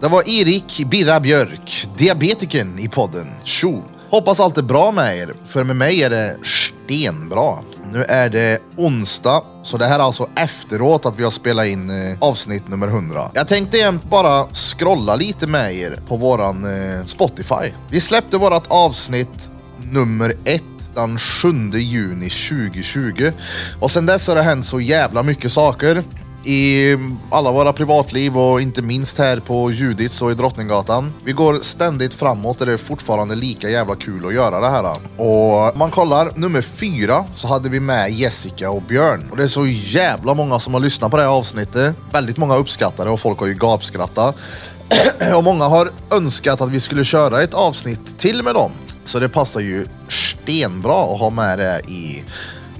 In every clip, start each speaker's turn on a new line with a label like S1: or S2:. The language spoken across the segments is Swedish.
S1: Det var Erik Birra Björk, diabetikern i podden. Tjo! Hoppas allt är bra med er, för med mig är det stenbra. Nu är det onsdag, så det här är alltså efteråt att vi har spelat in eh, avsnitt nummer 100. Jag tänkte jämt bara scrolla lite med er på våran eh, Spotify. Vi släppte vårat avsnitt nummer ett den 7 juni 2020. Och sen dess har det hänt så jävla mycket saker i alla våra privatliv och inte minst här på Judits och i Drottninggatan. Vi går ständigt framåt och det är fortfarande lika jävla kul att göra det här. Och om man kollar nummer fyra så hade vi med Jessica och Björn. Och det är så jävla många som har lyssnat på det här avsnittet. Väldigt många uppskattar det och folk har ju gapskrattat. Och många har önskat att vi skulle köra ett avsnitt till med dem. Så det passar ju stenbra att ha med det i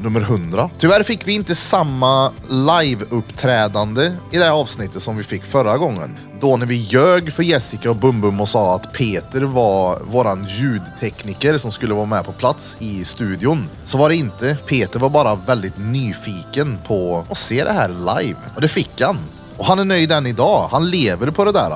S1: nummer 100. Tyvärr fick vi inte samma live-uppträdande i det här avsnittet som vi fick förra gången. Då när vi ljög för Jessica och Bumbum och sa att Peter var våran ljudtekniker som skulle vara med på plats i studion. Så var det inte. Peter var bara väldigt nyfiken på att se det här live. Och det fick han. Och han är nöjd än idag. Han lever på det där.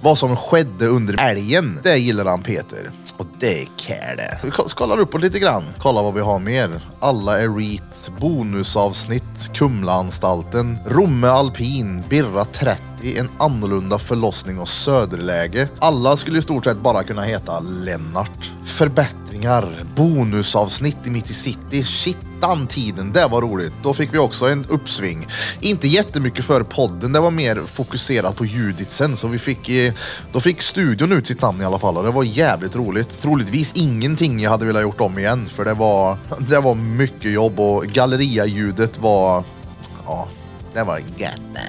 S1: Vad som skedde under älgen, det gillar han Peter. Och det är care det. Vi ko- kollar uppåt lite grann. Kolla vad vi har mer. Alla är reet, bonusavsnitt, Kumlaanstalten, Romme Alpin, Birra 30 i en annorlunda förlossning och söderläge. Alla skulle i stort sett bara kunna heta Lennart. Förbättringar, bonusavsnitt i Mitt i City. Shit, den tiden, det var roligt. Då fick vi också en uppsving. Inte jättemycket för podden, det var mer fokuserat på Juditsen. Så vi fick, eh, då fick studion ut sitt namn i alla fall och det var jävligt roligt. Troligtvis ingenting jag hade velat gjort om igen för det var, det var mycket jobb och galleria-ljudet var, ja, det var gött det.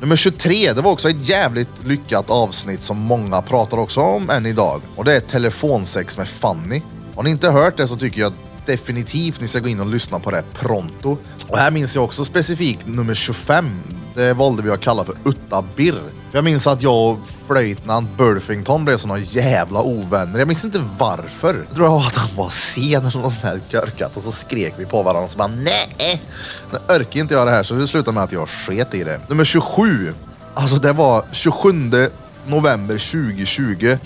S1: Nummer 23, det var också ett jävligt lyckat avsnitt som många pratar också om än idag. Och det är telefonsex med Fanny. Har ni inte hört det så tycker jag definitivt ni ska gå in och lyssna på det pronto. Och här minns jag också specifikt nummer 25. Det valde vi att kalla för Utta Birr. För Jag minns att jag och flöjtnant Burfington blev såna jävla ovänner. Jag minns inte varför. Jag tror att han var sen eller något sånt här körkat och så skrek vi på varandra och så bara nej. Nu orkar inte jag det här så det slutade med att jag sket i det. Nummer 27. Alltså det var 27 november 2020.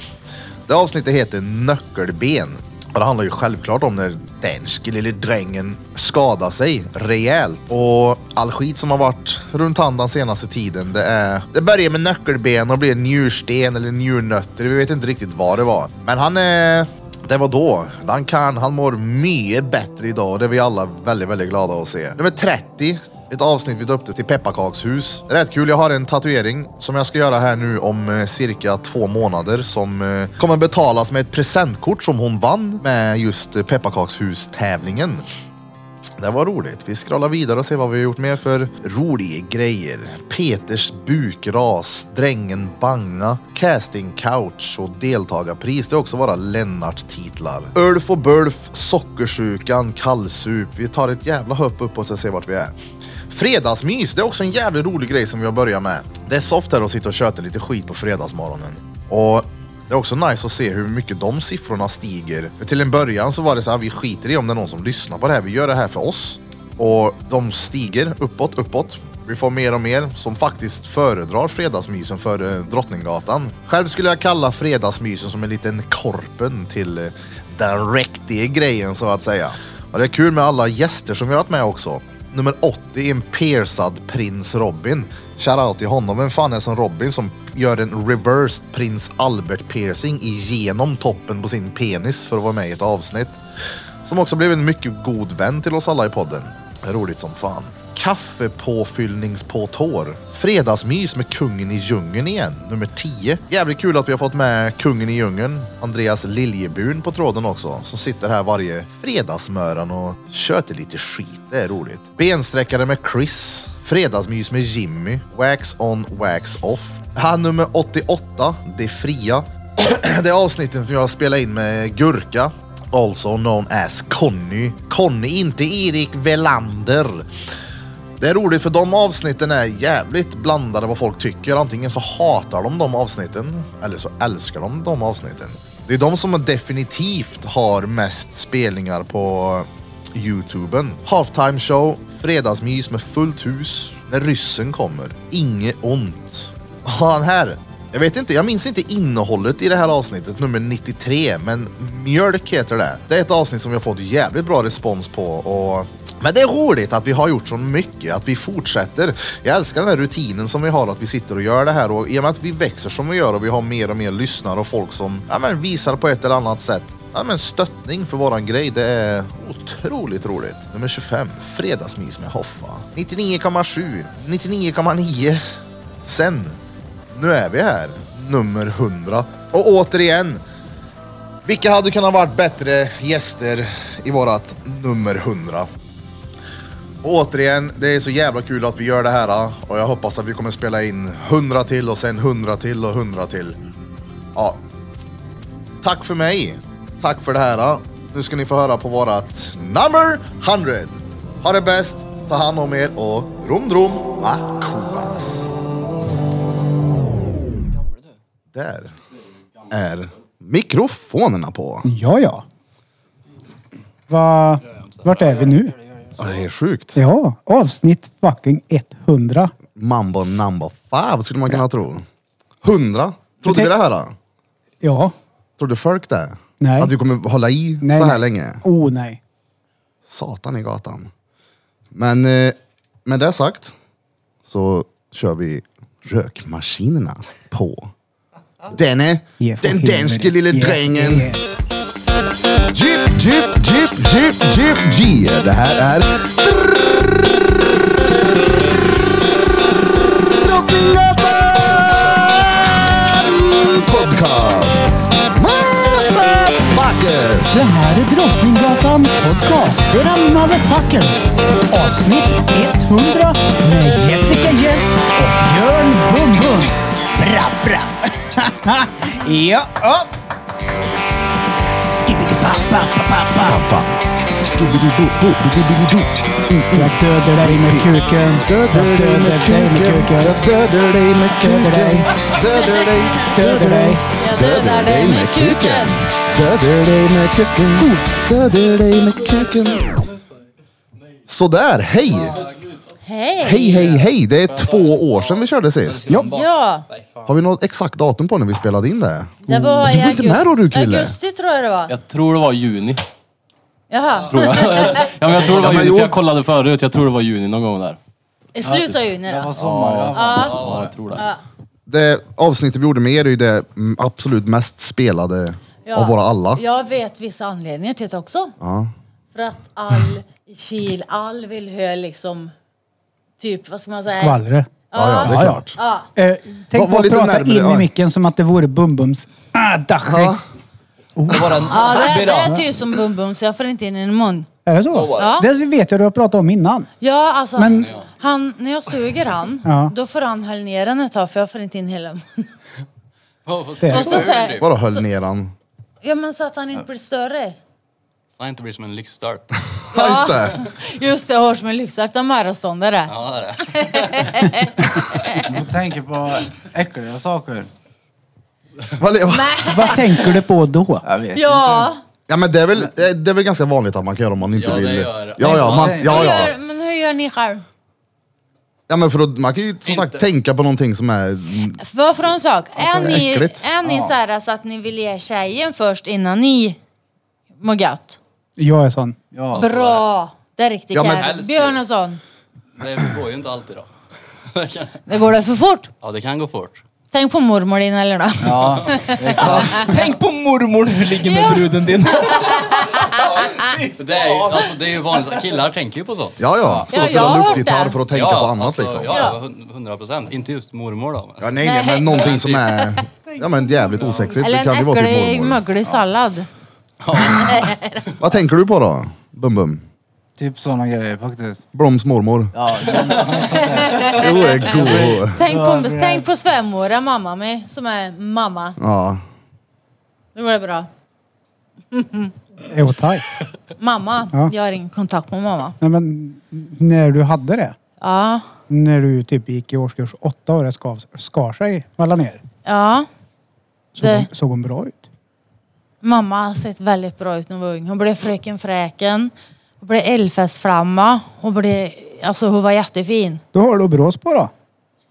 S1: Det avsnittet heter Nöckelben. Och det handlar ju självklart om när danske lille drängen skadar sig rejält. Och all skit som har varit runt han den senaste tiden, det är... Det börjar med nöckelben och blir njursten eller njurnötter. Vi vet inte riktigt vad det var. Men han är... Det var då. Han kan, han mår mycket bättre idag och det är vi alla väldigt, väldigt glada att se. Nummer 30 ett avsnitt vi döpte till Pepparkakshus. Rätt kul, jag har en tatuering som jag ska göra här nu om eh, cirka två månader som eh, kommer betalas med ett presentkort som hon vann med just eh, Pepparkakshus-tävlingen. Det var roligt. Vi scrollar vidare och ser vad vi har gjort mer för roliga grejer. Peters bukras, Drängen Banga, Casting Couch och Deltagarpris. Det är också våra Lennart-titlar. Ulf och Bulf, Sockersjukan, Kallsup. Vi tar ett jävla hopp uppåt och ser vart vi är. Fredagsmys, det är också en jävligt rolig grej som vi har börjat med. Det är soft här att sitta och köta lite skit på fredagsmorgonen. Och det är också nice att se hur mycket de siffrorna stiger. För till en början så var det så här, vi skiter i om det är någon som lyssnar på det här. Vi gör det här för oss. Och de stiger uppåt, uppåt. Vi får mer och mer som faktiskt föredrar fredagsmysen före Drottninggatan. Själv skulle jag kalla fredagsmysen som en liten korpen till eh, den riktiga grejen så att säga. Och det är kul med alla gäster som vi har varit med också. Nummer 80 är en piercad prins Robin. Shoutout till honom. Vem fan är som Robin som gör en reversed prins Albert piercing igenom toppen på sin penis för att vara med i ett avsnitt. Som också blev en mycket god vän till oss alla i podden. Roligt som fan. Kaffepåfyllningspåtår. Fredagsmys med kungen i djungeln igen, nummer 10. Jävligt kul att vi har fått med kungen i djungeln, Andreas Liljebun på tråden också, som sitter här varje fredagsmöran och tjöter lite skit. Det är roligt. Bensträckare med Chris. Fredagsmys med Jimmy. Wax on, wax off. Här nummer 88, Det fria. Det är avsnitten som jag spelar in med Gurka. Also known as Conny. Conny, inte Erik Velander. Det är roligt för de avsnitten är jävligt blandade vad folk tycker. Antingen så hatar de de avsnitten eller så älskar de de avsnitten. Det är de som definitivt har mest spelningar på Youtuben. Halftime show, fredagsmys med fullt hus, När ryssen kommer, inget ont. Och han här, Jag vet inte, jag minns inte innehållet i det här avsnittet, nummer 93, men Mjölk heter det. Det är ett avsnitt som vi har fått jävligt bra respons på och men det är roligt att vi har gjort så mycket, att vi fortsätter. Jag älskar den här rutinen som vi har, att vi sitter och gör det här och i och med att vi växer som vi gör och vi har mer och mer lyssnare och folk som ja, men visar på ett eller annat sätt ja, men stöttning för våran grej. Det är otroligt roligt. Nummer 25, Fredagsmys med Hoffa. 99,7, 99,9. Sen, nu är vi här. Nummer 100. Och återigen, vilka hade kunnat varit bättre gäster i vårat nummer 100? Och återigen, det är så jävla kul att vi gör det här ah. och jag hoppas att vi kommer spela in 100 till och sen 100 till och 100 till. Ja. Tack för mig. Tack för det här. ah. Nu ska ni få höra på vårat number 100. Ha det bäst, ta hand om er och rom drom makumas. Där är mikrofonerna på.
S2: Ja, ja. Va, vart är vi nu?
S1: Ja, det är sjukt.
S2: Ja, avsnitt fucking 100.
S1: Mambo number five skulle man kunna tro. 100. Trodde vi det här? Då?
S2: Ja.
S1: Trodde folk det?
S2: Nej.
S1: Att vi kommer hålla i
S2: Nej,
S1: så här
S2: nej.
S1: länge?
S2: Oh nej.
S1: Satan i gatan. Men eh, med det sagt så kör vi rökmaskinerna på. Denne,
S2: Yeah,
S1: den
S2: fucking
S1: danske
S2: helvete.
S1: lille
S2: Yeah,
S1: drängen.
S2: yeah.
S1: Jeep, jeep, jeep, jeep, jeep, yeah. Det här är... Drottninggatan Podcast! Motherfuckers!
S2: Det här är Drottninggatan Podcast. Det är den motherfuckers. Avsnitt 100 med Jessica Jess och Björn Bum Bum. Bra, bra. ja, ja. Skibbidi-pappa-pappa-pappa.
S1: Pappa. Skibidi-bo-bo-bidi-bidi-do.
S2: Jag dödar dig med kuken. Jag dödar dig med kuken.
S1: dödar dig med
S2: kuken.
S1: Dödar dig.
S2: Dödar dig.
S3: Jag dödar dig med kuken.
S1: Dödar dig med kuken. Dödar dig med kuken. Sådär, hej!
S3: Hej!
S1: Hej, hej, hej! Det är två år sedan vi körde sist.
S3: Ja,
S1: Har vi något exakt datum på när vi spelade in det?
S3: det var
S1: Mm. Du var inte
S3: i augusti.
S1: med då, du, kille.
S3: Augusti tror jag det var.
S4: Jag tror det var juni.
S3: Jaha,
S4: Tror jag. ja, men jag tror det
S1: Ja,
S4: var
S1: men
S4: juni,
S1: jo.
S4: för jag kollade förut. Jag tror det var juni någon gång där.
S3: i slutet av juni
S5: Det var
S3: då.
S5: sommar, ja.
S3: Ja,
S4: Ja, jag tror det.
S1: Det avsnittet vi gjorde med er är ju det mm, absolut mest spelade
S3: ja.
S1: av våra alla.
S3: Jag vet vissa anledningar till det också.
S1: Ja.
S3: För att all i Kil, all vill höra liksom, typ vad ska man säga?
S2: Skvallre.
S1: Ja, ja, det är
S2: Ja, ja.
S1: klart.
S3: Ja,
S2: Eh,
S1: Var-
S2: tänk
S1: var
S2: på att
S1: lite
S2: prata
S1: närmare,
S2: in
S1: ja.
S2: i micken som att det vore Bumbums ah, dashi.
S1: Ja.
S5: Det var en
S3: ja det, det
S5: spiral.
S3: är ju som bum bum så jag får inte in i den mun.
S2: Är det så?
S3: Ja.
S2: Det vet jag du har pratat om innan.
S3: Ja, alltså
S2: Men-
S3: han, när jag suger han,
S2: Ja.
S3: då får han höll ner den ett tag för jag får inte in hela munnen.
S2: Det är
S3: Och så
S2: så.
S3: säger
S1: Vadå höll ner han?
S3: ja men så att han inte blir större.
S5: Han inte blir som en lyxstolp.
S1: Ja, just det.
S3: Just det, jag hörs med lyxarta maratonare.
S5: Ja, det är det.
S6: Jag tänker på äckliga saker.
S1: Vad le-
S2: Vad tänker du på då?
S6: Jag vet
S3: Ja,
S1: Ja men det är, väl, eh, det är väl ganska vanligt att man kan göra om man inte
S5: Ja, det
S1: vill.
S5: gör-
S1: ja, ja, man, ja,
S3: Hur
S1: ja.
S3: gör, men hur gör ni själv?
S1: ja men för att, man kan ju som sagt
S5: Inte.
S1: tänka på någonting som är...
S3: Vad för en sak? Är
S1: Alltså, det är
S3: ni,
S1: äckligt.
S3: är ni så här så att ni vill ge tjejen först innan ni mår gött?
S2: Jag är sån.
S6: Ja.
S3: Bra! Det är riktigt
S1: Ja, men-
S3: kär. Björn och sån.
S5: Det går ju inte alltid då. Det kan-
S3: Det går det för fort?
S5: Ja, det kan gå fort.
S3: Tänk på mormor din eller nåt.
S6: ja.
S5: Tänk på mormor när du ligger med bruden din. det, är ju, alltså, det är ju vanligt. Killar tänker ju på sånt.
S1: Ja ja, slå
S3: Ja,
S1: sig
S3: jag
S1: en
S3: har hört
S1: luftgitarr
S3: det.
S1: för att tänka på annat
S5: alltså,
S1: liksom. Ja,
S5: Ja, hun- hundra procent. Inte just mormor då. men-
S1: nej, nej men någonting som är ja, men jävligt osexigt.
S3: Eller
S1: Det
S3: en
S1: kan ju vara typ
S3: äcklig
S1: mormor.
S3: möglig sallad.
S1: Vad tänker du på då? Bum bum.
S6: Typ sådana grejer faktiskt.
S1: Bloms mormor.
S6: Ja,
S1: Jo, det är god.
S3: Tänk på,
S6: det är-
S3: tänk på svärmor, mamma med, som är mamma.
S1: Ja.
S3: Nu går det bra.
S2: Jo tack.
S3: Mamma,
S2: Ja.
S3: jag har ingen kontakt med mamma.
S2: Nej, men när du hade det.
S3: Ja,
S2: När du typ gick i årskurs åtta och det skar, skar sig mellan er.
S3: ja.
S2: Såg,
S3: Det-
S2: hon, såg hon bra ut?
S3: Mamma har sett väldigt bra ut när hon var ung. Hon blev Fröken Fräken, hon blev Elfestflamma, hon blev... Alltså hon var jättefin.
S2: Då har du brås på då.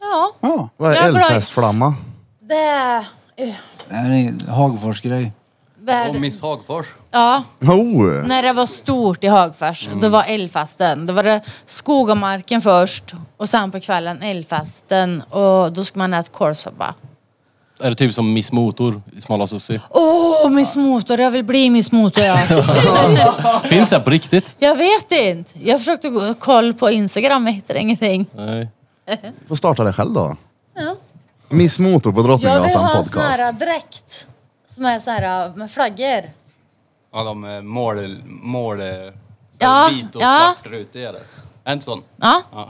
S3: Ja.
S2: Ja.
S1: Vad
S3: Jag
S1: är
S3: är bra.
S1: eldfästflamma?
S3: Det- Det är... eh,
S6: Det här är en Hagfors-grej.
S7: Och
S3: Värld...
S7: Miss Hagfors.
S3: Ja,
S1: Oh.
S3: när det var stort i Hagfors, då var älgfasten. Då var det Skogamarken först och sen på kvällen älgfasten och då ska man äta kålsoppa.
S4: Är det typ som Miss Motor i Smala Sussi?
S3: Åh, Miss Motor, jag vill bli Miss Motor jag.
S4: Finns det här på riktigt?
S3: jag vet inte. Jag försökte gå koll på Instagram, men hittade ingenting.
S4: Nej.
S1: Får starta det själv då.
S3: Ja.
S1: Miss Motor på
S3: Jag vill ha
S1: Drottninggatan
S3: en sån här
S1: podcast.
S3: dräkt som är så här eh, med flaggor.
S7: Ja, de eh, mål... mål eh, så
S3: Ja,
S7: vit och
S3: ja.
S7: svart rutig är det. Är inte sån?
S3: Ja.
S7: Ja.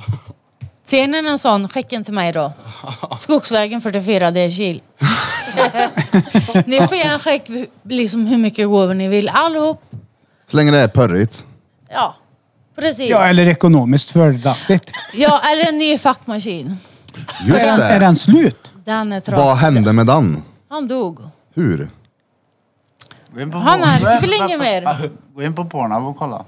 S3: Ser ni någon sån, skicka en till mig då. Skogsvägen 44 Derkil. ni får gärna skicka liksom hur mycket gåvor ni vill allihop.
S1: Så länge det är pörrigt.
S3: Ja, precis.
S2: Ja, eller ekonomiskt fördelaktigt.
S3: Ja, eller en ny fackmaskin.
S1: Just
S2: Är, den- är
S1: det.
S2: den slut?
S3: Den är
S1: Vad
S3: trasig.
S1: hände med den?
S3: Han dog.
S1: Hur?
S6: Gå in på
S3: Han är-
S6: Pornhub.
S3: det vill ingen mer.
S6: Gå in på Pornhub och kolla.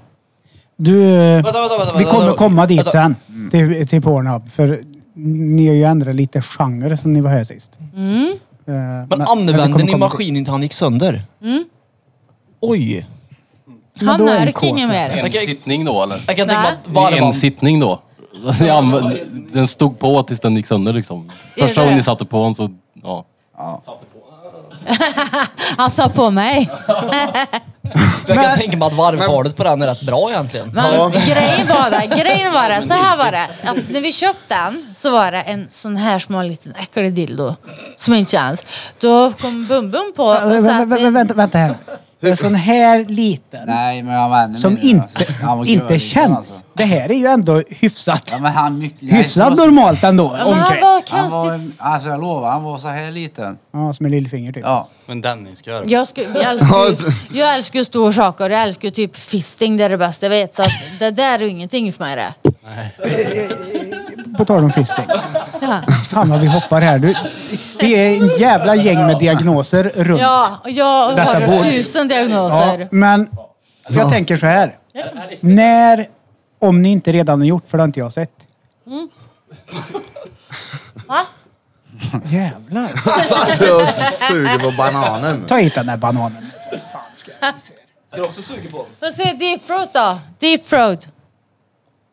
S2: Du, eh,
S7: Vänta, vänta, vänta,
S2: vi
S7: vänta,
S2: kommer
S7: vänta.
S2: komma dit
S7: Vänta.
S2: sen.
S6: Mm.
S2: Till, till Pornhub. För ni har ju ändrat lite genre sen ni var här sist.
S3: Mm.
S2: Eh,
S5: Men
S2: vi
S5: använder
S2: kommer
S5: ni
S2: komma
S5: maskinen inte han gick sönder? Oj!
S2: Men
S3: Han
S2: då är det
S3: är ingen
S2: kåt.
S3: mer.
S4: En
S5: Okej.
S4: sittning då eller?
S5: Jag kan tänka
S3: Va?
S5: mig att
S4: Det är
S5: varvan...
S4: en sittning då. Ni använde- Den stod på tills den gick sönder liksom. Första gången ni satte på den så, ja.
S3: Han sa på mig.
S5: För jag kan tänka mig att varvtalet på den är rätt bra egentligen.
S3: Men grejen var det, grejen var det, så här var det. Att när vi köpte den så var det en sån här smal liten äcklig dildo som inte känns. Då kom Bum-Bum på
S2: Ja,
S3: och
S2: vä-
S3: sa
S2: Eh, vä-
S3: att
S2: vä-
S3: vi,
S2: Vänta, vänta här. Det är sån här liten.
S6: Nej, men han var ännu
S2: Som
S6: mindre,
S2: inte,
S6: alltså. Han var
S2: inte
S6: görliten,
S2: känns.
S6: alltså.
S2: Det här är ju ändå hyfsat,
S6: Ja, men han mycket... nej,
S2: hyfsat
S6: så-
S2: normalt ändå.
S3: men han var
S2: Omkrets.
S6: Han var,
S3: konstigt.
S6: alltså jag lovar, han var så här liten.
S2: Ja, som en lillfinger typ.
S6: Ja.
S7: Men Dennis ska göra det.
S3: jag, skulle, jag, älskar,
S1: Ja, så-
S3: ju- jag älskar ju stora saker, jag älskar ju typ fisting, det är det bästa jag vet. Så att det där är ju ingenting för mig det.
S2: På tal om fisting.
S3: Ja,
S2: Fan vad vi hoppar här. Du, vi är en jävla gäng med diagnoser runt.
S3: ja och jag
S2: Detta borde-
S3: har tusen diagnoser.
S2: Ja, men jag tänker så här. När, om ni inte redan har gjort, för det har inte jag sett.
S3: Mm. Va?
S2: Jävlar.
S1: Satt och Alltså, suger på bananen.
S2: Ta hit den där bananen.
S3: Får se deep throat då. Deep throat.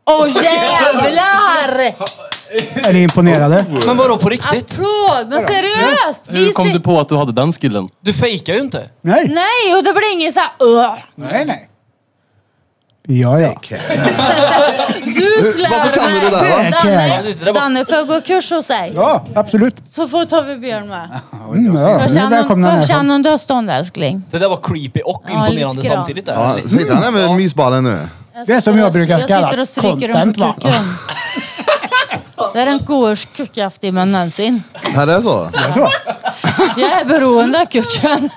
S3: Åh jävlar!
S2: Är ni imponerade?
S5: Men vadå på riktigt?
S3: Applåd! Men seriöst!
S4: Hur kom
S3: ser-
S4: du på att du hade den skillen?
S5: Du fejkar ju inte.
S2: Nej.
S3: Nej, och det blir ingen såhär Åh,
S2: Nej, nej. Ja, ja.
S3: Du
S1: Varför
S3: slår
S1: kan du det
S3: mig!
S1: där, va?
S5: Ja, precis, det där
S3: Danne,
S5: var-
S3: Danne får jag gå kurs hos dig.
S2: Ja, absolut.
S3: Så får tar vi Björn med.
S2: Mm, ja.
S3: Får
S2: Ni är välkomna
S3: känna- får
S2: när
S3: känna en dödsstånd älskling.
S5: Det där var creepy och
S3: Ja,
S5: imponerande
S3: lite grann.
S5: samtidigt. Där.
S1: Ja,
S2: Mm.
S1: sitter han där med mysballen nu?
S2: Det är som
S3: sitter
S2: jag
S3: och-
S2: brukar kalla
S3: Jag sitter och stryker
S2: content,
S3: runt på
S2: va?
S3: kuken. Det är den godaste kuckjaftig man någonsin.
S1: Här är det så?
S2: Jag tror.
S3: Jag är beroende av kuken.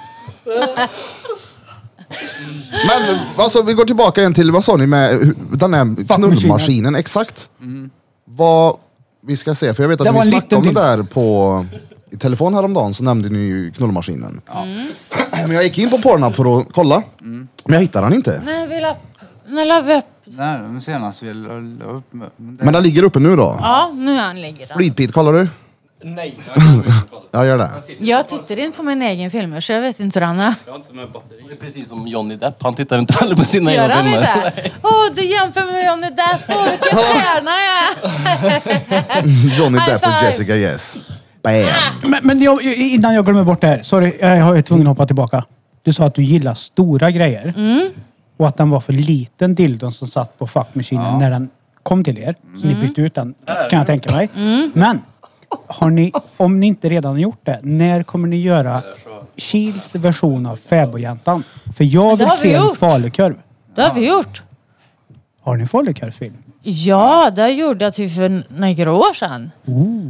S1: Men alltså, vi går tillbaka igen till, vad sa ni med hu- den här knullmaskinen? Exakt. Vad vi ska se, för jag vet
S2: Mm. Det
S1: att
S2: var
S1: ni
S2: en
S1: snackade om det
S2: liten
S1: där på i telefon häromdagen så nämnde ni ju knullmaskinen. Men jag gick in på Pornhub för att kolla.
S2: Mm.
S1: Men jag hittar den inte.
S3: Nej, vi la... Nej, la vi upp.
S6: Nej, men senast vi la la upp... Men det,
S1: Men den ligger uppe nu då.
S3: Ja, nu är han ligger där.
S1: Repeat, kollar du?
S7: Nej, jag kan inte kolla.
S1: Jag gör det.
S3: Jag tittar inte på mina egna filmer så jag vet inte hur han är.
S7: Jag har inte så med batteri.
S4: Det är precis som Johnny Depp, han tittar inte heller på sina
S3: Gör
S4: egna
S3: han
S4: filmer.
S3: inte? Åh, du jämför med Johnny Depp. Åh, vilken stjärna jag är!
S1: Johnny
S3: High
S1: Depp och
S3: five.
S1: Jessica Yes. Bam!
S2: Men, men jag, innan jag glömmer bort det här. Sorry, jag har ju tvungen att hoppa tillbaka. Du sa att du gillar stora grejer.
S3: Mm.
S2: Och att den var för liten dildon som satt på fuckmaskinen när den kom till er. Så
S3: Mm.
S2: ni bytte ut den, kan jag tänka mig. Men, har ni, om ni inte redan har gjort det, när kommer ni göra Kils version av fäbodjäntan? För jag
S3: Men det
S2: vill
S3: har vi
S2: se en
S3: gjort.
S2: falukorv.
S3: Det har vi gjort.
S2: Har ni falukorvsfilm?
S3: Ja, det gjorde jag typ för några år sedan.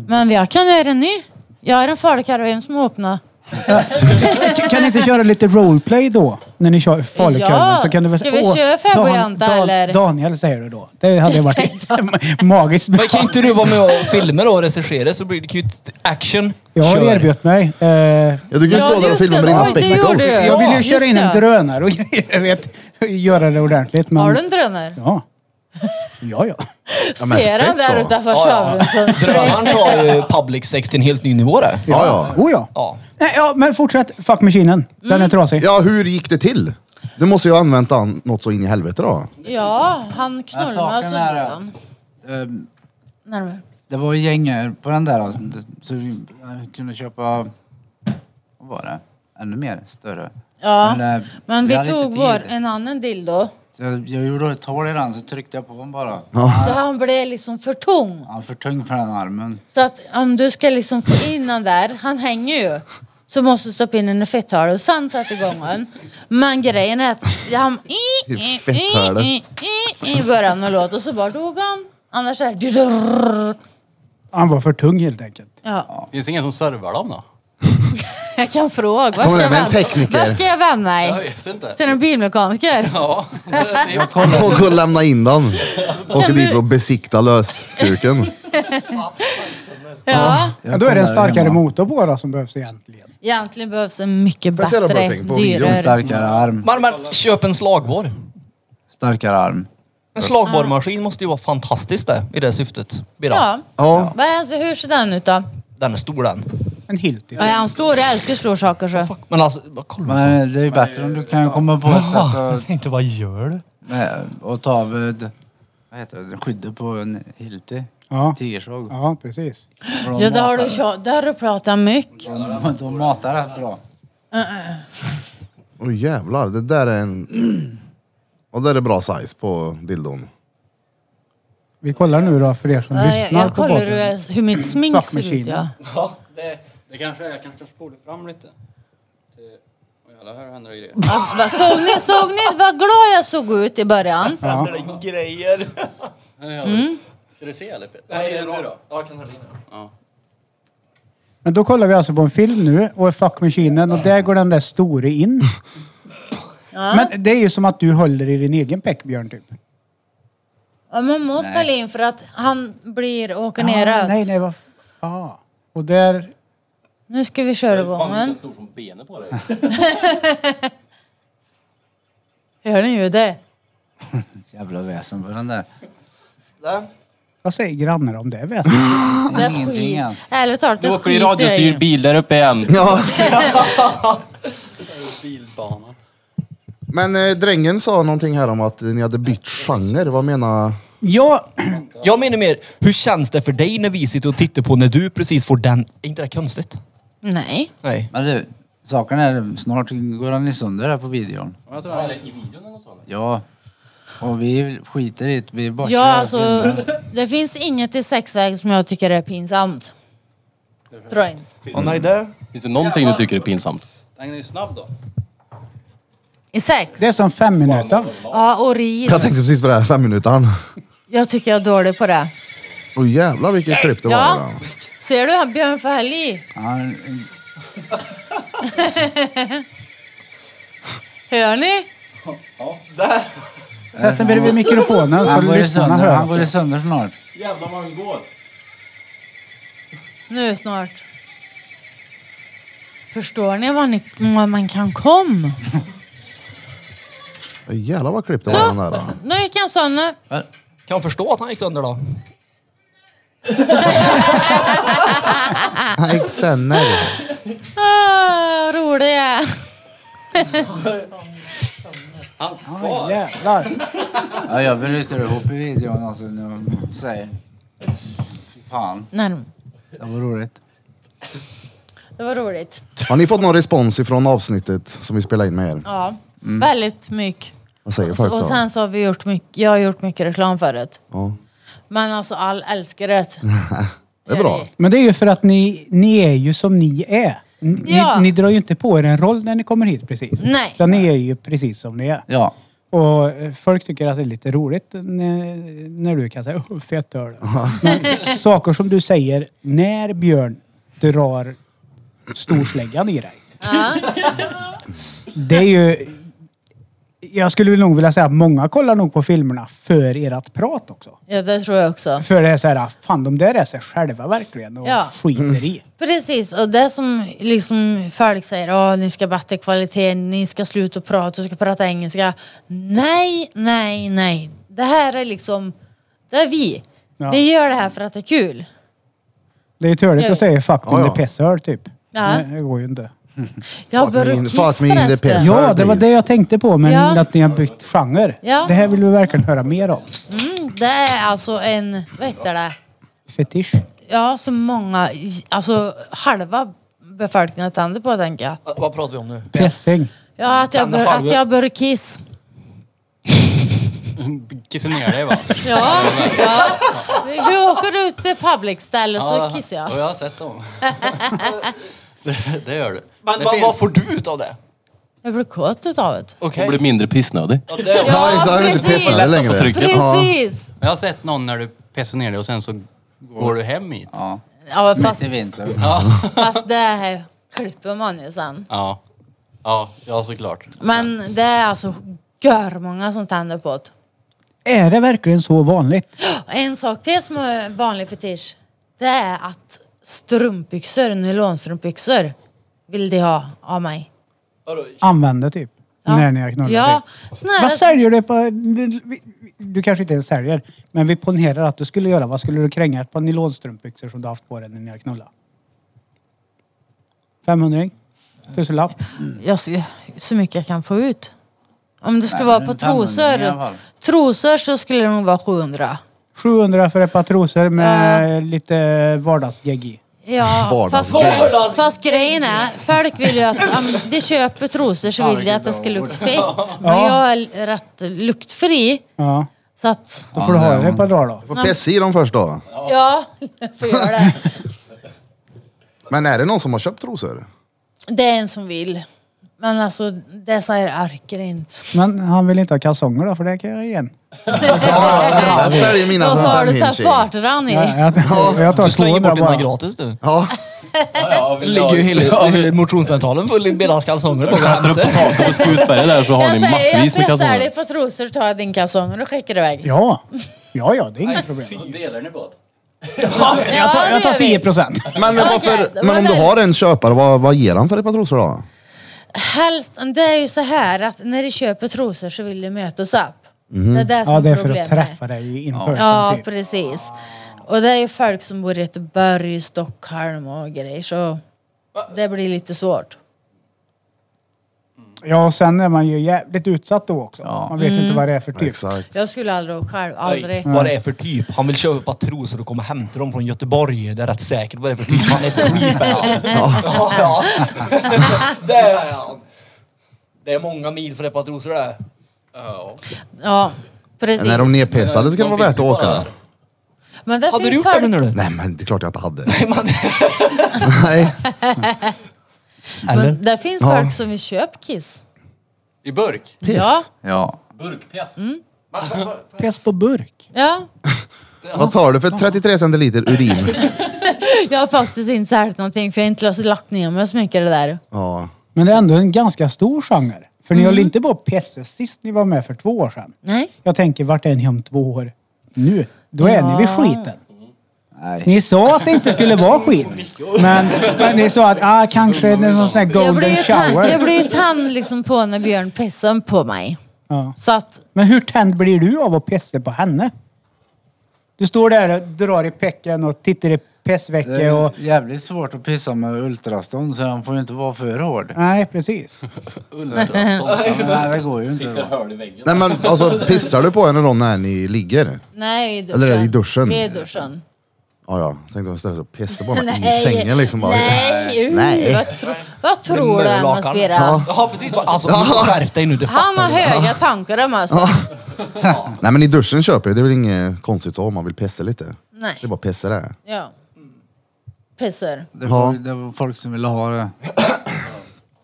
S3: Men jag kan göra en ny. Jag är en falukorv som öppnar.
S2: Kan- Kan ni inte köra lite roleplay då? När ni kör falukorven
S3: Ja,
S2: så kan du väl
S3: ska vi
S2: Åh,
S3: köra fäbodjänta,
S2: Dan- Dan-
S3: eller?
S2: Daniel säger du då. Det hade ju varit magiskt bra.
S5: Men kan inte du vara med och filma då och regissera så blir det ju ett action.
S2: Jag har
S5: Kör.
S2: erbjudit mig. Eh,
S1: Jag tycker du
S3: Ja,
S1: står där och
S3: just
S1: filmar
S3: det.
S1: med dina
S3: Oj, det gjorde
S1: spectacles.
S3: jag.
S2: jag vill ju
S3: just
S2: köra in en
S3: det.
S2: drönare och grejer. jag Vet, göra det ordentligt. Men,
S3: Har du en drönare?
S2: Ja. Ja, ja.
S1: men
S3: Ser han
S1: fett
S3: där
S1: då.
S3: utanför
S5: Ja, ja.
S3: Sörenssons
S5: Drönaren tar ju public sex till en helt ny nivå det.
S1: Ja, ja.
S2: Oh, ja.
S5: Ja.
S2: Nej, ja, men fortsätt. Fuck maskinen. Den
S3: Mm.
S2: är trasig.
S1: Ja, hur gick det till? Du måste ju ha använt an- något så in i helvete då.
S3: Ja, han
S6: Men
S3: knullade
S6: saken
S3: oss
S6: är
S3: undan.
S6: att- Ehm,
S3: Närmare.
S6: Det var ju gäng på den där alltså, så vi kunde köpa, vad var det? Ännu mer, större.
S3: Ja,
S6: Men, eh,
S3: men vi
S6: hade inte
S3: tog
S6: tid.
S3: vår, en annan dildo.
S6: Så jag, jag gjorde ett hål i den så tryckte jag på den bara.
S3: Så han blev liksom för tung.
S6: Han var för tung för den armen.
S3: Så att om du ska liksom få in den där, han hänger ju. Så måste du stoppa in den i fetthålet och sen sätta igång den. Men grejen är att han...
S1: I fetthålet.
S3: I, i, i, i början av låten och så bara dog han. Annars är det...
S2: Han var för tung helt enkelt.
S3: Ja,
S7: Finns det ingen som servar dem då?
S3: jag kan fråga. Var
S1: Kommer
S3: ska
S1: det
S3: jag
S1: med en
S3: vända,
S1: tekniker?
S3: var ska jag vända
S7: Jag
S3: mig?
S7: vet inte.
S3: Till en bilmekaniker?
S7: Ja, det är ju
S1: Och gå och lämna in den. Åka
S3: Kan
S1: dit
S3: du-
S1: och besikta löskuken.
S3: Ja.
S2: Ja, då är det en
S6: Jag kollar
S2: starkare
S6: hemma.
S2: motor på då som behövs egentligen.
S3: Egentligen behövs en mycket
S1: Får jag se då,
S3: bättre,
S1: Burping, på videon?
S6: En
S3: dyrare...
S6: starkare arm.
S5: Men, men köp en slagborr.
S6: Starkare arm.
S5: En slagborrmaskin måste ju vara fantastisk det, i det syftet. Bira.
S3: Ja.
S1: Ja.
S3: Vad är, alltså, hur ser den ut då?
S5: Den är stor den.
S2: En Hilti.
S3: Ja, han står och älskar storsaker så.
S5: Men alltså, vad kollar du
S6: Men eh, det är ju bättre om du kan komma på
S5: på?
S6: ett sätt
S5: Jaha, jag
S6: att,
S5: tänkte vad gör du?
S6: med, och ta av eh, d- vad heter det, skyddet på en hilti.
S2: Ja.
S6: Tiersåg.
S2: ja, precis.
S6: För de
S3: Ja, det har du,
S6: matar-
S3: tja- det har du pratat mycket.
S6: de- De matar rätt bra.
S1: Åh jävlar, det där är en... Och där är bra size på dildon.
S2: Vi kollar nu då för er som
S3: Ja, Jag,
S2: lyssnar
S3: jag
S2: på
S3: kollar hur,
S2: podden.
S3: jag- hur mitt smink
S2: Fuck
S3: ser ut.
S2: machine.
S3: Ja.
S7: Ja, det, det kanske är. Jag kanske spolar fram lite. Det- Oj, jävlar, här händer det grejer.
S3: Alltså, vad- såg, ni, såg ni vad glad jag såg ut i början?
S5: Det är grejer.
S3: Mm.
S7: Ska du se eller? Nej, det är bra. då. Ja, jag kan hålla i nu. Ja.
S2: Men då kollar vi alltså på en film nu och är fuck maskinen och där går den där store in. Men det är ju som att du håller i din egen peck Björn typ.
S3: Ja, man måste hålla in för att han blir åker
S2: Ah, nej,
S3: neråt.
S2: nej, vad... f- Ja. Och där...
S3: Nu ska vi köra igång
S4: Fan, vilken
S3: den.
S4: stor som benet på dig.
S3: Hör ni ju det?
S6: Jävla väsen på den där.
S2: Vad säger grannar om det väsen?
S3: Det är
S6: Ingenting
S3: skit.
S6: än.
S3: Ärligt talat,
S4: Du
S3: det
S4: åker i
S3: skiter jag
S4: radiostyrd
S3: i.
S4: bil där uppe igen.
S1: Ja.
S7: Bilbana.
S1: Men eh, drängen sa någonting här om att ni hade bytt genre. Vad menar...
S2: Ja,
S5: Jag menar mer, hur känns det för dig när vi sitter och tittar på när du precis får den? Är inte det konstigt?
S3: Nej.
S5: Nej.
S6: Men du, saken är snart går han ju sönder där på videon.
S7: Jag tror det är i videon eller så.
S6: Ja. Och vi skiter i det. Vi borstar.
S3: Ja, alltså, det finns inget i sexväg som jag tycker är pinsamt. Tror jag inte.
S5: Mm. nej, det...
S4: Finns det någonting du tycker är pinsamt?
S7: Den är ju snabb då.
S3: I sex?
S2: det är som fem minuter.
S3: Ja, och rid.
S1: Jag tänkte precis på det här fem minuter.
S3: Jag tycker jag är dålig på det.
S1: Åh jävlar vilket klipp det var.
S3: Ja.
S1: då.
S3: Ser du han Björn Fälli?
S6: Han,
S3: Hör ni?
S2: Sätt den bredvid mikrofonen
S6: han,
S2: så
S6: går, i
S2: lyssnarna
S6: sönder,
S2: hör. alltså?
S6: han går i
S2: också.
S6: sönder snart.
S7: Jävlar vad han går.
S3: Nu snart. Förstår ni vad, ni, vad man kan komma?
S1: Åh, Jävlar vad klipp det var
S3: Så.
S1: den där. då.
S3: Nu gick han sönder.
S5: Kan förstå att han gick sönder då.
S1: Nej, Xenner.
S3: Ah, rolig jag är.
S7: Han
S2: Oj,
S7: ska.
S2: jävlar.
S6: Ja, jag bryter ihop i videon alltså. Nu. Säg. Fy Fan,
S3: Nej,
S6: det var roligt.
S3: Det var roligt.
S1: Har ni fått någon respons ifrån avsnittet som vi spelade in med er?
S3: Ja,
S1: Mm.
S3: väldigt mycket.
S1: Vad säger folk
S3: Och
S1: då?
S3: sen så har vi gjort mycket, jag har gjort mycket reklam förut.
S1: Ja.
S3: Men alltså all älskar det.
S1: Det är bra.
S2: Men det är ju för att ni, ni är ju som ni är. Ni,
S3: Ja.
S2: ni drar ju inte på er en roll när ni kommer hit precis.
S3: Nej.
S2: Utan ni är ju precis som ni är.
S6: Ja.
S2: Och eh, folk tycker att det är lite roligt när, när du kan säga "Åh, fett öl. Men saker som du säger när Björn drar storsläggan i dig.
S3: Ja.
S2: Det är ju... Jag skulle väl nog vilja säga att många kollar nog på filmerna för ert prat också.
S3: ja, det tror jag också.
S2: För det är så här, fan de där är sig själva verkligen och
S3: Ja.
S2: skiter
S1: Mm.
S2: i.
S3: Precis, och det som liksom folk säger, "Åh, ni ska bättre kvalitet, ni ska sluta prata, du ska prata engelska. Nej, nej, nej. Det här är liksom, det är vi.
S2: Ja.
S3: Vi gör det här för att det är kul.
S2: Det är ju törligt att säga fuck
S1: Ja,
S2: me in
S1: ja.
S2: the pisshöl typ.
S3: Ja.
S2: Nej, det går ju inte.
S3: Jag
S1: Fuck me
S3: börjar
S1: in- fuck me in the
S3: kissa
S1: piss.
S3: resten.
S1: Ja,
S2: Ja, det var
S1: precis.
S2: det jag tänkte på, men
S3: Ja.
S2: att ni har bytt genre.
S3: Ja.
S2: Det här vill vi verkligen höra mer om.
S3: Mm, det är alltså en, vad heter det?
S2: Fetisch.
S3: Ja, som många, alltså halva befolkningen tänder på tänker jag.
S5: Vad pratar vi om nu?
S2: Pissing.
S3: Ja, att jag, bör, att jag börjar kiss.
S7: Kissa ner dig va?
S3: Ja, ja. Vi åker ut till public ställe så kissar
S7: Ja,
S3: jag.
S7: jag har sett dem. det, det gör du.
S5: Men
S7: det
S5: vad,
S7: finns-
S5: vad får du ut av det?
S3: Jag blir kåt utav det.
S5: Okej.
S4: Och blir mindre pissnödig.
S7: Ja, det är-
S1: Ja, exakt. Du inte
S3: precis.
S1: pissar längre.
S4: trycket.
S1: Ja.
S3: Precis!
S7: Jag har sett någon när du pissar ner dig och sen så går du hem hit.
S6: Ja,
S3: Ja, fast,
S6: mitt i vintern.
S3: fast det här klipper man ju sen.
S7: Ja, ja, ja såklart.
S3: Men det är alltså görmånga som tänder på det.
S2: Är det verkligen så vanligt?
S3: En sak till som är vanlig fetisch. Det är att strumpbyxor, nylonstrumpbyxor, vill de ha av mig.
S2: Använda typ.
S3: Ja.
S2: När ni har knullat.
S3: Ja. alltså-
S2: typ.
S3: såna här-
S2: Vad säljer du på... Du kanske inte ens säljer, men vi ponerar att du skulle göra. Vad skulle du kränga ett par nylonstrumpbyxor som du haft på dig när ni har knullat? 500 Tusenlapp?
S3: jag, ska- så mycket jag kan få ut. Om det skulle
S6: Nej,
S3: vara
S6: men
S3: på
S6: en femhundring i alla
S3: trosor,
S6: fall.
S3: trosor så skulle det nog vara 700.
S2: 700 för ett par trosor med lite vardagsgegg i.
S3: Ja, fast, fast grejen är, folk vill ju att, om de köper trosor så vill de att det ska lukta fett. Men jag är rätt luktfri.
S2: Ja.
S3: Så att,
S2: Då får du ha det ett par dagar då.
S1: Får pissa i dem först då.
S3: ja, jag får göra det.
S1: Men är det någon som har köpt trosor?
S3: Det är en som vill. Men alltså, det säger arker inte.
S2: Men han vill inte ha kalsonger då, för det kan jag igen.
S1: Jag säljer mina
S3: Och så
S1: för
S3: har du
S1: en
S3: så här
S1: femhundsing.
S3: fartran i.
S2: Jag, jag, jag tar
S5: Du slänger
S2: 200
S5: bort dina
S2: bara.
S5: gratis du.
S1: Ja,
S5: ligger ju hela, hela motionscentralen full i deras kalsonger. på
S4: Klättrar upp på taket på Skutberget där så har ni
S3: Jag säger, jag
S4: massvis med
S3: ska sälja
S4: kalsonger.
S3: ett par trosor, ta din kalsonger och skickar iväg.
S2: Ja. ja, ja, det är inget problem.
S7: Delar ni båt?
S2: Jag tar, jag tar 10 procent.
S1: men,
S3: Okej, det
S1: varför,
S3: var
S1: men om du
S3: väl-
S1: har en köpare, vad, vad ger han för ett par trosor då?
S3: Helst, det är ju så här att när de köper trosor så vill de mötas upp. Det är det som
S2: Mhm. Ja, det är för att
S3: problemet.
S2: träffa dig in person.
S3: Ja,
S2: typ.
S3: precis. Och det är ju folk som bor i Göteborg, Stockholm och grejer så det blir lite svårt.
S2: ja, och sen är man ju jävligt utsatt då också.
S6: Ja.
S2: Man vet ju inte vad det är för typ.
S1: Exakt.
S3: Jag skulle aldrig åka själv,
S5: Nej,
S3: aldrig.
S5: Vad det är för typ. Han vill köpa trosor och komma och hämta dem från Göteborg. Det är rätt säkert vad det är för typ. Han är ett creep är han. Ja, ja. Det är han. Det är många mil för ett par trosor det.
S7: Ja.
S3: Ja, precis.
S1: När de nerpissade så kan det vara värt att åka.
S3: Men det
S5: Hade du
S3: finns
S5: gjort det
S3: folk...
S5: nu du?
S1: Nej men det är klart jag inte hade.
S5: Man-
S1: Nej.
S5: Eller?
S3: Men det finns
S1: Ja.
S3: folk som vill köpa kiss.
S7: I burk?
S1: Piss.
S3: Ja.
S6: Ja.
S7: Burkpjäs?
S3: Mm.
S2: Pess på burk.
S3: Ja,
S1: Vad tar du för 33 centiliter urin?
S3: jag har faktiskt inte sett någonting för jag har inte lagt ner mig så mycket i det där.
S1: Ja.
S2: Men det är ändå en ganska stor genre. För ni höll inte på att pissa sist ni var med för två år sedan.
S3: Nej.
S2: Jag tänker, vart är ni om två år? Nu? Då är ni vid
S3: Ja.
S2: skiten.
S6: Nej.
S2: Ni sa att det inte skulle vara skit. Men, men ni sa att ah, kanske det är någon sån här
S3: Jag blir
S2: golden
S3: ju tänd, jag
S2: shower.
S3: blir ju tänd liksom på när Björn pissar på mig.
S2: Ja.
S3: Så att,
S2: Men hur tänd blir du av att pissa på henne? Du står där och drar i pecken och tittar i
S6: Det
S2: pissväcke och...
S6: är jävligt svårt att pissa med ultrastånd så den får ju inte vara för hård.
S2: Nej, precis.
S6: Ja, men Nej, det går ju inte. då.
S4: Hörde väggen.
S1: Nej men alltså pissar du på henne då när ni ligger?
S3: nej i duschen.
S1: Eller i duschen.
S3: Vi är i duschen.
S1: Ja ja, tänkte jag ställa sig och pissa på henne i sängen liksom. Bara.
S3: Nej, uh,
S1: Nej.
S3: Vad, tro, vad tror du om oss
S5: Mörlakan.
S3: Birra?
S5: Ja precis. Alltså skärp dig nu. Du
S3: Han har
S5: fattar.
S3: höga tankar om oss.
S1: Nej men i duschen köper jag, det är väl inget konstigt så om man vill pissa lite.
S3: Nej.
S1: Det är bara pissa det.
S3: Ja. Pisser.
S6: Det
S1: Ja.
S6: var, det var folk som ville ha det.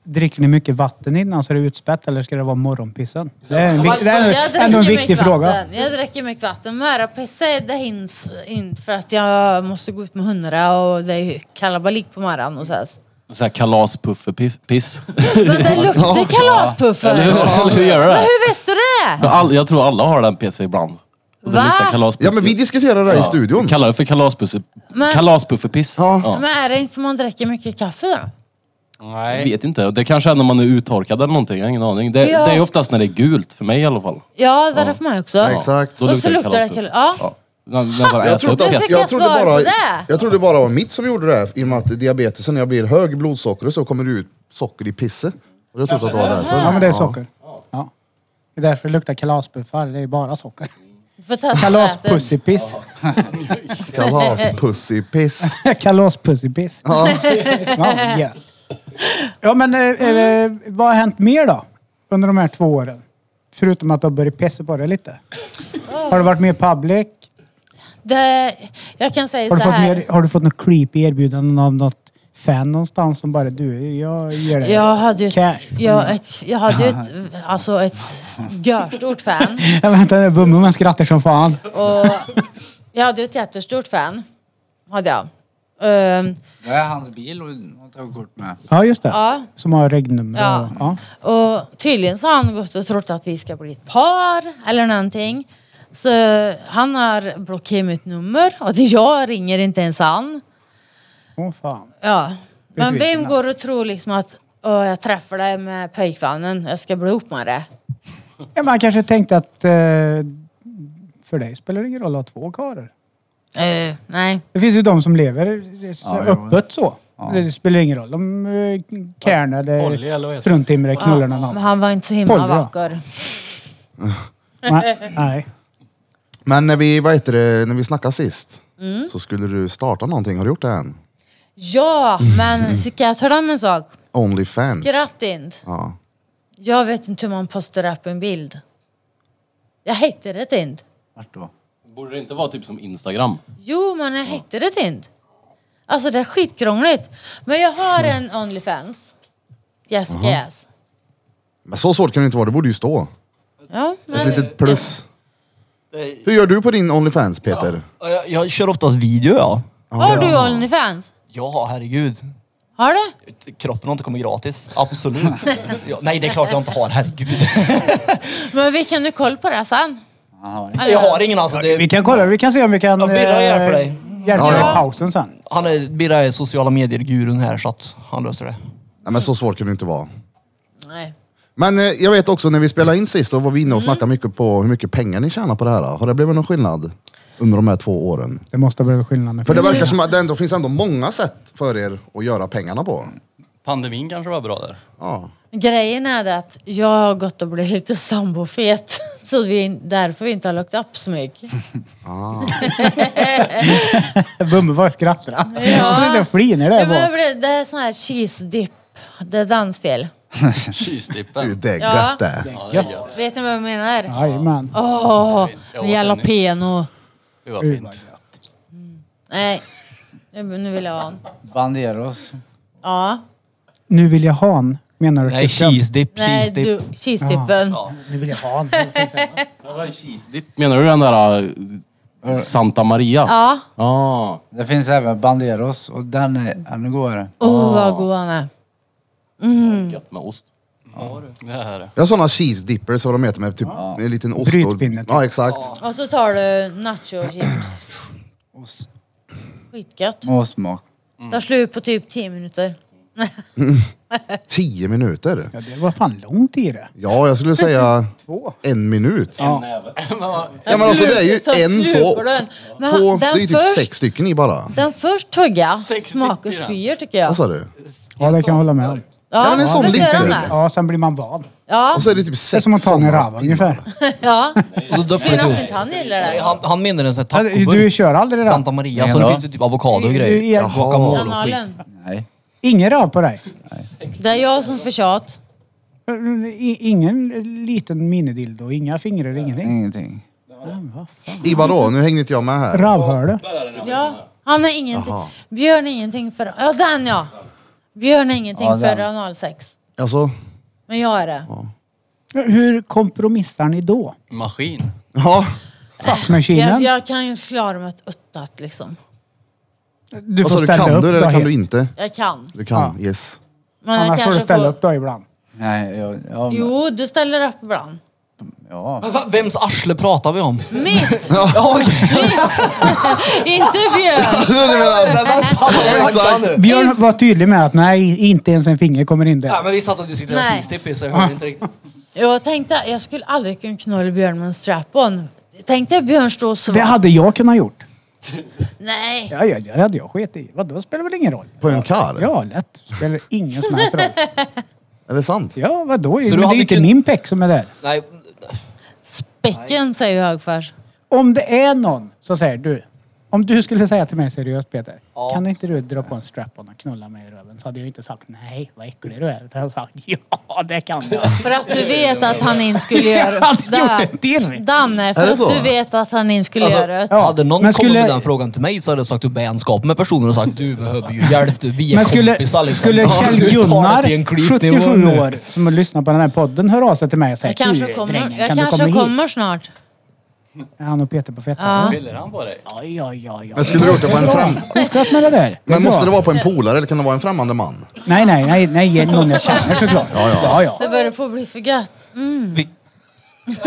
S2: Dricker ni mycket vatten innan så är det utspätt eller ska det vara morgonpissen? Det är, en, vik- det
S3: Jag
S2: är ändå en
S3: dricker
S2: viktig
S3: mycket
S2: fråga.
S3: vatten. Jag dricker mycket vatten. Men att pissa det hinns inte för att jag måste gå ut med hundra och det är ju kalabalik på morgonen hos oss.
S4: Såhär kalaspuffepiss.
S3: Men det luktar kalaspuffer.
S4: Eller hur- eller hur gör du
S3: Men
S4: det?
S3: hur visste du det?
S4: Jag, all, jag tror alla har den PC ibland. Och
S3: Va?
S4: Det luktar kalaspuff.
S1: Ja men vi diskuterar det här i
S4: Ja.
S1: studion.
S4: Kallar det för kalaspuff...
S3: Men-
S4: kalaspuffepiss.
S1: Ja.
S4: Ja.
S3: Men är det inte för man dricker mycket kaffe då?
S4: Jag
S7: Nej.
S4: vet inte. Det kanske är när man är uttorkad eller någonting. Jag har ingen aning. Det,
S3: Ja.
S4: det är oftast när det är gult, för mig i alla fall.
S3: Ja, där är för mig också.
S1: Ja, exakt.
S4: Då
S3: Och så luktar det
S4: kalott.
S3: kal- ja.
S4: När- när man äter
S1: Jag trodde,
S4: upp
S3: Du
S1: jag,
S3: fick
S4: resten.
S3: jag
S1: trodde
S3: svar på
S1: bara,
S3: det.
S1: jag trodde bara det var mitt som gjorde det, här, i och med att diabetesen, när jag blir hög i blodsockret så kommer det ut socker i pisset. Och jag trodde att det var därför.
S2: Ja men det är socker. Ja. Det är därför det luktar kalasbuffar. Det är bara socker.
S3: Du får testa det.
S2: Kalaspussipiss.
S1: alltså Kalaspussipiss.
S2: Kalaspussipiss.
S1: Ja.
S2: Ja, yeah. ja men eh, eh,
S3: Mm.
S2: vad har hänt mer då? Under de här två åren? Förutom att du har börjat pissa på det lite. Har du varit mer public?
S3: det. Jag kan säga
S2: Har du,
S3: så
S2: fått
S3: här.
S2: mer, har du fått något creepy erbjudande av något fan någonstans som bara du, jag ger dig
S3: Jag hade ju ett,
S2: cash?
S3: jag, ett, jag hade ju ett, alltså ett görstort fan.
S2: Jag väntar, Bumman man skrattar som fan.
S3: Och jag hade ju ett jättestort fan. Hade jag. Ehm,
S6: Det är hans bil och hon tog kort med.
S2: Ja, just det.
S3: Ja.
S2: Som har regnummer.
S3: Ja.
S2: Och, ja.
S3: och tydligen så har han gått och trott att vi ska bli ett par eller någonting. Så han har blockerat mitt nummer och det jag ringer inte ens han.
S2: Åh fan.
S3: Ja. Men
S2: Besviken,
S3: vem går och tror liksom att "Åh, jag träffar dig med pojkvännen, jag ska bli ihop med det.
S2: Ja, man kanske tänkte att eh, för dig spelar det ingen roll att ha två karlar.
S3: Eh, nej.
S2: Det finns ju de som lever så
S6: Ja, jo.
S2: öppet så. Det spelar ingen roll. De eh, kärn
S5: Polly eller vad
S2: eller
S5: heter det?
S2: fruntimmer knullar någon
S3: Men
S2: annan.
S3: han var inte så himla
S2: Polly, ja.
S3: vacker.
S2: Nej. Nej.
S1: Men när vi, vad heter det, när vi snackade sist
S3: Mm.
S1: så skulle du starta någonting. Har du gjort det än?
S3: Ja, men ska jag tala om en sak?
S1: Onlyfans.
S3: Skratt inte.
S1: Ja.
S3: Jag vet inte hur man postar upp en bild. Jag hittade det inte.
S6: Vart då?
S4: Borde det inte vara typ som Instagram?
S3: Jo, men jag hittade det inte. Alltså det är skitkrångligt. Men jag har en Onlyfans. Yes, yes.
S1: Men så svårt kan det inte vara, det borde ju stå.
S3: Ja,
S1: Ett
S3: men,
S1: litet plus.
S5: Det-
S1: Hur gör du på din Onlyfans Peter?
S5: Ja, Jag, jag kör oftast video ja.
S3: har du Onlyfans?
S5: Ja, herregud.
S3: Har du?
S5: Kroppen har inte kommit gratis. Absolut. ja, nej, det är klart jag inte har. Herregud.
S3: Men vi kan ju kolla på det sen.
S6: Han har
S3: Eller-
S5: jag har ingen alltså.
S2: Vi
S5: Det,
S2: kan kolla. Vi kan se om vi kan
S5: Ja, Birra
S2: eh,
S5: hjälper dig.
S2: hjälpa
S1: Ja,
S2: dig
S1: ja.
S2: i pausen sen.
S5: han är, Birra är sociala medier-gurun här så att han löser det.
S1: Nej men så svårt kan det inte vara.
S3: Nej.
S1: Men eh, jag vet också när vi spelade in sist så var vi inne och snackade mycket på hur mycket pengar ni tjänar på det här. Har det blivit någon skillnad under de här två åren?
S2: Det måste ha blivit skillnad. nu.
S1: För det verkar som att det ändå finns ändå många sätt för er att göra pengarna på.
S7: Pandemin kanske var bra där.
S1: Ja.
S3: Grejen är det att jag har gått och blivit lite sambofet. Så vi, därför vi inte har lagt upp så mycket.
S1: Mm.
S2: Bumme bara skrattar. Ja.
S3: Ja.
S2: Det är fliner
S3: Ja,
S2: det
S3: men jag
S2: bara.
S3: blev, det är sån här cheese dip. Det är dansfel.
S1: Det är ju
S7: Cheesedippen.
S1: det
S3: Ja.
S1: gött det.
S7: Ja, det är gött.
S3: Vet ni vad jag menar?
S2: Jajamän.
S3: Åh,
S7: Jag
S3: med
S7: åt en nyss.
S3: jalapeno.
S7: Det var fint.
S3: Nej, nu, nu vill jag ha en.
S6: Banderos.
S3: Ja.
S2: Nu vill jag ha en, menar du?
S5: Nej,
S2: Christian?
S5: cheese dip,
S3: Nej,
S5: cheese dip.
S3: du, cheese-dippen.
S2: Nu vill jag ha en.
S4: Menar du den där eh, Santa Maria?
S3: Ja.
S4: Ah.
S6: Det finns även Banderos och den är ännu godare.
S3: Åh, oh, vad god han är. Mm.
S4: Gött med ost.
S7: Det här.
S1: Jag har sådana cheese dippers vad de heter med typ en liten ost. och-
S2: Brytpinne, typ.
S1: Ja exakt.
S3: Och så tar du nachochips.
S6: Ost.
S3: Skitgött.
S6: Med ostsmak.
S1: Mm.
S3: Tar slut på typ 10 minuter.
S1: Tio minuter.
S2: Ja, det var fan långt i det.
S1: Ja, jag skulle säga
S2: Två.
S1: en minut.
S2: Ja.
S1: Ja, men alltså, det är ju
S3: Tar
S1: en
S3: slut
S1: så-
S3: på Den, men
S1: På,
S3: han-
S1: det är ju
S3: den,
S1: typ
S3: först,
S1: sex stycken i bara.
S3: den först tugga
S7: Sex
S3: smakar
S7: stycken.
S3: spyor tycker jag.
S1: Vad sa du?
S2: Ja, det kan jag hålla med om.
S1: Ja, men en sån
S3: visst är
S1: liten.
S3: den det.
S2: Ja, sen blir man van.
S3: Ja,
S1: Och så är det typ
S2: Det är
S1: sex
S2: som att ta en
S1: såna
S2: rava ungefär.
S3: ja.
S5: Och då döper
S3: Synd
S5: jag
S3: att
S5: det.
S3: inte han gillar det.
S5: Han, han menar en sån här
S2: Du, du
S5: tacoburk.
S2: kör aldrig rav?
S5: Santa Maria. Så
S6: Nej,
S5: det
S6: då.
S5: finns ju typ avokado och
S2: Du-
S5: grejer.
S2: du är-
S5: Jaha. Guacamole och skit.
S3: Kanalen.
S6: Nej.
S2: Ingen rav på dig?
S3: Det är jag som för tjat.
S2: I, ingen liten minidildo, inga fingrar, ingenting?
S6: Ingenting.
S1: I vadå? Nu hängde inte jag med här.
S2: Ravhörde?
S3: Ja, han har ingenting. Björn har ingenting för... Ja, den ja! Björn har ingenting
S6: Ja, den.
S3: för analsex.
S1: Alltså,
S3: Men jag är det.
S2: Hur kompromissar ni då?
S7: Maskin.
S1: ja.
S3: Jag,
S2: Maskinen?
S3: jag kan ju klara mig ett uttat liksom.
S2: Du
S1: Vad sa
S2: får
S1: du?
S2: ställa
S1: Kan
S2: upp
S1: du eller
S2: då
S1: kan
S2: helt.
S1: du inte?
S3: Jag kan.
S1: Du kan, yes.
S3: Men jag
S2: Annars får du
S3: kanske
S2: ställa
S3: får...
S2: upp då ibland.
S6: Nej, jag... jag
S3: Jo, du ställer upp ibland.
S6: Ja.
S5: Men va, vems arsle pratar vi om?
S3: Mitt!
S5: Ja, okej.
S3: Inte Björn!
S1: Du menar,
S5: Men vänta, vänta
S1: exakt.
S5: nu.
S2: Björn var tydlig med att nej, inte ens en finger kommer in
S5: Nej,
S2: där.
S5: men vi satt och diskuterade
S3: Nej.
S5: sist så jag hörde inte riktigt.
S3: Jag tänkte jag skulle aldrig kunna knulla Björn med en strap-on. Tänkte Björn stå så...
S2: Det hade jag kunnat gjort.
S3: Nej!
S2: Ja, ja, det hade jag skit i. Vadå, spelar väl ingen roll?
S1: På en kar?
S2: Ja, lätt. Spelar ingen som helst roll.
S1: Är det sant?
S2: Ja, vadå?
S5: du
S2: Men det är
S5: hade
S2: ju inte
S5: kun-
S2: min peck som är där.
S5: Nej, alltså,
S3: Späcken säger Högfors.
S2: Om det är någon som säger du, om du skulle säga till mig seriöst Peter,
S5: Ja.
S2: kan inte du dra på en strap-on och knulla mig i röven? Så hade jag inte sagt nej, vad äcklig du är. Utan jag hade sagt ja, det kan jag.
S3: För att du vet att han inte skulle
S2: Jag
S3: göra
S2: hade gjort det direkt.
S3: Danne, för
S1: Är det
S3: att
S1: så?
S3: du vet att han inte skulle
S5: Alltså,
S3: göra det.
S5: ja, hade någon
S2: Men
S5: kommit
S2: skulle-
S5: med den frågan till mig så hade jag sagt upp vänskap med personen och sagt du behöver ju hjälp, du, vi är
S2: Men skulle,
S5: kompisar liksom.
S2: skulle
S5: Ja, du tar det
S2: Kjell-Gunnar,
S5: till en klipnivå
S2: 77
S5: nu.
S2: år, som har lyssnat på den här podden, höra av sig till mig och säga
S3: Jag kanske
S2: "Du,
S3: kommer,
S2: drängen,
S3: jag
S2: kan
S3: kanske
S2: du komma hit?
S3: kommer snart.
S2: Är Han och Peter på
S3: Ja.
S2: fettan.
S7: Ville han på dig?
S2: Ja, ja, ja. ja.
S1: Men skulle du gjort det på en fram...
S2: Skitskott med det där. är
S1: Men måste
S2: bra.
S1: det vara på en polare eller kan det vara en främmande man?
S2: Nej, nej, nej, nej, någon jag känner såklart. Ja, ja. ja,
S3: Det börjar på att bli för gött.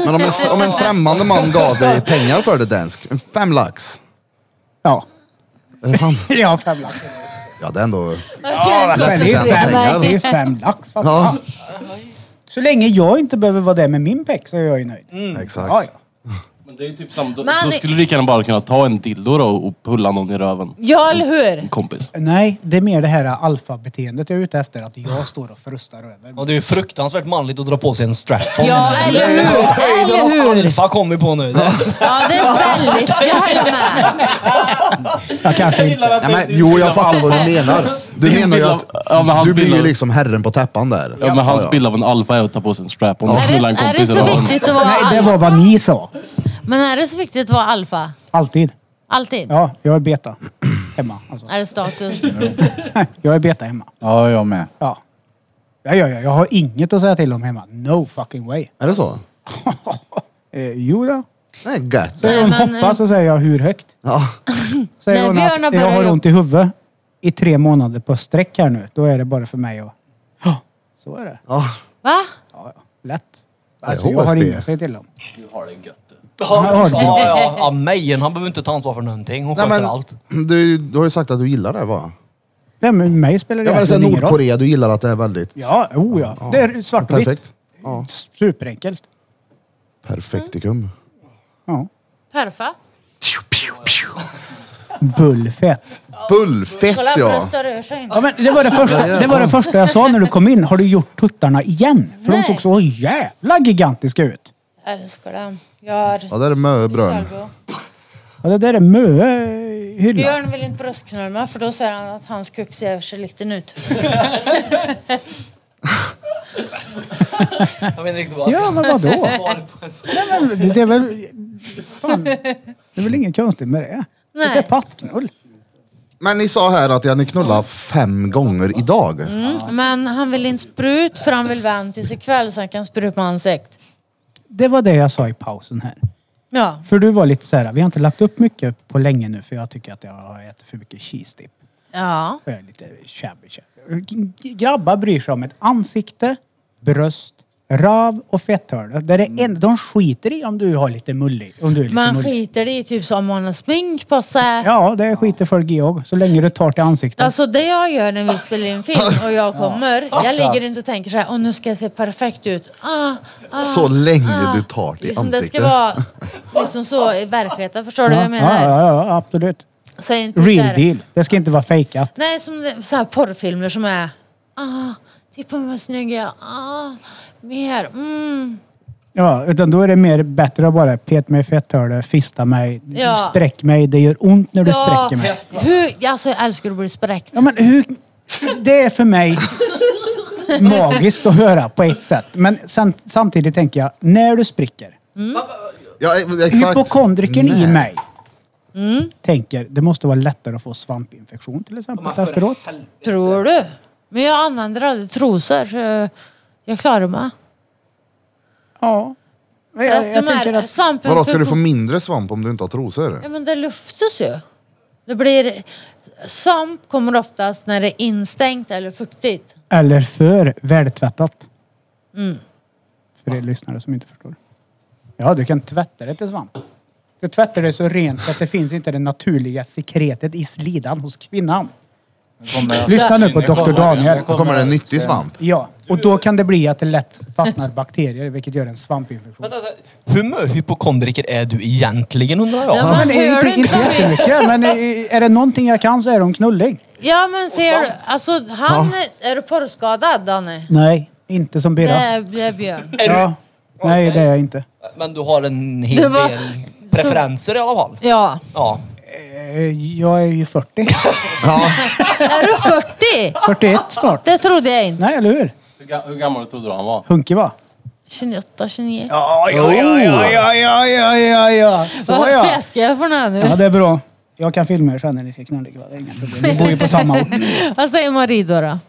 S1: Men om en, om en främmande man gav dig pengar för det dansk, en fem lax.
S2: ja.
S1: Är det sant?
S2: Ja, fem lax.
S1: Ja, det är ändå...
S3: Jag kan
S2: Men
S3: inte
S2: det
S1: tjäna
S2: är
S1: pengar.
S2: fem, det är fem lax. Fast
S1: Ja,
S2: Så länge jag inte behöver vara där med min peck så är jag ju nöjd.
S1: Mm.
S2: Ja,
S1: exakt.
S2: ja.
S4: Men det är ju typ samma, då,
S3: Men-
S4: då skulle du lika gärna bara kunna ta en dildo då och pulla någon i röven.
S3: Ja, eller hur?
S4: En kompis.
S2: Nej, det är mer det här alfabeteendet jag är ute efter. Att jag står och frustar över.
S5: Ja, det är ju fruktansvärt manligt att dra på sig en strap-on.
S3: Ja, eller hur? Eller hur?
S5: Alfa kom vi på nu.
S3: Ja, det är väldigt... Jag håller med.
S2: Jag kanske inte.
S1: Ja, men, jo, jag fattar vad du menar. Du
S4: Din
S1: menar ju
S4: bild
S1: att
S4: av- ja, men hans
S1: du blir
S4: bild
S1: ju
S4: av-
S1: liksom herren på täppan där.
S4: Ja, men hans
S1: ja.
S4: bild av en alfa är att ta på sig en strap-on och
S3: Är det,
S4: knulla en
S3: är det
S4: kompis i
S3: så
S4: röven.
S3: viktigt att vara
S2: Nej, det
S3: alfa?
S2: var vad ni sa.
S3: Men är det så viktigt att vara alfa?
S2: Alltid.
S3: Alltid?
S2: Ja, jag är beta. Hemma. Alltså.
S3: Är det status?
S2: Jag är beta hemma.
S6: ja, jag med.
S2: Ja. Ja, ja, ja. Jag har inget att säga till om hemma. No fucking way.
S1: Är det så?
S2: Eh, jo då.
S1: Det är gött.
S2: Säger hon
S3: Nej, men,
S2: hoppa så säger jag hur högt.
S1: Ja.
S2: Säger
S3: Nej,
S2: hon
S3: Björn har
S2: att jag
S3: börjat
S2: har
S3: jobba-
S2: ont i huvudet i tre månader på sträck här nu. Då är det bara för mig att... Ja, Så är det.
S1: ja.
S3: Va?
S2: Lätt.
S1: är
S2: Alltså, jag har
S1: HSB.
S2: inget att säga till om.
S5: Ja,
S2: Ja,
S5: ja,
S2: det-
S5: ja, ja, Mejen, han behöver inte ta ansvar för någonting. Hon
S1: Nej,
S5: sköter
S1: men,
S5: allt.
S1: du, du har ju sagt att du gillar det va?
S2: Nej, men mig spelar det
S1: Ja, men så här,
S2: egentligen ingen roll.
S1: Nordkorea, du gillar att det är väldigt...
S2: Ja, oh ja. Det är svart och vitt.
S1: Perfekt. Ja.
S2: Superenkelt.
S1: Perfektikum.
S2: Ja.
S3: Perfa?
S2: Bullfett.
S1: Bullfett
S3: Kolla,
S1: ja.
S3: bröstar rör sig inte.
S2: Ja, men det, var det, första, det var det första jag sa när du kom in. Har du gjort tuttarna igen? För de
S3: Nej.
S2: såg så jävla gigantiska ut.
S3: Älskar dem. Äh, Jag har...
S1: Ja, det är möbrön.
S3: Salvo.
S2: Ja, det där är Möe hylla.
S3: Björn vill inte bröstknulla mig för då säger han att hans kuk ser så liten ut.
S5: Jag vet inte riktigt vad jag
S2: Ja,
S5: ska
S2: men vadå?
S5: svara på en sån.
S2: Nej, men det, det är väl... Fan, det är väl inget konstigt med det? Det är
S3: Nej.
S2: pattknull.
S1: Men ni sa här att jag ni knullat fem gånger idag.
S3: Mm, men han vill inte sprut för han vill vänta tills ikväll så han kan spruta på ansikt.
S2: Det var det jag sa i pausen här.
S3: Ja.
S2: För du var lite så här, vi har inte lagt upp mycket på länge nu för jag tycker att jag har ätit för mycket cheese dip.
S3: Ja.
S2: Jag är lite shabby shabby. G- Grabbar bryr sig om ett ansikte, bröst, rav och fetthörna. Det är det enda- de skiter i om du har lite mullig. Om du är lite
S3: Mm. Man
S2: mullig.
S3: skiter i typ som man har smink på sig.
S2: Ja, det skiter folk i också. Så länge du tar till ansiktet.
S3: Alltså det jag gör när vi spelar in film och jag kommer, jag ligger inte och tänker så här, åh nu ska jag se perfekt ut. Ah, ah,
S1: Så länge du tar till
S3: liksom det
S1: ansiktet.
S3: ska vara liksom så i verkligheten, förstår du vad jag
S2: ja,
S3: menar?
S2: ja, ja, absolut.
S3: Så är det inte så
S2: Real
S3: här-
S2: deal. Det ska inte vara fejkat.
S3: Nej, som det- så här porrfilmer som är... Ah, titta vad snygg jag är. Ah, mer. Mm.
S2: Ja, utan då är det mer bättre att bara peta mig i fetthörnet, fista mig,
S3: Ja.
S2: sträck mig. Det gör ont när du sträcker mig.
S3: Hur, alltså, jag älskar att bli spräckt.
S2: Ja, men hur... Det är för mig magiskt att höra på ett sätt. Men sen, samtidigt tänker jag, när du spricker.
S1: Ja, e- exakt.
S2: Hypokondrikern i
S1: Nej.
S2: mig
S3: Mm.
S2: tänker, det måste vara lättare att få svampinfektion till exempel efteråt.
S3: Tror du? Men jag använder aldrig trosor. Så jag klarar mig.
S2: Ja. Men
S3: För
S2: Jag,
S3: att
S2: jag
S3: de här
S2: tänker att...
S3: svampen-
S1: Vadå, ska du få mindre svamp om du inte har trosor?
S3: Ja, men det luftas ju. Det blir... Svamp kommer oftast när det är instängt eller fuktigt. Mm.
S2: Eller för vältvättat. För er lyssnare som inte förstår. Ja, du kan tvätta det till svamp. Du tvättar det så rent så att det finns inte det naturliga sekretet i slidan hos kvinnan.
S6: Nu kommer-
S2: Lyssna nu på
S6: Nu kommer
S2: Dr.
S6: den.
S2: Daniel.
S6: Nu
S1: Då kommer det en nyttig svamp.
S2: Ja, och då kan det bli att det lätt fastnar bakterier, vilket gör en svampinfektion.
S5: Vänta, vänta. Hur mycket hypokondriker är du egentligen undrar jag?
S3: Ja,
S2: Ja,
S3: men
S2: men
S3: hör du
S2: inte,
S3: inte
S2: inte
S3: vad vi-
S2: jättemycket, men eh, är det någonting jag kan så är de knulling.
S3: Ja men ser du, alltså han, är du porrskadad Danne?
S2: Nej, inte som
S3: Det
S2: Birra.
S3: är, det är Björn.
S5: Är du-
S2: Ja. Nej, det är jag inte.
S5: Men du har en
S3: Det
S5: hel
S3: var-
S5: del preferenser i alla fall.
S3: Ja.
S5: Ja.
S2: Eh, Jag är ju 40.
S3: Är du 40?
S2: 41 snart.
S3: Det trodde jag inte.
S2: Nej, eller hur?
S4: Hur, ga- hur gammal trodde du han var?
S2: Hunky va?
S3: 28, 29.
S2: Ja, ja, ja, ja, ja, ja, ja, ja. Så
S3: Vad
S2: ja.
S3: fläskar jag för något
S2: Ja,
S3: nu?
S2: det är bra. Jag kan filma er sen när ni ska knulla ikväll. Det är inga problem. Vi bor ju på samma ort.
S3: Vad säger Marie då? då?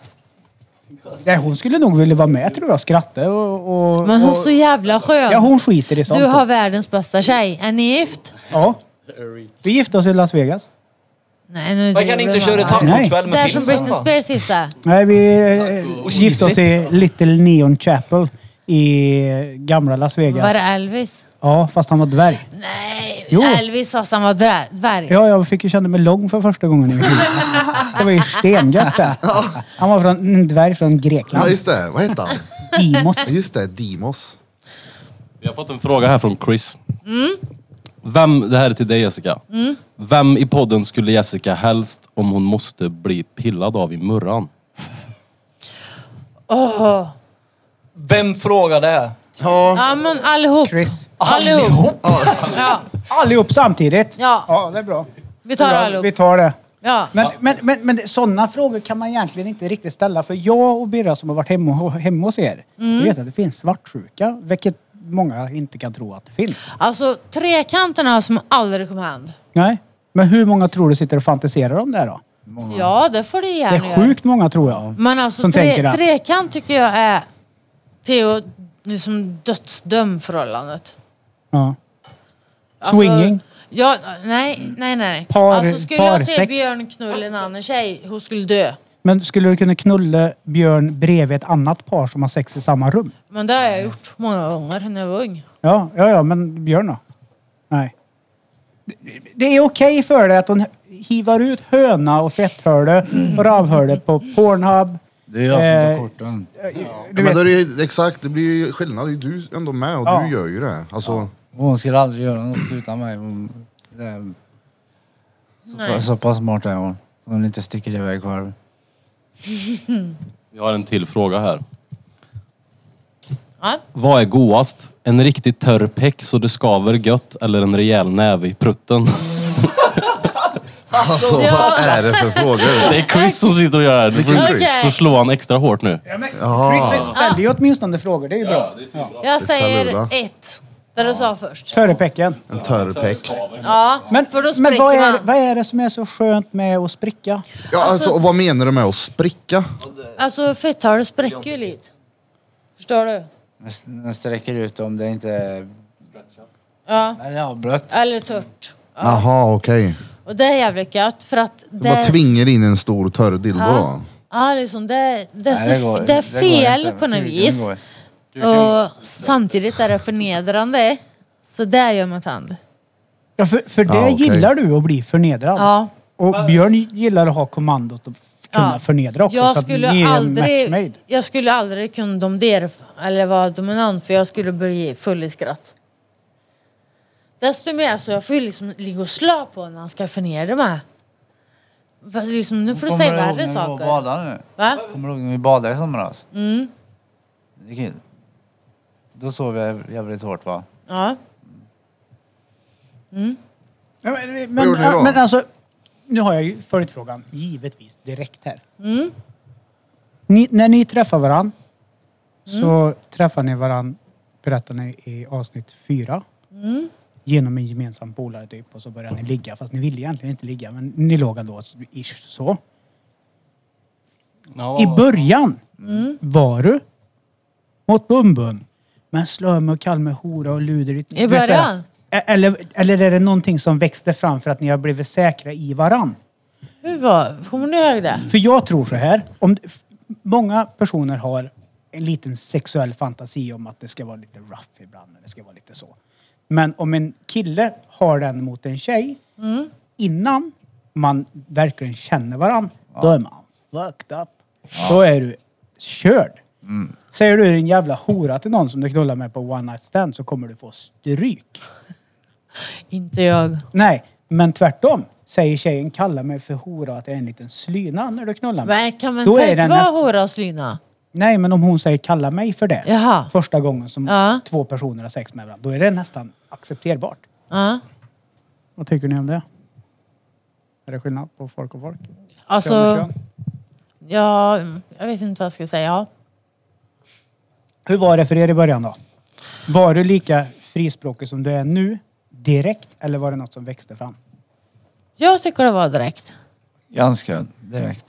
S2: Nej, hon skulle nog vilja vara med tror jag. Skratta och... och
S3: Men hon är
S2: och,
S3: så jävla skön.
S2: Ja, hon skiter i sånt.
S3: Du har världens bästa tjej. Är ni gift?
S2: Ja. Vi gifte oss i Las Vegas.
S3: Nej, nu
S5: Man kan
S3: driver
S5: inte
S3: du,
S5: köra
S3: mamma.
S5: tacokväll
S3: Där
S5: med
S3: som
S5: filmen
S3: Britney
S5: va?
S3: Spears gifte
S2: Nej, vi eh, gifte oss i Little Neon Chapel i gamla Las
S3: Var det
S2: Vegas.
S3: Elvis?
S2: Ja, fast han var dvärg.
S3: Nej,
S2: Jo.
S3: Elvis sa samma drä- dvärg.
S2: Ja, jag fick ju känna mig lång för första gången i mitt liv. Det var ju stengött det. Han var från, en dvärg från
S1: Ja,
S2: Grekland.
S1: just det. Vad heter han?
S2: Dimos.
S1: Just det, Dimos.
S4: Vi har fått en fråga här från Chris.
S3: Mm.
S4: Vem, det här är till dig Jessica. Vem i podden skulle Jessica helst om hon måste bli pillad av i murran?
S3: Åh.
S5: Vem frågar det?
S1: Ja,
S3: Ja, men allihop.
S2: Chris.
S3: Allihop. Ja,
S2: Allihop samtidigt.
S3: Ja.
S2: ja det är bra.
S3: vi tar
S2: Vi
S3: allihop.
S2: tar det.
S3: Ja.
S2: Men, men, men, men sådana frågor kan man egentligen inte riktigt ställa. För jag och Birra som har varit hemma, hemma hos er,
S3: Mm.
S2: vi vet att det finns svartsjuka. Vilket många inte kan tro att det finns.
S3: Alltså trekanterna som aldrig kom hand.
S2: Nej. Men hur många tror du sitter och fantiserar om det här då?
S3: Ja, det får det
S2: Det
S3: gärna
S2: är sjukt många tror jag.
S3: Men alltså
S2: som tänker
S3: tre,
S2: att-
S3: trekant tycker jag är till att liksom dödsdöm förhållandet.
S2: Ja.
S3: Alltså,
S2: Swinging.
S3: Ja, nej, nej, nej, nej.
S2: Par-
S3: alltså skulle jag se
S2: parsex.
S3: Björn knulla en annan tjej, hon skulle dö.
S2: Men skulle du kunna knulla Björn bredvid ett annat par som har sex i samma rum?
S3: Men det har jag gjort många gånger när jag var ung.
S2: Ja, ja, ja men Björn då? Nej. Det- Det är okej för dig att hon hivar ut höna och fetthörde och ravhörde på Pornhub.
S6: Det är jag som
S2: Eh,
S6: tar korten.
S2: Du
S1: men
S2: vet,
S1: då är det ju exakt, det blir ju skillnad. Det är ju du ändå med och
S2: Ja.
S1: du gör ju det. Alltså,
S6: Hon skulle aldrig göra något utan mig. Hon, det är, så,
S3: Nej.
S6: pass, så pass smart är hon. Hon inte sticker iväg själv.
S4: Vi har en till fråga här.
S3: Ja.
S4: Vad är godast? En riktigt törr peck så det skaver gött eller en rejäl näve i prutten?
S1: alltså vad är det för frågor?
S4: Det är Chris som sitter och gör det här. Du får,
S1: Vilken
S3: Chris?
S4: får slå han extra hårt nu.
S2: Chris ställer
S3: Ah.
S2: ju åtminstone frågor, det är ju bra.
S3: Jag säger
S1: lura.
S3: ett, det du sa först.
S2: Törrepecken.
S1: En törrpäck.
S3: Ja,
S2: Men,
S3: för då
S2: men
S3: spricker
S2: vad, är,
S3: man.
S2: vad är det som är så skönt med att spricka?
S1: Ja, alltså, och vad menar du med att spricka?
S3: Alltså fetthålet spräcker ju lite. Förstår du?
S6: Den sträcker ut om det inte är
S3: Ja,
S6: Eller ja, blött.
S3: eller tört. Ja.
S1: Jaha, okej.
S3: Och det är jävligt gött för att
S1: Du bara
S3: det...
S1: tvingar in en stor törr dildo
S3: Ja.
S1: då?
S3: Ja, liksom det, det, är
S6: Nej,
S3: så, det,
S6: går-
S3: är
S6: går
S3: fel
S6: inte.
S3: på något
S6: Hur den
S3: vis.
S6: går.
S3: Och samtidigt är det förnedrande. Så det gör man tand.
S2: Ja, för, för det
S1: Ja, okej.
S2: gillar du att bli förnedrad.
S3: Ja.
S2: Och Björn gillar att ha kommandot och kunna
S3: Ja.
S2: förnedra också.
S3: Jag
S2: så att ni
S3: skulle,
S2: är en match
S3: aldrig,
S2: made.
S3: jag skulle aldrig kunna domdera eller vara dominant för jag skulle bli full i skratt. Desto mer så jag får ju liksom ligga och slå på när han ska förnedra mig. Fast Liksom, nu får du
S6: Kommer
S3: säga
S6: ihåg när
S3: värre
S6: vi var och
S3: saker.
S6: badade nu?
S3: Va?
S6: Kommer du ihåg när vi badade i somras?
S3: Mm.
S6: Det gick in. Då sov jag jävligt hårt va?
S3: Ja.
S2: Ja, men,
S1: Vad
S2: men,
S1: gjorde ni då?
S2: men alltså, nu har jag ju följdfrågan givetvis direkt här.
S3: Mm.
S2: Ni, när ni träffar varann så träffar ni varann, berättar ni i avsnitt fyra. Genom en gemensam polare typ och så börjar ni ligga fast ni ville egentligen inte ligga men ni låg ändå ish så. I början var du mot Bumbum. Men Slöme och Kalme, hora och luder. I
S3: början?
S2: Eller, eller är det någonting som växte fram för att ni har blivit säkra i varann?
S3: Hur var, kommer ni ihåg det?
S2: För jag tror så här. Om, f- många personer har en liten sexuell fantasi om att det ska vara lite rough ibland. eller Det ska vara lite så. Men om en kille har den mot en tjej innan man verkligen känner varandra, då är man fucked up. Då är du körd. Säger du en jävla hora till någon som du knullar med på one night stand så kommer du få stryk.
S3: Inte jag.
S2: Nej, men tvärtom. Säger tjejen kalla mig för hora att jag är en liten slyna när du knullar mig.
S3: Men kan man
S2: Då är
S3: inte
S2: den
S3: vara
S2: nästan-
S3: hora och slyna?
S2: Nej, men om hon säger kalla mig för det
S3: Jaha.
S2: första gången som
S3: Ja.
S2: två personer har sex med varandra, då är det nästan accepterbart.
S3: Ja.
S2: Vad tycker ni om det? Är det skillnad på folk och folk? Kön och
S3: Alltså,
S2: kön?
S3: ja, mm, jag vet inte vad jag ska säga. Ja.
S2: Hur var det för er i början då? Var du lika frispråkig som du är nu direkt eller var det något som växte fram?
S3: Jag tycker det var direkt.
S6: Ganska direkt.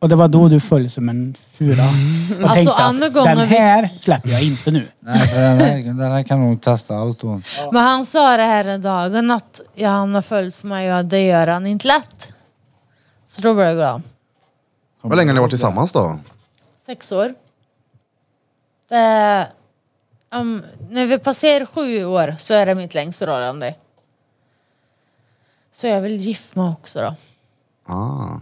S2: Och det var då du föll som en fura Mm. och
S3: Alltså,
S2: tänkte
S3: andra
S2: att
S3: gången
S2: den
S3: vi-
S2: här släpper jag inte nu.
S6: Nej, för den här, den här kan nog testa allt då.
S3: Men han sa det här den dagen att ja, han har följt för mig och det gör han inte lätt. Så då blev jag glad.
S1: Hur länge har ni varit tillsammans då?
S3: Sex år. Det, om, när vi passerar sju år så är det mitt längstförhållande. Så jag vill gifta mig också då.
S1: Ah.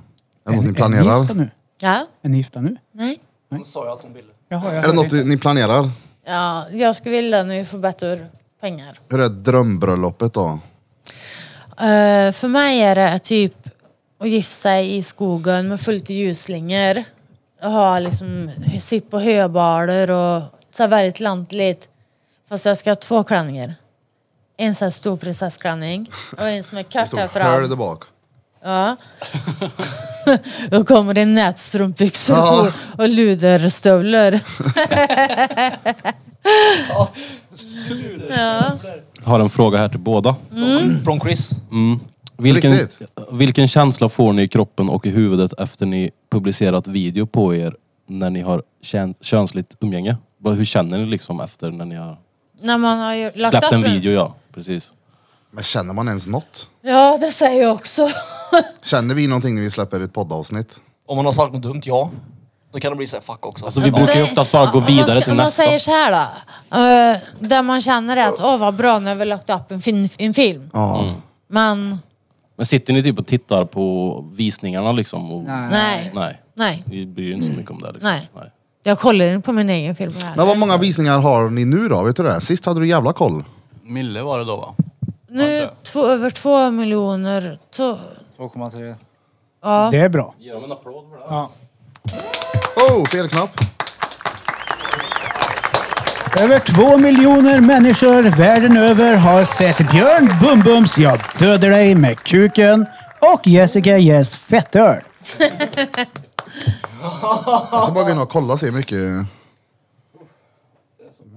S1: Är det något
S2: Är-
S1: ni
S2: Är ni
S1: planerar?
S2: gifta nu?
S3: Ja?
S2: Är ni gifta nu?
S3: Nej?
S5: Hon sa ju att hon ville.
S2: Jaha, jag
S1: Är det
S2: hörde
S1: något du- ni planerar?
S3: Ja, jag skulle vilja när vi får bättre pengar.
S1: Hur är drömbröllopet då?
S3: Eh, för mig är det typ att gifta sig i skogen med fullt ljusslingor. Och ha liksom, sitta på höbaler och så här väldigt lantligt. Fast jag ska ha två klänningar. En så här stor prinsessklänning och en som är
S1: Det
S3: kort
S1: står
S3: här
S1: Pearl där
S3: fram.
S1: bak.
S3: Ja. Då kommer det nätstrumpbyxor
S1: Ja.
S3: och, och luderstövlar.
S4: Har en fråga här till båda.
S5: Från Chris.
S4: Mm. Vilken,
S1: Riktigt.
S4: vilken känsla får ni i kroppen och i huvudet efter ni publicerat video på er när ni har kän- könsligt umgänge? Vad- Hur känner ni liksom efter när ni har
S3: När man har ju lagt
S4: släppt
S3: upp
S4: en video? Ja, precis.
S1: Men känner man ens något?
S3: Ja, det säger jag också.
S1: Känner vi någonting när vi släpper ett poddavsnitt?
S5: Om hon har sagt något dumt, ja. Då kan det bli så här, fuck också.
S4: Alltså vi brukar ju
S3: Nej,
S4: oftast bara gå
S3: om man ska-
S4: vidare till
S3: Om man
S4: nästa.
S3: säger så här då. eh, där man känner är att åh vad bra nu har vi lagt upp en, fin, en film.
S1: Ja.
S3: Men
S4: Men sitter ni typ och tittar på visningarna liksom? Och...
S3: nej,
S4: Nej.
S3: nej.
S4: Vi bryr oss inte så mycket om det liksom.
S3: Nej. Jag kollar inte på min egen film här.
S1: Men vad många visningar har ni nu då? Vet du det? Sist hade du jävla koll.
S7: Mille var det då va?
S3: Nu två, över två miljoner. To,
S6: 2,3.
S3: ja.
S2: Det är bra.
S4: Ge dem en applåd för det.
S2: Ja.
S1: Oh, fel knapp.
S2: Över två miljoner människor världen över har sett Björn Bumbums Jag dödar dig med kuken och Jessica Jess fettöl.
S1: Jag ska Alltså, bara gå in och kolla och se hur mycket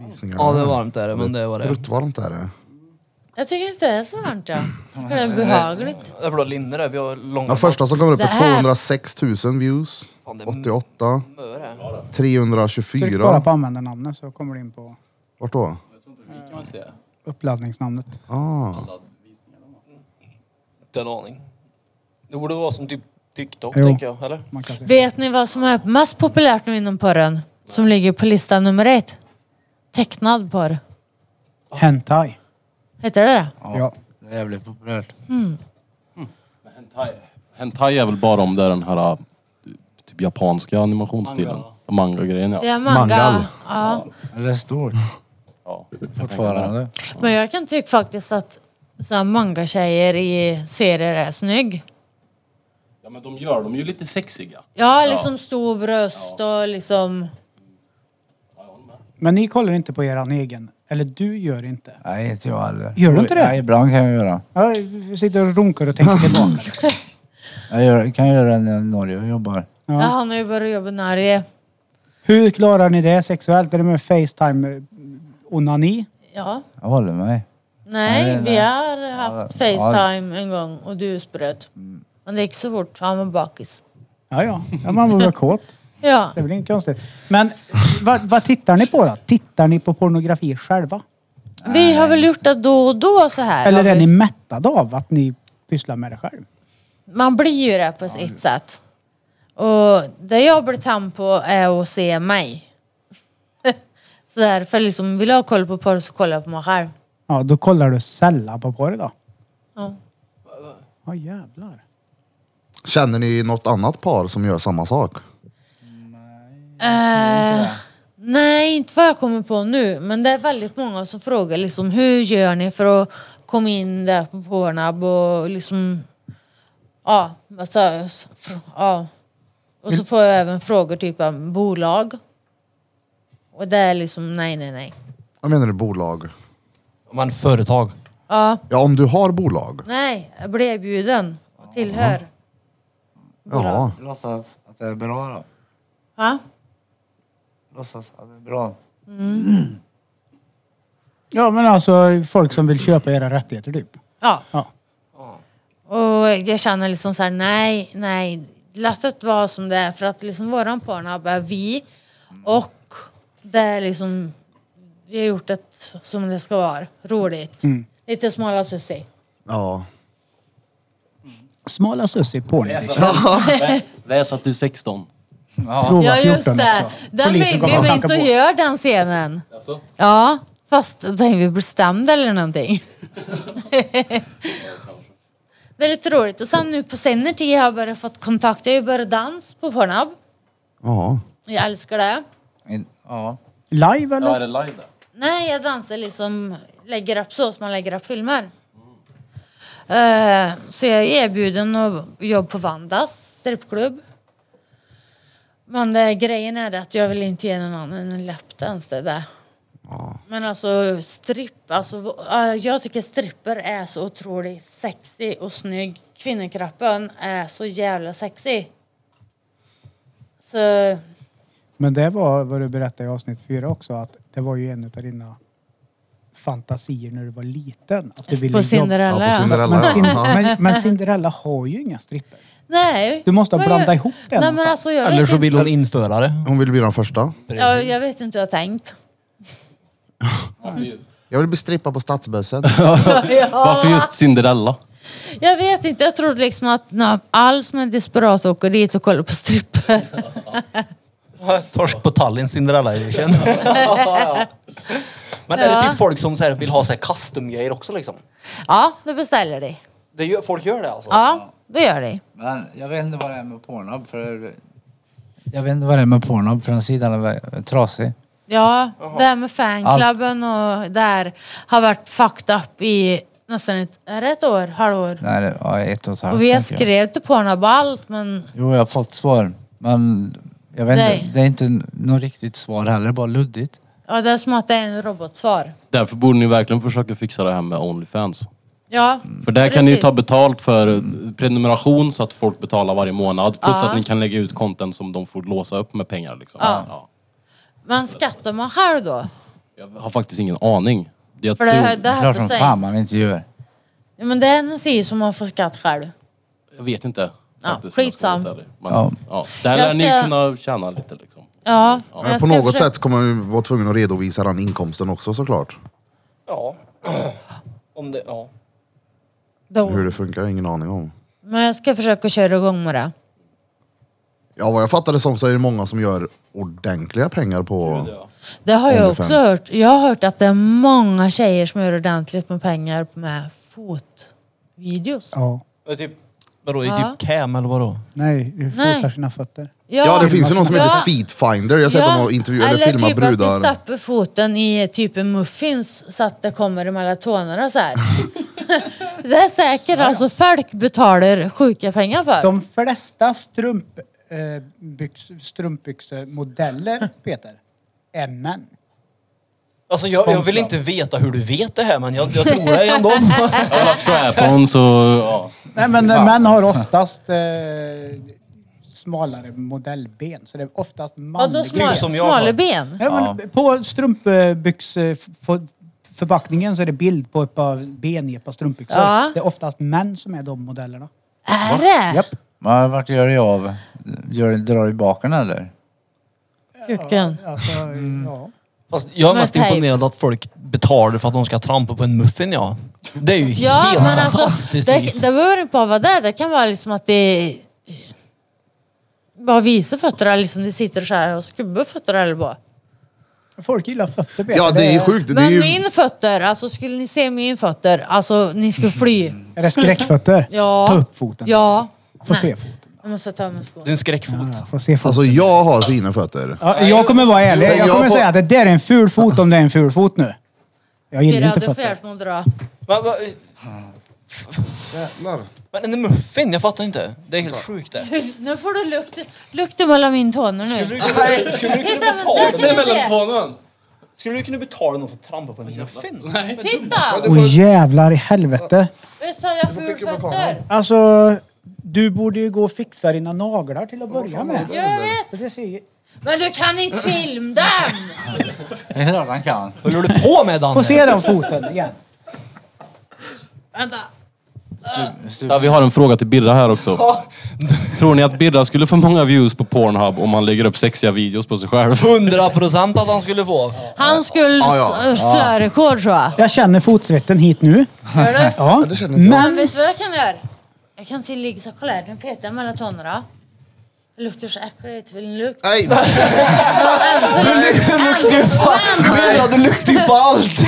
S1: visningar
S5: Ja, det är varmt där, men det var det.
S1: Bruttvarmt är det.
S3: Jag tycker inte det är så varmt jag. Jag tycker det är behagligt.
S5: Det är för då linne där, vi har långa...
S1: Ja, första som kommer upp
S3: Det
S1: är
S3: här-
S1: 206 000 views.
S5: Fan, det är
S1: 88.
S5: mör här.
S1: 324.
S2: Tryck bara på användarnamnet så kommer du in på
S1: Vart då?
S7: Vi kan väl se.
S2: uppladdningsnamnet.
S1: Ah.
S5: Inte en aning. Det borde vara som typ TikTok,
S2: Jo.
S5: tänker jag. Eller?
S2: Man kan se.
S3: Vet ni vad som är mest populärt nu inom porren? Som ligger på lista nummer ett? Tecknad porr.
S2: Hentai.
S3: Heter det det?
S2: Ja.
S6: Det är jävligt populärt.
S4: Hentai. Hentai är väl bara om det är den här uh, typ japanska animationsstilen. Manga-grejen ja.
S3: Det är manga.
S1: Mangal.
S3: Ja.
S6: Men Det är stort
S4: ja.
S6: fortfarande.
S3: Men jag kan tycka faktiskt att så här manga-tjejer i serier är snygg.
S4: Ja men de gör dem ju lite sexiga.
S3: Ja, liksom stor bröst och liksom...
S2: Men ni kollar inte på eran egen. Eller du gör inte.
S6: Nej, inte jag heller.
S2: Gör du inte det?
S6: Nej, ibland kan jag göra.
S2: Jag sitter och runkar och tänker tillbaka.
S6: Jag gör, kan jag göra det när jag är i Norge och jobbar.
S3: Ja,
S2: Ja.
S3: han har ju börjat jobba när det
S2: Hur klarar ni det sexuellt? Är det med eh, Facetime-onani?
S3: Ja.
S6: Jag håller mig.
S3: Nej,
S6: Nej, nej.
S3: vi har haft
S6: Ja, ja.
S3: Facetime en gång och du spröt. Men det gick så fort, han var bakis.
S2: Ja, ja. ja man var väl kåt.
S3: Ja.
S2: Det är väl inget konstigt. Men vad, vad tittar ni på då? Tittar ni på pornografi själva?
S3: Vi har väl gjort det då och då så här.
S2: Eller
S3: har
S2: är
S3: vi.
S2: ni mättade av att ni pysslar med det själv?
S3: Man blir ju det på ett sätt. Och det jag blir tam på är att se mig. så därför liksom, vill jag ha koll på porr så kollar jag på mig själv.
S2: Ja, då kollar du sällan på porr då.
S3: Ja.
S2: Ja jävlar.
S1: Känner ni något annat par som gör samma sak?
S3: Eh, nej, inte vad jag kommer på nu. Men det är väldigt många som frågar liksom, hur gör ni för att komma in där på Pornhub och liksom... Ja, alltså, s- fr- ja. Och så får jag även frågor typ om bolag. Och det är liksom nej, nej, nej.
S1: Vad menar du bolag?
S5: Men företag.
S3: Ja,
S1: Ja, om du har bolag.
S3: nej, jag blir erbjuden och tillhör.
S1: Jaha.
S6: Låtsas att det är bra då.
S3: Ja?
S6: Låtsas att det är bra.
S2: Ja men alltså folk som vill köpa era rättigheter typ.
S3: Ja.
S2: Ja.
S3: Och jag känner liksom så här, nej, nej. Låt det vara som det är. För att liksom våran Pornhub är vi. Och det är liksom, vi har gjort det som det ska vara. Roligt.
S2: Mm.
S3: Lite smala sussi.
S1: Ja.
S2: Smala Sussie porr.
S4: Läs att du är 16.
S2: Prova
S3: Ja just
S2: 14
S3: det.
S2: också.
S3: Den
S2: Polisen
S3: vill
S2: kommer att
S3: vi
S2: knacka
S3: inte
S2: på.
S3: och gör den scenen.
S4: Alltså?
S3: Ja, fast den vi bestämd eller någonting. det är lite roligt. Och sen nu på senare tid har jag börjat fått kontakt. Jag har ju börjat dans på Pornhub.
S1: Ja.
S3: Jag älskar det.
S6: In, ja.
S2: Live
S4: Ja, är
S2: eller?
S4: det live där?
S3: Nej, jag dansar liksom, lägger upp så som man lägger upp filmer. Eh, så jag är erbjuden att jobba på Vandas strippklubb. Men det, grejen är det att jag vill inte ge någon annan en läppdans. Det är det. Men alltså stripp, alltså, v- ja, jag tycker stripper är så otroligt sexy och snygg. Kvinnokroppen är så jävla sexy. Så
S2: Men det var vad du berättade i avsnitt fyra också att det var ju en av dina fantasier när du var liten. Att du ville
S3: på
S2: jobba.
S1: ja
S3: Cinderella.
S1: på Cinderella.
S2: Men, Cin-
S1: ja.
S2: men, men Cinderella har ju inga stripper.
S3: Nej.
S2: Du måste
S3: Vad
S2: blanda
S3: jag-
S2: ihop det
S3: Nej, men
S2: någonstans.
S3: alltså, jag
S5: Eller
S3: vet
S5: så
S3: inte.
S5: vill hon införa det.
S1: Hon vill bli den första.
S3: Ja, jag vet inte hur jag har tänkt.
S1: Jag vill bli strippad på stadsbösset.
S4: Varför just Cinderella?
S3: Jag vet inte, jag trodde liksom att när all som är desperat åker dit och kollar på stripper.
S5: Torsk på Tallinn, Cinderella edition. Men är det typ folk som så här, vill ha så här custom-grejer också liksom?
S3: Ja, det beställer de.
S5: Det gör, folk gör det alltså?
S3: Ja, det gör de.
S6: Men jag vet inte vad det är med Pornhub för... Jag vet inte vad det är med Pornhub för den sidan är vä- trasig.
S3: Ja, det här med fanklubben och där har varit fucked up i nästan ett, är det ett år, halvår.
S6: Nej, det var ett och ett halvt.
S3: Och vi har
S6: tänker jag.
S3: skrivit till Pornhub och allt men
S6: Jo, jag har fått svar. Men jag vet
S3: Nej.
S6: inte, det är inte n- något riktigt svar heller, bara luddigt.
S3: ja, det är som att det är en robotsvar.
S4: Därför borde ni verkligen försöka fixa det här med Onlyfans.
S3: Ja,
S4: För där kan ni ju
S3: precis.
S4: ta betalt för eh, prenumeration så att folk betalar varje månad. Plus
S3: Ja.
S4: att ni kan lägga ut content som de får låsa upp med pengar. Liksom.
S3: Ja.
S4: Ja.
S3: Men skattar man själv då?
S4: Jag har faktiskt ingen aning. Jag
S3: För det,
S4: tror,
S3: här-
S6: Det
S3: det
S6: är
S3: här
S6: klart
S3: på
S6: som
S3: sig.
S6: fan man inte gör.
S3: Ja, men det är en sida som man får skatt själv.
S4: Jag vet inte.
S3: Ja,
S4: faktiskt, om jag ska vara
S3: skitsam.
S4: helt ärlig. Men,
S6: Ja.
S4: ja. Där
S3: Jag
S4: lär
S3: ska-
S4: ni kunna tjäna lite liksom.
S3: Ja,
S1: Men
S3: men jag
S1: Mm. på
S3: ska
S1: något
S3: försöka-
S1: sätt kommer man vara tvungen att redovisa den inkomsten också såklart.
S5: Ja. Om det, ja.
S3: Då.
S1: Hur det funkar har jag ingen aning om.
S3: Men jag ska försöka köra igång med det.
S1: Ja, vad jag fattar det som så är det många som gör ordentliga pengar på...
S3: Det har jag
S1: Onlyfans.
S3: också hört. Jag har hört att det är många tjejer som gör ordentligt med pengar med fotvideos.
S2: Ja.
S5: Det är typ, vadå, det
S3: Ja.
S5: är typ cam eller vadå?
S2: Nej, du
S3: Nej.
S2: fotar sina fötter.
S1: Ja, det finns ju någon som heter
S3: Ja.
S1: Feet Finder. Jag har sett
S3: Ja,
S1: honom intervjua eller
S3: eller
S1: filma
S3: typ att du
S1: brudar.
S3: stoppar foten i typ en muffins så att det kommer emellan tårna så här. det är säkert alltså folk betalar sjuka pengar för.
S2: De flesta strump, eh, byx, strumpbyxemodeller, Peter, är män.
S5: Alltså jag, jag vill inte veta hur du vet det här men jag, jag tror dig ändå.
S4: Alla strap-ons och... Ja.
S2: Nej men eh, män har oftast eh, smalare modellben. Så det är oftast manliga.
S3: Vadå smal,
S5: Typ som jag
S3: smala
S5: har.
S3: ben?
S2: Ja, men På strumpbyxförpackningen så är det bild på ett par ben i ett par strumpbyxor.
S3: Ja. Äh.
S2: Det är oftast män som är de modellerna.
S3: Är det?
S2: Japp.
S6: Men vart gör du av? Gör, drar du i baken eller?
S3: Kuken.
S2: Alltså, ja.
S5: Fast jag är
S3: Men typ-
S5: mest
S3: tejp.
S5: imponerad att folk betalar för att de ska trampa på en muffin ja. Det är ju
S3: Ja,
S5: helt
S3: men alltså,
S5: fantastiskt.
S3: det, det behöver inte bara vara det. Det kan vara liksom att det... Bara visa fötterna liksom. Det sitter så här och skubbar fötterna eller bara.
S2: Folk gillar fötter Peter.
S1: Ja, det är ju sjukt. Det är
S3: Men
S1: ju...
S3: min fötter, alltså skulle ni se min fötter, alltså ni skulle fly.
S2: Är det skräckfötter?
S3: Ja.
S2: Ta upp foten.
S3: Ja.
S2: Få
S3: Nej.
S2: se foten.
S3: Jag måste ta av mig skon.
S5: Du är en skräckfot.
S2: Ja, Få se foten.
S1: Alltså jag har fina fötter.
S2: Ja, jag kommer vara ärlig.
S1: Jag
S2: Jag kommer
S1: på-
S2: säga att det där är en ful fot om det är en ful fot nu. Jag gillar
S3: Pirra
S2: inte
S3: hade
S2: fötter.
S3: färt mig att dra.
S5: Men, men,
S1: Jävlar.
S5: men en muffin, jag fattar inte. Det är helt sjukt det.
S3: Du, Nu får du lukt, lukten mellan min tåne
S5: Skulle
S3: nu.
S5: du kunna, skulle du kunna
S3: Titta, men där
S5: betala
S3: kan du se.
S4: tånen!
S5: Skulle du kunna betala någon för att trampa på en muffin?
S3: Titta!
S2: Åh jävlar i helvete.
S3: Visst har jag ful
S1: skicka upp
S3: fötter?
S2: Alltså, du borde ju gå och fixa dina naglar till att börja
S3: Ja,
S2: med.
S3: jag vet.
S2: Det ser ju-
S3: Men du kan inte filma dem!
S6: Det är klart han kan.
S5: Vad håller du på med Danne?
S2: Få se den foten igen.
S3: Vänta.
S4: Ja, vi har en fråga till Birra här också. Tror ni att Birra skulle få många views på Pornhub om han lägger upp sexiga videos på sig själv?
S5: 100 procent att han skulle få.
S3: Han skulle
S1: Ja, ja.
S3: s- slå rekord tror jag.
S2: Jag känner fotsvetten hit nu.
S3: Gör du?
S2: Ja.
S1: det känner inte jag.
S2: Men
S3: Men vet du vad jag kan göra? Jag kan tillägga, kolla här, nu petar jag mellan tårna. Det Äh, luktar så äckligt, vill ni lukt?
S1: Nej,
S5: Ja, du luktar ju på allt!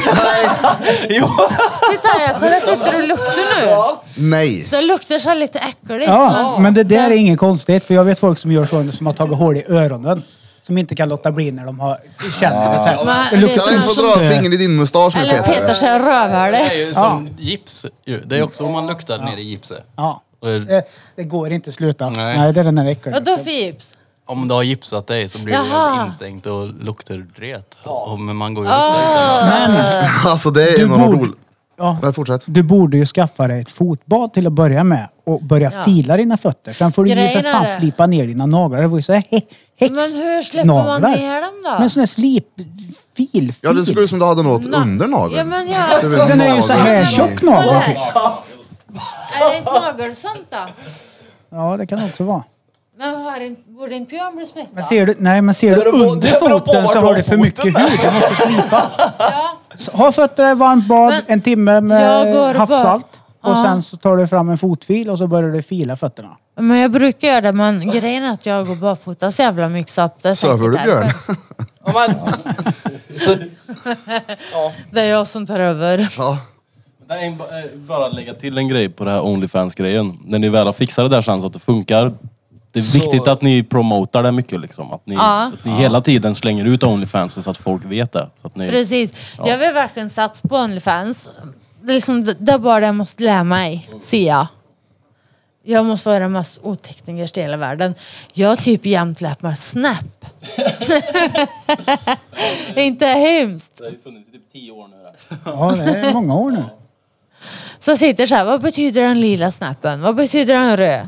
S5: jo,
S3: äh, Titta här, kolla sitter du och luktar nu?
S1: nej.
S3: Det luktar så här lite äckligt.
S2: Ja,
S3: men-
S2: men det där är inget konstigt för jag vet folk som gör så som har tagit hål i öronen. Som inte kan låta bli när de har, känner det så
S3: Men-
S2: här. Det luktar
S1: Kan du inte få dra fingret i din mustasch nu
S3: Eller petar
S1: Peter?
S3: sig i
S7: Det
S3: rövhålet.
S7: är ju som gips ju. Det är också om man luktar ner i gipset.
S2: Ja.
S7: Och är-
S2: Det, det går inte att sluta. Nej.
S7: Nej.
S2: det är den där äckliga.
S3: Vadå Fips?
S7: Om du har gipsat dig så blir
S3: Jaha.
S7: det instängt och luktar ret. Och, men man går ju
S2: Men
S1: Alltså det är
S2: Du
S1: en av de
S2: borde-
S1: roliga...
S2: ja,
S1: Nej, fortsätt.
S2: du borde ju skaffa dig ett fotbad till att börja med och börja
S3: Ja.
S2: fila dina fötter. Sen får du ju
S3: Grejen
S2: för
S3: är
S2: fan
S3: det-
S2: slipa ner dina naglar. Det var ju så här he-
S3: Men hur släpper man
S2: häxnaglar.
S3: ner dem då?
S2: Men sån här slip... Filfil.
S1: Ja, det såg ut som du hade något
S3: Na-
S1: under nageln.
S3: Ja, men ja.
S1: Det var en
S2: Den är ju
S1: nagel.
S2: så här tjock nagel.
S3: Kolla här. Är det inte nagelsant då?
S2: Ja, det kan också vara.
S3: Men har inte- borde inte Björn bli smittad?
S2: Men ser du, nej, men ser
S5: Det
S2: du
S5: beror på-
S2: under
S5: det beror på
S2: foten
S5: vart
S2: så
S5: du
S2: har
S5: har
S2: du för
S5: foten
S2: mycket
S5: där.
S2: hud. Du måste slipa.
S3: Ja.
S2: Så Ha fötterna i varmt bad
S3: Men-
S2: en timme
S3: Jag
S2: med
S3: går
S2: havssalt. Och
S3: Ja.
S2: sen så tar du fram en fotfil och så börjar du fila fötterna.
S3: Men jag brukar göra det, men grejen är att jag går barfota så jävla mycket så att det är
S1: Söver
S3: säkert
S1: du,
S3: därför.
S1: Björn?
S5: ja, men, så,
S3: Det är jag som tar över.
S1: Ja.
S4: Det är en- eh, bara lägga till en grej på det här Onlyfans-grejen. När ni väl har fixat det där sen så att det funkar. Det är viktigt att ni promotar det mycket liksom. Att ni,
S3: Ja.
S4: att ni hela tiden slänger ut Onlyfansen så att folk vet det. Så att ni,
S3: Precis. Jag vill verkligen satsa på Onlyfans. Det är, liksom, det det är bara det jag måste lära mig, ser jag. Jag måste vara den mest oteknikers i hela världen. Jag har typ jämt lärt mig Snap. Inte hemskt.
S4: det har ju funnits i typ tio år nu.
S2: Ja, det är många år nu.
S3: Så jag sitter så här, vad betyder den lila snappen? Vad betyder den röd?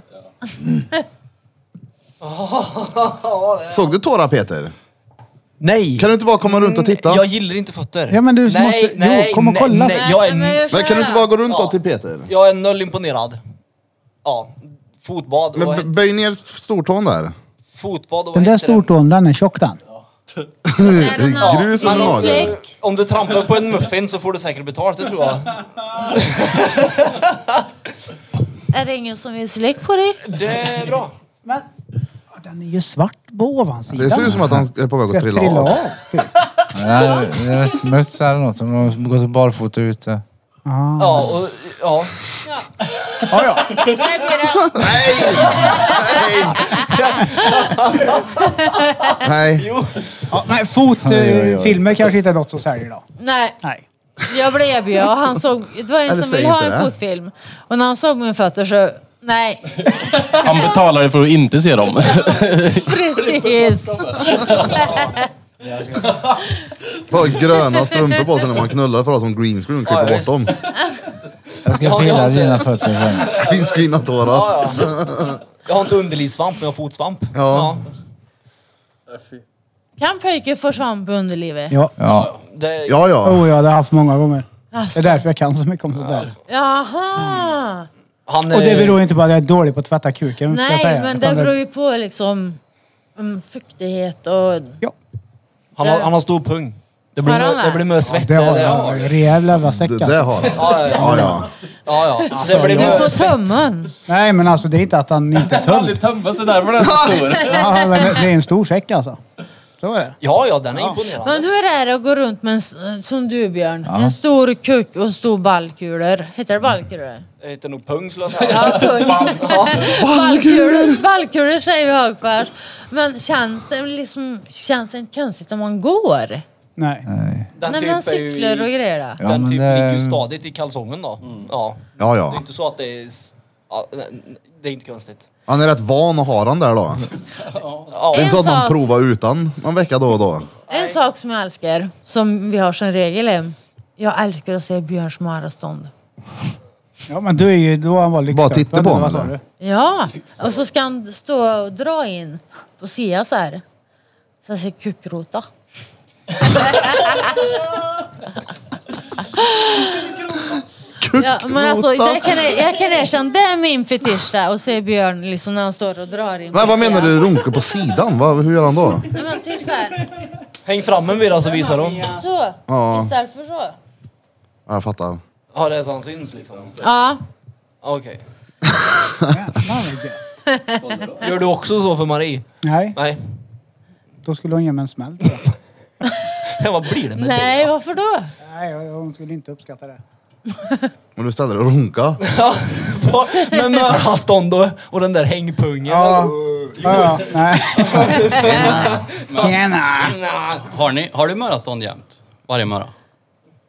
S1: Såg du tårar Peter?
S5: nej.
S1: Kan du inte bara komma runt och
S3: Mm,
S1: titta?
S5: Jag gillar inte fötter.
S2: Ja, men du måste- jo, kom och kolla.
S5: Nej, jag,
S3: Nej, men
S5: är,
S3: jag
S1: Men kan du inte bara gå runt då
S5: Ja.
S1: till Peter?
S5: jag är noll imponerad. Ja, fotbad.
S1: Men
S5: och-
S1: b- böj ner stortån där.
S5: fotbad och
S2: Den där
S5: vad heter det?
S2: stortån, den är tjock den.
S3: Är den av-
S1: Grus i
S3: är den
S1: magen.
S3: släck?
S5: Om du trampar på en muffin så får du säkert betalt, det tror jag.
S3: Är det ingen som vill släck på dig?
S5: Det är bra.
S2: Men ja, den är ju svart på ovansidan.
S1: Det ser ut som att han är på väg
S2: Ska
S1: att trilla av.
S6: Det är, det är smuts eller något om de går barfota ute.
S2: Ja.
S5: Ja, och, ja.
S3: Nej, Pira.
S1: Nej.
S2: Ja, nej, fotfilmer kanske inte är något som säljer idag.
S3: Nej,
S2: Nej.
S3: jag blev erbjuden och han såg, det var en
S1: Eller
S3: som
S1: säg
S3: ville ha
S1: inte
S3: en
S1: det.
S3: fotfilm. Och när han såg min fötter så, nej,
S4: Han betalade för att inte se dem.
S3: precis.
S1: Bara gröna strumpor på sig när man knullar för att ha som green screen. Klippa
S5: Ja,
S1: bort
S5: visst.
S1: dem.
S6: Jag ska
S5: Ja, jag
S6: pilla
S5: inte.
S6: dina fötter sen.
S1: Green screena tårar.
S5: ja, ja. Jag har inte underlivssvamp, men jag har fotsvamp.
S1: Ja.
S3: Kan pojken få svamp i underlivet?
S2: Ja.
S6: Ja.
S5: Det,
S1: Ja, ja.
S2: Oh, ja, det har jag haft många gånger. Det
S3: Alltså.
S2: är därför jag kan så mycket om sånt där.
S3: Jaha!
S5: Han,
S2: Och det
S5: eh,
S2: beror inte på att jag är dålig på att tvätta kuken. ska jag
S3: Nej,
S2: säga.
S3: men det
S2: Utan
S3: beror ju på liksom mm, fuktighet och...
S2: Ja.
S5: han, har, han har stor pung. Det blir,
S3: Har han
S5: mö- det
S3: det?
S5: blir mycket svett.
S2: Det har
S5: det
S2: jag.
S5: har.
S2: En Rejäl jävla säck
S1: Det där
S2: alltså.
S1: har han.
S5: Ja, ja,
S1: Ja, ja.
S5: ja. ja. Så det blir
S3: Du
S5: mö-
S3: får tummen!
S2: Nej, men alltså det är inte att han inte är tömd.
S4: tömma sig därför den är så stor.
S2: Ja, men det det är en stor säck alltså. Så var det.
S5: Ja, ja, den är imponerande.
S3: Men hur är det att gå runt med en, s- som du Björn, en stor kuck och en stor ballkulor? Heter det ballkulor?
S5: Det heter nog pung skulle jag säga.
S3: Ja, kuck. ballkulor. Ballkulor säger vi högfärs. Men känns det liksom, känns det inte konstigt om man går?
S2: Nej.
S6: Nej.
S5: Den typ
S3: När man
S5: är ju i-
S3: cyklar och grejer då?
S6: Ja,
S5: den
S6: men
S5: typ
S6: det-
S5: ligger ju stadigt i kalsongen då. Ja.
S1: eh, Mm. Ja,
S5: Det är
S1: ja.
S5: inte så att det är... s- Ja, n- det är inte konstigt.
S1: Han är rätt van att ha den där då.
S5: Ja,
S1: Det är
S3: En
S1: inte så att man
S3: sak.
S1: provar utan någon vecka då och då.
S3: En sak som jag älskar, som vi har som regel är, jag älskar att se Björns marastånd.
S2: Ja men du är ju, då han var lyxköpare.
S1: Bara titta på
S2: eller
S1: honom,
S2: vad sa
S1: eller?
S2: du?
S3: Ja, och så ska han stå och dra in på sia så här. Så jag ser kuckrota. Ja, men alltså, det kan jag, jag kan erkänna, det är min fetisch där, och se Björn liksom när han står och drar in. på
S1: Men vad menar
S3: sia.
S1: du runka på sidan? Vad, hur gör han då?
S3: Nej, men typ så här.
S5: häng fram en vid den så visar hon.
S3: Så,
S1: Ja.
S3: istället för så.
S1: Ja, jag fattar.
S5: Ja, det är så han syns liksom.
S3: Ja,
S5: Okej.
S2: Jävlar, vad gött.
S5: Gör du också så för Marie?
S2: Nej,
S5: Nej.
S2: då skulle hon ge mig en smäll. tror jag.
S5: Ja, Vad blir det med dig?
S3: nej varför då?
S2: Nej, jag- hon skulle inte uppskatta det.
S1: Men du ställer dig och runka.
S5: Ja, Med möravstånd och, och den där hängpungen.
S2: Ja, ja, ja nej. Tjena!
S7: Har, ni, har du mörastånd jämt? Varje möra?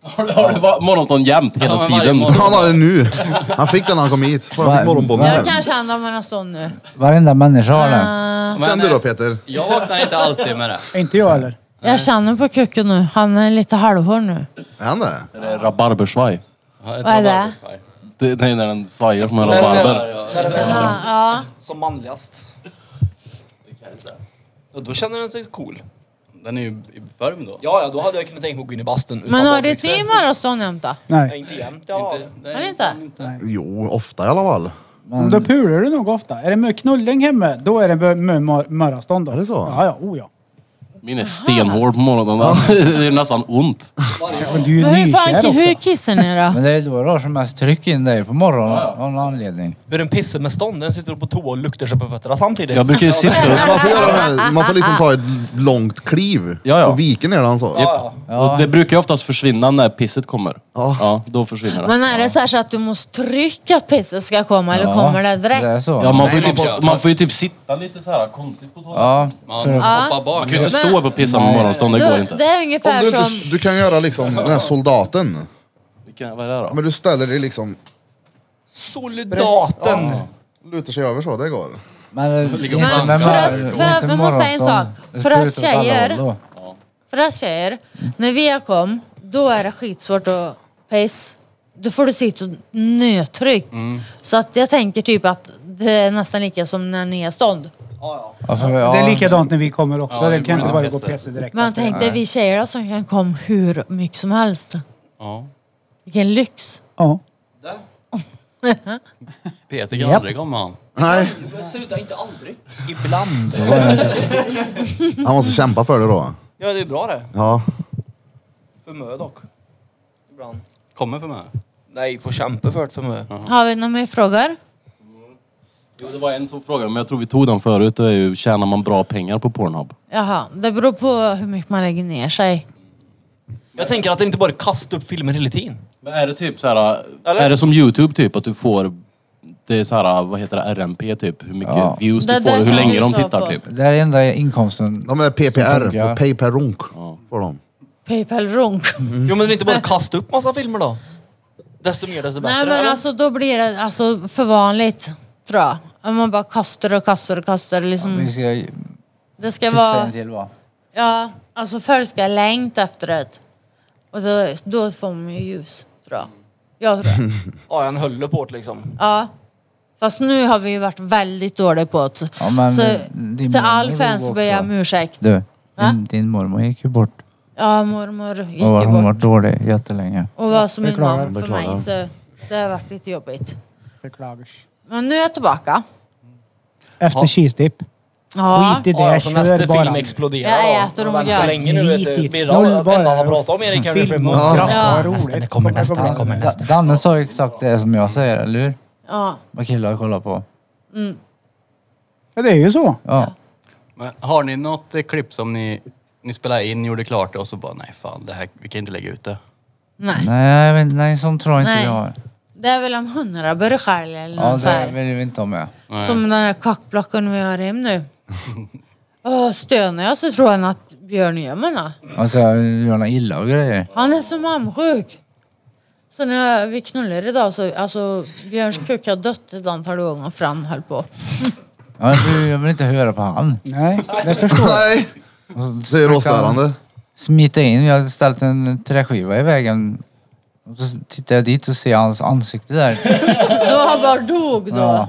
S4: Har du va- morgonstånd jämt
S7: Ja,
S4: hela
S7: men varje
S4: tiden?
S7: morgon.
S1: Han har det nu. Han fick den när han kom hit. Fan, Han fick morgonbomben.
S3: Jag kan känna marastånd nu.
S6: Varenda människa har det.
S3: Ah,
S7: Men,
S1: Kände du då
S7: eh,
S1: Peter?
S7: Jag vaknar inte alltid med det.
S2: Inte jag heller.
S3: jag känner på kucken nu, han är lite halvhård nu.
S1: Är han det?
S4: Det är rabarbersvaj.
S7: Vad
S3: Vad är det?
S4: Det, det är när den svajar som en
S5: När den
S4: rabarber.
S5: är, när den är
S3: Ja, ja.
S5: som manligast. Ja, då känner den sig cool.
S7: Den är ju i- varm då.
S5: Ja, ja, då hade jag kunnat tänka mig att gå in i bastun utan
S3: Men har
S5: badbyxor.
S3: ditt ni marastånd jämt då?
S5: Nej,
S2: Nej.
S5: inte jämt. Ja.
S7: Inte-
S3: Har ni
S7: nej,
S3: inte?
S1: Jo, ofta i alla fall.
S2: Men då pular du nog ofta. Är det mycket knulling hemma, då är det med- med mör- mörarstånd. Är
S1: det så?
S2: Ja, ja, oh ja.
S4: Min är stenhård på morgonen. Det är nästan ont.
S2: ja men du är
S3: Men
S2: ju
S3: hur fan
S2: nykär
S3: hur
S2: också.
S3: kissar ni då?
S6: Men det är då du har som mest tryck in dig på morgonen av någon anledning.
S5: Hur en pisse med stånd, den sitter på toa och luktar sig på fötterna samtidigt.
S4: Jag brukar ju sitta upp.
S1: Man får, göra den här, man får liksom ta ett långt kliv
S4: Ja, ja.
S1: och vika ner den så.
S5: Ja, ja.
S6: Ja.
S4: Och det brukar ju oftast försvinna när pisset kommer.
S1: Ja.
S4: Ja, då försvinner det.
S3: Men är det så, här så att du måste trycka att pisset ska komma eller
S6: Ja,
S3: kommer det
S6: Det
S3: direkt?
S6: är så.
S4: Ja, man, får ju
S7: Nej,
S4: typ,
S7: man får-
S4: man får ju typ sitta lite så här konstigt på toan.
S6: Ja,
S7: Man
S6: för,
S7: hoppar bak.
S4: Man kan ju inte stå upp och pissa på morgonstånd, det går
S3: Du,
S4: inte.
S3: det är
S1: Om
S3: ungefär
S1: du,
S3: som...
S1: inte, du kan göra liksom den här soldaten.
S4: Vilken, vad är det då?
S1: Men du ställer dig liksom,
S5: Soldaten!
S1: lutar sig över så, det går.
S6: men det-
S7: Ligger
S6: inte
S7: och
S6: med
S3: dansar. För
S6: mör-
S3: oss-
S6: inte
S3: för- vi måste säga en
S6: morgonstånd.
S3: sak.
S6: Det
S3: För oss
S6: sprutar åt alla
S3: tjejer-
S6: håll då.
S3: För oss tjejer, när vi kom, då är det skitsvårt att piss. Då får du sitta och nötryck. Så att jag tänker typ att det är nästan lika som när ni är stånd.
S5: Ja, ja.
S6: Ja, för, ja,
S2: Det är likadant när vi kommer också.
S7: Ja,
S2: det
S7: det
S2: kan inte
S7: blir
S2: bara
S7: det
S2: gå
S7: bästa.
S2: pisse direkt.
S3: Men tänk dig vi tjejer då som kan komma hur mycket som helst.
S7: Ja.
S3: Vilken lyx.
S2: Ja.
S7: Peter kan
S2: Japp.
S7: aldrig komma han.
S1: Nej,
S5: Sluta, inte aldrig. Ibland.
S1: han måste kämpa för det då.
S5: Ja, det är bra det.
S1: Ja.
S5: För mö dock. Ibland.
S7: Kommer för mig.
S5: Nej, får kämpa för det för mö.
S3: Har vi några mer frågor?
S4: Jo, det var en som frågade, men jag tror vi tog den förut. Det är ju, tjänar man bra pengar på Pornhub?
S3: Jaha, det beror på hur mycket man lägger ner sig.
S5: Jag tänker att det inte bara kastar upp filmer hela tiden.
S4: Men är det typ så här,
S5: Eller?
S4: är det som Youtube typ att du får, det är så här, vad heter det, RMP typ? Hur mycket
S6: Ja.
S4: views
S3: Det
S4: du
S3: där
S4: får, hur
S3: kan
S4: länge
S3: vi
S4: de
S3: svara
S4: tittar
S3: på.
S4: typ.
S6: Det är enda inkomsten.
S1: De är PPR,
S6: funkar.
S1: och pay per runk.
S4: Ja.
S1: Får de.
S3: Paypal runk.
S6: Mm.
S5: Jo, men det är inte bara kasta upp massa filmer då. Desto mer, desto bättre.
S3: Nej men
S5: eller?
S3: alltså då blir det alltså, för vanligt tror jag. Om man bara kastar och kastar och kastar. Liksom,
S6: Vi ska ju
S3: det ska
S6: fixa en
S3: vara...
S6: till va?
S3: Ja, alltså folk ska längta efter det. Och då, då får man ju ljus tror jag. Jag tror det.
S5: Ja, en höll på det liksom.
S3: Ja. Fast nu har vi ju varit väldigt dåliga på det.
S6: Ja, men
S3: så
S6: din
S3: till
S6: mormor
S3: all
S6: dog
S3: fans ber jag om
S6: också.
S3: ursäkt.
S6: Du,
S3: Va?
S6: din, din mormor gick ju bort.
S3: Ja, mormor gick
S6: Och
S3: ju
S6: hon var
S3: bort.
S6: dålig jättelänge.
S3: Och var som en
S2: Beklagar.
S3: man för mig så det har varit lite jobbigt.
S2: Beklagers.
S3: Men nu är jag tillbaka.
S2: Efter cheese-dip.
S3: Ja.
S2: Skit i
S5: Ja,
S2: det,
S5: ja, så nästa
S2: kör
S5: film
S2: bara.
S5: exploderar
S3: Jag
S5: då.
S3: äter dem
S5: Vänta
S3: gött.
S5: länge nu vet
S2: Skit
S5: du.
S2: i
S5: Vi
S2: det.
S5: har
S2: Noll bara.
S5: bara pratat om Erik här nu för
S2: Film
S5: många.
S2: och kraft,
S3: Ja.
S2: vad roligt.
S5: Nästa, det kommer nästa, det kommer nästa.
S6: Da- Danne sa ju exakt det som jag säger, eller hur?
S3: ja. Mm.
S6: Vad killar kollar på.
S2: Ja, det är ju så.
S6: Ja.
S7: Men har ni något eh, klipp som ni
S8: Ni spelade in, gjorde klart det och så bara nej fan, det här, vi kan inte lägga ut det.
S3: Nej.
S6: Nej, jag vet inte, nej sånt tror jag inte
S3: Nej.
S6: jag har.
S3: Det är väl om hundra burkar eller
S6: Ja,
S3: något så
S6: det
S3: här.
S6: vill vi inte ha med.
S8: Nej.
S3: Som den här kackblocken vi har hem nu. Åh, stönar jag så tror han att Björn gömmer mig.
S6: Alltså, gör något illa och grejer.
S3: Han är så mamsjuk. Så när jag- vi knullade idag så, alltså Björns kuk har dött ett antal gånger för han höll på.
S6: Ja, jag vill- jag vill inte höra på han.
S2: Nej, det förstår jag.
S1: Nej, det är råstörande.
S6: Smita in, jag hade ställt en träskiva i vägen. Och så tittar jag dit och ser hans ansikte där.
S3: Då han bara dog då.
S6: Ja,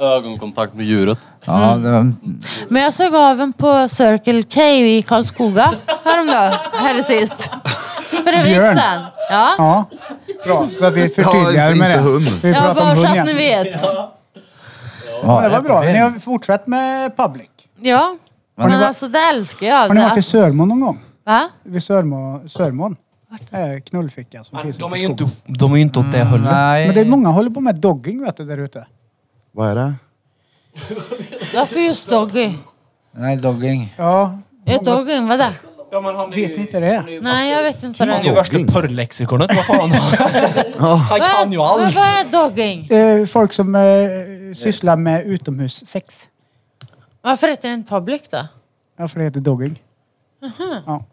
S4: Ögonkontakt med djuret.
S6: ja
S2: Mm.
S6: det var,
S3: Men jag såg av en på Circle K i Karlskoga häromdagen, här sist. För en vecka
S2: Björn.
S3: sedan. Ja.
S2: ja. Bra, så att vi
S1: Ja,
S2: förtydligar
S1: inte-
S2: med det.
S1: inte hund.
S2: Vi
S3: Ja,
S2: pratar om
S3: bara så
S2: hund
S3: att ni
S2: igen.
S3: vet.
S2: Ja, det var bra. Ni har fortsatt med public.
S3: Ja.
S2: Har
S3: Men
S2: ni va-
S3: alltså det älskar jag.
S2: Har ni
S3: Det-
S2: varit i Sörmån någon gång?
S3: Va?
S2: Vid Sörmå, Sörmån? Eh, Knullficka som
S5: Men
S2: finns
S5: de är
S2: ute i
S5: ju inte,
S2: skogen.
S5: de är ju inte åt det hållet.
S6: Nej.
S2: Men det är många håller på med dogging vet du, där ute.
S1: Vad är det?
S3: Varför just Doggy?
S6: Nej, dogging.
S2: Ja.
S3: Vet Doggy vad det är?
S5: Ja, men han är
S2: Vet ni inte det?
S3: Nej, jag vet inte vad
S5: Han är
S3: det
S5: ju
S3: är.
S5: värsta porrlexikonet, vad fan. Han kan ju
S3: Vad-
S5: allt.
S3: Vad är dogging?
S2: Eh, folk som eh, sysslar med utomhussex.
S3: Varför heter det inte public då?
S2: Ja, för det heter dogging.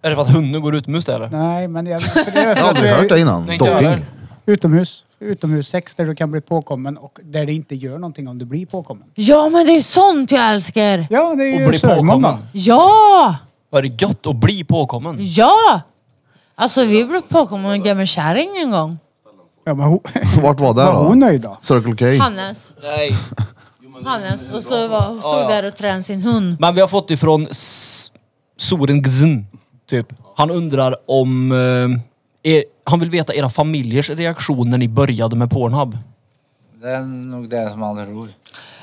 S5: Är det för att hunden går utomhus där eller?
S2: Nej, men jag... för det är-
S1: Jag har aldrig hört det innan.
S5: Nej, inte jag
S1: Dogging.
S5: heller.
S2: Utomhus. Utomhussex där du kan bli påkommen och där det inte gör någonting om du blir påkommen.
S3: Ja, men det är sånt jag älskar!
S2: Ja, det
S5: Och
S2: är ju
S5: bli
S2: Sörmån då.
S5: påkommen.
S3: Ja!
S5: Var det gött att bli påkommen?
S3: Ja! Alltså, vi blev påkomna av en gammal kärring en gång.
S2: Ja, men hon,
S1: Vart var det
S2: var hon
S1: då?
S2: nöjd då?
S1: Circle K.
S3: Hannes.
S5: Nej.
S3: Hannes. Och så var, hon stod
S5: Ja, ja.
S3: där och tränade sin hund.
S5: Men vi har fått ifrån S- Soren Gzn, typ. Han undrar om... Eh, er, han vill veta era familjers reaktion när ni började med Pornhub.
S6: Det är nog det som alla tror.
S3: Eh,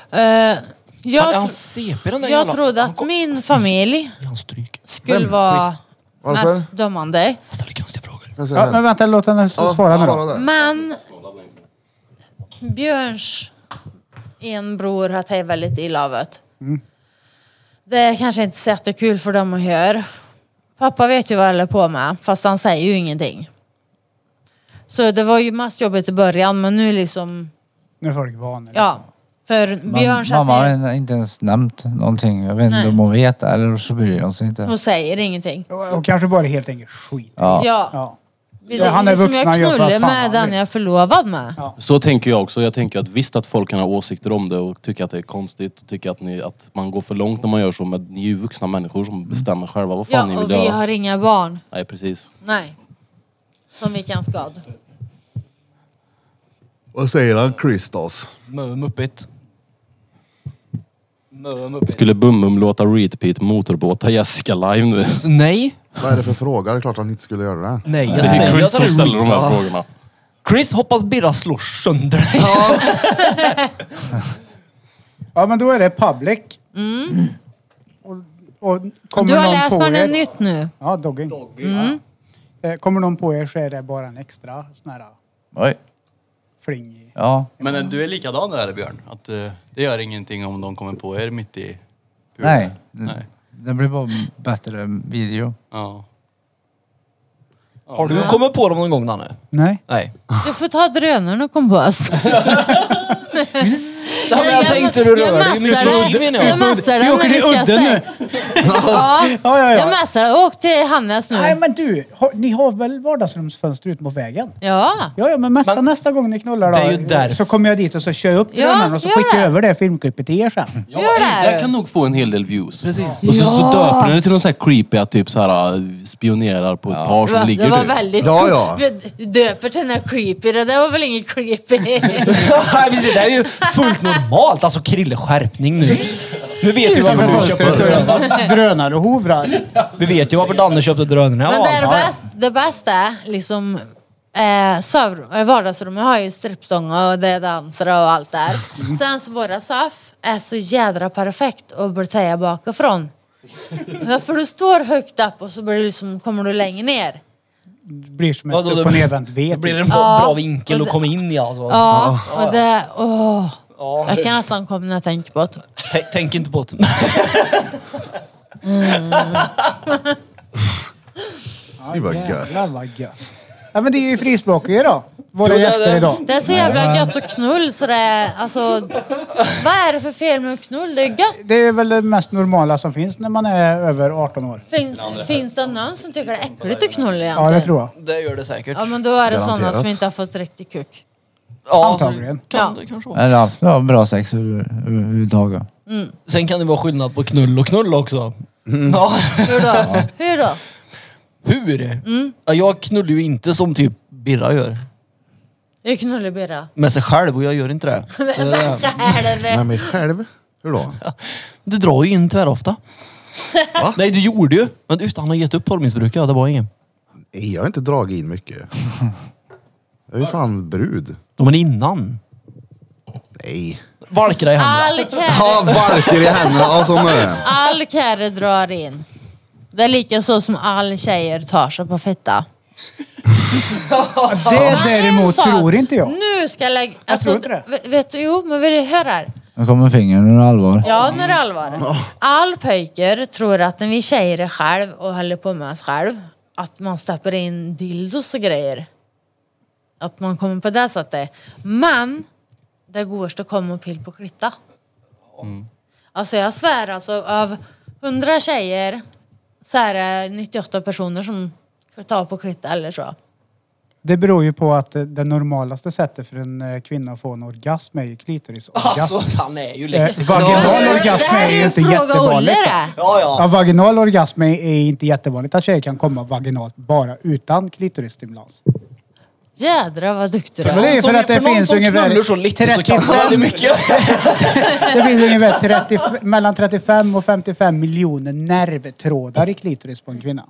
S5: Fan, är
S3: jag,
S5: han
S3: tro-
S5: CP den där
S3: jag
S5: jävla-
S3: trodde
S5: han
S3: att
S5: kom-
S3: min familj
S5: Ge han stryk.
S3: skulle
S1: Vem?
S3: vara
S5: Chris.
S1: Varför?
S3: mest dömande.
S5: Han ställer konstiga frågor.
S1: Jag säger
S2: Ja, men
S1: det.
S2: vänta, låt henne
S1: Ja,
S2: svara nu då.
S1: svara där.
S3: Men Björns en bror har tagit väldigt illa av det.
S5: Mm.
S3: Det är kanske inte så jättekul för dem att höra. Pappa vet ju vad jag håller på med, fast han säger ju ingenting. Så det var ju mest jobbigt i början, men nu liksom,
S2: Nu är folk vana.
S3: ja. För
S6: Man,
S3: Björn
S6: mamma
S3: satt ner
S6: har inte ens nämnt någonting. Jag vet
S3: Nej.
S6: inte om hon vet eller så bryr hon sig inte.
S3: och säger ingenting.
S2: Och, och kanske bara helt enkelt skit.
S6: Ja.
S3: Ja.
S2: Ja.
S3: Det
S2: Ja, han är
S3: är liksom
S2: vuxen,
S3: jag
S2: han gör för
S3: knullar
S2: fan han
S3: med den
S2: vill.
S3: jag är förlovad med.
S2: Ja.
S4: Så tänker jag också. Jag tänker att visst att folk kan ha åsikter om det och tycka att det är konstigt och tycka att, ni, att man går för långt när man gör så. Men ni är ju vuxna människor som bestämmer själva vad fan
S3: Mm. Ja,
S4: ni
S3: och
S4: vill
S3: vi
S4: göra.
S3: har inga barn.
S4: Nej precis.
S3: Nej. Som vi kan skada.
S1: Vad säger han? Christos.
S5: Mö muppigt. Mö muppigt.
S4: Skulle Bum-Bum låta Repeat motorbåta Jessica live nu?
S5: Nej.
S1: Vad är det för fråga? Det är klart han inte skulle göra det.
S5: Nej, jag
S4: Det är
S5: säger
S4: Chris
S5: att
S4: som
S5: han är
S4: ställer
S5: real.
S4: de här frågorna.
S5: Chris hoppas Birra slår sönder dig.
S2: Ja, men då är det public. Och, och kommer
S3: Mm. Du har
S2: någon
S3: lärt
S2: på
S3: mig
S2: er,
S3: något nytt Mm. nu.
S2: Ja, dogging. Eh, Kommer någon på er så är det bara en extra sån här uh,
S6: Oj.
S2: fling i.
S6: Ja.
S8: Men eh, du är likadan där Björn, att eh, det gör ingenting om de kommer på er mitt i...
S6: Nej.
S8: Nej.
S6: Det blir bara bättre video.
S8: Ja.
S5: Har du kommit på dem någon gång Nanne?
S2: Nej.
S5: Nej.
S3: Du får ta drönaren och kom på oss.
S5: Ja, men jag tänkte du rör dig mycket i udden menar
S3: Jag
S5: jag.
S3: mässar
S2: Vi
S3: den
S2: åker
S3: när vi
S2: till
S3: ska
S2: udden
S3: säga. Ja,
S2: Ja, ja,
S3: jag
S2: ja.
S3: mässar. Åk till Hannes
S2: Nej,
S3: nu.
S2: men du. Har, ni har väl vardagsrumsfönster ut mot vägen?
S3: Ja,
S2: Ja, ja, men mässa nästa gång ni knullar då.
S5: Det är ju därför-
S2: Så kommer jag dit och så kör jag upp
S3: Ja,
S2: drönaren och så
S3: gör
S2: skickar jag
S3: det.
S2: över det filmklippet till er sen.
S4: Ja,
S3: Gör det
S4: ey,
S3: här.
S4: det kan nog få en hel del views. Och så, så döper ni det till någon sån här creepy att typ så här äh, spionerar på ett par
S3: det
S4: som
S3: var,
S4: ligger
S3: det var
S4: typ.
S3: väldigt
S1: Ja, ja.
S3: coolt. Vi döper till den här creepy. Det där var väl inget creepy?
S5: Nej, precis, det här är ju fullt normalt. Alltså Krille, skärpning nu. Nu vet vi varför
S2: Utanför
S5: du köpte
S2: fönstret står
S5: drönare.
S2: det drönare och hovrar.
S5: Vi vet ju varför Danne köpte drönaren.
S3: Men
S5: Ja,
S3: det, är
S5: ja.
S3: bäst, det bästa är liksom eh, sovrum- eller vardagsrummet har ju strippstångar och det är dansare och allt där. Sen så våra soff är så jädra perfekt att börja bakifrån. Ja, För du står högt upp och så blir du liksom, kommer du längre ner.
S2: Blir som ett
S5: Vadå, det
S2: upp och
S5: blir-
S2: nervänt
S5: Det
S2: V.
S5: blir en
S3: Ja.
S5: bra vinkel att komma in i alltså.
S3: Ja, och det... Åh.
S5: Ja.
S3: Jag kan nästan komma när jag tänker på det.
S5: Tänk- Tänk inte på det.
S1: Det var
S2: Jävlar
S1: gött.
S2: vad gött. Ja men det är ju frispråkiga då. Våra
S5: Jo, det är
S2: gäster
S5: det.
S2: idag.
S3: Det är så jävla gött att knull så det är, alltså, vad är det för fel med att knull? Det är gött.
S2: Det är väl det mest normala som finns när man är över 18 år.
S3: Finns, finns det någon som tycker det är äckligt att knull egentligen?
S2: Ja det tror jag.
S5: Det gör det säkert.
S3: Ja men då är det sådana
S1: Garanterat.
S3: som inte har fått riktig kuck.
S5: Ja,
S2: Antagligen.
S5: Kan det kanske vara.
S6: Eller ja, ja, bra sex över- överhuvudtaget.
S5: Sen kan det vara skillnad på knull och knull också. Ja.
S3: Hur då? Hur då?
S5: Hur?
S3: Mm.
S5: Ja, jag knullar ju inte som typ Birra gör.
S3: Hur knullar Birra?
S5: Med sig själv och jag gör inte det.
S3: Det är så
S1: Med
S3: själv.
S1: mig själv? Hur då?
S5: Det drar ju in tvärofta.
S1: Va?
S5: Nej, du gjorde ju. Men utan han har gett upp porrmissbruket. Ja, det var ingen.
S1: Nej, Jag har inte dragit in mycket. Jag är ju fan brud.
S5: Ja, men innan.
S1: Nej.
S5: Valkra i händerna.
S3: All kärre,
S1: Ja, valkar i händerna. Ja, som är det.
S3: all kärre drar in. Det är lika så som all tjejer tar sig på fitta.
S2: Det
S3: Men
S2: däremot
S3: en sak,
S2: tror inte jag.
S3: Nu ska jag lägga... alltså,
S2: tror inte det.
S3: v- Vet du, jo men vill du höra här?
S6: Nu kommer fingern ur allvar.
S3: Ja, när det är allvar. All pojkar tror att när vi tjejer är själv och håller på med oss själv, att man stoppar in dildos och grejer. Att man kommer på det sättet. Men det går att komma och pill på klitta. Alltså jag svär alltså av 100 tjejer så är det 98 personer som tar på klitta eller så.
S2: Det beror ju på att eh, det normalaste sättet för en eh, kvinna att få en orgasm är ju klitorisorgasm.
S5: Alltså, han är ju
S2: Eh,
S5: liksom...
S2: Vaginal
S3: Men det
S2: orgasm är
S3: här är
S2: ju
S3: ju
S2: inte
S3: fråga Olle
S2: jättevanligt. va?
S3: det.
S5: Ja, ja.
S2: Ja, vaginal orgasm är är inte jättevanligt att tjejer kan komma vaginalt bara utan klitorisstimulans.
S3: Jädrar vad duktig du
S2: Men
S3: är.
S2: det är ju
S5: Som-
S2: för att det
S5: någon
S2: finns
S5: som knullar
S2: ungefär,
S5: så lite så kan
S2: 35
S5: man väldigt mycket.
S2: det finns ungefär 30, mellan 35 och 55 miljoner nervtrådar i klitoris på en kvinna.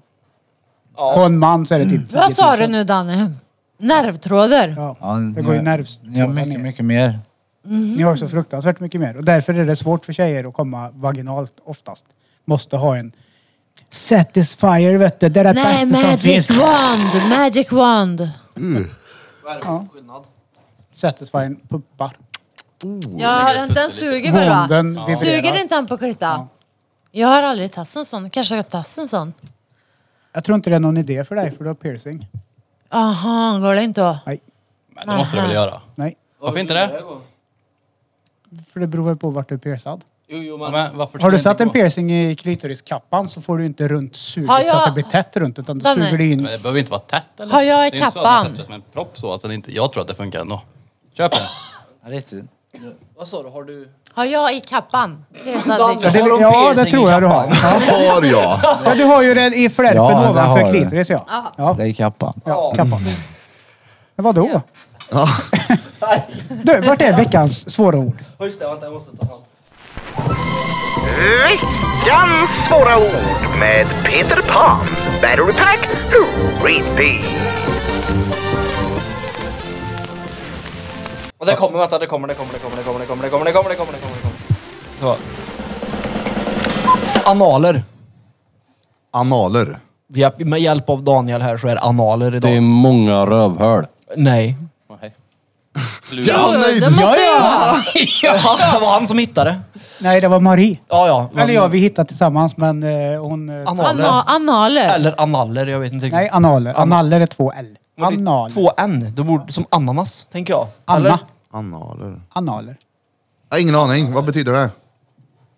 S2: På en man så är det typ 10 000.
S3: Mm. Vad sa du nu Danne? Nervtrådar?
S2: Ja,
S6: Ja,
S2: det går ju
S6: ni- Ni
S2: nervtrådar
S6: har
S2: ner.
S6: mycket, mycket mer.
S2: Ni har ju så fruktansvärt mycket mer. Och därför är det svårt för tjejer att komma vaginalt oftast. Måste ha en Satisfyer vet du, det är det
S3: Nej,
S2: bästa som finns.
S3: Magic Wand! Magic Wand!
S2: Satisfyern pumpar.
S3: Ja, den suger väl va?
S2: Bonden
S3: Suger
S2: vibrerar.
S3: inte han på klitta? Jag har aldrig testat en sån. Kanske ska testa en sån.
S2: Jag tror inte det är någon idé för dig för du har piercing.
S3: Aha, går det inte då?
S8: Men det måste du väl göra?
S2: Nej,
S8: Varför inte det?
S2: för det beror väl på vart du är piercad.
S8: Jo, jo, men, men varför
S2: Har du
S8: ska det
S2: satt en
S8: inte gå?
S2: piercing i klitoriskappan så får du inte runt suget
S3: Har jag-
S2: så att det blir tätt runt utan då
S3: Danne.
S2: suger du in.
S8: Men det behöver inte vara tätt eller?
S3: Har jag i
S8: Det är inte så att
S3: kappan?
S8: man sätter det som en propp så. Alltså, det är inte, jag tror att det funkar ändå. Köp den.
S6: Riktigt.
S5: Vad sa du? alltså, Har du...
S3: Har jag i kappan?
S2: Ja, det,
S5: Har de
S2: ja, det
S5: piercing i
S2: tror jag du har.
S1: Har jag.
S2: Ja, du har ju den i flärpen
S6: Ja, det har
S2: ovanför
S6: jag.
S2: klitoris ja. ja.
S6: Det är kappa.
S2: Ja, kappan. Men vadå? du, vart är veckans svåra ord?
S5: Ja, Just det, vänta jag måste ta hand.
S9: Veckans svåra ord med Peter Pan. Battery Pack Repeat.
S5: Och det kommer, vänta, det kommer, det kommer, det kommer, det kommer, det kommer, det kommer, det kommer, det kommer, det kommer, det kommer. Så. Analer.
S1: Analer.
S5: Ja, med hjälp av Daniel här så är det analer idag.
S4: Det är många rövhål.
S5: Nej.
S1: Ja, nej,
S3: det måste jag ha!
S5: Ja, det var han som hittade.
S2: Nej, det var Marie.
S5: Ja, ja. men-
S2: Eller ja, vi hittade tillsammans men eh, hon... eh,
S5: Analer.
S3: Ana- Analer.
S5: Eller analer, jag vet inte riktigt.
S2: Nej, analer. Analer är två L.
S5: Men det är
S2: Anal.
S5: Två N, det borde, som ananas, tänker jag. Eller?
S2: Anna.
S1: Analer.
S2: Analer.
S1: Jag har ingen aning. Vad betyder det?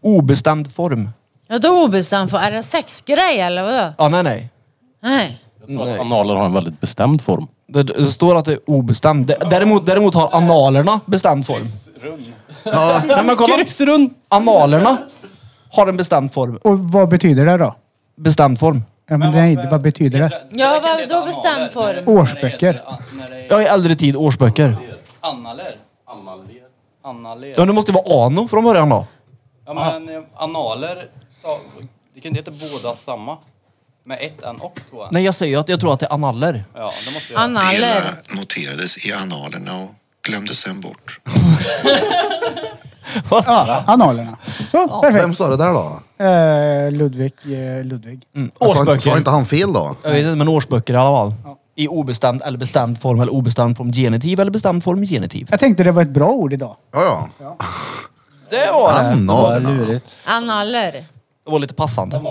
S5: Obestämd form.
S3: Ja, då obestämd för. Är det sexgrej eller vadå?
S5: Ja, nej, nej.
S3: Nej.
S4: Jag tror
S5: Nej.
S4: att analer har en väldigt bestämd form.
S5: Det, det står att det är obestämd. D- Däremot, däremot har analerna bestämd form. Nej, men kolla.
S4: Grisrund!
S5: Analerna har en bestämd form.
S2: Och vad betyder det då?
S5: Bestämd form.
S2: Ja, men nej, det- vad betyder det?
S3: Ja, vad, då bestämd form.
S2: Årsböcker.
S7: När det är
S5: Ja, i äldre tid årsböcker.
S7: analer. Analer.
S5: Ja, det måste ju vara ano från början då.
S7: Ja, men eh, analer, stav- det kan inte heta båda samma. Med ett N och två N.
S5: Nej, jag säger ju att jag tror att det är analer.
S7: Ja, det måste jag.
S3: Analer.
S10: Benen noterades i analerna och glömdes sen bort.
S2: Ja, analerna.
S1: Vem
S2: Så, perfekt.
S1: sa det där då?
S2: Eh, Ludvig, eh, Ludvig.
S1: Sa,
S5: Mm. Årsböcker.
S1: sa inte han fel då?
S5: Jag vet inte, men årsböcker i alla fall. I obestämd eller bestämd form eller obestämd form genitiv eller bestämd form genitiv.
S2: Jag tänkte det var ett bra ord idag.
S1: Ja, ja.
S5: Det var det.
S7: Mm,
S6: Det var
S1: Analerna.
S6: lurigt.
S3: Analer.
S5: Det var lite passande.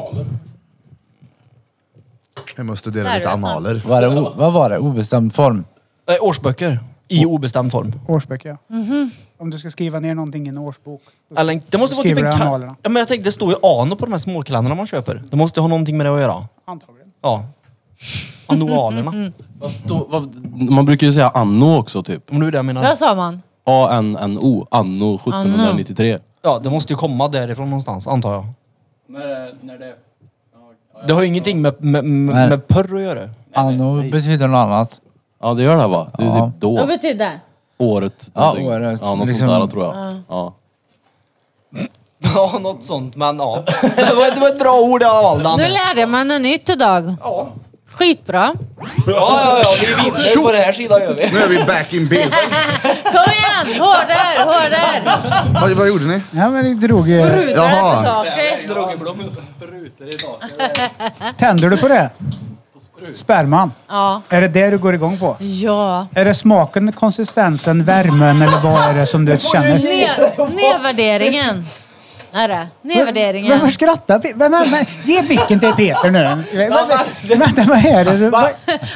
S1: hemma och studerade
S3: Där
S1: lite
S3: är det sant.
S1: analer.
S6: Var det, o- vad var det? Obestämd form?
S5: Eh, årsböcker. I obestämd form.
S2: Årsböcker ja.
S3: Mhm.
S2: Om du ska skriva ner någonting i en årsbok. då
S5: Eller, en- det måste vara typ
S2: skriver
S5: en
S2: du
S5: ka-
S2: analerna.
S5: ja, men jag tänkte, det står ju ano på de här småkalendrarna man köper. Det måste ju ha någonting med det att göra.
S2: Antagligen.
S5: Ja. Annualerna.
S4: Vad stå- vad- Man brukar ju säga anno också typ.
S5: Om du är det jag menar.
S3: Vad sa man?
S4: A-N-N-O. Anno 1793.
S5: Ja, det måste ju komma därifrån någonstans, antar jag.
S7: När, när det... Ja, ja,
S5: Det har ju ingenting med, med, med,
S6: Nej.
S5: med pörr att göra.
S6: Anno betyder något annat.
S4: Ja det gör det va? Det är
S6: Ja.
S4: typ då.
S3: Vad betyder det?
S4: Året.
S6: Ja,
S4: någonting.
S6: året.
S4: Ja, något
S6: Liksom-
S4: sånt där tror jag. Ja.
S5: Ja, något sånt, men ja. Det var, det var ett bra ord av Aldan.
S3: Nu lärde man något nytt idag.
S5: Ja.
S3: Skitbra.
S5: Ja, ja, ja, vi vinner på den här sidan gör vi.
S1: Nu är vi back in biz.
S3: Kom igen! Hårdare, hårdare!
S1: vad, vad gjorde ni?
S2: Ja men det drog eh, ju...
S3: Sprutar
S1: Jaha.
S3: på taket.
S7: Drogeblom sprutar i taket.
S2: Tänder du på det? Sperman.
S3: Ja.
S2: Är det det du går igång på?
S3: Ja.
S2: Är det smaken, konsistensen, värmen eller vad är det som du känner?
S3: Ned, nedvärderingen. Är det? Nedvärderingen.
S2: Varför skrattar Pe- vem, vem, vem, Ge micken till Peter nu. Vänta, vänta, vad är det du... vad-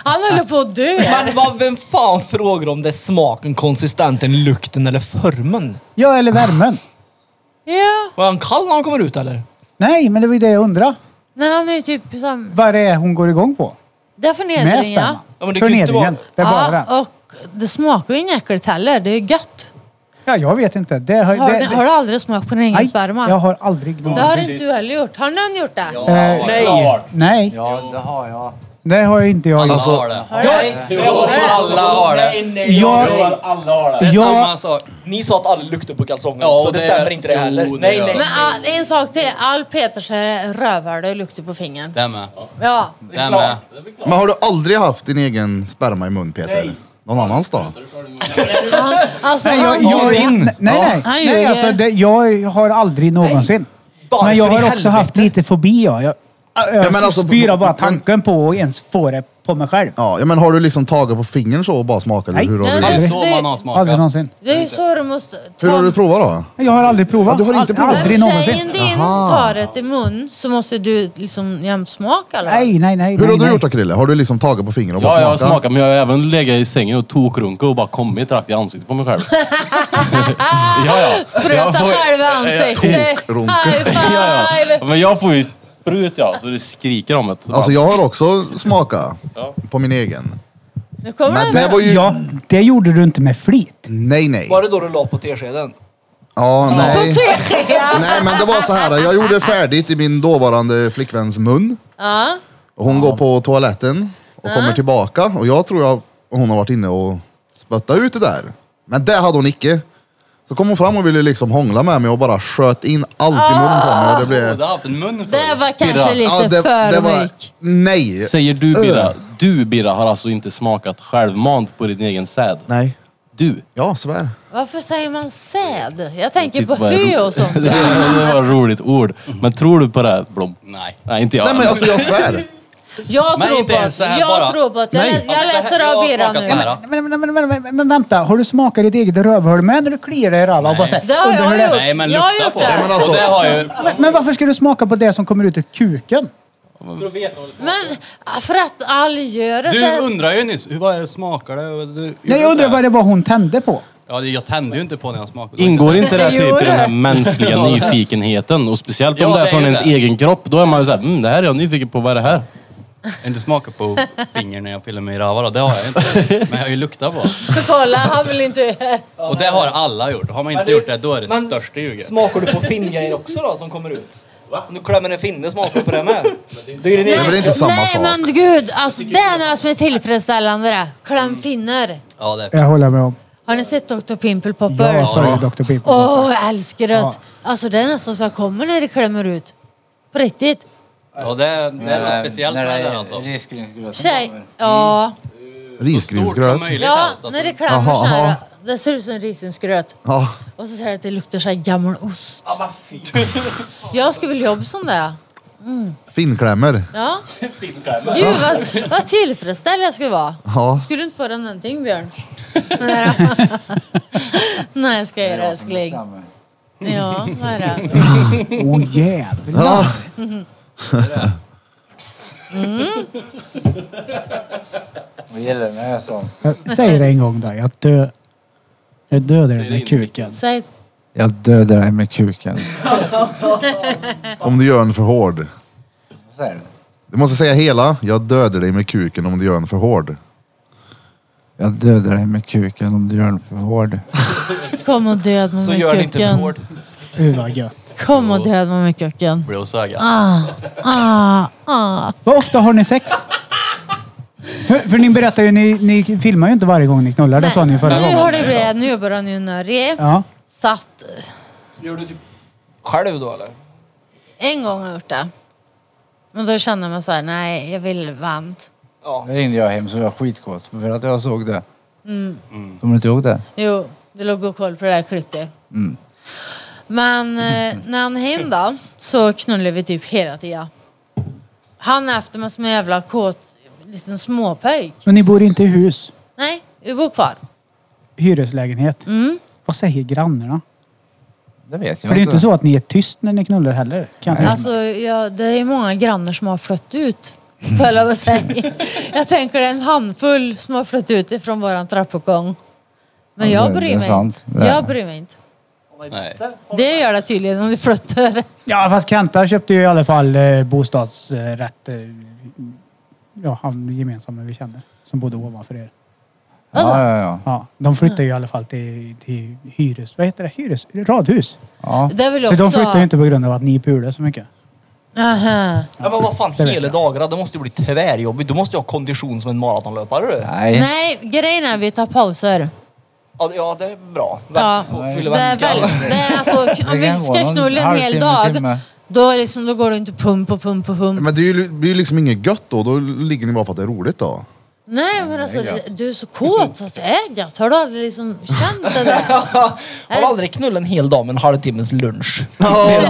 S3: Han höll på att dö.
S5: Men vad, vem fan frågar om det är smaken, konsistenten, lukten eller formen?
S2: Ja, eller värmen.
S3: Ja.
S5: Var han kall när han kommer ut eller?
S2: Nej, men det var ju det jag undrade.
S3: Nej, han är ju typ som...
S2: Vad det är hon går igång på.
S3: Det är
S2: Med
S3: förnedring,
S2: sperman.
S3: ja.
S5: Ja, men det kan ju inte
S2: Förnedringen.
S5: vara-
S2: Det är bara den.
S3: ja. Och det smakar ju inget äckligt heller. Det är ju gött.
S2: Ja, jag vet inte. Det, har-
S3: Har,
S2: det,
S3: ni-
S2: det,
S3: har du aldrig smakat på din egen
S2: nej,
S3: sperma?
S2: jag har aldrig
S3: Det
S2: gjort
S3: har inte du heller gjort. Har någon gjort det?
S2: det. Eh,
S5: Nej!
S2: nej,
S6: Ja, det har jag.
S2: det har jag inte jag gjort.
S1: Alltså,
S5: Nej! Du har alla har det. Nej, nej,
S2: Jag-
S5: du har alla har det.
S7: Det är
S2: Ja.
S7: samma sak.
S5: Ni sa att alla luktar på kalsonger,
S7: Ja,
S5: så det,
S7: det-
S5: stämmer inte det
S7: jo,
S5: heller.
S7: det
S5: nej,
S7: gör
S5: nej.
S3: Men ah, det är en sak till. All Peters är rövhål och luktar på fingern.
S7: Den med.
S3: Ja.
S7: Den med.
S1: men har du aldrig haft din egen sperma i mun Peter? Någon annans då?
S3: Alltså,
S2: Nej, jag,
S3: han-
S2: jag, nej, nej,
S3: Han
S2: nej,
S3: ljuger.
S2: alltså, det, jag har aldrig någonsin.
S5: Varför
S2: Men jag
S5: i
S2: har också
S5: helvete?
S2: haft lite fobi. Ja. Jag, jag,
S1: Ja, men alltså,
S2: spyr av bara
S1: men-
S2: tanken på att ens få det på mig själv.
S1: Ja, ja, men har du liksom tagit på fingern så och bara smakat?
S2: Nej.
S1: Eller hur har du,
S3: Nej,
S7: Det är
S2: Aldrig.
S7: så man har smakat.
S2: Aldrig någonsin.
S3: Det är ju så du måste...
S1: hur har du provat då?
S2: Jag har aldrig provat.
S1: Ja, du har inte provat.
S2: Aldrig
S3: Om
S2: någonsin.
S3: tjejen din tar det i mun så måste du liksom jämsmaka eller?
S2: Nej, nej, nej.
S1: Hur har
S2: nej,
S1: du
S2: nej.
S1: gjort då Krille? Har du liksom tagit på fingret och
S4: Ja, jag
S1: bara
S4: har
S1: smakat?
S4: smakat men jag har även legat i sängen och tokrunkat och bara kommit rakt i ansiktet på mig själv. ja, ja.
S3: Spröta
S4: Jag får-
S3: själv i ansiktet.
S1: Tokrunka.
S3: High
S4: Ja,
S3: five!
S4: ja. Men jag får ju sprut ja, så det skriker om det.
S1: Alltså jag har också smakat på min egen.
S3: Nu kommer
S1: Men
S3: den
S1: det
S3: med.
S1: var ju...
S2: Ja, det gjorde du inte med flit.
S1: Nej, nej.
S5: Var det då du la på teskeden?
S1: Ja, nej.
S3: Tortilla.
S1: Nej, men det var så här. Jag gjorde färdigt i min dåvarande flickväns mun.
S3: Ja.
S1: Och Hon går på toaletten och kommer tillbaka och jag tror jag, hon har varit inne och spöttat ut det där. Men det hade hon icke. Så kom hon fram och ville liksom hångla med mig och bara sköt in allt i munnen på mig. Och det blev...
S7: Du har haft en mun för
S3: Det var kanske
S4: Pirra.
S3: lite för mycket.
S1: Nej.
S4: Säger du
S1: Öh.
S4: Birra, du Birra har alltså inte smakat självmant på din egen säd?
S1: Nej.
S4: Du?
S1: Ja, svär.
S3: Varför säger man säd? Jag tänker på
S4: Titta vad jag-
S3: hö och sånt.
S4: det var ett roligt ord. Men tror du på det här, Blom?
S7: Nej.
S4: Nej, inte jag.
S1: Nej men alltså jag svär.
S3: Jag
S7: Men
S3: tror
S7: inte
S3: på
S7: ens så
S3: att...
S7: här
S3: Jag
S7: bara.
S3: tror på att... Jag,
S1: Nej.
S3: lä- jag
S7: Alltså, det här-
S3: läser
S7: jag
S3: av
S7: har
S3: Birra
S7: smakat
S3: nu.
S7: så här.
S2: Men, men, men, men, men vänta, har du smakat ditt eget rövhål med när du kliar dig i röva och bara säger,
S3: Det har
S2: "Undrar hur
S3: jag gjort.
S7: Nej men
S3: jag
S7: lukta
S3: har gjort
S7: på
S3: det.
S7: det.
S1: men alltså-
S7: Och det har ju...
S2: Men, men varför ska du smaka på det som kommer ut ur kuken?
S3: Men ah, för att all gör det.
S7: Du
S3: det-
S7: undrar ju nyss, hur vad är det smakar det? Och Du,
S2: Nej, jag undrar vad det var hon tände på.
S7: Ja, det- jag tände ju inte på när jag smakade.
S4: Ingår inte det
S3: Jo,
S4: typ i den
S3: det.
S4: här mänskliga nyfikenheten? Och speciellt om
S7: Ja,
S4: det är
S7: det är
S4: från
S7: ju
S4: ens
S7: det.
S4: egen kropp. Då är man ju såhär, mm, det här är jag nyfiken på, vad är det här?
S7: Inte smaka på fingern när jag pillar mig i rövar då, det har jag inte. Men jag har ju luktat på.
S3: För kolla, han vill inte göra.
S7: Och det har alla gjort. Har man
S5: Men
S7: inte
S5: du-
S7: gjort det, då är det
S5: men
S7: största ljuget.
S5: Smakar du på finngrejer också då som kommer ut? Va? Om du klämmer en finne, smakar du på det med? Det är ju
S1: är
S5: din
S1: väl
S5: egen.
S1: inte samma
S3: Nej
S1: sak?
S3: men gud, alltså det är något som är tillfredsställande det. Kläm finnar.
S7: Ja, det är
S2: Jag håller med om.
S3: Har ni sett Dr. Pimple Popper?
S2: Jag sa ju Dr. Pimple.
S3: Åh, jag älskar det.
S2: Ja.
S3: Alltså det är nästan så jag kommer när det klämmer ut. På riktigt.
S7: Ja, det, är- det är något speciellt med det där alltså.
S3: Tjej.
S6: Risgrynsgröten kommer.
S3: Ja.
S7: Stort som
S1: Risgrynsgröt.
S7: möjligt
S3: ja,
S7: helst
S3: när
S7: alltså.
S3: det klämmer
S1: Jaha,
S3: så
S1: jaha.
S3: här. Det ser ut som risgrynsgröt.
S1: Ja.
S3: Och så säger jag att det luktar så här gammal ost. Jag skulle vilja jobba som det.
S1: Finklämmer.
S3: Ja. Gud vad, vad tillfredsställd jag skulle vara.
S1: Ja.
S3: Skulle du inte få den någonting Björn? Nej jag skojar älskling. Ja, vad är det?
S2: Åh jävlar.
S6: Vad gäller den här som?
S2: Jag säger det en gång då. Jag, dö, jag dödar den med kuken.
S3: Säg
S6: Jag dödar dig med kuken.
S1: Om du gör en för hård.
S6: Vad säger du?
S1: Du måste säga hela. Jag dödar dig med kuken om du gör en för hård.
S6: Jag dödar dig med kuken om du gör den för hård.
S3: kom och död mig
S7: Så
S3: med
S7: gör det inte för
S3: kuken.
S7: hårt.
S2: Gud vad gött.
S3: Kom och död mig med kuken.
S8: Blåsöga.
S3: Ah, ah.
S2: Vad ofta har ni sex? För, för ni berättar ju, ni, ni filmar ju inte varje gång ni knullar. Det sa ni ju förra
S3: nu har
S2: gången.
S3: det blivit, nu börjar ni nördig.
S2: Ja.
S3: Så att
S5: Gör du typ själv då eller?
S3: en gång har jag gjort det. Men då känner man så här, nej jag vill vant.
S5: Ja.
S6: Då ringde jag hem så var jag skitkåt för att jag såg det.
S7: Mm.
S6: Kommer du inte ihåg det?
S3: Jo, du låg och koll på det där klippet.
S6: Mm.
S3: Men eh, när han hem då så knullade vi typ hela tiden. Han är efter mig som en jävla kåt liten småpöjk.
S2: Men ni bor inte i hus,
S3: Nej, vi bor kvar.
S2: hyreslägenhet.
S3: Mm.
S2: Vad säger grannarna?
S6: Det vet jag
S2: För det är ju inte så att ni är tyst när ni knullar heller. Kan jag
S3: Alltså, ja, det är många grannar som har flyttat ut. Höll jag på att säga. Jag tänker det är en handfull som har flyttat ut ifrån våran trappuppgång. Men
S6: Ja,
S3: jag
S6: det- det
S3: bryr
S6: är
S3: mig
S6: sant.
S3: inte.
S6: Det är-
S3: Jag bryr mig inte.
S8: Nej.
S3: Det gör det tydligen om du flyttar.
S2: Ja, fast Kenta köpte ju i alla fall eh, bostadsrätter. Ja, han gemensamma vi känner. Som bodde ovanför er.
S6: Ja, ja, ja.
S2: Ja, de flyttade ju i alla fall till, till hyres... Vad heter det? Hyres? Radhus.
S6: ja.
S3: Det vill jag
S2: Så
S3: också
S2: de flyttade
S3: ha.
S2: ju inte på grund av att ni pulade så mycket.
S3: Aha.
S5: Ja, men vad fan,
S2: det vet
S5: hela
S2: jag.
S5: dagarna, det måste ju bli tvärjobbigt. Du måste ju ha kondition som en maratonlöpare du.
S6: Nej.
S3: Nej, grejen är att vi tar pauser.
S5: Ja, det- Ja, det är bra.
S3: Ja.
S5: Vä- få-
S3: Det
S5: Fylla
S3: är väl,
S5: vätskan.
S3: det är alltså, om
S6: Det
S3: vi
S6: kan gå
S3: ska
S6: någon
S3: knulla en hel
S6: halvtimme,
S3: dag,
S6: timme.
S3: då, är liksom, då går det inte pump och pump och pump.
S1: Men det är ju det är ju liksom inget gött då. Då ligger ni bara för att det är roligt då.
S3: Nej men alltså, du är så kåt så att det är gött. Har du aldrig liksom känt det där?
S5: Har du aldrig knullat en hel dag med en halvtimmes lunch.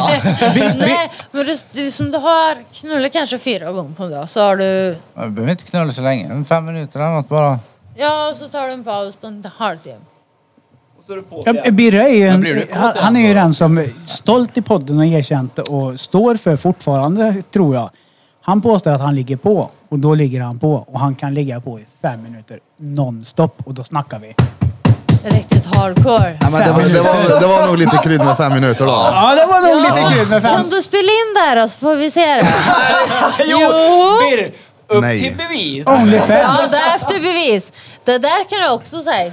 S3: Nej, men det, det är som du har knullat kanske fyra gånger på en dag så har du...
S6: Jag behöver inte knulla så länge. En Fem minuter eller något bara.
S3: Ja, och så tar du en paus på en halvtimme.
S5: Och så är du på
S2: Ja, Birre Eh, är ju en,
S8: blir du kåt
S2: han, han är ju den som är stolt i podden och erkänt det och står för fortfarande, tror jag. Han påstår att han ligger på och då ligger han på och han kan ligga på i fem minuter nonstop och då snackar vi.
S3: Riktigt hardcore.
S1: Nej, men det, var, det, var, det var nog lite krydd med fem minuter då.
S2: Ja, det var nog lite kul med fem.
S3: Kan du spela in där då så får vi se det?
S5: Jo!
S3: Jo.
S5: Birr! Upp
S1: Nej.
S5: till bevis!
S2: Onlyfans.
S3: Ja, det är efter bevis. Det där kan jag också säga.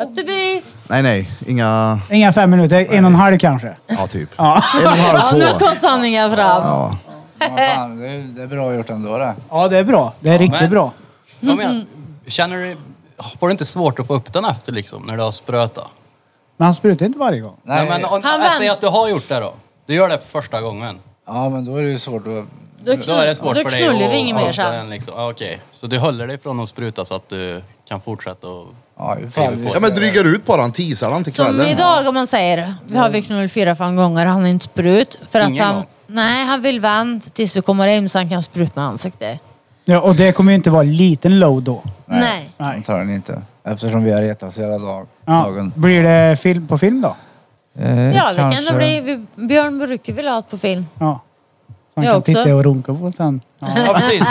S3: Upp till bevis.
S1: Nej, nej. Inga...
S2: Inga fem minuter, en och en halv kanske.
S1: Ja, typ. En och en halv,
S3: Ja,
S1: två.
S3: nu kom sanningen fram.
S1: Ja.
S6: Ja, fan, det, är, det är bra gjort ändå det.
S2: Ja, det är bra. Det är riktigt
S8: men-
S2: bra.
S8: Jag menar, känner du... Får du inte svårt att få upp den efter liksom, när du har sprötat?
S2: Men han sprutar inte varje gång.
S8: Nej, men om,
S3: Han
S8: jag
S3: vann.
S8: säger att du har gjort det då. Du gör det på första gången.
S6: Ja, men då är det ju svårt att...
S3: Då,
S8: Då är det svårt
S3: då
S8: för dig
S3: knullar vi inget mer
S8: hålla
S3: sen.
S8: den Liksom. Ah, Okej, så du håller dig från att spruta så att du kan fortsätta och...
S6: Ja, hur fan, vi-
S1: ja, men drygar ut bara. Han teasar han till
S3: Som
S1: kvällen.
S3: idag om man säger, vi har vi knull fyra, fem gånger, han är inte sprut. För att
S8: Ingen
S3: han,
S8: gång.
S3: nej, han vill vänta tills vi kommer hem så han kan spruta med ansiktet.
S2: Ja, och det kommer ju inte vara liten low då.
S3: Nej.
S6: Antagligen inte. Eftersom vi har retats hela dag,
S2: Ja.
S6: dagen.
S2: Blir det film på film då?
S6: Eh,
S3: Ja, det kan
S6: kanske.
S3: det bli. Vi- Björn Brücke vill ha det på film.
S2: Ja. Man
S3: Jag
S2: kan
S3: också.
S2: titta och runka på sen. Ja.
S5: Ja, precis.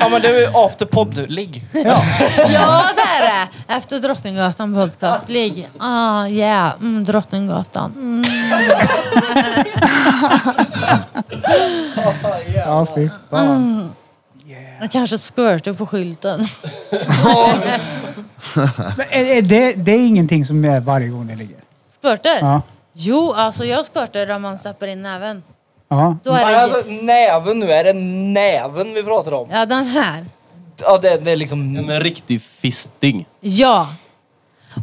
S5: Ja, men det är ju afterpod-ligg.
S3: Ja, det är det! Efter Drottninggatan podcast. Ligg. Ah, yeah. Mm, Drottninggatan. Mm.
S2: Ja, fy fan.
S3: Jag kanske squirtar på skylten.
S2: Men är, är det, det är ingenting som är varje gång det ligger?
S3: Squirtar?
S2: Ja.
S3: Jo, alltså jag squirtar om man släpper in näven.
S2: Ja.
S3: Då är
S5: Nej,
S3: det...
S5: alltså, näven nu, är det näven vi pratar om?
S3: Ja, den här.
S5: Ja, det, det är liksom...
S4: En riktig fisting.
S3: Ja.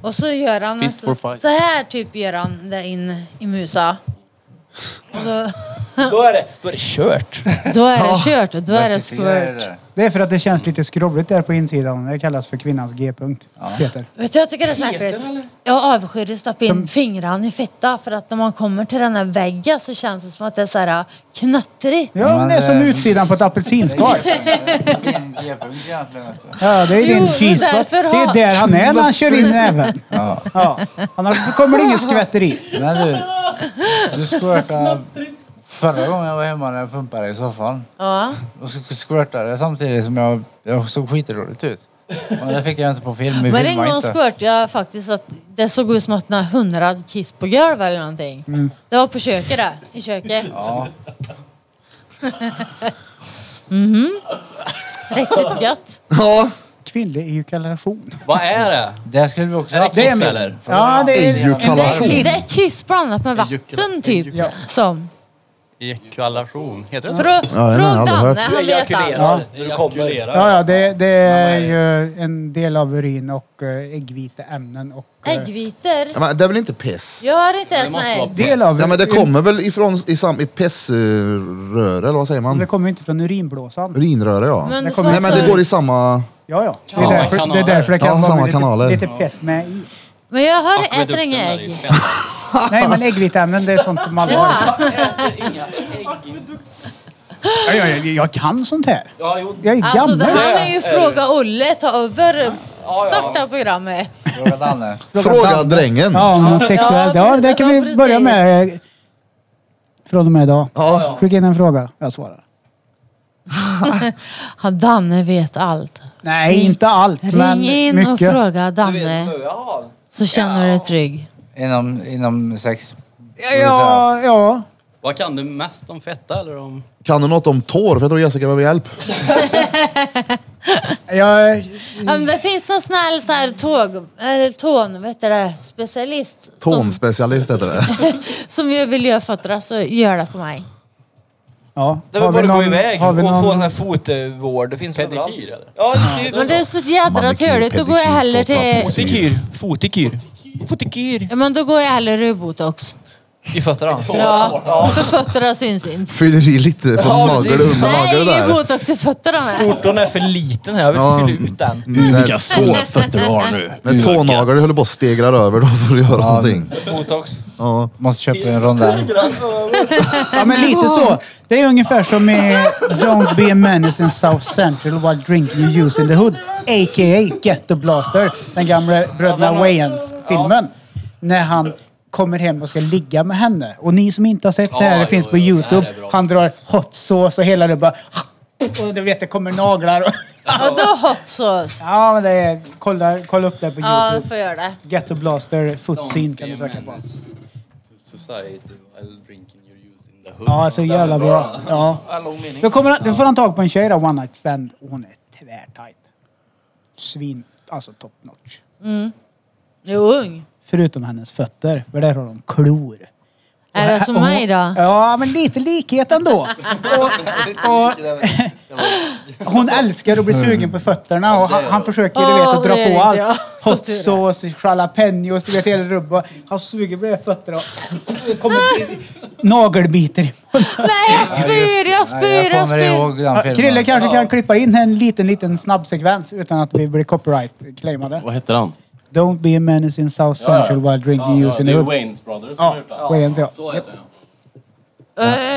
S3: Och så gör han
S4: Fist
S3: alltså-
S4: for fight.
S3: så här typ gör han där in i musa. Och då,
S5: Då är det, då är det kört.
S3: då är det kört och då är det
S6: Precis, är
S3: squirt.
S6: det.
S2: Det är för att det känns lite skrovligt där på insidan. Det kallas för kvinnans G-punkt. Peter.
S3: Vet du, jag tycker det är säkert. Jag avskyr att stoppa in fingrarna i fitta för att när man kommer till den här väggen så känns det som att det är så här äh, knattrigt.
S2: Ja, men det är som utsidan på ett apelsinskal.
S6: Det är en G-punkt egentligen. vet du.
S2: Ja, det är
S3: Jo,
S2: din
S3: men
S2: kylskåp. Det
S3: därför har-
S2: är där han är när han kör in näven.
S6: Ja.
S2: Ja. Annars kommer det inget skvätteri.
S6: Men du, du squirtade Förra gången jag var hemma när jag pumpade i soffan.
S3: Ja.
S6: Och så squirtade jag samtidigt som jag, jag såg skitroligt ut. Men det fick jag inte på film. Vi
S3: Men en
S6: filmade
S3: gång
S6: inte.
S3: squirtade jag faktiskt att det såg ut som att den hundrad kiss på golvet eller någonting. Det var på köket där, i köket.
S6: Ja.
S3: Mhm. Riktigt gött.
S1: Ja.
S2: Kvinnlig ejakulation.
S8: Vad är det?
S6: Det skulle vi också
S8: Är det
S6: haft.
S8: kiss
S6: är min-
S8: eller?
S2: Ja, det är...
S3: Det är, det är kiss blandat med vatten typ. Som.
S8: Ejakulation. Heter det så?
S3: Frå,
S1: har jag
S3: fråg
S1: aldrig
S3: Danne,
S1: hört.
S3: han vet allt.
S2: Ja.
S8: När du kommer.
S2: Ja, ja, det, det är ju en del av urin och eh, äggviteämnen och... eh,
S3: Äggvitor.
S1: Ja, men det är väl inte piss?
S3: Jag har inte
S8: Det
S3: ätit
S8: måste
S3: några
S8: vara
S3: ägg.
S2: Del av
S1: Ja, men det kommer väl ifrån i, sam, i pissröre, eller vad säger
S2: Det
S1: man?
S2: kommer inte från urinblåsan.
S1: Urinröre, ja.
S3: Men,
S2: Det
S3: så-
S2: kommer-
S1: Nej, men det går i samma...
S2: Ja, ja. Det är
S8: Samma
S2: därför det, är
S8: kanaler.
S2: därför det kan
S1: Ja, samma
S2: vara lite,
S1: kanaler.
S2: lite pest med i.
S3: men jag har äter
S8: Akvedukten
S3: inga
S8: där i
S3: ägg.
S8: fett.
S2: Nej, men äggviteämnen det är sånt som man har.
S3: Ja.
S2: Ja, jag, jag, jag kan sånt här.
S5: Ja, jo.
S2: Jag är
S3: Alltså det
S2: gammal.
S3: här är ju Fråga Olle, ta över. Starta programmet.
S6: Fråga Danne.
S1: Fråga drängen.
S2: Ja, om någon sexuell.
S3: Ja,
S2: Ja, det kan vi
S3: precis.
S2: börja med eh, från och med idag.
S1: Ja.
S2: Skicka in en fråga. Jag svarar.
S3: Han Danne vet allt.
S2: Nej, inte allt, men
S3: Ring in och
S2: mycket.
S3: fråga
S5: Du vet
S3: Danne
S5: vad jag har.
S3: så känner du dig trygg.
S6: Inom, inom sex.
S2: Ja, ja, ja.
S8: Vad kan du mest om fetta eller om...
S1: Kan du något om tår? För jag tror Jessica behöver hjälp.
S2: Jag,
S3: Ja, men det finns en snäll så här tåg, eller ton, vet du det, specialist som,
S1: Tonspecialist heter det.
S3: som ju vill göra fötter så gör det på mig.
S2: ja.
S5: Det var
S2: Har
S5: bara
S2: vi
S5: att gå
S2: någon-
S5: iväg
S2: har
S5: och
S2: vi
S5: få
S2: någon-
S5: den här fotvård. Det finns
S8: Pedikyr eller?
S5: Ja, det
S3: Men det är så jädra
S1: Mannekäng,
S3: töligt. Då går jag
S1: pedikyr,
S3: hellre till...
S5: Fotikyr. Fotikyr. Fotikyr.
S3: Ja, men då går jag hellre i botox.
S5: I fötterna.
S3: Ja, för fötterna syns inte.
S1: Fyller i lite från
S5: Ja,
S1: magel
S5: precis.
S1: under
S3: Nej,
S1: magel
S3: ingen
S1: där.
S3: botox i fötterna. nej.
S5: Skjortan är för liten här. Jag vill
S1: Ja.
S5: fylla ut den.
S4: Vilka sårfötter du har nu.
S1: Mm. När tånageln höll på att stegrar över då får du göra någonting.
S5: Botox.
S1: Ja.
S6: Måste köpa en rondell.
S2: Ja, men lite så. Det är ungefär som i Don't be a menace in South Central while drinking and using the hood. A.k.a. Ghetto Blaster. Den gamla Bröderna Wayans-filmen. När han kommer hem och ska ligga med henne. Och ni som inte har sett det här, det
S8: Ja,
S2: finns
S8: jo,
S2: på
S8: jo, det här
S2: Youtube.
S8: är bra.
S2: Han drar hot sauce och hela det bara... Och du vet, det kommer naglar och...
S3: Ja, då hot sauce.
S2: Ja, men det är... Kolla, kolla upp det på
S3: Ja, då
S2: Youtube.
S3: får jag göra det.
S2: Ghetto Blaster footsin kan du
S8: Don't
S2: söka
S8: be
S2: på.
S8: a menace to Society while drinking your youth in the hood.
S2: Ja, så jävla bra. Ja. Då, kommer han, då får han tag på en tjej där, one night stand. Och Hon är tvärtajt. Svin, alltså top notch.
S3: Jag är ung.
S2: Förutom hennes fötter, för där har de klor. Och
S3: Är det
S2: här-
S3: som
S2: och hon-
S3: mig då?
S2: Ja, men lite likhet ändå. och, och, hon älskar att bli sugen på fötterna och han, han försöker du vet,
S3: Åh,
S2: att dra
S3: det är
S2: på
S3: inte jag.
S2: allt.
S3: Så
S2: Hot
S3: tur är.
S2: sauce, jalapenos, du vet hela rubben. Han suger på deras fötter och det kommer nagelbitar i munnen.
S3: Nej, jag spyr, jag
S6: Nej,
S3: spyr,
S6: jag
S3: jag
S6: kommer ihåg
S3: spyr.
S6: den filmen.
S2: Krille kanske kan klippa in en liten, liten snabb sekvens utan att vi blir copyright-claimade.
S4: Vad heter han?
S2: Don't be a menace in South
S4: Ja, ja.
S2: Central while drinking
S4: Ja, ja,
S2: using
S4: det
S2: the
S4: är
S2: hood.
S4: Waynes Brothers
S2: Ja,
S4: som
S2: ja. Wayans, ja.
S8: Så heter den.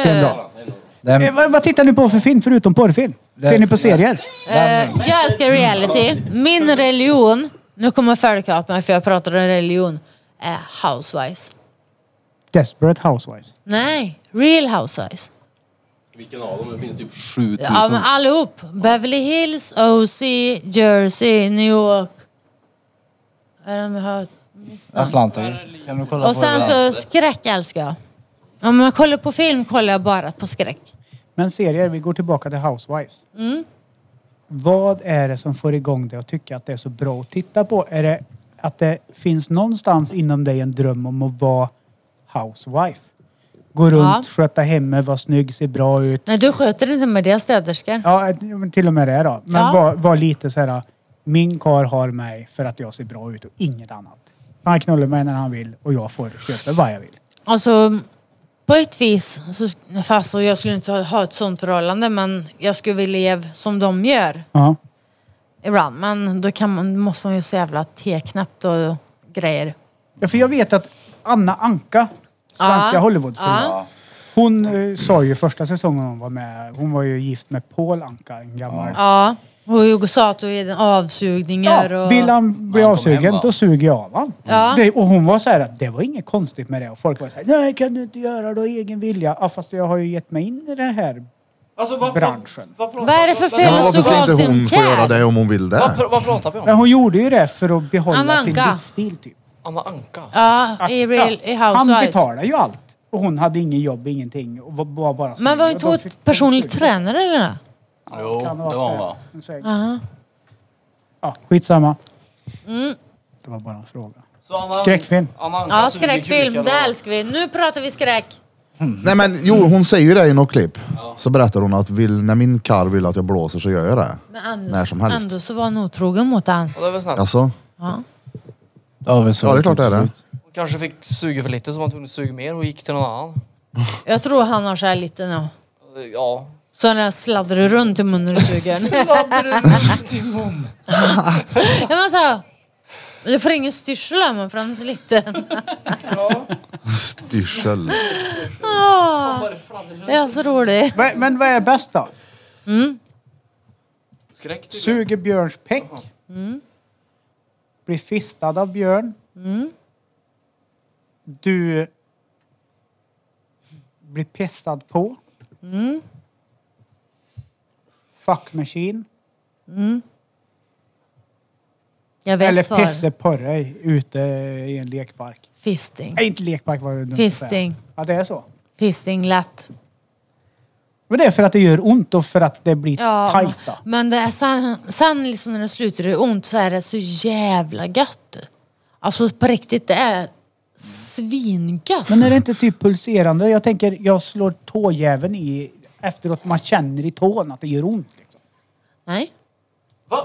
S2: Stenbra. Eh,
S6: Den,
S2: vad, vad tittar ni på för film förutom porrfilm? Ser ni på serier?
S3: Eh, jag älskar reality. Min religion, nu kommer folk upp mig för jag pratar om religion, är housewives.
S2: Desperate Housewives.
S3: Nej, real housewives.
S4: Vilken av dem? Det finns typ 7000.
S3: Ja, men allihop. Beverly Hills, OC, Jersey, New York. Är det med hört?
S6: Atlantic. Kan du kolla
S3: Och
S6: på
S3: sen
S6: den?
S3: så skräck älskar jag. Om jag kollar på film kollar jag bara på skräck.
S2: Men serier, vi går tillbaka till Housewives.
S3: Mm.
S2: Vad är det som får igång dig att tycka att det är så bra att titta på? Är det att det finns någonstans inom dig en dröm om att vara housewife? Gå runt,
S3: Ja.
S2: sköta hemmet, vara snygg, se bra ut.
S3: Nej, du sköter inte med det städerskor.
S2: Ja, men till och med det då. Men
S3: Ja.
S2: var, var lite så här. Min kar har mig för att jag ser bra ut och inget annat. Han knullar mig när han vill och jag får köpa vad jag vill.
S3: Alltså, på ett vis, så, fast jag skulle inte ha- ha ett sånt förhållande, men jag skulle vilja leva som de gör
S2: Ja.
S3: ibland. Men då kan man, måste man ju så jävla teknäppt och grejer.
S2: ja för jag vet att Anna Anka, svenska
S3: Ja.
S2: Hollywoodfilm,
S3: Ja.
S2: hon eh, sa ju första säsongen hon var med, hon var ju gift med Paul Anka, en gammal.
S3: Ja, Och Jugosato är den avsugningar
S2: Ja,
S3: och...
S2: vill han bli
S8: han kom
S2: avsugen,
S8: hem, va?
S2: då suger jag av han.
S3: Ja.
S2: Det, och hon var så här att det var inget konstigt med det. Och folk var så här, nej kan du inte göra det av egen vilja? Ja, fast jag har ju gett mig in i den här.
S5: Alltså, vad-
S2: Branschen.
S5: Vad, vad,
S3: Vad är det för
S1: Ja,
S3: fel
S1: men
S3: att
S1: varför
S3: suga
S1: ska
S3: av
S1: inte
S3: sin
S1: hon få göra
S3: kär?
S1: det om hon vill
S5: vad,
S1: det?
S5: pr- vad pratar vi om?
S2: Men hon gjorde ju det för att behålla sin
S3: Amanka.
S2: livsstil typ.
S5: Anna Anka?
S3: Ja,
S2: Att-
S3: i, real, i
S2: ja, Han
S3: Housewives.
S2: betalar ju allt. Och hon hade ingen jobb, ingenting. Och var- var bara
S3: Men var inte hon personlig tränare eller? nåt?
S7: Jo, det var hon va?
S2: va?
S3: Aha.
S2: Ja, skitsamma. Det var bara en fråga.
S5: Så Anna-
S2: Skräckfilm.
S5: Anna Anka
S3: Ja,
S5: suger
S3: skräckfilm.
S5: kukar och-
S3: Det älskar vi. Nu pratar vi skräck.
S1: Nej men jo, hon säger ju det i något klipp. Så berättar hon att vill, när min karl vill att jag blåser så gör jag det.
S3: Men Anders,
S1: När som helst.
S3: Anders så var han otrogen mot han.
S5: Ja, Det är väl snällt.
S1: Alltså,
S3: Ja.
S6: Ja, men så
S1: ja det är klart det är det.
S5: Hon kanske fick suga för lite så man var tvungen att suga mer och gick till någon annan.
S3: Jag tror han har så här lite nu.
S5: Ja.
S3: Så den här sladdrar runt i munnen och suger.
S5: Timon.
S3: Jag men så här, jag får ingen styrsel här men för han är så liten.
S1: Styrsel.
S3: Ah, det är så roligt.
S2: Va- Men vad är bäst då?
S5: Skräck tycker jag.
S2: Suger björns peck. Blir fistad av björn. Du blir pissad på. Fuck machine.
S3: Jag
S2: Eller
S3: vet
S2: pisse
S3: svar.
S2: på dig ute i en lekpark.
S3: Fisting.
S2: Nej, inte lekpark var det dumt att säga.
S3: Fisting.
S2: Ja, det är så.
S3: Fisting lätt.
S2: Men det är för att det gör ont och för att det blir
S3: Ja,
S2: tajta.
S3: men det är sen, sen liksom när det slutar det ont så är det så jävla gött. Alltså på riktigt, det är svingött.
S2: Men är det inte typ pulserande? Jag tänker, jag slår tåjäveln i efteråt. Man känner i tån att det gör ont. Liksom.
S3: Nej?
S5: Va?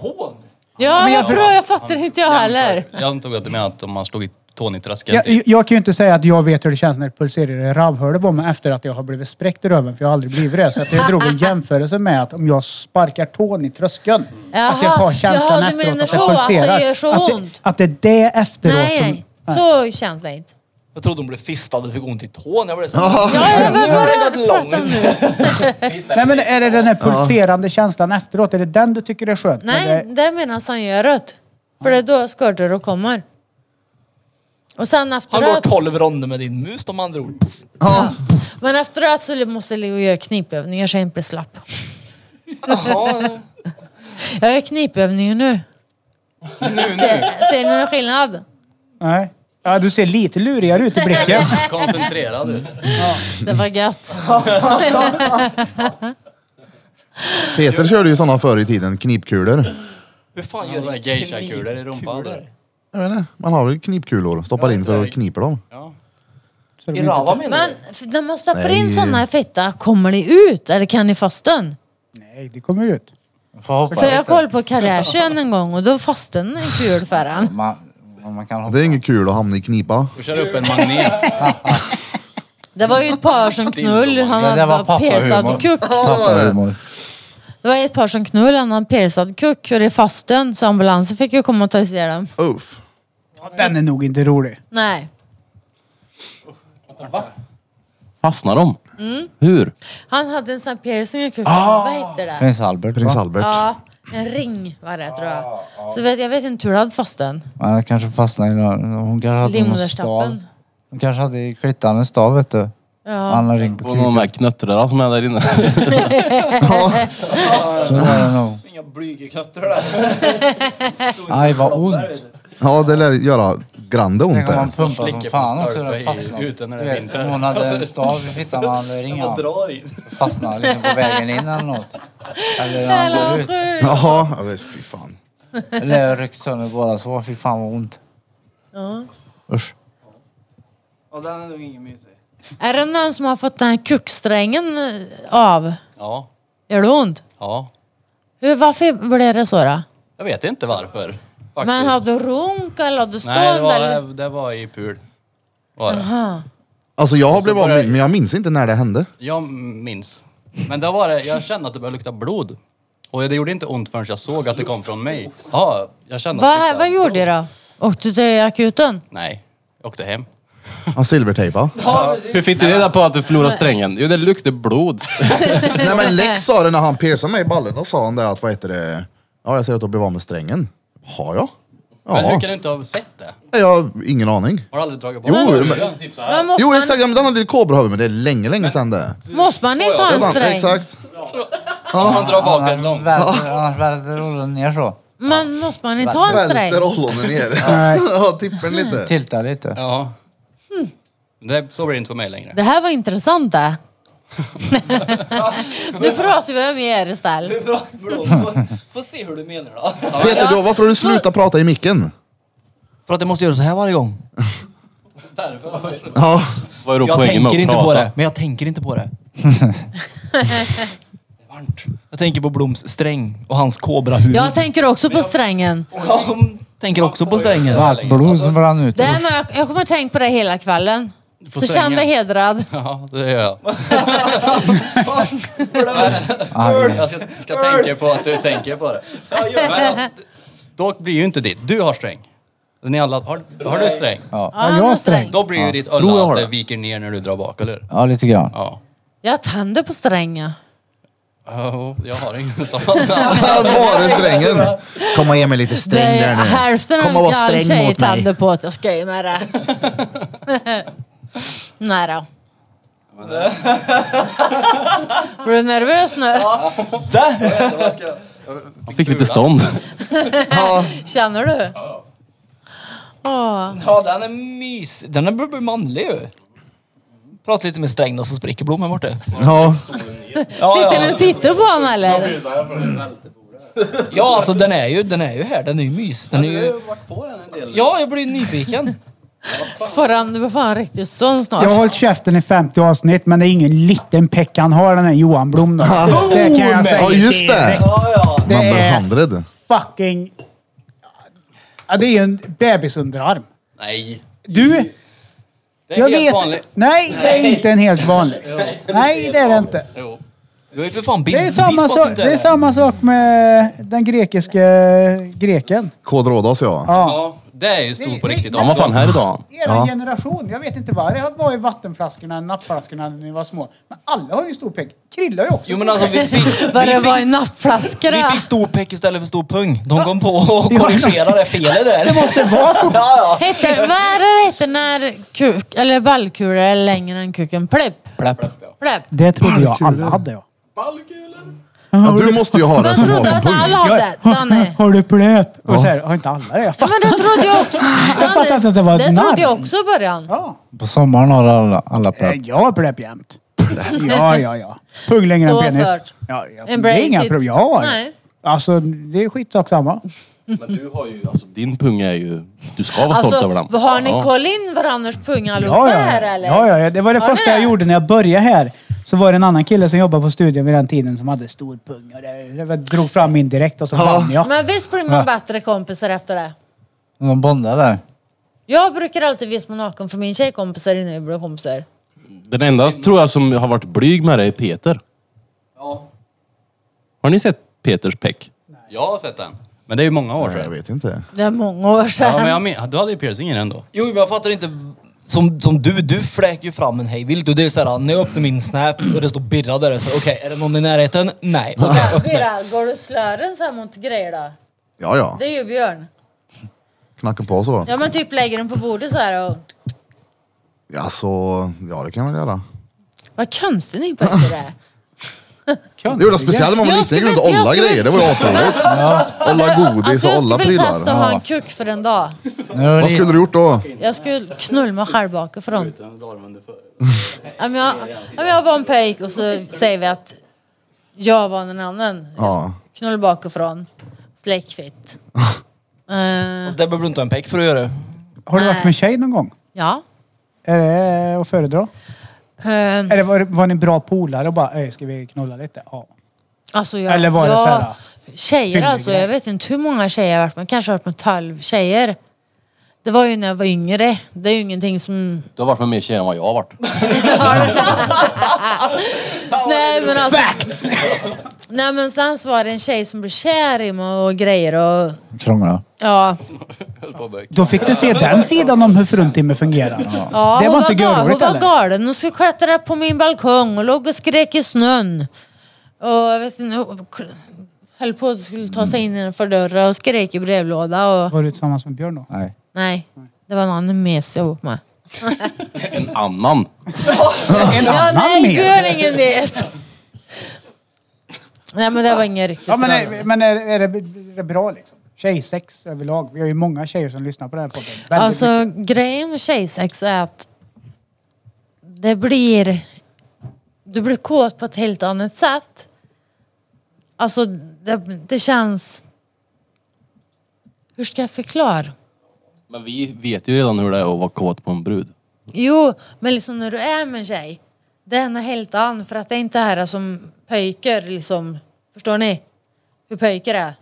S5: Tån?
S3: Ja, men jag, tror, jag fattar inte jag heller.
S8: Jag antog att du menade att om man slog i tån i typ, tröskeln.
S2: Jag, jag kan ju inte säga att jag vet hur det känns när det pulserar i ravhålet på mig efter att jag har blivit spräckt i röven, för jag har aldrig blivit det. Så att jag drog en jämförelse med att om jag sparkar tån i tröskeln, att jag har
S3: Jaha,
S2: känslan
S3: jaha, du
S2: efteråt
S3: menar
S2: att det
S3: så, att det
S2: pulserar.
S3: gör så
S2: att,
S3: ont?
S2: Det, att det är det efteråt
S3: Nej,
S2: som...
S3: nej. Så känns det inte.
S5: Jag trodde hon blev fistad och fick ont i tån. Jag blev så...
S3: Ja, jag vet vad
S5: Jag har
S3: du
S5: redan
S3: pratar om
S5: långt.
S3: nu.
S2: Nej, men är det den här pulserande känslan efteråt? Är det den du tycker är skön?
S3: Nej,
S2: Eller-
S3: det menar han gör rött. För det är då skorrar och kommer. Och sen
S5: Han går
S3: efteråt,
S5: 12 ronder med din mus de andra ord. Puff.
S3: men efteråt så måste Leo göra knipövningar så jag inte blir slapp.
S5: Jaha.
S3: Jag gör knipövningar nu. Ser, ser ni någon skillnad?
S2: Nej. Ja, du ser lite lurigare ut i blicken.
S8: Koncentrerad ut.
S3: Det var gött.
S1: Peter körde ju sådana förr i tiden, knipkulor.
S5: Hur fan
S8: Ja,
S5: gör
S8: det
S5: du
S8: är geisha-kulor i rumpan
S5: knipkulor?
S8: där.
S1: Jag vet inte, man har väl knipkulor, stoppar in för att knipa dem.
S2: Så det
S5: I
S2: blir inte-
S5: rava menar
S3: Men
S5: du?
S3: f- när man stoppar in
S1: Nej.
S3: sådana i fitta, kommer ni ut eller kan ni fasta den?
S2: Nej, det kommer ut.
S6: Får hoppa
S3: För jag
S6: lite.
S3: kollade på Kardashian en gång och då fastnade en kul för han.
S6: Man, man kan hoppa.
S1: Det är inget kul att hamna i knipa.
S8: Och kör upp en magnet.
S3: Det var ju ett par som knull, han
S6: Det där
S3: hade
S6: var
S3: var piercad
S6: pappahumor.
S3: kuck.
S6: Pappahumor.
S3: Det var ett par som knull, han hade piercad kuck och det är fasten så ambulansen fick ju komma och ta isär dem.
S1: Uff.
S2: Den är nog inte rolig.
S3: Nej.
S4: Fastnar de? Hur?
S3: Han hade en sån här piercing i kucken,
S8: Ah.
S3: vad heter det?
S6: Prins Albert
S1: Prins
S6: va?
S1: Albert.
S3: Ja, en ring var det tror jag.
S8: Ah,
S3: Så vet, jag vet inte hur du hade fasten.
S6: Man kanske fastnade i någon, hon kanske hade någon stav.
S3: Limnerstappen.
S6: Hon kanske hade i klittan en stav vet du.
S3: Ja.
S6: Han har ring på
S4: På någon av de
S6: kuken.
S4: här knöttrarna som är där inne.
S6: Så är det nog.
S5: Inga blygeknötter där.
S6: Aj vad ont.
S1: Ja, det lär göra grande ont
S6: Tänk om man
S1: det.
S6: pumpar som
S8: Slicker
S6: fan
S8: på
S6: också. Den
S8: stolpe i-
S6: fastnar.
S8: ute när det
S6: Du
S8: är
S6: vet,
S8: vinter.
S6: om Hon hade en stav i fittan och han ringde
S5: Man
S6: han.
S5: drar in.
S6: Fastnade liksom på vägen in eller något. Eller när
S3: Jävlar
S6: han
S3: vad
S6: går ut.
S3: sjukt.
S1: Jaha, jag vet, fy fan.
S6: Eller jag ryckte sönder båda så. Fy fan vad ont.
S3: Ja.
S6: Usch.
S5: Ja, den är nog ingen mysig.
S3: Är det någon som har fått den här kucksträngen eh, av?
S8: Ja,
S3: Gör det ont?
S8: ja.
S3: Hur, varför blev det så då?
S8: Jag vet inte varför. Faktiskt.
S3: Men hade du runk eller hade du stånd?
S8: Nej, det var,
S3: eller?
S8: det var i pul. Var det.
S3: Aha.
S1: Alltså jag har
S8: Och så
S1: blivit av
S8: börjar-
S1: med, men jag minns inte när det hände.
S8: Jag minns. Men det var det, jag kände att det började lukta blod. Och det gjorde inte ont förrän jag såg att det kom från mig. Ja, jag kände att det
S3: Vad,
S8: luktade
S3: vad gjorde
S8: blod.
S3: du då? Åkte du till akuten?
S8: Nej, jag åkte hem.
S1: Han silvertejpade.
S4: Hur fick du reda på att du förlorade strängen? Jo, det luktar blod.
S1: Nej men Lex sa det när han piercade mig i ballen, då sa han det att vad heter det? Ja jag ser att du blev av med strängen. Har jag?
S7: Men hur
S1: Ja.
S7: kan du inte ha sett det?
S1: Jag har ingen aning.
S7: Har du aldrig dragit på
S1: Jo,
S7: det?
S1: men,
S3: Men måste,
S1: jo
S3: man,
S1: exakt, ja, men den hade ju kobrahuvud men det är länge, länge sedan det.
S3: måste man inte ha en
S1: Ja,
S3: sträng?
S1: exakt.
S7: Han drar bak en
S6: Han
S7: lång.
S6: välter han välter rollen ner så.
S3: Man, måste man inte ha en sträng?
S1: Välter ollonen ner. ja, tippen lite.
S6: Tiltar lite.
S7: Ja. Hmm. Det, så blir det inte på mig längre.
S3: Det här var intressant det. nu pratar vi om er istället.
S5: Bra, bra. Få, få se hur du menar då.
S1: Peter, då, varför har du slutat prata i micken?
S5: För att jag måste göra så här varje gång.
S1: Ja.
S4: Vad är då
S5: Jag
S4: poängen
S5: tänker
S4: med att
S5: inte
S4: prata?
S5: på det. Men jag tänker inte på det. Jag tänker på Bloms sträng och hans kobrahuvud.
S3: Jag tänker också på strängen.
S5: Jag tänker också på strängen.
S6: Vart blod
S3: Alltså,
S6: som brann ut.
S3: Det är nog- jag, jag kommer tänka på det hela kvällen.
S7: får
S3: Så känn
S7: strängen.
S3: dig hedrad.
S7: Ja, det gör jag.
S6: Aj.
S7: Jag ska, ska tänka på att du tänker på det. Men alltså, d- då blir ju inte ditt. Du har sträng. Ni alla, har, har du sträng?
S6: Ja.
S3: Ja,
S2: jag
S3: han har
S2: sträng?
S7: Då blir ju ditt
S6: Jo, jag
S7: ölla
S6: har
S7: att det
S6: det.
S7: viker ner när du drar bak, eller hur?
S6: ja, lite grann.
S7: Ja.
S3: Jag tänder på strängen.
S7: Ja, jag har ingen sån.
S1: Bara strängen. Kom och ge mig lite
S3: Det
S1: sträng
S3: är
S1: där nu.
S3: hälften av
S1: Kom och
S3: en
S1: var
S3: gammal
S1: sträng
S3: tjej
S1: mot mig.
S3: tänder på att jag skojar med det. Nej då. Blir du nervös nu?
S4: Han fick lite stånd.
S3: Känner du? Åh.
S5: Ja, den är mys. Den är blir manlig ju. Prata lite med strängen och så spricker Blom här borta.
S1: Ja.
S3: Sitter ni och tittar på honom eller?
S5: Ja, alltså den är ju, den är ju här. Den är ju mys. Den är ju...
S7: varit på den en del.
S5: Ja, jag blir nyfiken.
S3: Får han, du får fan riktigt sån snart.
S2: Jag har hållit käften i 50 avsnitt men det är ingen liten peck han har den här Johan Blom. Då. Det kan jag säga
S1: Ja, just det.
S2: direkt. Det
S1: Number
S2: är
S1: 100.
S2: fucking... Ja, det är ju en bebisunderarm.
S7: Nej.
S2: Du,
S7: Det är
S2: jag
S7: helt
S2: vet...
S7: vanligt.
S2: Nej, det är inte en helt vanlig. Nej, det är det inte.
S7: Jo.
S5: Du är ju för fan bild.
S2: Det är, samma sak, det är samma sak med den grekiske eh, greken.
S1: Kod Rådas ja.
S2: Ja.
S7: Ja, det är ju stor på
S2: Nej,
S7: riktigt
S4: Han var
S7: också.
S4: fan här idag.
S2: Er
S1: Ja.
S2: generation, jag vet inte vad det var i vattenflaskorna, nappflaskorna när ni var små. Men alla har ju en stor pegg. Krilla har ju också.
S5: Jo men alltså vi fick,
S3: Vad det
S5: vi
S3: var
S5: fick,
S3: i nappflaskorna.
S5: vi fick stor peck istället för stor pung. De kom på och korrigerade det felet där. Det
S3: alltså-
S5: måste vara så. Ja, ja.
S3: Heter, vad är det det heter när kuk, eller ballkulor är längre än kuken? Plepp?
S6: Pläpp.
S3: Plepp?
S2: Det trodde jag alla hade. Jag.
S1: ja. Du måste ju ha det
S3: Jag
S1: som har
S3: trodde
S1: som
S3: att
S1: pung.
S3: alla hade. Danne.
S2: Har du pläp? Och så här, har inte alla det? Jag
S3: Ja,
S2: fattar.
S3: men det trodde jag också.
S2: Jag fattar inte att det var ett
S3: Det trodde jag
S2: namn.
S3: också i början.
S2: Ja.
S6: På sommaren har alla, alla
S2: Eh,
S6: pläpp.
S2: Jag har pläp jämt. Ja, ja, ja. Pung längre än
S3: Stå
S2: penis.
S3: för.
S2: Ja, ja. Det
S3: Embrace
S2: är inga
S3: it.
S2: problem. Jag har det.
S3: Nej.
S2: Alltså, det är skitsak samma.
S4: Men du har ju, alltså din pung är ju, du ska vara stolt
S3: Alltså,
S4: över den.
S3: vad har ni
S4: Ja.
S3: kollat in varandras pungar allihopa
S2: Ja, ja,
S3: här
S2: ja.
S3: eller?
S2: ja, ja, ja. Det var det
S3: Har ni
S2: första jag
S3: det?
S2: gjorde när jag började här. Så var det en annan kille som jobbade på studion vid den tiden som hade stor pung. Och det, det var- drog fram min direkt och så vann jag.
S3: Men visst blir man bättre kompisar efter det?
S6: De bondar där.
S3: Jag brukar alltid visa mig naken för min tjejkompis är nu kompisar.
S4: Den enda tror jag som har varit blyg med det är Peter. Har ni sett Peters peck?
S7: Jag har sett den. Men det är ju många år
S1: Nej, Jag
S7: sedan.
S1: vet inte.
S3: Det är många år sedan.
S7: Ja, men jag men, du hade ju piercingen ändå.
S5: Jo men jag fattar inte. Som, som du, du fläker ju fram en hejvilt och det är såhär, när jag öppnar min snap och det står Birra där så okej, är det någon i närheten? Nej. Okej, Alltså, öppnar.
S3: Bira, går du slören så här mot grejer då?
S1: Ja, ja.
S3: Det är ju Björn.
S1: Knacka på så.
S3: Ja men typ lägger den på bordet så här och...
S1: Alltså, ja det kan man göra.
S3: Vad konstig ni på det där.
S1: Det gjorde speciellt man var
S3: Jag
S1: liten. Jag
S3: skulle
S1: kunde
S3: inte- jag
S1: olla
S3: skulle-
S1: grejer. Det var ju asroligt. Olla godis
S3: Alltså
S1: och
S3: jag
S1: olla
S3: skulle vilja testa att
S1: prylar.
S3: ha en
S6: Ja.
S3: kuk för en dag.
S6: Nu har
S1: Vad
S6: ni-
S1: skulle du gjort då?
S3: Jag skulle knulla mig själv bakifrån. Om jag, om jag var en pöjk och så säger vi att jag var en annan.
S1: Ja.
S3: Knull bakifrån. Släckfitt. Eh,
S5: Alltså, det behöver du inte ha en peck för att göra.
S2: Har du varit med tjej någon gång?
S3: ja.
S2: Är det att föredra?
S3: Eh,
S2: Eller var, var ni bra polare och bara, "Ey, ska vi knulla lite? Ja.
S3: Alltså jag,
S2: Eller var det
S3: jag,
S2: så här,
S3: Tjejer alltså, jag vet inte hur många tjejer jag har varit med. Kanske har varit med tolv tjejer. Det var ju när jag var yngre. Det är ju ingenting som...
S4: Du har varit med mer tjejer än vad jag har varit.
S3: Nej men alltså... Facts! Nej men sen så var det en tjej som blev kär i mig och grejer och...
S6: Krångla.
S3: Ja.
S2: Då fick du se den sidan om hur fruntimmer fungerar.
S3: ja
S2: det
S3: hon
S2: var inte
S3: gal- Hon
S2: görroligt
S3: var
S2: eller?
S3: galen. Hon skulle klättra på min balkong och låg och skrek i snön. Och jag vet inte... hon Höll på att skulle ta sig in för dörren och skrek i brevlåda och...
S2: Var du tillsammans med Björn då?
S6: Nej.
S3: Nej. Det var en annan mes jag var ihop med.
S4: En annan.
S2: En
S3: Ja,
S2: annan
S3: nej,
S2: mes.
S3: gör ingen mes. Nej men det var inget riktigt
S2: Ja, men
S3: förhållande.
S2: är, men är, är, det, är det bra liksom? Tjejsex överlag. Vi har ju många tjejer som lyssnar på den här podden. Väldigt
S3: Alltså
S2: mycket.
S3: grejen med tjejsex är att det blir... Du blir kåt på ett helt annat sätt. Alltså det, det känns... Hur ska jag förklara?
S4: Men vi vet ju redan hur det är att vara kåt på en brud.
S3: Jo, men liksom när du är med en tjej. Det är något helt annat för att det är inte det här som pöjker liksom. Förstår ni? Hur pöjker är?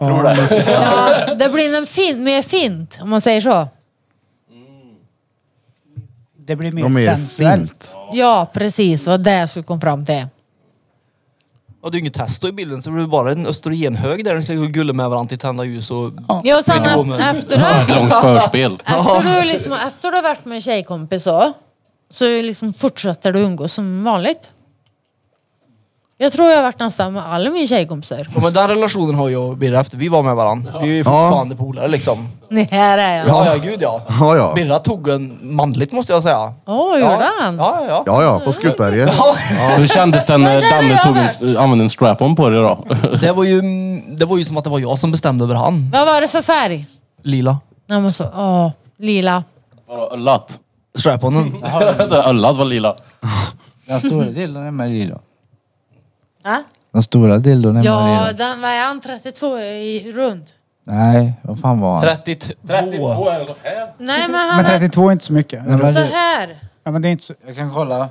S3: Ja, det blir en fin, mer fint om man säger så.
S2: Det blir
S1: De är
S2: mer sensuellt.
S1: fint.
S3: Ja, precis. Vad det jag skulle komma fram till.
S5: Ja, det är ju inget testo i bilden så det blir bara en östrogenhög där. De ska gå och gulla med varandra till tända ljus och...
S3: Ja, och sen
S5: Ja,
S3: ef-
S5: men-
S3: efter det,
S4: Långt förspel.
S3: efter du, liksom, efter du har varit med en tjejkompis så, så liksom fortsätter du umgås som vanligt. Jag tror jag har varit nästan med alla mina tjejkompisar.
S5: Ja, men den relationen har jag och Birra efter vi var med varandra. Vi är ju fortfarande polare liksom.
S3: Nej, här är jag.
S5: Ja, ja, gud ja.
S1: Ja, ja.
S5: Birra tog en manligt måste jag säga.
S3: Åh,
S5: ja.
S3: gjorde han?
S5: Ja, ja, ja.
S1: Ja, ja, på Skutberget.
S4: Hur kändes det när
S3: där har
S4: Danne
S3: jag
S4: tog
S3: varit.
S4: en, använde en strap-on på dig då?
S5: Det, var ju, det var ju som att det var jag som bestämde över han.
S3: Vad var det för färg?
S5: Lila.
S3: Nej, men så, åh, lila.
S4: Vadå, Öllat?
S5: Straponen.
S4: Öllat var lila.
S6: Den stora dildon är Marie då.
S3: Va?
S6: Den stora dildon är
S3: Ja,
S6: Marie då.
S3: den, vad är han? 32 i rund?
S6: Nej, vad fan var han?
S5: 32.
S4: är den så här.
S3: Nej, men han
S2: Men
S3: är
S2: 32 är inte så mycket.
S3: så här.
S2: Ja, men det är inte så...
S6: Jag kan kolla.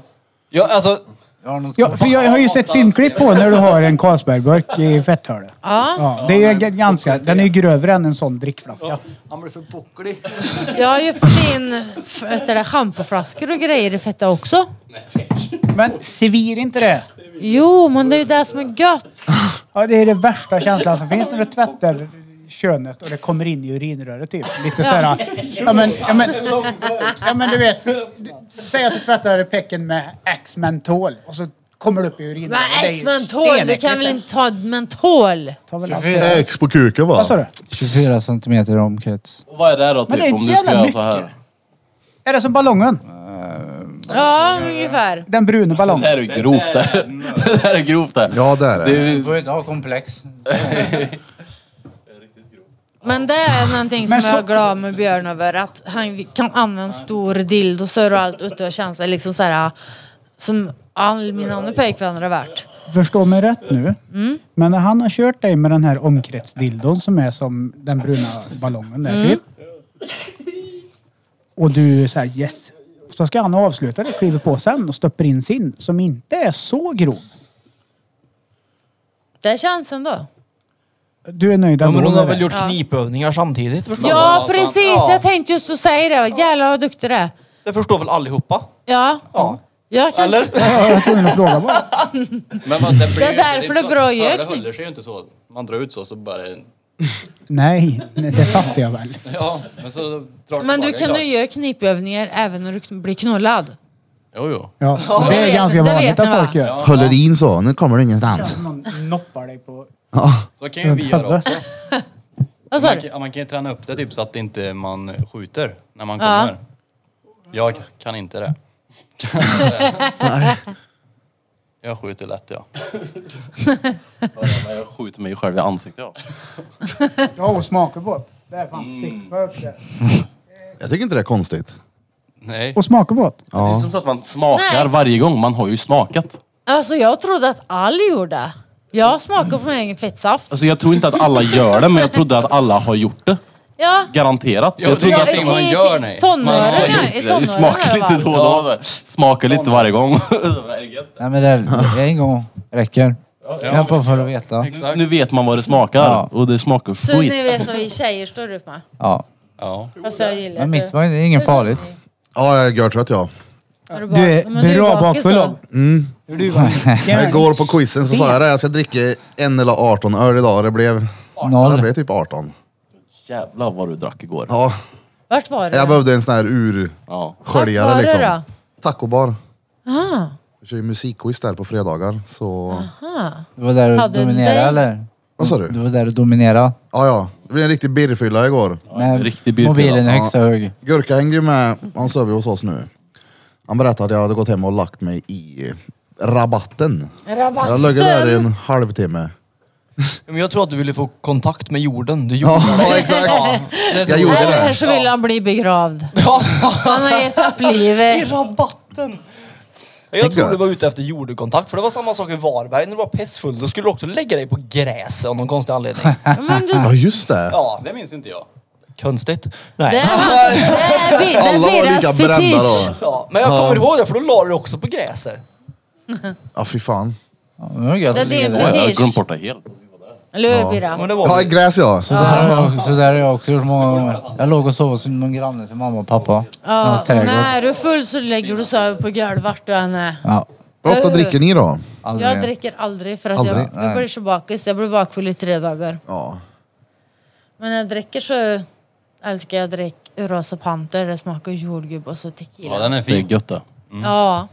S5: Ja, alltså,
S6: Jag har något
S2: ja, för jag har ju sett filmklipp på när du har en Carlsbergburk i fetthålet.
S3: Ja.
S2: Ja, det är ju g- ganska... Den är ju grövre än en sån drickflaska.
S5: han blev för bucklig.
S3: Jag har ju fått in f- vet du det, schampoflaskor och grejer i fetta också.
S2: Men svir inte det?
S3: Jo, men det är ju det som är gött.
S2: Ja, det är den värsta känslan som finns när du tvättar könet och det kommer in i urinröret typ. Lite såhär... Ja men, ja, men, ja men du vet. du- Säg att du tvättar pecken med X-mentol och så kommer det upp i urinröret.
S3: Men
S2: Det är ju
S3: ex mentol, du kan väl inte ta mentol?
S2: Ta väl allt.
S1: X på kuken va?
S2: Vad sa du?
S6: 24 centimeter i omkrets.
S4: Och vad är det då
S2: Men det är
S4: typ om
S2: inte
S4: du
S2: så
S4: ska
S2: jävla
S4: göra så här?
S2: Är det som ballongen?
S3: Ja,
S2: Mm.
S3: ungefär.
S2: Den bruna
S4: Det
S2: ballongen?
S4: här är ju grovt det. Det här är grovt det.
S1: Ja, det är
S4: Det
S1: det.
S4: är
S6: Du
S4: ju-
S6: får ju inte ha komplex.
S3: Men det är någonting som
S2: Men så-
S3: jag är glad med Björn över. Att han kan använda stor dildosar och allt ute och känna sig liksom så här som all mina andra pojkvänner har varit.
S2: Förstå mig rätt nu. Men när han har kört dig med den här omkretsdildon som är som den bruna ballongen där typ. Och du säger yes. Så ska han avsluta det, kliver på sen och stoppar in sin som inte är så grov.
S3: Det känns ändå.
S2: Du är nöjd
S5: Ja, men hon har
S2: eller?
S5: väl gjort knipövningar samtidigt förstår
S3: Ja,
S5: jag.
S3: precis. Jag tänkte just att säga det. Vad Jävlar vad duktig du är.
S5: Det förstår väl allihopa?
S3: Ja.
S5: Ja.
S3: Jag kan
S5: Eller?
S2: Ja, jag var tvungen att fråga bara.
S7: Men liksom. vad, det, blir,
S3: Det är därför det är bra att göra
S7: Det
S3: kniv.
S7: håller sig ju inte så. Man drar ut så, så bara...
S2: Nej, nej, det fattar jag väl.
S7: Ja, men så drar tillbaka
S3: Men du
S7: en
S3: kan
S7: dag.
S3: ju göra knipövningar även när du blir knullad.
S7: Jo, jo.
S2: Ja, men det
S3: det
S2: är
S3: vet-
S2: ganska
S3: det
S2: vanligt
S3: vet
S2: att
S3: ni, va?
S2: folk gör.
S1: Håller in så, nu kommer du ingenstans.
S2: Någon noppar dig på...
S7: Så kan ju vi göra också.
S3: Vad sa
S7: Man
S3: du?
S7: kan, man kan ju träna upp det typ så att inte man skjuter när man
S3: Ja.
S7: kommer. Jag kan inte det. Jag skjuter lätt ja.
S4: Jag skjuter mig själv i ansiktet ja.
S2: Ja, och smakar på. Det är fan sick burp det.
S1: Jag tycker inte det är konstigt.
S7: Nej.
S2: Och smakar på.
S4: Det är som så att man smakar
S3: Nej.
S4: varje gång. Man har ju smakat.
S3: Alltså jag trodde att all gjorde. Jag smakar på min egen fettsaft.
S4: Alltså jag tror inte att alla gör det, men jag trodde att alla har gjort det.
S3: Ja.
S4: Garanterat.
S7: Ja,
S4: Jag trodde
S7: det
S4: att
S7: är ingenting man gör, nej.
S3: Tonåringar. I
S4: det. Du
S3: tonåren
S4: smakar
S3: i alla
S4: lite
S3: fall.
S4: då och då. Smakar lite varje gång.
S6: Nej men det är en gång räcker. Jag är bara för att veta.
S4: Nu vet man vad det smakar.
S6: Ja.
S4: Och det smakar
S3: Så
S4: skit.
S3: ni vet vad vi tjejer står ut med.
S6: Ja.
S8: Ja.
S3: Alltså jag gillar
S6: Men
S3: det.
S6: mitt var ju- ingen
S3: Det är så-
S6: farligt.
S1: Ja, jag är görtrött jag.
S3: Har bak-
S2: Du är
S3: Ja, men du
S2: bra
S3: bakis,
S2: bakfull
S3: va?
S2: av. Mm. Du var
S1: Jag går på quizen så sa jag det, jag ska dricka en eller 18 öl idag. Det blev, det
S6: Noll.
S1: blev typ 18.
S4: Jävlar vad du drack igår.
S1: Ja,
S3: Vart var det?
S1: jag behövde en sån här
S4: Ja.
S3: Vart
S1: ursköljare
S3: var Ah. det
S1: liksom.
S3: då?
S1: Tacobar.
S3: Aha,
S1: Jag kör ju musikquiz där på fredagar. Så,
S3: aha.
S6: Du var där och
S3: Hade du
S6: dominerade
S3: dig?
S6: eller?
S1: vad sa
S6: Du
S1: du?
S6: var där och dominerade.
S1: Ja, ja. Det blev en riktig birrfylla igår.
S6: Med
S4: riktig bilfylla.
S6: mobilen i högsta hög.
S1: Gurka hängde ju med, han sover ju hos oss nu. Han berättade att jag hade gått hem och lagt mig i rabatten.
S3: Rabatten!
S1: Jag låg där i en halvtimme.
S5: Men jag tror att du ville få kontakt med jorden. Du gjorde
S1: Ja, exakt.
S5: det.
S1: Jag gjorde
S3: Eller
S1: det.
S3: så vill han bli begravd.
S5: Ja,
S3: Han har gett upp
S5: i
S3: livet.
S5: rabatten.
S1: är
S5: Jag tror du
S1: gött.
S5: var ute efter jordkontakt, för det var samma sak i Varberg. När du var pestfull, då skulle du också lägga dig på gräset av någon konstig anledning.
S3: Men du,
S1: Ja, just det.
S5: Ja,
S8: Det minns inte jag.
S5: konstigt. Nej.
S3: det är, det är, det är
S1: Alla var lika
S3: deras
S1: brända
S3: fetisch.
S1: då.
S5: Ja, men jag kommer ihåg det, för då la du dig också på gräset.
S1: Ja, fy fan.
S6: Ja, det var gött
S3: Det är
S6: att ligga
S3: din
S6: där.
S4: Ja, jag har
S3: Fetisch.
S4: glömt bort det helt.
S3: Eller hur
S5: Men
S3: Birra?
S5: det
S1: Ja,
S5: var
S1: gräs ja.
S6: Så där, har jag, så där har jag också gjort många gånger. Jag låg och sov hos någon granne till mamma och pappa.
S3: Ja,
S6: Hans trädgård.
S3: när du är full så lägger du söver på golvet vart du än är.
S6: Ja,
S1: Hur ofta dricker ni då?
S6: aldrig.
S3: Jag dricker aldrig för att
S1: Aldrig?
S3: jag, jag blir så bakis. Jag blir bakfull i tre dagar.
S1: Ja.
S3: Men när jag dricker så älskar jag drick Rosa Panter. Det smakar jordgubb och så tequila.
S8: Ja, den är
S4: Det
S8: fin.
S4: är gött det.
S3: Ja.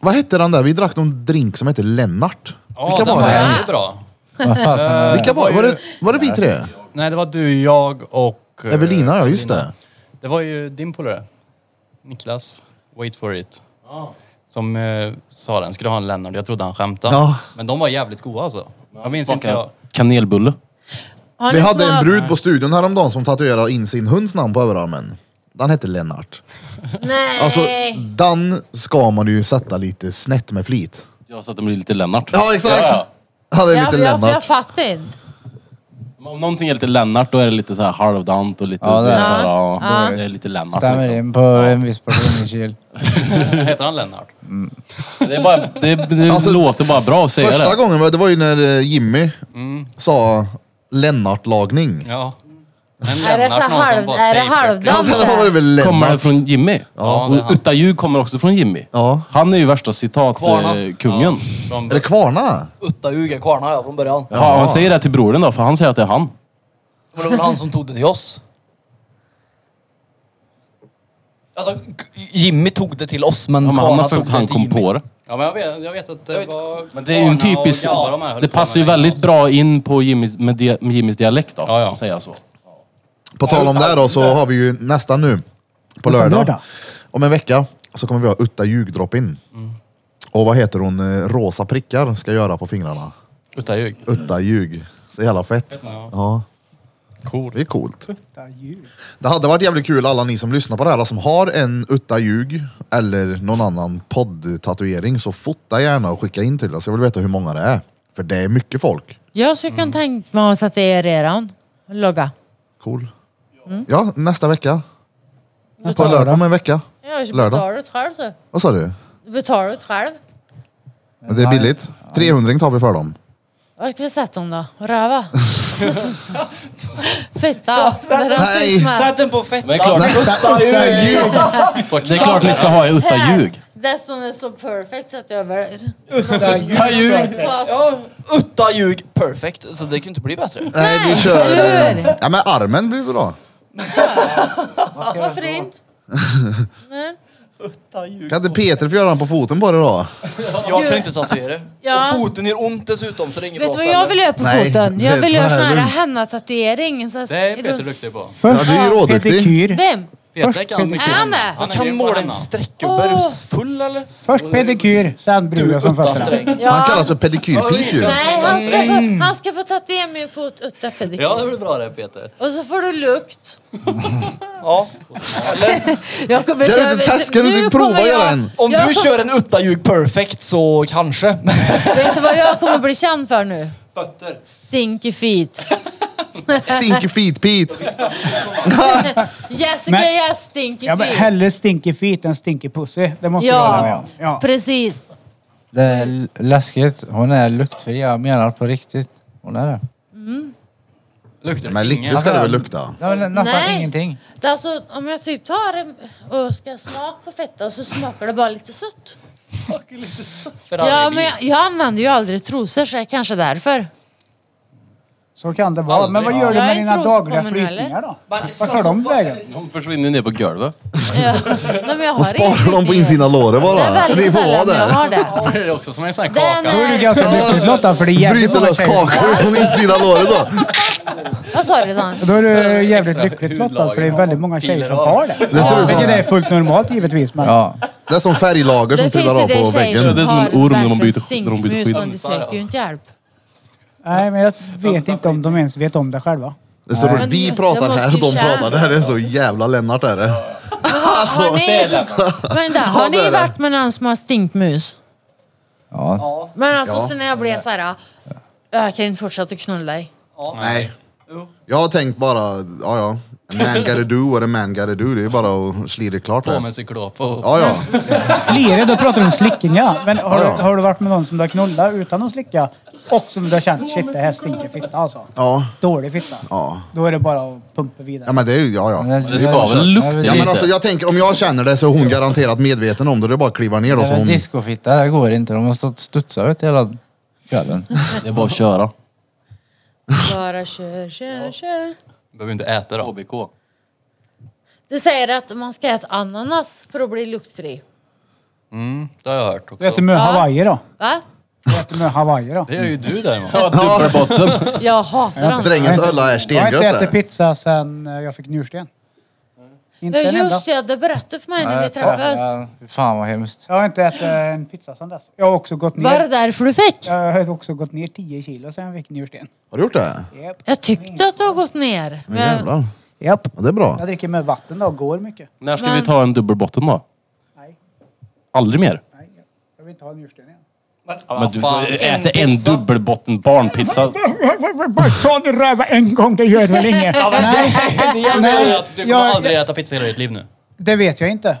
S1: Vad hette den där? Vi drack någon drink som hette Lennart.
S8: Ja,
S1: Vilka
S8: den
S1: var
S8: var
S1: det?
S8: väldigt bra.
S6: Vad fasen är det?
S1: Vilka var, var, det, var det vi tre?
S8: Nej, det var du, jag och... eh,
S1: Evelina, ja just det.
S8: Det var ju din polare. Niklas, wait for it.
S4: Ah.
S8: Som eh, sa den, skulle ha en Lennart. Jag trodde han skämtade.
S1: Ja.
S8: Men de var jävligt goda alltså. Jag minns inte jag.
S4: Kanelbulle.
S3: Har
S1: Vi
S3: ni
S1: hade en
S3: smak-
S1: brud på studion häromdagen som tatuerade in sin hunds namn på överarmen. Den hette Lennart.
S3: Nej!
S1: Alltså, den ska man ju sätta lite snett med flit.
S4: Jag sa att de blir lite Lennart.
S1: Ja, exakt!
S4: Ja,
S1: Han är
S3: ja,
S1: lite
S3: för jag, för jag
S1: Lennart.
S3: fattar inte.
S4: Men Om någonting är lite Lennart då är det lite så här halvdant och lite...
S6: Ja, det är
S4: så
S6: det.
S4: här, ja,
S3: Ja.
S4: Det är lite Lennart
S6: Stämmer
S4: liksom.
S6: in på en viss person i Kil.
S8: Heter han Lennart?
S4: Det, är bara, det, det
S1: Alltså,
S4: låter bara bra att säga
S1: Första
S4: det.
S1: gången var, det Mm. var ju när eh, Jimmy sa Lennart-lagning.
S8: Ja.
S3: Är det, så halv, är det halvdant?
S1: Alltså, då var det väl
S4: Kommer det
S1: Lennart.
S4: från Jimmy?
S8: Ja, det är
S4: och
S8: han.
S4: Utta ljug kommer också från Jimmy.
S1: Ja.
S4: Han är ju värsta eh, citatkungen. Ja.
S1: Är det Kvarna?
S5: Utta Uge Kvarna ja, från början.
S4: Ja, han säger det till brodern då, för han säger att det är han.
S5: Men det var han som tog det till oss. Alltså, Jimmy tog det till oss, men
S4: Ja, men han
S5: Kvarna
S4: har sagt
S5: tog
S4: att
S5: det
S4: han
S5: till
S4: kom
S5: Jimmy.
S4: på det.
S8: Ja, men jag vet, jag vet att det var...
S4: Men det är ju en
S8: Barna och
S4: typisk...
S8: grabbar, de här höll
S4: Det
S8: på med
S4: passar ju
S8: det här
S4: väldigt
S8: också.
S4: bra in på Jimmys, med dia- med Jimmys dialekt då.
S8: Ja, ja.
S4: att Säga så.
S1: På tal om det här då, så har vi ju nästan nu, på
S2: Nästan
S1: lördag,
S2: lördag.
S1: om en vecka, så kommer vi ha Utta ljugdropp-in. Och vad heter hon, eh, Rosa prickar ska göra på fingrarna.
S8: Utta ljug.
S1: Utta ljug. Så jävla fett.
S8: Ja.
S1: Ja.
S8: Cool.
S1: Det är coolt. Det hade varit jävligt kul alla ni som lyssnar på det här alltså, som har en Utta ljug eller någon annan podd-tatuering så fota gärna och skicka in till oss. Jag vill veta hur många det är. För det är mycket folk.
S3: Jag skulle
S1: Mm.
S3: kunna tänka mig att sätta er redan. Logga.
S1: Cool.
S3: Mm.
S1: Ja, nästa vecka. På lördag om en vecka.
S3: Jag
S1: Lördag.
S3: betalar det själv så.
S1: Vad sa du?
S3: Du betalar det själv.
S1: Men det är billigt. 300 tar vi för dem.
S3: Var ska vi sätta dem då? Röva? Fitta! Det är de
S1: Nej.
S3: som smäller.
S5: Sätt den på fett.
S4: Men det är klart, det är klart ni ska ha Utta
S3: Här.
S4: ljug.
S3: Dessutom är det så perfekt så att jag väljer.
S5: Utta ljug.
S3: Fast-
S5: Ja, utta ljug perfect. Så det kan inte bli bättre.
S1: Nej, vi kör... eh, Ja, men armen blir bra.
S3: Varför inte? Nej.
S1: Kan inte Peter få göra den på foten på det då?
S5: Jag kan inte tatuera.
S3: Ja.
S5: Och foten gör ont dessutom så det är inget
S3: Vet
S5: bra
S3: du vad jag
S5: ställe.
S3: vill göra på
S1: Nej,
S3: foten? Jag
S1: det
S3: vill
S1: är
S3: göra
S1: så
S3: sån
S1: här
S3: här
S1: lugnt.
S3: henna-tatuering. så här-
S8: Det är Peter
S3: runt-
S8: duktig på.
S1: Ja,
S2: Först
S1: du är ju råduktig.
S2: pedikyr.
S3: Vem?
S8: Peter kan mycket.
S3: Är han det?
S8: Han är
S5: Kan
S8: grym på
S5: måla en
S8: henna.
S5: streckgubbe. Är
S3: Åh.
S5: du full eller?
S2: Först pedikyr, sen brudar som
S5: Utta
S2: fötterna.
S5: sträng.
S3: Ja.
S1: Han kallas Mm. för pedikyrpik ju.
S3: Nej, han ska få, han ska få tatuera min fot utan pedikyr.
S8: Ja, det blir bra det Peter.
S3: Och så får du lukt.
S5: Ja.
S3: Jag kommer
S1: Det är lite taskigt, du
S3: nu
S1: fick prova
S3: kommer
S1: att göra
S3: jag-
S1: en.
S5: Om
S3: Jag
S5: du
S3: kom-
S5: kör en utta ljug perfect så kanske.
S3: Vet du vad jag kommer bli känd för nu?
S8: Fötter.
S3: Stinky feet.
S1: Stinky feet Pete.
S3: Jessica,
S2: Men-
S3: yes, stinky
S2: Ja, men
S3: feet.
S2: hellre stinky feet än stinky pussy. Det måste jag hålla med
S3: Ja,
S2: om. Ja.
S3: precis.
S6: Det är l- läskigt. Hon är luktfri. Jag menar på riktigt. Hon är det.
S7: Luktar
S1: Men lite ska det väl lukta?
S2: Ja, men nästan
S3: Nej.
S2: ingenting.
S3: Det är alltså, om jag typ tar en och ska smaka på fetta så smakar det bara lite sött.
S7: För
S3: Ja,
S7: allergi.
S3: men jag, jag använder ju aldrig trosor så det är kanske därför.
S2: Så kan det vara. Men vad gör du
S3: Jag är
S2: med
S3: inte
S2: dina
S3: tros på
S2: dagliga
S3: mig nu, eller?
S2: flytningar då?
S5: Men-
S2: Vart tar de vägen?
S4: De försvinner ner på golvet.
S3: Ja. Nej, men jag har
S1: Och sparar de på insidan av låret
S3: Det är
S1: bara? Ni får
S3: väldigt
S1: vara
S3: sällan jag
S1: där.
S3: har det.
S7: Det är också som en sån här
S3: Det är
S7: kaka.
S2: Då är du
S3: när...
S2: ganska lyckligt lottad för det är jävligt
S1: Bryter
S2: många
S1: lös
S2: tjejer.
S1: kakor från insidan av låret då.
S3: Vad sa du Dan?
S2: Då är du jävligt
S7: Extra
S2: lyckligt lottad
S7: hudlager.
S2: för det är väldigt många tjejer som
S7: Piller av.
S2: har det.
S1: Det ser ut som-
S2: Vilket är fullt normalt givetvis. Men
S7: Ja.
S1: Det är som färglager som
S3: Det finns
S1: trillar
S3: ju
S1: av
S3: det
S1: på
S3: tjejer
S1: väggen.
S3: som
S4: Det är som en
S3: har
S4: orm när de
S3: världens
S4: byter- när de byter
S3: stinkmus
S4: skit.
S3: men de söker ju inte hjälp.
S2: Nej, men jag vet inte om de ens vet om det själva.
S1: Det är så roligt.
S3: Men
S1: vi
S3: det
S1: pratar
S3: måste
S1: här och
S3: ju
S1: de
S3: tjäna.
S1: pratar där. Det är så jävla Lennart är det. Alltså,
S3: Har ni, vänta, har
S1: det
S3: ni
S1: är det.
S3: varit med någon som har stinkmus?
S2: Ja.
S3: Men alltså sen när jag blev så här, jag kan inte fortsätta knulla dig.
S1: Nej. Jag har tänkt bara, ja ja. A man gotta do what a man gotta do. Det är bara att slira klart
S7: På
S1: det.
S7: med cyklop och...
S1: Ja ja.
S2: Slire, då pratar du om slickinga. Men har,
S1: Ja, ja.
S2: du, har du varit med någon som du har knullat utan att slicka och som du har känt shit, det här stinker fitta alltså.
S1: Ja.
S2: Dålig fitta.
S1: Ja,
S2: Då är det bara att pumpa vidare.
S1: ja men det är ju, ja ja.
S4: Det ska väl lukta
S1: Ja men
S4: lite?
S1: alltså jag tänker om jag känner det så är hon garanterat medveten om det. Det är bara att kliva ner då så hon...
S2: Discofitta, det går inte. De har stått och studsat ut hela kvällen.
S4: Det är bara att köra.
S3: Bara kör, kör, kör.
S7: Behöver inte äta då.
S4: ABK.
S3: Det säger att man ska äta ananas för att bli luktfri.
S7: Mm, det har jag hört
S2: Du äter
S7: också.
S2: mycket Hawaii då?
S3: Va?
S2: Du äter mycket Hawaii då?
S7: Det gör ju du däremot.
S4: Dubbelbotten.
S3: Jag hatar ananas.
S1: Drängens ölla är
S2: Jag har inte
S1: stengött
S2: ätit
S1: det.
S2: pizza sen eh, jag fick njursten. Inte
S3: Mm. Ja,
S2: en enda.
S3: just det, det berättade för mig när vi träffades.
S6: Fan vad hemskt.
S2: Jag har inte ätit en pizza sen dess. Jag har också gått
S3: Var det
S2: ner,
S3: därför du fick?
S2: jag har också gått ner 10 kilo sen jag fick njursten.
S1: Har du gjort det?
S2: Japp.
S3: Jag tyckte att du har gått ner. Men jag,
S1: Jävlar.
S2: Japp.
S1: Ja, det är bra.
S2: Jag dricker med vatten då, går mycket.
S4: När ska
S3: Men-
S4: vi ta en dubbelbotten då?
S2: Nej,
S4: Aldrig mer?
S2: nej. Jag vill inte ha njursten igen.
S4: Men du äter en dubbelbotten barnpizza.
S2: Bara ta din röva en gång, det gör väl inget? Nej,
S7: Det jävla
S2: Nej,
S7: gör att du kommer
S2: jag-
S7: aldrig äta pizza hela ditt liv nu.
S2: det vet jag inte.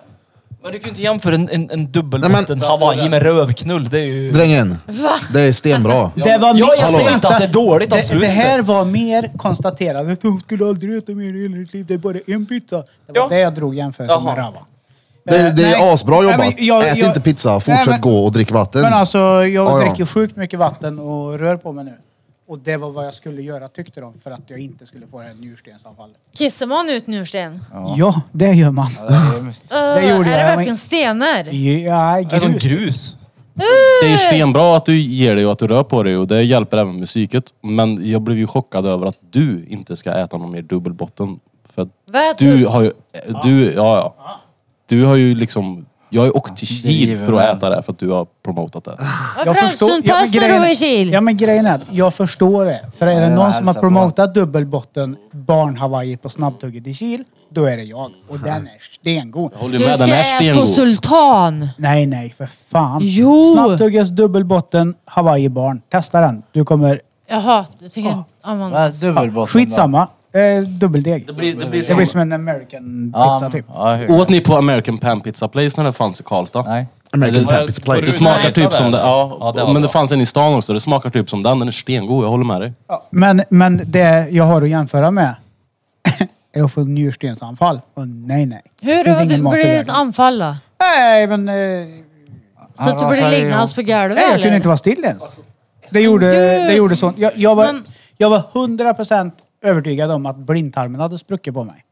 S5: Men du kan ju inte jämföra en, en, en
S1: Nej,
S5: dubbelbotten
S1: men-
S5: Hawaii med rövknull. Det är ju...
S1: Drängen, det är stenbra.
S2: Det var
S5: Ja, jag
S1: Hallå.
S5: säger inte att det är dåligt,
S2: Det,
S5: absolut
S2: det här
S5: inte.
S2: var mer konstaterat. Jag skulle aldrig äta mer i hela mitt liv. Det är bara en pizza. Det var
S5: Ja.
S2: det jag drog jämförelsen med
S5: Jaha.
S2: röva.
S1: Det,
S2: Eh,
S1: det är
S2: nej.
S1: asbra
S2: Nej,
S1: jobbat.
S2: men jag-
S1: Ät
S2: jag-
S1: inte pizza,
S2: Nej,
S1: fortsätt
S2: men-
S1: gå och drick vatten.
S2: Men alltså, jag
S1: Ja, ja.
S2: dricker sjukt mycket vatten och rör på mig nu. Och det var vad jag skulle göra tyckte de för att jag inte skulle få det här njurstensanfallet.
S3: kissar man ut njursten?
S2: Ja. det gör man.
S3: Det
S2: gjorde
S3: är
S2: jag, men-
S3: det verkligen stenar?
S2: Ja,
S5: Det är som
S2: grus.
S1: Alltså,
S5: grus.
S4: Det är ju stenbra att du ger dig och att du rör på dig och det hjälper även med psyket. Men jag blev ju chockad över att du inte ska äta någon mer dubbelbotten. För att
S3: Vad äter
S4: du har ju... Du, ja, ja. Du har ju liksom... Jag har ju åkt till Kil för att äta det för att du har promotat det.
S3: Ah. Varför har du inte
S2: ja, men
S3: pass när du
S2: grejen-
S3: var i Kil?
S2: Ja men grejen är att jag förstår det. För är det någon som har promotat dubbelbotten barn Hawaii på snabbtugget i Kil, då är det jag. Och den är stengod.
S4: Håller
S3: Du
S4: du med?
S3: ska
S4: Den är
S3: äta på
S4: stengod.
S3: Sultan!
S2: Nej nej för fan.
S3: Jo.
S2: Snabbtuggets dubbelbotten Hawaii barn. Testa den. Du kommer...
S3: Jaha, jag tycker
S2: Ah.
S3: inte om honom.
S2: Ja, skitsamma. Eh, dubbeldeg.
S4: Det blir, det
S2: Det
S4: blir
S2: blir
S4: som...
S2: som en American pizza typ.
S4: Åt ni på American Pan Pizza Place när det fanns i Karlstad?
S6: Nej.
S1: American
S4: Det-
S1: Pappies Place.
S4: Det smakar typ som det, ja.
S7: Ja, det var
S4: men det
S7: bra.
S4: fanns en i stan också. Det smakar typ som den. Den är stengod, jag håller med dig.
S2: Men, men det jag har att jämföra med är att få njurstensanfall. Och nej nej.
S3: Hur
S2: Finns
S3: då?
S2: ingen
S3: Du-
S2: mat i
S3: blir det ett
S2: världen.
S3: anfall då?
S2: Nej men... Eh,
S3: Så
S2: alltså,
S3: att du blir liggandes på golvet
S2: Nej, jag kunde inte
S3: eller?
S2: vara still
S4: Alltså,
S2: ens. Det gjorde, det gjorde sånt. Jag, jag, var,
S3: Men-
S2: jag var 100% övertygad om att blindtarmen hade spruckit på mig.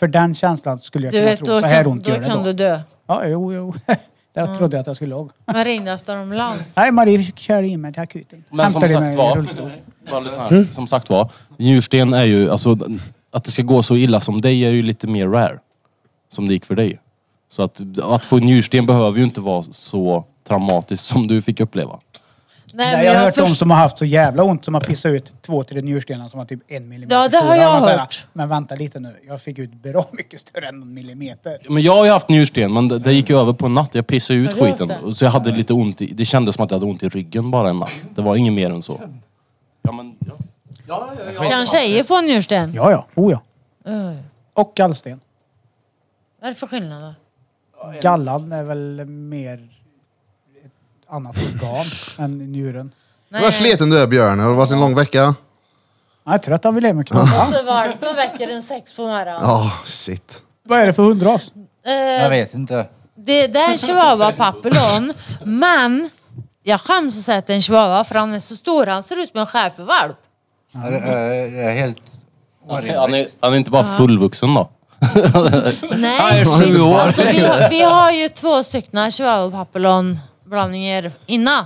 S2: För den känslan skulle jag
S3: Du
S2: kunna
S3: vet,
S2: tro.
S3: då
S2: Så här
S3: kan,
S2: ont
S3: då
S2: gör det
S3: kan du
S2: då.
S3: dö.
S2: Ja, jo, jo. Det trodde jag att jag skulle ihåg.
S3: Man ringde efter ambulans.
S2: Nej, Marie fick köra in mig till akuten.
S4: Men som
S2: Hämtade
S4: sagt
S2: mig i
S4: var,
S2: rullstol.
S4: bara lyssna här. som sagt var, njursten är ju, alltså att det ska gå så illa som dig är ju lite mer rare. Som det gick för dig. Så att, att få njursten behöver ju inte vara så traumatiskt som du fick uppleva.
S3: Nej,
S2: Nej,
S3: men
S2: jag har
S3: jag
S2: hört
S3: först-
S2: de som har haft så jävla ont som har pissat ut två, tre njurstenar som har typ en millimeter
S3: Ja, det har
S2: stora.
S3: jag
S2: Man säger,
S3: hört.
S2: Men vänta lite nu, jag fick ut bra mycket större än en millimeter.
S4: Men jag har ju haft njursten, men det, det gick ju över på en natt. Jag pissade ut
S3: Har du haft
S4: skiten.
S3: det?
S4: Och Så jag hade lite ont i, det kändes som att jag hade ont i ryggen bara en natt. Det var inget mer än så. Ja, men, ja.
S3: Kan tjejer få njursten?
S2: Ja, ja. Oh, ja.
S3: Oj.
S2: Och gallsten.
S3: Vad är det för skillnad då?
S2: Gallan är väl mer ett annat organ än njuren.
S1: Vad sleten du är Björn, har det varit en lång vecka?
S2: Jag är trött av Wilhelm och knulla.
S3: Så varmt på väcker en sex på morgonen.
S1: Ja, shit.
S2: Vad är det för hundras?
S3: Eh,
S6: Jag vet inte.
S3: Det det är en chihuahua papillon. Men jag skäms att säga att det är en chihuahua för han är så stor. Han ser ut som en schäfervalp.
S6: Ja, Det är det är helt
S4: Han är,
S6: orimligt.
S4: han är inte bara fullvuxen då?
S3: Nej.
S4: Han är sju år.
S3: Alltså, vi, har- vi har ju två stycken chihuahua papillon blandningar innan.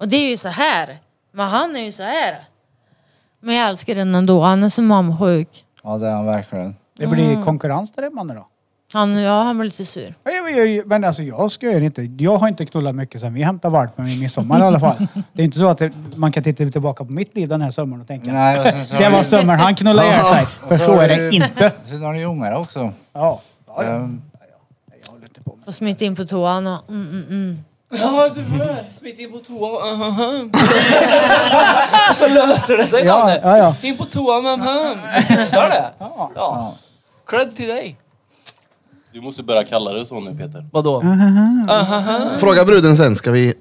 S3: Och det är ju så här. Men han är ju så här. Men jag älskar den ändå. Han är så mammasjuk.
S6: Ja, det är han verkligen.
S2: Det blir konkurrens där hemma nu då.
S3: Han, ja, han blir lite sur.
S2: Ja, Jag, jag, jag, men alltså jag skojar inte. Jag har inte knullat mycket sen vi hämtade valpen vid midsommar i alla fall. Det är inte så att det, man kan titta tillbaka på mitt liv den här sommaren och tänka
S6: Nej, och sen så
S2: det var sommaren han knullade ihjäl sig. För så är det inte.
S6: Sen har ni ungar också.
S2: Ja. Ja, ja.
S6: Ehm,
S3: Får smita in på toan och mm, mm, mm.
S5: Ja, du hör. Smit in på toan. uh, uh, uh. Så löser det sig,
S2: Ja,
S5: Danne.
S2: ja, ja.
S5: In på toan med hum. Fixar det. Ja. Cred till dig.
S4: Du måste börja kalla det så nu Peter.
S5: Vadå?
S1: Mm. Fråga bruden sen, ska vi...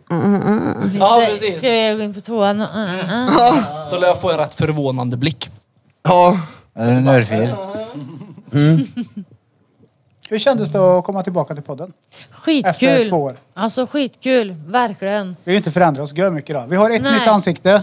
S5: Ja, precis.
S3: Ska jag gå in på toan och mm, mm, mm.
S5: Då lär jag få en rätt förvånande blick.
S1: Ja,
S6: Är det en örfil?
S2: Hur kändes det att komma tillbaka till podden? Efter
S3: Skitkul.
S2: två år.
S3: Alltså skitkul, verkligen.
S2: Vi har ju inte förändrat oss gör mycket då. Vi har ett
S3: Nej.
S2: nytt ansikte.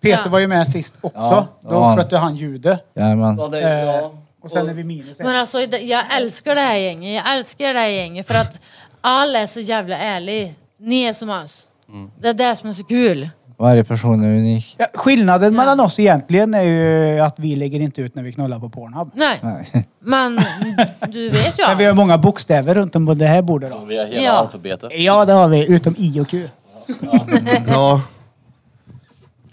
S2: Peter
S3: Ja.
S2: var ju med sist också.
S6: Ja, det var
S2: Då
S6: han.
S2: skötte han ljudet.
S6: Jajamän.
S5: Ja, det,
S2: Eh,
S5: ja.
S2: och sen är vi minus
S3: Men
S2: ett.
S3: alltså det- jag älskar det här gänget, jag älskar det här gänget för att alla är så jävla ärliga. Ni är som oss.
S5: Mm.
S3: Det är det som är så kul.
S6: Varje person är unik.
S2: Ja, skillnaden mellan oss egentligen är ju att vi lägger inte ut när vi knullar på Pornhub.
S3: Nej,
S6: Nej.
S3: men du vet ju
S2: Men vi har
S3: allt.
S2: många bokstäver runt om på det här bordet då.
S4: Vi har hela
S3: Ja.
S4: alfabetet.
S2: Ja, det har vi. Utom I och Q.
S1: ja.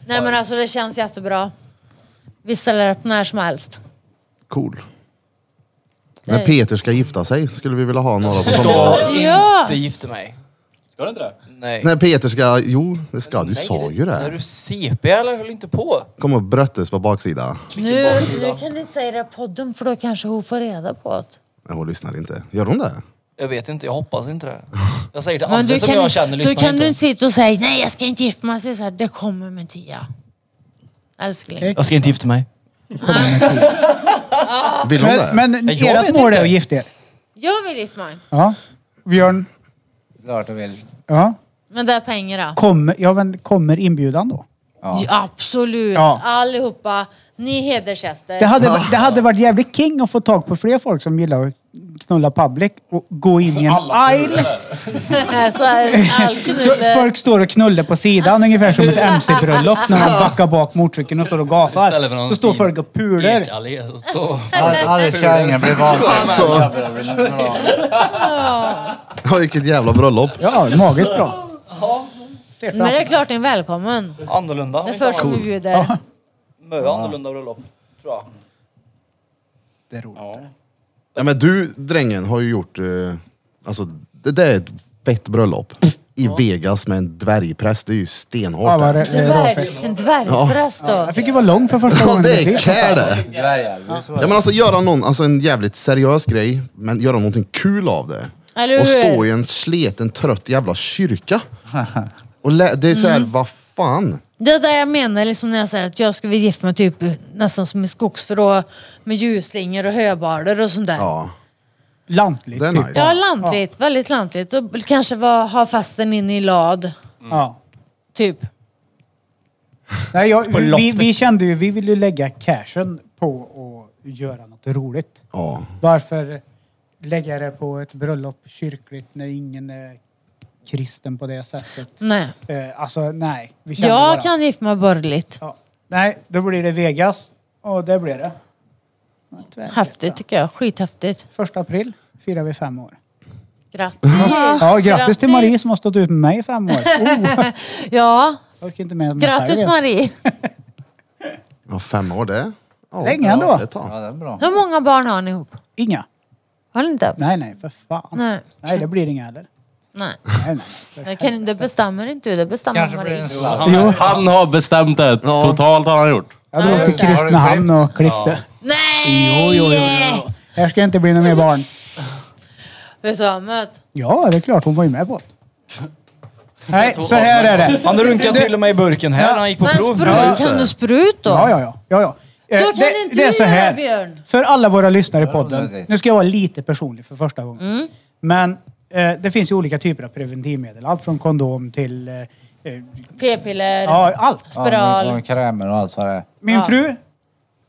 S3: Nej men alltså det känns jättebra. Vi ställer upp när som helst.
S1: Cool. När Peter ska gifta sig skulle vi vilja ha några på sommaren.
S5: Jag
S3: Ja!
S5: inte gifte mig.
S4: Ska du inte det?
S5: Nej.
S1: När Peter ska... Jo, det ska du.
S5: Nej,
S1: sa ju
S5: När
S1: det.
S5: du CP eller höll inte på.
S1: Kom och bröttes på baksidan.
S3: Nu, nu kan du inte säga det i podden för då kanske hon får reda på det.
S1: Nej, Hon lyssnar inte. Gör hon det?
S5: Jag vet inte, jag hoppas inte det. Jag säger till
S3: Men
S5: alla
S3: du
S5: som
S3: kan,
S5: jag känner,
S3: du
S5: lyssnar
S3: kan du
S5: inte.
S3: inte sitta och säga nej jag ska inte gifta mig. Så här, det kommer med tia. Älskling.
S5: Jag ska inte gifta mig.
S1: Vill hon det?
S2: Men, men
S5: Nej, jag
S2: ert
S5: vet
S2: mål
S5: inte.
S2: är att gifta er?
S3: Jag vill gifta mig.
S2: Ja. Björn?
S6: Klart du vill.
S2: Ja.
S3: Men det är pengar då.
S2: Kommer, ja, men kommer inbjudan då?
S6: Ja.
S3: Ja, Absolut.
S2: Ja.
S3: Allihopa. Ni är hedersgäster.
S2: Det hade, det hade varit jävligt king att få tag på fler folk som gillar att knulla public och gå in i en aisle.
S3: så här, all
S2: Så
S3: knulle.
S2: folk står och knullar på sidan ungefär som ett mc-bröllop när de backar bak motorcykeln och står och
S7: Istället för
S2: gasar.
S7: någon
S2: Så står folk och pular.
S7: Ekallé och stå.
S6: All- Alla kärringar blir
S1: Alltså.
S6: vansinniga.
S1: Ja, vilket jävla bröllop.
S2: Ja, magiskt bra. Ser
S3: Men det är
S2: framför
S3: klart ni är välkommen.
S5: Annorlunda.
S3: Det är först som vi bjuder.
S5: Mö annorlunda bröllop, tror jag.
S2: det är roligt.
S1: Ja, men du, drängen, har ju gjort... Eh, alltså, det där är ett fett bröllop. I Vegas med en dvärgpräst. Det är ju stenhårt.
S2: Ja, vad
S1: det.
S2: det, det är råfett.
S3: Dvärg, en dvärgpräst då.
S2: Jag fick ju vara lång för första
S1: Ja,
S2: gången. i
S1: det
S2: mitt liv.
S1: är care det. Ja, men alltså göra någon, alltså en jävligt seriös grej, men göra någonting kul av det.
S3: Eller
S1: Och stå
S3: hur?
S1: i en sleten, trött jävla kyrka. Och lä- det är såhär,
S5: Mm.
S1: vad fan?
S3: Det är det jag menar liksom när jag säger att jag skulle vilja gifta mig typ nästan som i skogsförråd med ljusslingor och höbaler och sånt där.
S1: Ja,
S2: Lantligt.
S1: det är
S2: typ.
S1: nice.
S3: Ja, lantligt. Väldigt lantligt. Och kanske vara- ha festen inne i lad,
S2: Ja.
S3: typ.
S2: Nej, jag, vi,
S5: loftet.
S2: vi kände ju, vi ville ju lägga cashen på att göra något roligt.
S1: Ja.
S2: Varför lägga det på ett bröllop kyrkligt när ingen är kristen på det sättet?
S3: Nej.
S2: Eh, alltså nej. Vi kände bara-
S3: Jag kan gifta mig borgerligt.
S2: Ja. Nej, då blir det Vegas. Och det blir det.
S3: Häftigt tycker jag. Skithäftigt.
S2: Första april firar vi fem år.
S3: Grattis!
S2: Ja, grattis till Marie som har stått ut med mig i fem år. Oh,
S3: Ja,
S2: jag orkar inte med att mäta
S3: grattis
S2: det.
S3: Marie!
S1: ja, fem år det. Ja,
S2: Länge
S1: ja,
S2: ändå.
S1: det tar.
S6: Ja, det är bra.
S3: Hur många barn har ni ihop?
S2: Inga.
S3: Har ni inte?
S2: Nej, nej, för fan.
S3: Nej.
S2: Nej, det blir inga heller.
S3: Nej.
S2: Nej, nej.
S3: Det, kan, det bestämmer inte du, det bestämmer
S6: Kanske blir det
S3: Marie.
S6: en sladd.
S4: Han, han har bestämt det.
S1: Ja.
S4: Totalt har han gjort.
S2: Jag drog till
S6: Har du
S2: Kristinehamn
S6: klippt?
S2: och klippte.
S3: Nej!
S2: Här ska inte bli några mer barn.
S3: Vet du vad, möt?
S2: Ja, det är klart. Hon var ju med på det. Nej, så här är det.
S5: Han runkade till och med i burken här när han gick på
S3: Men
S5: prov.
S3: sprut, kan du sprut då?
S2: Ja, ja, ja. ja, ja. Eh,
S3: Då kan
S2: det,
S3: inte
S2: det är
S3: du
S2: så
S3: göra,
S2: här.
S3: Björn.
S2: För alla våra lyssnare i podden.
S6: dig.
S2: Nu ska jag vara lite personlig för första gången.
S3: Mm.
S2: Men eh, det finns ju olika typer av preventivmedel. Allt från kondom till... Eh, eh,
S3: P-piller,
S2: ja, allt.
S3: spiral.
S6: Och krämer och allt vad det är.
S2: Min
S3: Ja.
S2: fru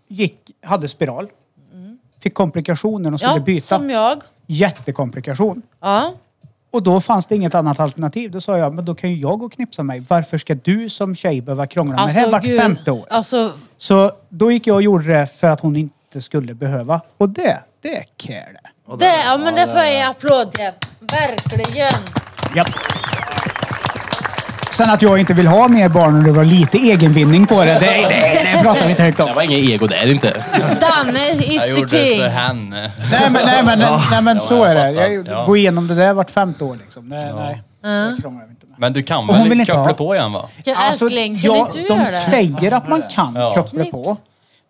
S2: gick, hade spiral. Fick komplikationer och skulle
S3: Mm. ja,
S2: byta.
S3: som jag.
S2: Jättekomplikation.
S3: Ja.
S2: Och då fanns det inget annat alternativ. Då sa jag, men då kan ju jag gå och knipsa mig. Varför ska du som tjej behöva krångla med det här vart
S3: Alltså, gud.
S2: femte år?
S3: Alltså,
S2: Så då gick jag och gjorde det för att hon inte skulle behöva. Och det, det är care det.
S3: det, ja, men det får jag ge applåd till. Verkligen.
S2: Japp. Sen att jag inte vill ha mer barn och det var lite egenvinning på det, det, det, det pratar vi inte högt om.
S4: Det var ingen ego där inte.
S3: Danne is
S7: Jag
S3: the
S7: gjorde det
S3: king.
S7: för henne.
S2: Nej men, nej, men, nej, nej, men så är det.
S7: fattar.
S2: Jag
S7: Ja.
S2: går igenom det där vart femte år liksom. Nej, nej. Det krånglar vi inte med.
S7: Men du kan
S2: Och hon vill
S7: väl
S2: inte
S7: koppla
S2: ha.
S7: på igen va?
S3: Ja,
S2: Alltså,
S3: älskling, kan
S2: ja,
S3: inte du
S2: de
S3: göra det?
S2: säger att man kan
S7: Ja.
S2: koppla på.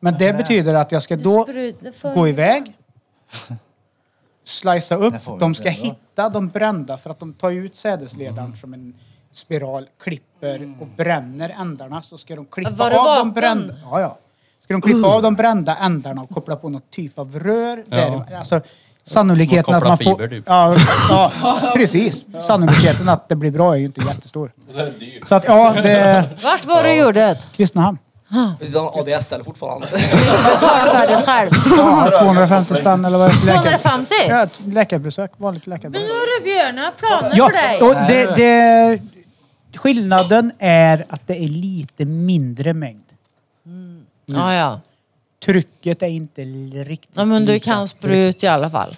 S2: Men det betyder att jag ska då
S3: Sprut- för-
S2: gå iväg, slicea upp,
S6: Det får vi
S2: de
S6: inte
S2: ska
S6: ändå.
S2: hitta de brända för att de tar ut sädesledaren som en spiral, klipper och bränner ändarna så ska de klippa
S3: Var
S2: av
S3: det
S2: de
S3: vapen?
S2: brända. Ja, ja. Ska de klippa av de brända ändarna och koppla på något typ av rör. Där, alltså, sannolikheten
S7: Som att
S2: att man
S7: koppla
S2: får...
S7: fiber, typ.
S2: ja, ja, precis. Sannolikheten att det blir bra är ju inte jättestor. Så att ja, det...
S3: Vart var du gjorde det?
S2: Kristinehamn.
S11: Precis, han har ADSL fortfarande.
S3: Betala för det själv.
S2: Ja, 250 spänn eller vad det är för läkare-
S3: 250?
S2: Ja, ett läkarbesök. Vanligt
S3: Men nu
S2: läkarbesök.
S3: är det Björn, jag har planer
S2: Ja,
S3: för dig.
S2: och det, det, skillnaden är att det är lite mindre mängd.
S3: Ja, ja.
S2: Trycket är inte l- riktigt
S3: ja, men du
S2: lika
S3: kan
S2: tryck.
S3: sprut i alla fall.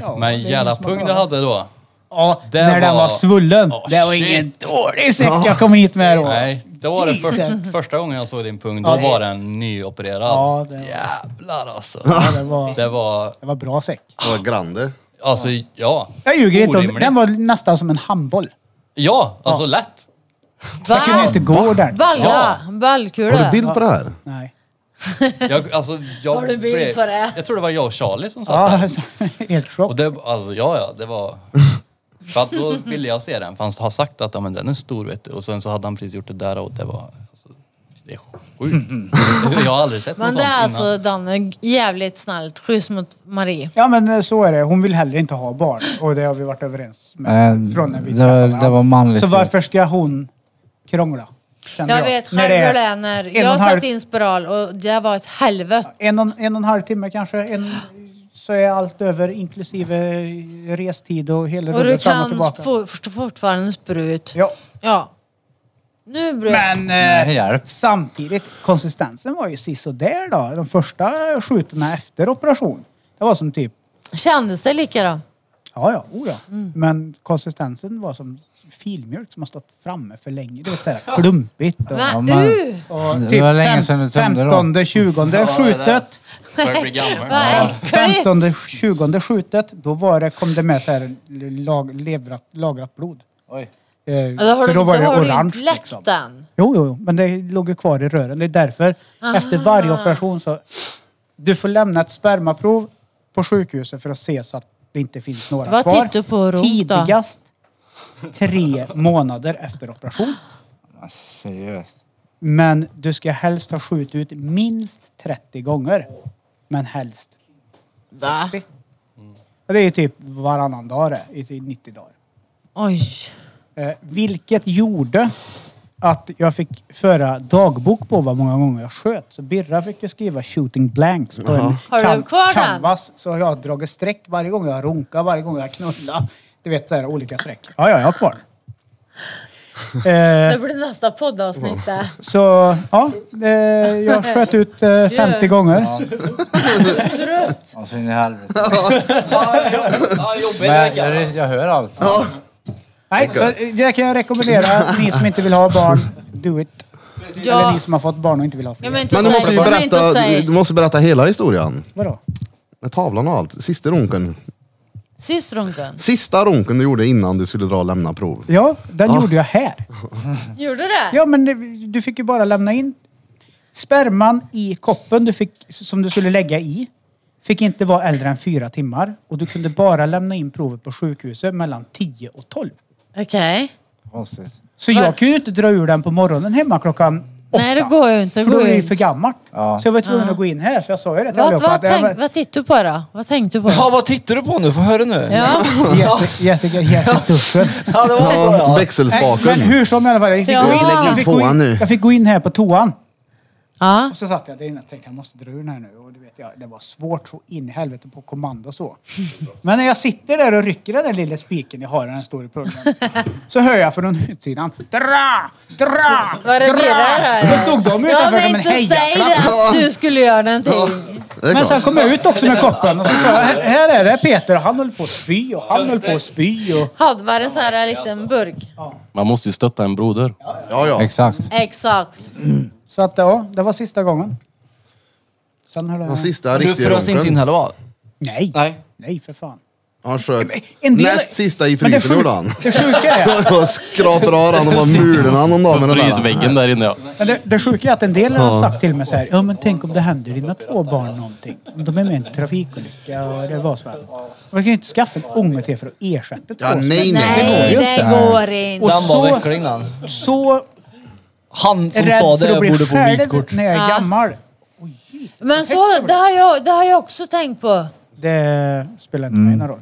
S2: Ja, det är
S7: Men
S2: ingen
S7: jävla
S2: som har
S7: pung du
S2: klarat.
S7: hade då.
S2: Ja,
S7: Det
S2: när den
S7: var-
S2: var svullen.
S7: Åh,
S2: det var
S7: shit.
S2: ingen dålig säck jag kom hit med då.
S7: Nej, det var den
S2: Jesus.
S7: för, första gången jag såg din pung. Då
S2: Ja, det-
S7: var den nyopererad.
S2: Ja, det var-
S7: Jävlar alltså.
S2: Ja, det, var,
S7: Det var,
S2: det var bra säck.
S1: Vad grande.
S7: alltså ja.
S2: Jag ljuger inte. om-
S7: Orimligt.
S2: Den var nästan som en handboll.
S7: Ja, alltså lätt.
S2: Jag kunde
S3: Ah. Va?
S2: inte gå ordentligt.
S3: Balla!
S1: Har du
S3: Ballkula.
S1: bild på det här?
S2: Nej.
S7: Jag, alltså, jag
S3: Har du bild
S7: blev-
S3: på det?
S7: Jag tror det var jag och Charlie som satt
S2: Ja,
S7: där.
S2: alltså, helt chock.
S7: Och det, alltså, ja, ja, det var... För att då ville jag se den, för han har sagt att ja, men den är stor vet du. Och sen så hade han precis gjort det där och det var... Alltså, det är sjukt. Jag har aldrig sett något
S3: Men det
S7: sånt
S3: är alltså
S7: innan.
S3: Danne jävligt snällt. Schysst mot Marie.
S2: Ja men eh, så är det. Hon vill heller inte ha barn. Och det har vi varit överens med.
S6: Eh,
S2: från när vi
S6: det
S2: träffade
S6: var- det
S2: varandra.
S6: var manligt.
S2: Så varför ska hon krångla? Känner
S3: Jag vet själv
S2: När
S3: hur det
S2: är
S3: är när
S2: en och en
S3: jag
S2: halv-
S3: satte in spiral och det var ett helvete.
S2: En och, en och en halv timme kanske. En, så är allt över inklusive eh, restid och hela
S3: Och du
S2: rullen fram och
S3: kan
S2: tillbaka.
S3: for, först- fortfarande sprut.
S2: Ja.
S3: Ja. Nu blir det...
S2: Men
S6: Nej,
S2: eh,
S6: hjälp.
S2: samtidigt, konsistensen var ju sisådär då. De första skjutorna efter operation. Det var som typ,
S3: Kändes det likadant?
S2: ja ja, oh ja.
S3: Mm.
S2: Men konsistensen var som filmjölk som har stått framme för länge. Det var så här klumpigt. Och,
S3: Men
S6: men-
S3: uh!
S2: Och
S6: Det
S2: typ
S6: var länge
S2: fem-
S6: sedan du tömde då.
S2: 15, 20 skjutet.
S7: Börjar bli gammal.
S3: Vad äckligt!
S2: 15, 20 skjutet. Då var det, kom det med så här lag, leverat, lagrat blod.
S6: Oj.
S2: Eh,
S3: Ja, Då
S2: så
S3: har du,
S2: då
S3: då
S2: var det
S3: har du
S2: orange.
S3: inte läckt
S2: liksom.
S3: den.
S2: Jo, jo, jo, men det låg ju kvar i rören. Det är därför. Efter varje operation så... Du får lämna ett spermaprov på sjukhuset för att se så att det inte finns några
S3: Vad
S2: kvar.
S3: tittar du på då?
S2: Tidigast tre månader efter operation.
S6: Men Seriöst.
S2: Men du ska helst ha skjutit ut minst 30 gånger. Men helst 60. Och det är ju typ varannan dag det, i i 90 dagar.
S3: Oj.
S2: Eh, vilket gjorde att jag fick föra dagbok på vad många gånger jag sköt. Så Birra fick ju skriva shooting blanks på en
S3: Har du kvar den?
S2: canvas. Så jag har dragit streck varje gång jag runkar, varje gång jag knullar. Du vet så här olika streck. Ja, ja, jag har kvar eh,
S3: Det blir nästa poddavsnitt där.
S2: Så ja, eh, jag sköt ut eh, 50 gånger.
S3: Trött.
S6: Och så in i helvete.
S11: Ja, jobbig
S6: Men
S11: vecka.
S6: jag, jag hör allt.
S2: Nej, så eh, det kan jag rekommendera. Ni som inte vill ha barn, do it. Eller
S3: Ja.
S2: ni som har fått barn och inte vill ha fler.
S3: Jag menar inte
S1: Men du måste ju
S3: säga. Men inte
S1: berätta, du
S3: säga.
S1: måste berätta hela historien.
S2: Vadå?
S1: Med tavlan och allt. Sista runken.
S3: Sist runken.
S1: Sista runken du gjorde innan du skulle dra och lämna prov.
S2: Ja, den gjorde jag här.
S3: Gjorde det?
S2: Ja, men det- du fick ju bara lämna in sperman i koppen du fick, som du skulle lägga i. Fick inte vara äldre än fyra timmar och du kunde bara lämna in provet på sjukhuset mellan 10 och 12.
S3: Okej.
S6: Konstigt.
S2: Så jag kunde ju inte dra ur den på morgonen hemma klockan
S3: Nej, det går ju inte.
S2: För då
S3: går
S2: är det
S3: ju
S2: ju för
S3: inte.
S2: gammalt.
S6: Ja.
S2: Så jag var tvungen att gå in här, så jag sa ju det till
S3: Vad, vad,
S2: att jag
S3: tänk,
S2: var-
S3: vad tittar du på då? Vad tänkte du på?
S5: Ja, vad tittar du på nu? Få höra nu.
S3: Ja.
S2: Jessica- Jessica ges i duschen.
S5: Ja, det var så
S1: Ja,
S5: ja.
S2: Nej, Men
S1: växelspaken.
S2: hur som i alla fall, jag fick,
S3: Ja.
S2: gå, in,
S3: Jag lägger in
S2: jag, fick gå
S1: tvåan nu.
S2: in, jag fick gå in här på toan.
S3: ja.
S2: Och så satt jag där inne och tänkte jag måste dra ur den här nu. Och du vet, jag, det var svårt så in i helvete på kommando och så. Men när jag sitter där och rycker den där lilla spiken jag har, den står i pungen. Så hör jag från utsidan. Dra! Dra!
S3: Var det
S2: Dra!
S3: birrar
S2: Då stod de
S3: Ja,
S2: utanför som en
S3: men inte säg
S2: hejaklack.
S3: det att du skulle göra någonting.
S1: Det är
S2: Men sen
S1: klart.
S2: kom jag ut också med koppen och så sa jag, "Här- här är det Peter och han höll på att spy och han höll på att spy och...
S3: Ja, det var en sån här liten burk.
S4: Man måste ju stötta en broder.
S1: Ja, ja.
S6: Exakt.
S3: Exakt.
S2: Så att ja, det var sista gången. Sen höll
S1: Den
S2: jag...
S1: sista
S5: Du
S1: riktiga
S5: frös inte in
S1: runken.
S5: heller va?
S2: Nej!
S5: Nej.
S2: Nej för fan.
S1: Han sköt
S2: En del-
S1: näst sista i
S2: Men det
S1: frysen
S2: sjuk-
S1: gjorde han.
S2: Det sjuka är,
S1: Jag skrapar av han och bara mulen han om dagen med det där.
S4: Frysväggen där inne ja.
S2: men det, det sjuka är att en del har sagt till mig så här, ja men tänk om det händer dina två barn någonting. Om de är med i en trafikolycka och det var så här. Man kan ju inte skaffa en unge till för att ersätta två.
S1: Ja, nej, nej.
S3: Nej, det
S2: Och
S3: går inte.
S5: Den var
S2: så-
S5: veckling den.
S2: Så
S5: Han som sa
S2: rädd för
S5: det
S2: att bli
S5: borde få
S2: själv
S5: vitkort.
S2: när jag är
S3: Ja.
S2: gammal.
S3: Men så, det har jag, det har jag också tänkt på.
S2: Det spelar inte mig någon roll.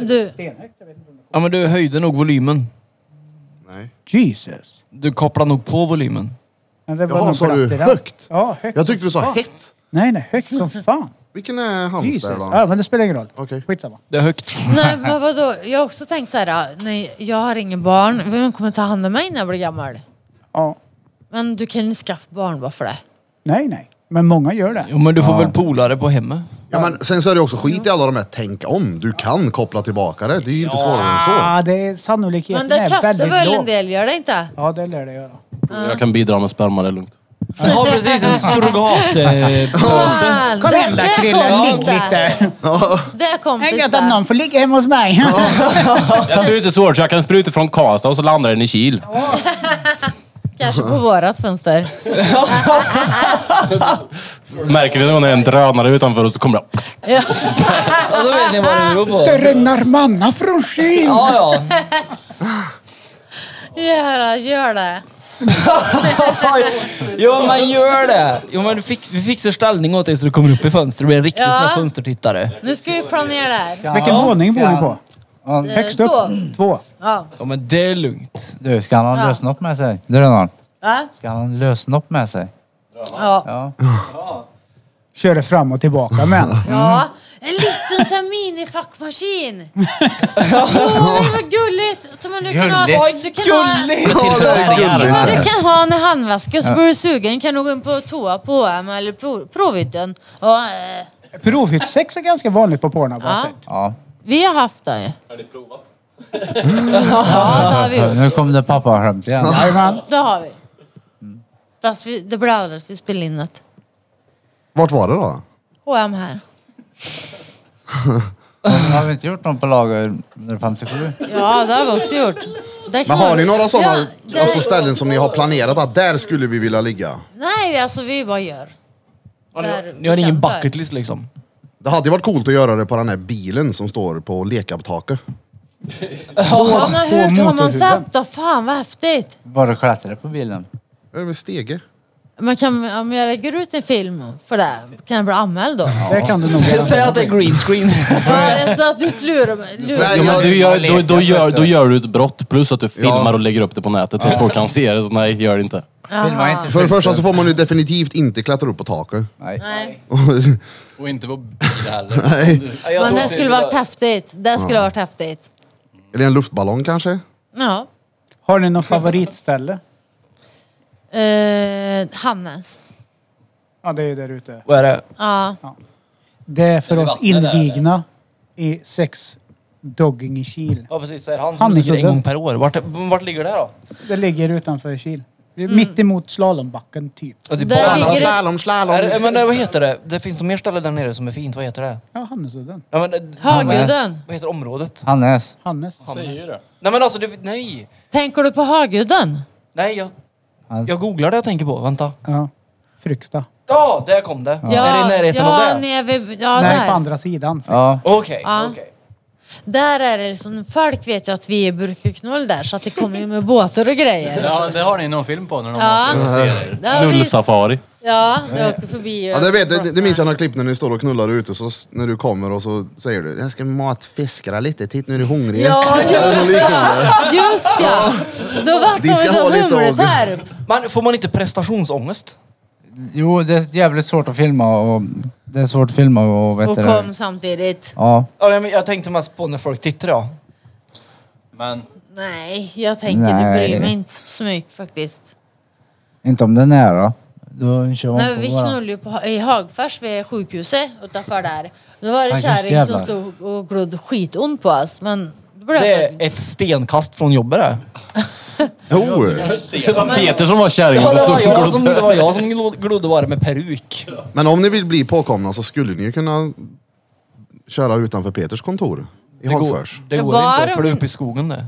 S3: Du,
S2: Stenhögt, jag vet inte.
S5: Ja men du höjde nog volymen.
S2: Jesus.
S5: Du kopplade nog på volymen.
S2: Men det
S1: Jaha,
S2: någon
S1: sa du
S2: glapp i den.
S1: högt?
S2: Ja, högt.
S1: Jag tyckte du sa
S2: som fan.
S1: hett.
S2: Nej, nej, högt som fan.
S1: Vilken är hans
S2: Jesus.
S1: där då?
S2: Ja, men det spelar ingen roll.
S1: Okej.
S2: Skitsamma.
S5: Det är högt.
S3: nej, men vadå? Jag har också tänkt så här, nej, jag har ingen barn. Vem kommer ta hand om mig när jag blir gammal?
S2: Ja.
S3: Men du kan ju skaffa barn bara för det.
S2: Nej, nej. Men många gör det.
S5: Jo men du får väl polare på hemmet.
S1: Ja, men sen så är det också skit i alla de här tänk om. Du kan koppla tillbaka det. Det är ju inte svårare än så.
S2: Ja, det är sannolikheten
S3: Men det
S2: är
S3: kastar
S2: väldigt
S3: väl
S2: låg.
S3: en del, gör det inte?
S2: Ja, det lär det göra.
S4: Jag kan bidra med sperma, det är lugnt.
S5: Ja precis, en surrogat... eh,
S3: Fan,
S2: Kom
S3: där-
S2: igen där
S3: där
S2: Krille,
S3: kompis
S2: ligg
S3: där.
S2: lite.
S3: Där
S2: Jag
S3: kompis
S2: gött att
S3: där.
S2: någon får ligga hemma hos mig.
S4: Jag sprutar svårt så jag kan spruta från Karlstad och så landar den i Kil.
S3: Kanske på vårat fönster.
S4: Märker vi när en drönare utanför och så kommer det...
S3: Ja.
S5: Ja då vet ni vad det beror
S2: Det
S5: på.
S2: regnar manna från skyn.
S5: Ja ja.
S3: Göra, gör det.
S5: Jo men gör det. Jo men du fix, vi fixar ställning åt dig så du kommer upp i fönstret och blir en riktig
S3: Ja.
S5: sån här fönstertittare.
S3: Nu ska vi planera det här.
S2: Vilken våning bor ni på?
S6: Ja,
S2: Högst
S3: Eh,
S2: upp?
S3: Två.
S2: Två.
S3: Ja.
S5: Ja men det är lugnt.
S6: Du, ska han ha
S3: Ja.
S6: lösnopp med sig? Drönaren.
S3: Va?
S6: Ska han ha en lösnopp med sig?
S3: Ja.
S6: Ja.
S2: Kör det fram och tillbaka men.
S3: ja. En liten sån här minifackmaskin. Åh, nej, vad gulligt! Som man nu kan ha... Du kan
S1: Ja,
S3: ha,
S1: det är
S3: ja,
S1: gulligt.
S3: du kan ha en handväska så blir du sugen kan du gå in på toa på H&M eller Pro- Provision. Och, eh,
S2: Provhyttsex är ganska vanligt på Pornhub. har jag
S3: Ja.
S2: sett.
S6: ja.
S3: vi har haft det. Har ni provat? ja, det har vi gjort.
S6: Nu kom det pappaskämt igen.
S2: Jajamän.
S3: Det har vi. Mm. Fast vi, det blir aldrig till spillinnet.
S1: Vart var det då?
S3: H&M här.
S6: Men Har vi inte gjort någon på lager under 57?
S3: Ja, det har vi också gjort. Det
S1: Men
S3: kan-
S1: har ni några
S3: Ja,
S1: sådana
S3: det-
S1: alltså ställen som ni har planerat att där skulle vi vilja ligga? Nej,
S3: Nej, alltså vi bara gör. Där
S5: Ni har
S3: vi
S5: ingen
S3: kämpar.
S5: bucket list liksom.
S1: Det hade ju varit coolt att göra det på den här bilen som står på lekabtaket.
S3: Har man
S2: på
S3: hört, har man
S2: motorhuven.
S3: sett då? Fan vad häftigt!
S6: Bara klättra på bilen.
S1: Är det med stege?
S3: Man kan, om jag lägger ut en film för det, här, kan jag bli anmäld då?
S2: Där kan du nog
S5: Säg att det är green screen.
S3: Ja, det är så att du inte lurar mig. Lurar.
S1: Nej,
S4: Ja, men
S1: jag,
S4: du gör, då, då, gör, då gör du ett brott plus att du filmar och lägger upp det på nätet så att folk kan se det. Så nej, gör det inte.
S6: Filma inte
S1: för det
S6: skylten.
S1: första så får man ju definitivt inte klättra upp på taket.
S6: Nej.
S3: Nej.
S7: Och inte vår bil heller.
S1: Nej.
S3: Men det skulle varit häftigt. Det skulle varit häftigt.
S1: Eller en luftballong kanske?
S3: Ja.
S2: Har ni någon favoritställe?
S3: Eh, Hannes.
S2: Ja, det är där ute.
S5: Vad är det?
S3: Ja.
S2: Det är för
S7: Är det
S2: oss
S7: vattnet där,
S2: invigna i sex dogging i Kil.
S5: Ja precis, säger han som
S2: Han är
S5: ligger en
S2: sudden.
S5: gång per år. Vart, vart ligger det då?
S2: Det ligger utanför Kil. Det är Mitt emot slalombacken typ.
S5: Ja, typ
S3: Där
S5: bara-
S3: ligger det-
S1: Slalom, slalom.
S5: Är det, men det, vad heter det? Det finns något mer ställe där nere som är fint. Vad heter det?
S2: Ja, Hannesudden.
S5: Ja, men, det-
S3: Hagudden.
S5: vad heter området?
S6: Hannes.
S2: Hannes.
S5: Nej men alltså, det, nej!
S3: Tänker du på Hagudden?
S5: Nej, jag, jag googlar det jag tänker på. Vänta.
S2: Ja. Fryksta.
S5: Ja, där kom det! Är det i närheten
S3: ja,
S5: av det?
S3: nere vid, ja,
S2: Nej,
S3: där.
S2: på andra sidan.
S6: Ja.
S5: Okej,
S3: Ja.
S5: okej.
S3: Där är det liksom, folk vet ju att vi är burkeknoll där så att det kommer ju med båtar och grejer.
S7: Ja, det har ni någon film på när de
S3: Ja.
S7: åker och ser er.
S3: Ja, vi-
S4: Nullsafari.
S3: Ja, det åker förbi.
S1: Ja, det, vet, det, det minns jag några klipp när ni står och knullar ute, så s- när du kommer och så säger du jag ska matfiskra lite, titt nu är du hungrig.
S3: Ja,
S1: Eller något
S3: just
S1: liknande.
S3: ja! Just ja! Då vart
S1: De
S3: de
S1: ska ha
S3: väl
S1: lite
S3: humlet
S1: av-
S3: här.
S5: Men får man inte prestationsångest?
S6: Jo, det är jävligt svårt att filma och det är svårt att filma och vet
S3: Och
S6: du-
S3: kom samtidigt.
S6: Ja.
S5: Ja, jag, jag tänkte mest på när folk tittar ja.
S7: Men
S3: Nej, jag tänker det
S6: Nej.
S3: bryr mig inte så mycket faktiskt.
S6: Inte om den är nära. Då kör man
S3: Nej,
S6: på
S3: vi
S6: bara.
S3: knullade ju på, i Hagfors vid sjukhuset utanför där. Då var det
S6: Ja, just
S3: kärring som
S6: jävlar.
S3: stod och glodde skitont på oss. Men då blev
S5: Det
S3: det...
S5: är ett stenkast från jobbet det.
S1: Jo!
S4: Det var Peter som var kärringen
S5: Ja,
S4: som
S5: det,
S4: stod
S5: var
S4: och
S5: jag som, det
S4: glodde.
S5: var jag som glod- glodde bara med peruk.
S1: Men om ni vill bli påkomna så skulle ni ju kunna köra utanför Peters kontor i
S5: Det går,
S1: Hagfors.
S5: det
S3: Jag
S5: går
S3: bara-
S5: inte, för det är uppe i skogen det.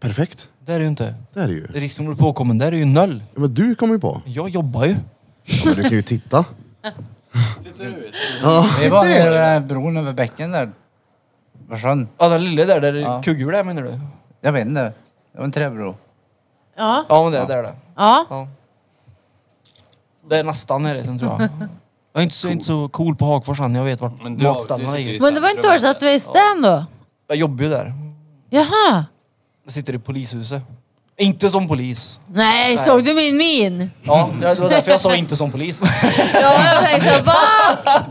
S1: Perfekt.
S5: Det är det ju inte.
S1: Det är det ju.
S5: Det är liksom du påkommen, där är ju noll.
S1: Ja, men du kommer ju på.
S5: Jag jobbar ju.
S1: Ja, men du kan ju titta.
S6: Vi var nere vid den här bron över bäcken där. Vad sjön?
S5: Ja, den lilla där, där ja.
S6: Ja.
S5: kugghjul är menar du?
S6: Jag vet inte. Det var en träbro.
S3: Ja,
S5: Ja, men det är där det.
S3: ja.
S5: Ja. Det är nästan närheten tror jag. Jag är inte så, inte så cool på Hagfors än, jag vet vart
S7: Men du har- du
S5: matställarna
S7: sitter
S5: ligger.
S7: i-
S3: Men det var inte dåligt att vi visste ändå.
S5: Jag jobbar ju där.
S3: Jaha.
S5: Jag sitter i polishuset. Inte som polis.
S3: Nej, såg du min min?
S5: Ja, det var därför jag sa inte som polis.
S3: Ja, jag tänkte såhär, va?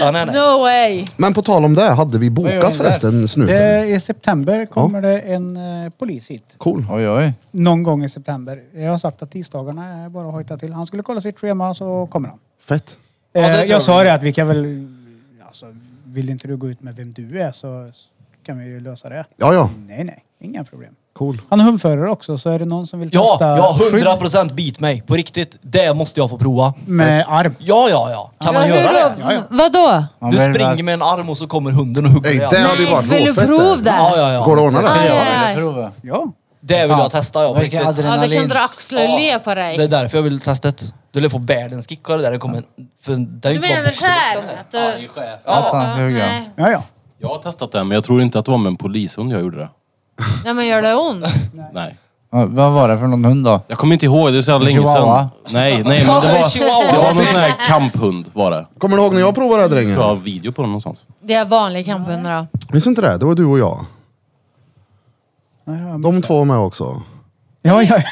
S5: Ja, nej, nej.
S3: No way!
S1: Men på tal om det, hade vi
S6: Vad gör
S1: bokat
S6: ni där?
S1: förresten snuten?
S5: Eh.
S2: Det, I september kommer det en eh, polis hit.
S1: Cool.
S6: Oj, oj.
S2: Någon gång i september. Jag har sagt att tisdagarna är bara att hojta till. Han skulle kolla sitt schema så kommer han.
S1: Fett.
S5: Ja, det
S2: Eh,
S5: tror jag
S2: jag sa
S5: vi-
S2: det att vi kan väl... Alltså, vill inte du gå ut med vem du är så kan vi ju lösa det.
S1: Ja, ja.
S2: Nej, nej. Inga problem.
S1: Cool.
S2: Han är hundförare också så är det någon som vill
S5: Ja,
S2: testa
S5: ja,
S2: skydd
S5: 100 procent bit mig. På riktigt. Det måste jag få prova.
S2: med arm.
S5: Ja, ja, ja. Kan man
S3: Ja,
S5: göra
S3: hur
S5: det?
S3: då? Vadå?
S6: Man
S5: Du
S6: blir
S5: springer
S6: väl-
S5: med en arm och så kommer hunden och hugger
S1: Ey,
S5: dig.
S1: det
S5: Ja,
S1: hade ju
S3: Nej,
S1: varit
S3: vill du
S1: råfett
S3: prov
S1: det.
S3: där?
S5: ja, ja.
S1: Går det att ordna
S3: Aj,
S1: det?
S3: aj,
S6: Ja,
S3: aj.
S6: det prova.
S2: Ja.
S5: Det vill jag testa ja, på
S6: Vilken
S5: riktigt.
S3: Ja, det kan
S6: adrenalin.
S3: dra axlar och le på dig.
S5: Det är därför jag vill testa det. Du lär få världens kick av det där. Det kommer, för det är
S3: Du
S5: ju bara
S3: menar
S5: boxning.
S3: såhär? Att du...
S6: Att han
S3: Ja,
S6: hugger.
S3: nej.
S2: Ja, ja.
S4: Jag har testat det men jag tror inte att det var med en polishund jag gjorde det.
S3: nej, men gör det ont?
S4: Nej.
S6: Ja, Vad var det för någon hund då?
S4: Jag kommer inte ihåg, det är så jävla länge sedan.
S6: Chihuahua.
S4: Nej, nej men det var,
S5: Chihuahua.
S4: det var någon sån här kamphund var det.
S1: Kommer du ihåg när jag provade det här drängen?
S4: Jag har video på den någonstans.
S3: Det är vanlig kamphundar då.
S1: Minns inte det? Det var du och jag.
S2: Ja, ja.
S1: De två var med också.
S2: Ja, ja.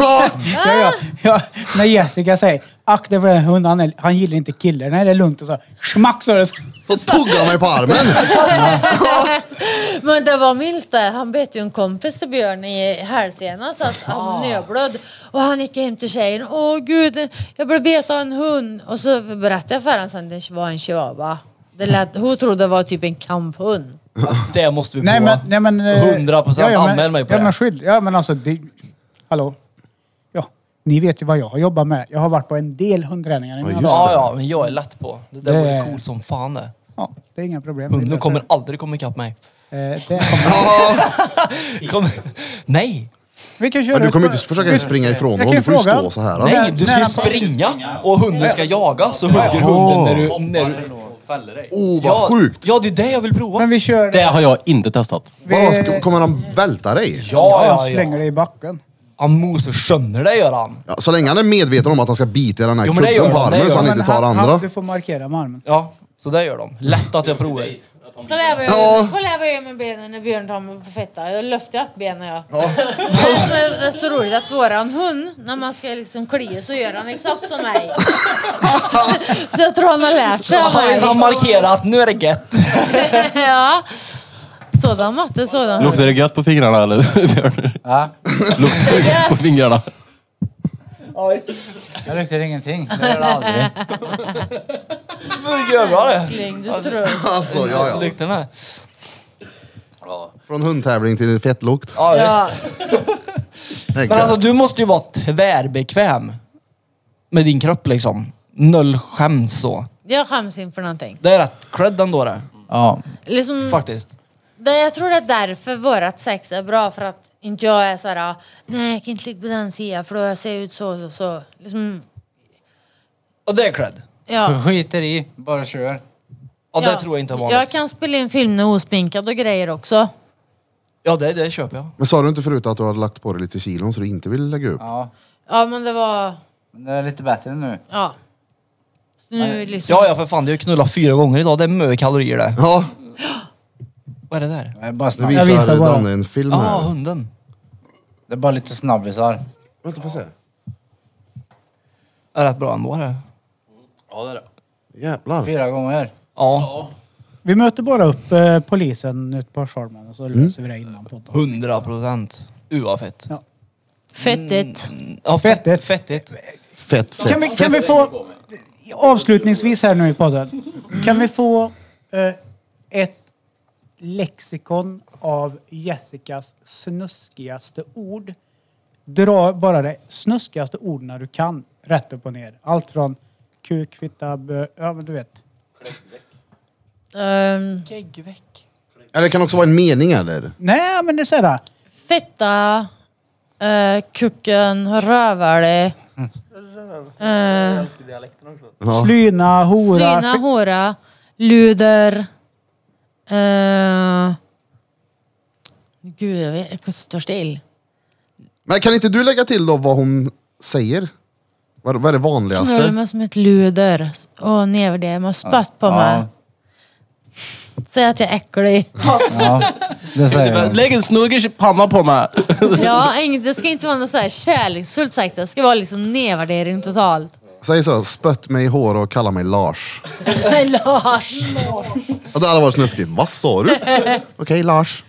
S2: ja, ja,
S5: Ah!
S2: ja. När Jessica säger akta för den hunden, han, är- han gillar inte killar. Nej, det är lugnt. Och så smack så är det så.
S1: Så tuggade han mig på armen.
S3: Men det var milt det. Han bet ju en kompis till Björn i hälsenan så att han nödblöd. Och han gick hem till tjejen. Åh gud, jag blev bet av en hund. Och så berättade jag för honom sen det var en chihuahua. Det lät, hon trodde det var typ en kamphund.
S5: Det måste vi prova.
S2: Nej, men... Nej, men eh,
S5: 100%
S2: ja, ja, men-
S5: anmäl mig på
S2: ja,
S5: det.
S2: Men skydd. Ja, men alltså... Det, hallå? Ja, ni vet ju vad jag har jobbat med. Jag har varit på en del hundträningar i mina dagar.
S5: Ja, ja, men jag är lätt på. Det där
S2: Det-
S5: vore coolt som fan det.
S2: Ja, det är inga problem.
S5: Hunden kommer aldrig komma ikapp mig.
S2: Eh, det kommer.
S5: Kommer... Nej!
S2: Vi kan köra
S1: Men du kommer
S2: ett-
S1: inte försöka springa ifrån
S2: kan
S1: honom. Du får ju
S2: fråga.
S1: stå så här.
S5: Nej, du ska
S2: när
S5: ju
S2: han-
S5: springa och hunden ska jaga så hugger hunden när du... När du...
S1: Oh, vad
S5: Ja,
S1: sjukt!
S5: ja, det är det jag vill prova.
S2: Men vi kör...
S4: Det har jag inte testat.
S1: Vadå, ska- kommer han välta dig?
S5: Ja,
S2: ja,
S5: ja,
S2: slänger
S5: ja.
S2: det i backen.
S5: Han mosar sönder det gör han.
S1: Ja, så länge han är medveten om att han ska bita i den här
S5: Jo, men det gör
S1: kudden på
S5: han, det
S1: armen
S5: gör
S1: så han
S5: han.
S1: inte tar
S2: han,
S1: andra.
S2: Han, du får markera med armen.
S5: Ja, så det gör de. Lätt att jag provar.
S3: Kolla här vad jag-
S1: Ja.
S3: kolla här vad jag gör med benen när Björn tar mig på fetta. Jag löfte upp benen jag. Det, som är, det är så roligt att våran hund, när man ska liksom klia så gör han exakt som mig. Alltså, så jag tror han har lärt sig av mig.
S5: Han markerar att nu är det gött.
S3: ja. Sådan matte, sådan matte.
S4: Luktar det gött på fingrarna eller Björn?
S6: Ja,
S4: Luktar det gött på fingrarna?
S6: jag luktar ingenting. Det gör det aldrig.
S5: Det gör bra det.
S3: Ling, du tror.
S1: Alltså, ja, ja.
S5: Lukten här.
S1: Från hundtävling till fettlukt.
S5: Ja,
S3: Ja.
S5: visst.
S1: Tänker
S5: Men alltså
S1: jag.
S5: du måste ju vara tvärbekväm med din kropp liksom. Noll skäms så.
S3: Jag skäms inför någonting.
S5: Det är rätt cred ändå det.
S6: Ja,
S3: Liksom,
S5: Faktiskt.
S3: det, jag tror det är därför vårat sex är bra. För att inte jag är så här, "Ah, nej jag kan inte ligga på den sidan för då ser jag ut så så så. Liksom,
S5: Och det är cred.
S3: ja.
S6: skiter i. Bara kör.
S5: Ja, det tror jag inte är vanligt.
S3: Jag kan spela in film när jag är osminkad och grejer också.
S5: Ja, det, det köper jag.
S1: Men sa du inte förut att du hade lagt på dig lite kilon så du inte vill lägga upp?
S6: Ja.
S3: Ja, men det var...
S6: Men det är lite bättre nu.
S3: Ja. Nu är det liksom...
S5: Ja, ja för fan. Det är ju knullat fyra gånger idag. Det är mycket kalorier det.
S1: Ja,
S5: Vad är det där?
S6: Det är bara,
S1: nu
S6: snabb...
S1: visar,
S2: Jag visar bara.
S1: Danne en film
S5: Ja,
S1: här.
S5: hunden.
S6: det är bara lite snabbisar.
S1: Vänta, får jag se.
S5: Det är rätt bra ändå det.
S1: Jävlar.
S6: Fyra gånger.
S5: Ja,
S2: Vi möter bara upp eh, polisen ute på Charman och så löser vi det innan podden.
S5: hundra procent. Uh, vad fett. Mm,
S3: Fettigt.
S5: Ja,
S2: Fettet.
S5: Fettigt.
S1: Fett, fett.
S2: Kan vi, kan vi få, avslutningsvis här nu i podden, kan vi få eh, ett lexikon av Jessicas snuskigaste ord? Dra bara det snuskigaste orden du kan, rätt upp och ner. Allt från kuk, fitta, bö, ja men du vet.
S5: Mm.
S3: Ehm,
S5: Geggveck.
S1: Ja, det kan också vara en mening eller?
S2: Nej men det är sådär.
S3: fetta, eh, kucken, rövare. Uh,
S1: Ja.
S2: Slyna, hora,
S3: slyna,
S2: fi-
S3: hora, luder. eh, gud, jag, vet, jag står still.
S1: Men kan inte du lägga till då vad hon säger? Vad, vad är det
S3: Knullade
S1: vanligaste?
S3: mig som ett luder och nedvärderade mig och spött på mig.
S6: Ja.
S3: Säg att jag är äcklig.
S6: Ja. Det säger hon.
S4: Lägg en snuggers i panna på mig.
S3: ja, ing- det ska inte vara något så här kärleksfullt sagt. Det ska vara liksom nedvärdering totalt.
S1: Säg så, spött mig i hår och kalla mig Lars.
S3: Lars!
S1: Ja, det hade varit snuskigt. Vad sa du? Okej, Lars.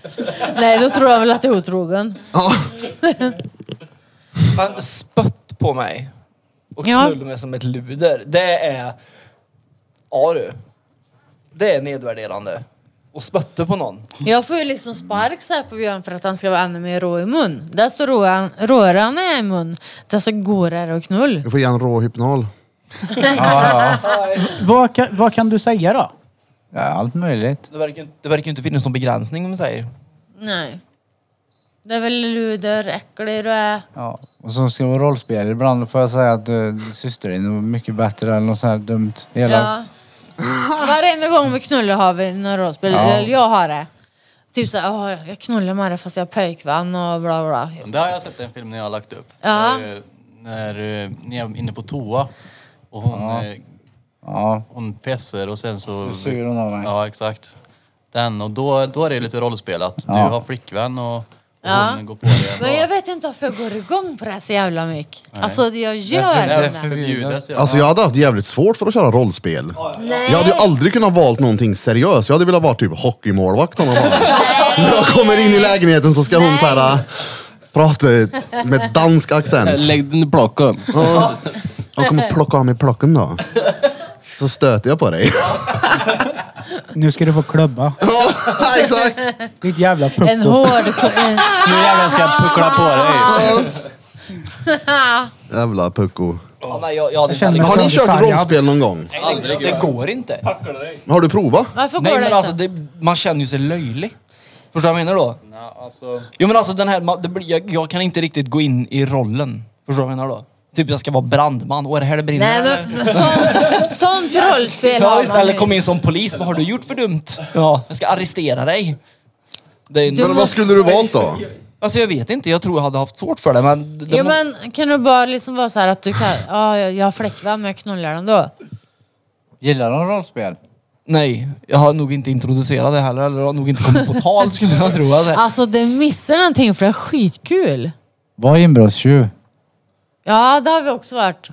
S3: Nej, då tror jag väl att jag är otrogen.
S1: Ja.
S5: Han spött på mig. Och
S3: Ja.
S5: knullade mig som ett luder. Det är... Ja du. Det är nedvärderande. Och spötte på någon.
S3: Jag får ju liksom spark så här på Björn för att han ska vara ännu mer rå i mun. Desto råan- råare han är i mun, desto går är det att knull.
S1: Du får ge en rå hypnol.
S2: vad, kan, vad kan du säga då?
S6: Ja, allt möjligt.
S5: Det verkar, ju- det verkar ju inte finnas någon begränsning om man säger.
S3: Nej. Det är väl luder, äcklig du är.
S6: Ja. Och som ska vara rollspelare ibland får jag säga att eh, syster din var mycket bättre eller något sånt här dumt. Hela...
S3: Ja. Varenda gång vi knullar har vi några rollspel.
S6: Ja.
S3: Eller jag har det. Typ såhär, "Åh, jag knullar med det fast jag har pojkvän och bla bla.
S7: Det har jag sett en film när jag har lagt upp.
S3: Ja.
S7: Eh, När, eh, när jag är inne på toa och hon, eh,
S6: ja.
S7: hon pessar och sen så...
S6: Då suger hon av mig.
S7: Ja, exakt. Den och då, då är det lite rollspel att du
S6: Ja.
S7: har flickvän och, och
S3: Ja.
S7: hon går på dig ändå.
S3: Men jag vet inte varför jag går igång på det här så jävla mycket. Alltså det jag gör
S7: Det är
S6: Nej.
S3: det.
S7: förbjudet. Ja.
S1: Alltså jag hade haft jävligt svårt för att köra rollspel.
S3: Nej.
S1: Jag hade ju aldrig kunnat valt någonting seriöst. Jag hade velat vara typ hockeymålvakt. om jag var. När jag kommer in i lägenheten så ska hon så här, äh, prata med dansk accent.
S4: Lägg den i plocken.
S1: Ja. Hon kommer plocka av mig plocken då. Så stöter jag på dig.
S2: Nu ska du få klubba.
S1: Ja, exakt.
S2: Ditt jävla pucko.
S3: En hård... en-
S4: Nu jävlar ska jag puckla på dig.
S1: Jävla pucko.
S5: Ja, nej, jag, jag hade
S2: Jag känner
S5: inte-
S2: mig
S1: Har ni
S2: Sönder
S1: kört
S2: sargad.
S1: rollspel någon gång?
S5: det, det går inte.
S1: Har du provat?
S3: Varför
S5: Nej
S3: går det
S5: men
S3: inte?
S5: alltså det, man känner ju sig löjlig. Förstår du vad jag menar då?
S7: Alltså,
S5: Jo men alltså den här, ma- det blir, jag, jag kan inte riktigt gå in i rollen. Förstår du vad jag menar då? Typ jag ska vara brandman. Åh är det här det brinner
S3: Nej
S5: eller?
S3: men sånt, sånt rollspel
S5: Ja
S3: har
S5: visst,
S3: man
S5: eller
S3: ju.
S5: kom in som polis. Vad har du gjort för dumt? Ja, jag ska arrestera dig. Det är,
S1: Men vad skulle du valt då?
S5: Alltså jag vet inte, jag tror jag hade haft svårt för det men... Det
S3: Jo
S5: må-
S3: men kan du bara liksom vara så här att du kan, ja jag jag har fläckvän men jag knullar den då.
S6: Gillar de rollspel?
S5: Nej, jag har nog inte introducerat det heller, eller det har nog inte kommit på tal skulle jag tro. Alltså.
S3: Alltså det missar någonting för det är skitkul.
S6: Var inbrottstjuv.
S3: Ja det har vi också varit.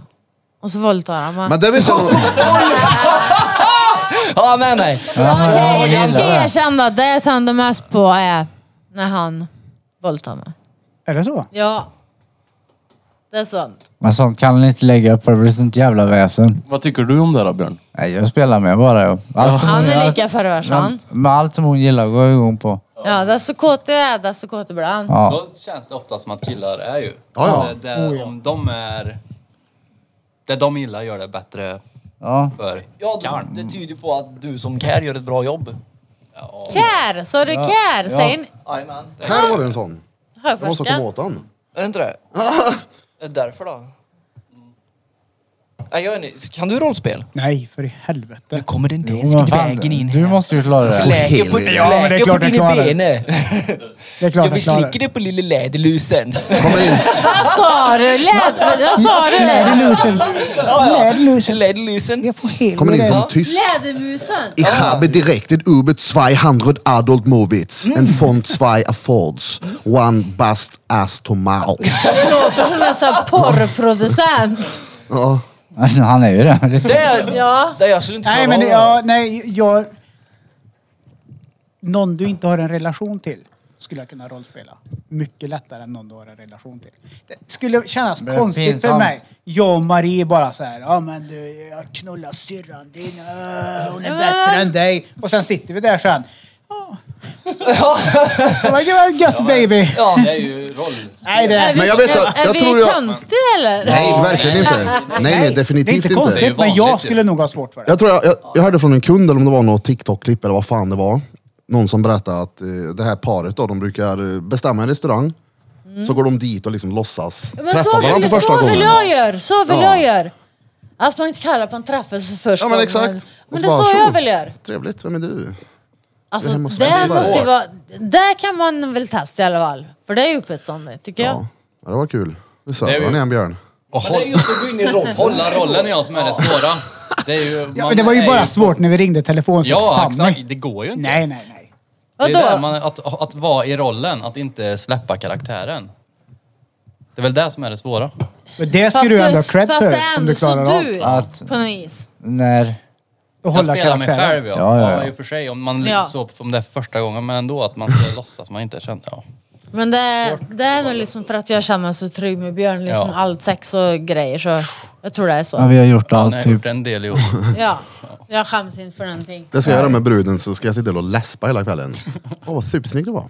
S3: Och så våldtar han mig.
S1: Men det vet jag
S5: Ja, nej nej.
S3: Ja,
S6: Ja,
S3: Okej,
S6: jag
S3: jag ska
S6: gillar det.
S3: erkänna. Det jag tänder mest på är när han våldtar mig.
S2: Är det så?
S3: Ja. Det är sant.
S6: Men sånt kan ni inte lägga upp för det blir sånt jävla väsen.
S4: Vad tycker du om det då Björn?
S6: Nej, jag spelar med bara. Jag. Allt som
S3: Han
S6: hon-
S3: är lika pervers han.
S6: Med allt som hon gillar går jag igång på.
S3: Ja, desto kåt jag är, desto kåt blir han.
S6: Ja.
S7: Så känns det ofta som att killar är ju.
S1: ja.
S7: Det, det, Om de är... Det de gillar gör det bättre
S6: Ja.
S7: för.
S5: Ja, du- det tyder ju på att du som kär gör ett bra jobb.
S3: Kär! Sa du kär?
S6: Ja.
S3: Säg
S5: Jajamän.
S1: Här var det en sån. Jag måste komma
S3: högfärska.
S1: åt den.
S5: Är det inte det? Är det därför då? Nej, jag är ny. Kan du rollspel?
S2: Nej, för i helvete. Nu
S5: kommer den
S2: jo,
S5: dansk
S2: men fan,
S5: drägen in
S2: Du måste ju klara det.
S5: Fläker på,
S2: ja, men det är
S5: fläker på
S2: klart jag
S5: dina
S2: klarar det.
S5: ben.
S2: Det är klart
S5: jag
S2: jag
S5: vill
S2: klarar
S5: slicka
S2: det.
S5: dig på lille läderlusen.
S3: Vad sa du? Läder... Vad sa du?
S2: Läderlusen.
S5: Läderlusen. Läderlusen. Jag
S2: får helt
S1: Kommer in som tysk.
S3: Lädermusen.
S1: Ich habe direkt über 200 adult movies and von zwei affords. One bust ass to mouth.
S3: Det låter som en sån här porrproducent.
S1: Ja.
S6: Alltså, Han är ju det.
S5: Det,
S3: Ja.
S5: det jag skulle inte
S2: Nej,
S5: klara
S2: men det,
S5: av.
S2: ja, nej, jag... Någon du inte har en relation till skulle jag kunna rollspela. Mycket lättare än någon du har en relation till. Det skulle kännas
S6: Men
S2: konstigt för
S6: pinsamt.
S2: mig. Jag och Marie bara så här, ja men du, jag knullar syrran din, äh, hon är bättre än dig. Och sen sitter vi där sen. Ja. Det var- det var gött baby.
S5: Ja.
S7: Det är ju roll.
S2: Nej, det
S3: Är vi,
S1: Men jag vet
S3: är,
S1: att-
S3: är
S1: jag
S3: vi
S1: tror jag-
S3: konstiga eller?
S1: Nej, verkligen inte. Nej, nej,
S2: Det är
S1: definitivt
S2: inte
S1: inte.
S2: konstigt, men
S7: vanligt ju.
S2: jag skulle nog ha svårt för det.
S1: Jag tror jag, jag, jag hörde från en kund, eller om det var något TikTok-klipp eller vad fan det var. Någon som berättade att eh, det här paret då, de brukar eh, bestämma en restaurang. Så går de dit och liksom låtsas
S3: Men
S1: träffa
S3: så
S1: varandra
S3: vill,
S1: för första
S3: så
S1: gången.
S3: vill jag göra. Så vill
S1: Ja.
S3: jag göra. Att man inte kallar på en träffelse först.
S1: Ja men exakt. Och
S3: Men
S1: så
S3: det
S1: bara,
S3: är så jag
S1: "Tjo,
S3: vill göra.
S1: Trevligt, vem är du? Det
S3: Alltså,
S1: här
S3: det
S1: måste
S3: måste
S1: vara bra.
S3: ju vara, där kan man väl testa i alla fall. För det är ju upphetsande, tycker jag.
S1: Ja, ja det var kul. Du sa,
S7: Det är
S1: det
S7: ju-
S1: var ni en björn?
S7: Och
S5: Men det är
S7: håll,
S5: just att gå in i rollen.
S7: hålla rollen är jag som är det svåra. Det, är ju,
S2: Ja,
S7: man
S2: men det var ju
S7: är
S2: bara svårt när vi ringde telefonsex.
S7: Ja,
S2: Fan,
S7: exakt.
S2: nej.
S7: Det går ju inte.
S2: Nej, nej, nej.
S7: Det är där
S3: Vadå?
S7: man, att, att vara i rollen, att inte släppa karaktären. Det är väl det som är det svåra.
S2: Men det skulle du ändå ha cred
S3: fast
S2: för.
S3: det är
S2: om du
S3: ändå så
S2: klarar av.
S3: du
S6: Att-
S3: på något vis.
S6: När...
S2: Och
S7: Jag
S2: hålla
S7: spelar mig
S2: karaktären.
S7: själv ja.
S6: Ja,
S7: Ja,
S6: ja, ja.
S7: i och för sig. Om, man,
S3: Ja.
S7: så, om det är första gången, men ändå att man ska låtsas man inte känner. Ja.
S3: Men det, det är nog liksom för att jag känner mig så trygg med Björn. Liksom
S7: Ja.
S3: Allt sex och grejer. Så jag tror det är
S6: Ja,
S3: så.
S6: vi har gjort
S7: Han
S6: allt
S7: har gjort
S6: typ.
S7: en del ihop.
S3: Ja. Jag skäms inte för någonting.
S1: Det ska jag göra med bruden så ska jag sitta och läspa hela kvällen. Åh vad supersnygg du var.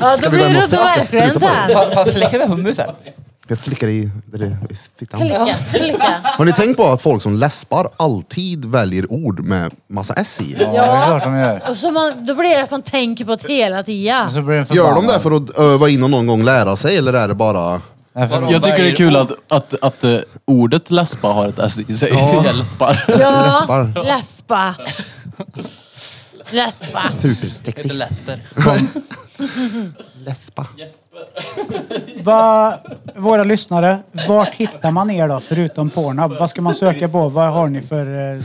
S3: Ja,
S1: vi
S3: då blir
S1: gå
S3: du
S1: hem och
S3: då
S1: fläcka?
S3: verkligen
S1: Sluta på
S3: tänd.
S5: Han släcker med huvudet sen.
S1: Jag slickar i, där det, i fittan.
S3: Klicka, klicka.
S1: Har ni tänkt på att folk som läspar alltid väljer ord med massa s i?
S6: Ja, det är klart de gör.
S3: Och så man, då blir det att man tänker på det hela tiden.
S6: Och så blir den
S1: Gör de
S6: förbannad.
S1: det för att öva in och någon gång lära sig eller är det bara...
S6: Nej, för-
S4: Jag tycker det är kul att, att, att eh, ordet läspa har ett S i sig. Hjälpar.
S3: Ja,
S1: Läppar.
S3: läspa. Läspa.
S1: Superteknik.
S7: Lite läfter.
S1: Läspa.
S2: Va, våra lyssnare, vart hittar man er då förutom Pornhub? Vad ska man söka på? Vad har ni för, eh,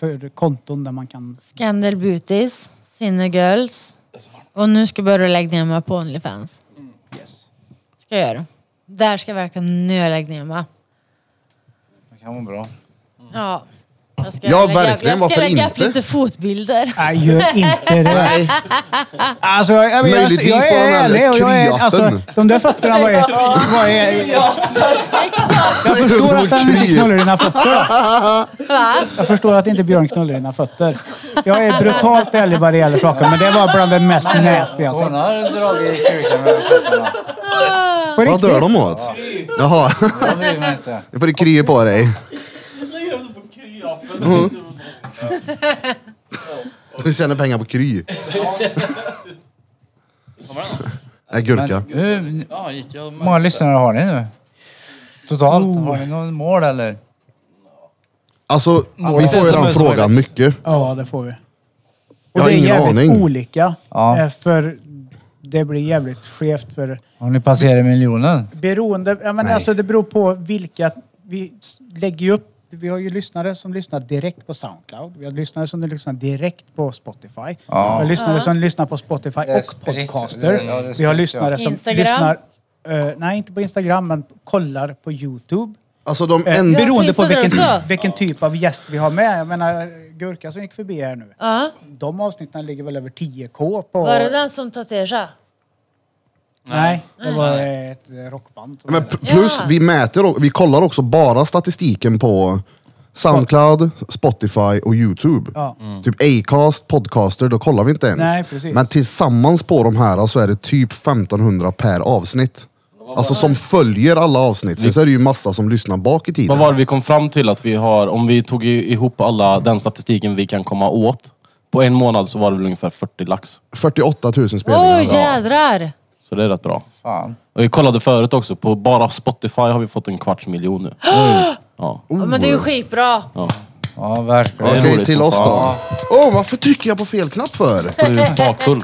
S2: för konton där man kan...
S3: Scandal Beauties, Sinner Girls. Och nu ska jag börja lägga ner mig på Onlyfans. Ska jag göra. Där ska jag verkligen nu lägga ner mig.
S6: Det kan vara bra.
S3: Ja. Jag ska
S1: Ja,
S3: lägga,
S1: verkligen.
S3: Jag ska
S1: Varför
S3: lägga upp
S1: inte?
S3: lite fotbilder.
S2: Nej, gör inte det.
S1: Nej,
S2: Alltså, jag, jag, jag,
S1: Möjligtvis
S2: jag
S1: på den
S2: är
S1: här
S2: ärlig. Och jag är, alltså,
S1: kryappen.
S2: de där fötterna, vad är... Vad är jag förstår att han inte knullar dina fötter. då. Jag förstår att inte Björn knullar dina fötter. Jag är brutalt ärlig vad det gäller saker, men det var bland det mest nasty alltså. jag
S6: Hon
S2: sett.
S6: har dragit kuken med fötterna.
S2: På
S1: vad
S2: riktigt.
S1: dör de åt? Jaha,
S6: Jag bryr mig inte.
S1: nu får du krya på dig.
S2: Mm.
S1: Du tjänar pengar på kry. Nej, gurka.
S6: Men hur
S7: Ja, gick jag
S6: många lyssnare har ni nu? Totalt? Har ni någon mål eller?
S1: Alltså, vi får ju den frågan mycket.
S2: Ja, det får vi. Och
S1: Jag har
S2: det är
S1: ingen
S2: jävligt
S1: aning.
S2: olika.
S6: Ja.
S2: eh, För det blir jävligt skevt för
S6: Har ni passerat miljonen?
S2: beroende... Ja, men
S1: Nej.
S2: alltså det beror på vilka... Vi s- lägger ju upp... Vi har ju lyssnare som lyssnar direkt på Soundcloud. Vi har lyssnare som lyssnar direkt på Spotify. Vi har lyssnare som lyssnar på Spotify
S6: Det är
S2: och
S6: spritt.
S2: podcaster.
S6: Ja, det är
S2: vi har
S6: spritt,
S2: lyssnare
S3: ja.
S2: som
S3: Instagram.
S2: lyssnar... eh, nej, inte på Instagram, men kollar på Youtube.
S1: Alltså de
S2: Eh,
S1: enda...
S2: beroende
S3: finns
S2: på
S3: det där
S2: vilken,
S3: också?
S2: vilken typ av gäst vi har med. Jag menar, Gurka som gick förbi här nu.
S3: Ja.
S2: De avsnitten ligger väl över 10k på...
S3: Var det den som tatuerade?
S2: Nej, det var ett eh, rockband. som
S1: Men
S2: hade-
S1: p- plus
S3: Ja.
S1: vi mäter och vi kollar också bara statistiken på Soundcloud, Spotify och Youtube.
S2: Ja.
S1: Typ Acast, Podcaster, då kollar vi inte ens.
S2: Nej, precis.
S1: Men tillsammans på de här så är det typ 1500 per avsnitt. Alltså som följer alla avsnitt. Sen så är det ju massa som lyssnar bak i
S4: Vad
S1: tiden.
S4: var det vi kom fram till att vi har, om vi tog i- ihop alla den statistiken vi kan komma åt. På en månad så var det väl ungefär 40 lax.
S1: 48 000
S3: Åh
S1: spelningar.
S3: jädrar!
S4: Så Så det är rätt bra.
S6: Fan.
S4: Och vi kollade förut också, på bara Spotify har vi fått en kvarts miljon nu. Ja.
S3: Ja, men det är ju skitbra.
S4: Oh. Ja.
S6: Ja, verkligen.
S4: Det är
S1: Okej,
S4: roligt
S1: till
S4: som
S1: oss då.
S4: fan.
S1: Åh, oh, varför trycker jag på fel knapp för?
S4: Du är bakfull.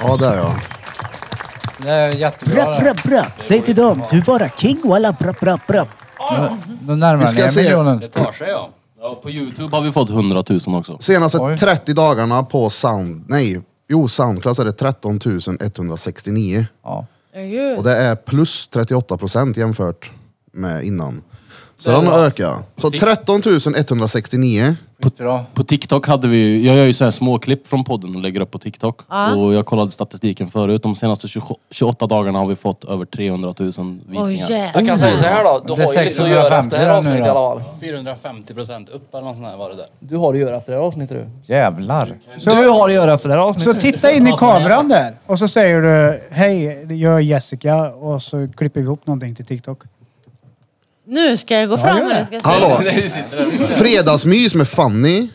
S1: Ja, där ja.
S6: Det är jättebra.
S12: Brapp,
S6: det.
S12: brapp, brapp. Säg till dem, du vara king walla brapp, brapp, brapp.
S6: Nu närmar
S1: Vi ska
S6: ni er
S1: se.
S6: miljonen.
S7: tar sig ja.
S4: Ja, på Youtube har vi fått 100 000 också.
S1: Senaste 30 dagarna på Sound... Nej, jo Soundcloud så är det 13 169.
S6: Ja.
S3: Herregud.
S1: Och det är plus 38 procent jämfört med innan. Så den har ökat. Så 13 169.
S6: Skitbra.
S4: På TikTok hade vi jag gör ju så här små klipp från podden och lägger upp på TikTok.
S3: Ja.
S4: Och jag kollade statistiken förut, de senaste 20 28 dagarna har vi fått över 300 000 visningar.
S3: Åh
S5: Jag
S2: Mm.
S3: jävlar.
S5: kan säga så här då, du
S6: Det är
S5: har ju lite att göra efter det
S6: 650
S5: här avsnittet i
S6: nu då.
S5: alla fall.
S7: 450 procent upp eller något sånt här var det där.
S5: Du har att göra efter det här avsnittet du.
S6: Jävlar.
S5: Du har att göra efter det här
S2: Så
S5: avsnittet.
S2: titta in i kameran där och så säger du hej, jag är Jessica och så klipper vi ihop någonting till TikTok.
S3: Nu ska jag gå fram eller ska jag säga?
S1: Hallå! Fredagsmys med Fanny.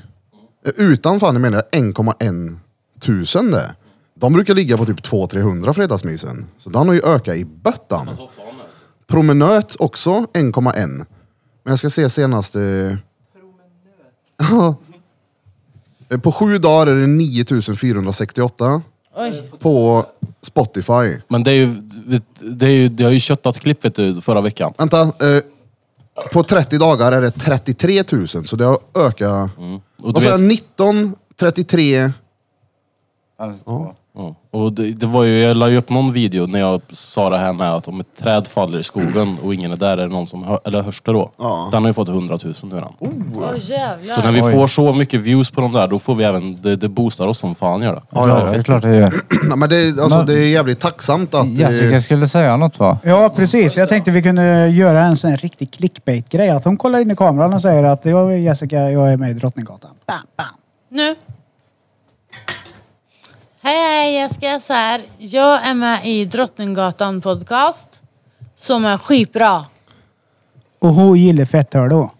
S1: Utan Fanny menar jag 1,1 tusen det. De brukar ligga på typ 200-300 fredagsmysen. Så den har ju ökat i böttan. Promenöt också 1,1. Men jag ska se eh, senaste... Ja. Eh, på sju dagar är det 9468
S3: Oj.
S1: på Spotify.
S4: Men det är ju, det är ju, det har ju köttat klipp vet du, förra veckan.
S1: Vänta. Eh, på 30 dagar är det 33 000, så det har ökat.
S4: Mm. Och,
S1: Vad
S4: du
S1: sa jag?
S4: vet,
S1: 19, 33...
S6: Ja.
S4: ja. och det, det var ju, jag la ju upp någon video när jag sa det här med att om ett träd faller i skogen och ingen är där, är det någon som hör, eller hörs det då?
S1: Ja.
S4: Den har ju fått 100 000 nu redan.
S3: Åh jävlar.
S4: Så när vi
S6: Oj.
S4: får så mycket views på de där, då får vi även, det, det boostar oss som fan gör det.
S6: Ja, ja, det är klart det gör.
S1: Nej, men det, alltså,
S6: Men-
S1: det är jävligt tacksamt att... eh,
S6: Jessica skulle säga något va?
S2: Ja, precis. Jag tänkte vi kunde göra en sån här riktig clickbait-grej. Att hon kollar in i kameran och säger att jag är Jessica, jag är med i Drottninggatan. Bam, bam.
S3: Nu. Hej, jag ska säga här. Jag är med i Drottninggatan podcast. Som är skitbra.
S2: Och hon gillar fetthör då.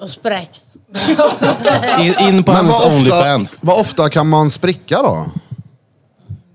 S3: Och spräckt.
S4: In, in på
S1: men
S4: hennes
S1: vad ofta,
S4: Onlyfans.
S1: vad ofta kan man spricka då?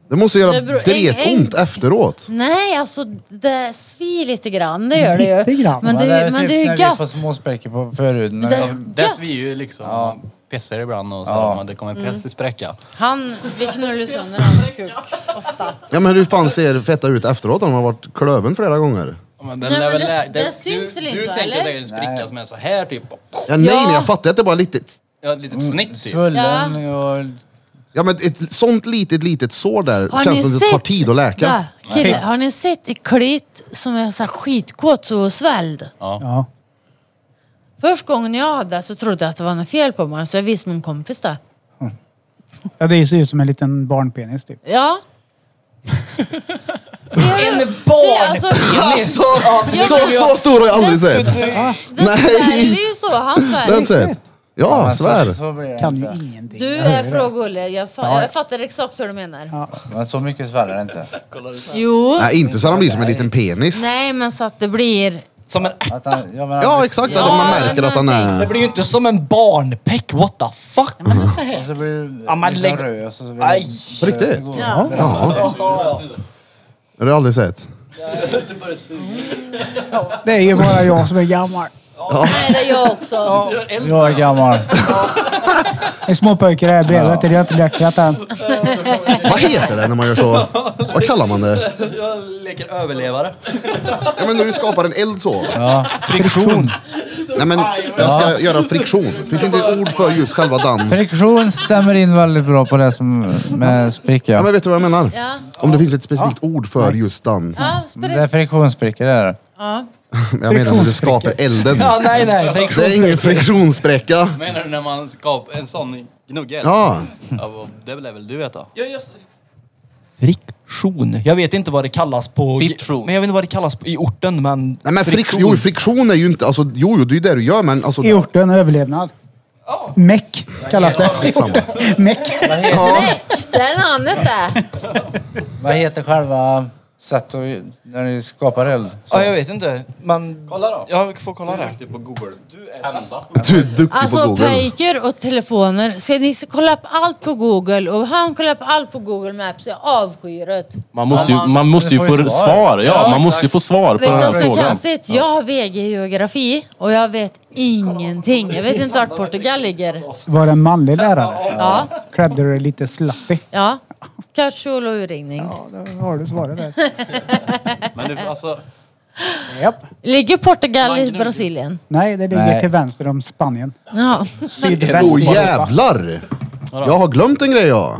S1: Det måste göra
S3: Det beror-
S1: dretont efteråt.
S3: Nej, alltså det svir lite grann. Det gör det ju.
S2: Lite grann.
S3: Men det,
S6: Ja,
S3: är ju-
S6: typ
S3: men det är
S6: när
S3: ju
S6: vi får
S3: gött.
S6: småspäckor på förhuden.
S3: Det-
S6: Ja.
S3: gött. Mm.
S7: Dess vi ju liksom pissar ibland och så
S6: Ja.
S7: ja. det kommer press i spräcka.
S3: Han, vi knullar ju sönder hans kuk ofta.
S1: Ja, men hur fan ser fetta ut efteråt om man har varit klöven flera gånger?
S7: Ja, Men den
S3: Nej,
S7: lär
S3: men
S7: väl
S3: det-
S7: lä-
S3: det syns
S7: du,
S3: väl
S7: Du
S3: inte,
S7: tänker
S3: eller?
S7: dig en spricka som är så här typ.
S1: Ja, nej,
S3: Ja.
S1: nej, jag fattar att det är bara lite...
S7: Ja, ett litet snitt typ.
S6: Svullen och...
S1: Ja, men ett sånt litet, litet sår där
S3: Har
S1: känns
S3: ni
S1: som att det tar
S3: sett-
S1: tid att läka.
S3: Där, kille, har ni sett i klitt som är så här skitkåt så svälld?
S2: Ja.
S3: Först gången jag hade det så trodde jag att det var något fel på mig så jag visade min kompis det.
S2: ja, det ser ut som en liten barnpenis typ.
S3: Ja. en
S1: Alltså,
S3: jag-
S1: så, så stor har jag aldrig sett!
S3: Det
S1: Nej.
S3: sväller ju så, han
S1: Det har jag
S3: svär.
S1: inte sett. Ja,
S6: men så-
S1: svär.
S6: Så blir det
S2: Kan ju
S6: inte.
S2: ingenting.
S3: Du är frågullig, jag, fa- jag fattar exakt hur du menar.
S6: Men så mycket sväller det inte.
S3: Jo,
S1: Nej, inte så att de blir som en liten penis.
S3: nej men så att det blir...
S5: Som en ärt-
S6: Att han, ja, men han-
S1: Ja, exakt.
S3: Ja,
S1: att man märker
S3: men
S1: att han
S5: Det
S1: är...
S5: blir ju inte som en barnpeck, what the fuck.
S6: Och så blir du
S5: Ja, men
S6: liksom
S5: lägg-
S6: röd och så blir
S5: Aj.
S6: det-
S1: På riktigt?
S6: det går-
S3: Ja.
S1: Har du aldrig sett?
S2: Det är ju bara jag som är gammal.
S3: Nej det är jag också.
S6: Jag är gammal.
S2: Det är små pojkar här bredvid, det är jag inte läckrat än.
S1: Vad heter det när man gör så? Vad kallar man det?
S7: Jag leker överlevare.
S1: Ja, men när du skapar en eld så.
S6: Ja.
S2: Friktion.
S1: Nej, men jag ska göra friktion. Finns inte ett ord för just själva dan.
S6: Friktion stämmer in väldigt bra på det som med
S1: Ja, men
S6: spricka.
S1: vet du vad jag menar?
S3: Ja,
S1: Om det finns ett specifikt ord för just dan.
S3: ja,
S6: Det är
S3: spräck.
S6: friktionsprickor det där.
S3: Ja.
S1: Jag menar när du skapar elden.
S5: Ja, nej, nej.
S1: Det är ingen friktionsspräcka.
S7: Menar du när man skapar en sån gnugga? eller?
S1: Ja,
S7: Ja, vad- det lär väl du veta?
S5: Friktion. Jag vet inte vad det kallas på...
S7: Friktion.
S5: Men jag vet inte vad det kallas på, i orten, men...
S1: Nej, men frik, jo, friktion är ju inte, alltså jo, jo, det är ju det du gör, men alltså,
S2: I orten, överlevnad. Meck kallas det. I
S1: Skitsamma.
S2: orten. Meck.
S6: Vad heter,
S3: Det är namnet det.
S6: vad heter själva sätt att, när ni skapar eld?
S5: Ja, jag vet inte. Men...
S7: Kolla då.
S5: Jag får kolla
S7: Du är
S5: det.
S7: duktig på Google. Du är bäst.
S1: Du är duktig på
S3: Alltså
S1: Google.
S3: pejker och telefoner. Ska ni kolla upp allt på Google och han kollar upp allt på Google Maps. Jag avskyr det.
S4: Man måste ju,
S7: Ja, man-
S4: man måste ju
S7: du får
S4: få
S7: ju
S4: svar.
S7: svar.
S4: Ja,
S7: Ja,
S4: man
S7: exakt.
S4: måste ju få svar på
S3: Vet du
S4: den
S3: vad
S4: här
S3: som är
S4: frågan.
S3: konstigt? Jag har VG i geografi och jag vet ingenting. Jag vet inte vart Portugal ligger.
S2: Var det en manlig lärare?
S3: Ja,
S2: Klädde du dig lite slappig?
S3: ja. Catch-all och urringning.
S2: Ja, där har du svaret där.
S7: Men du, alltså,
S2: Japp.
S3: Ligger Portugal i
S7: Magnum.
S3: Brasilien?
S2: Nej, det ligger
S6: Nej.
S2: till vänster om Spanien.
S3: Ja.
S2: Sydväst
S1: Åh
S2: Europa.
S1: jävlar! Jag har glömt en grej jag.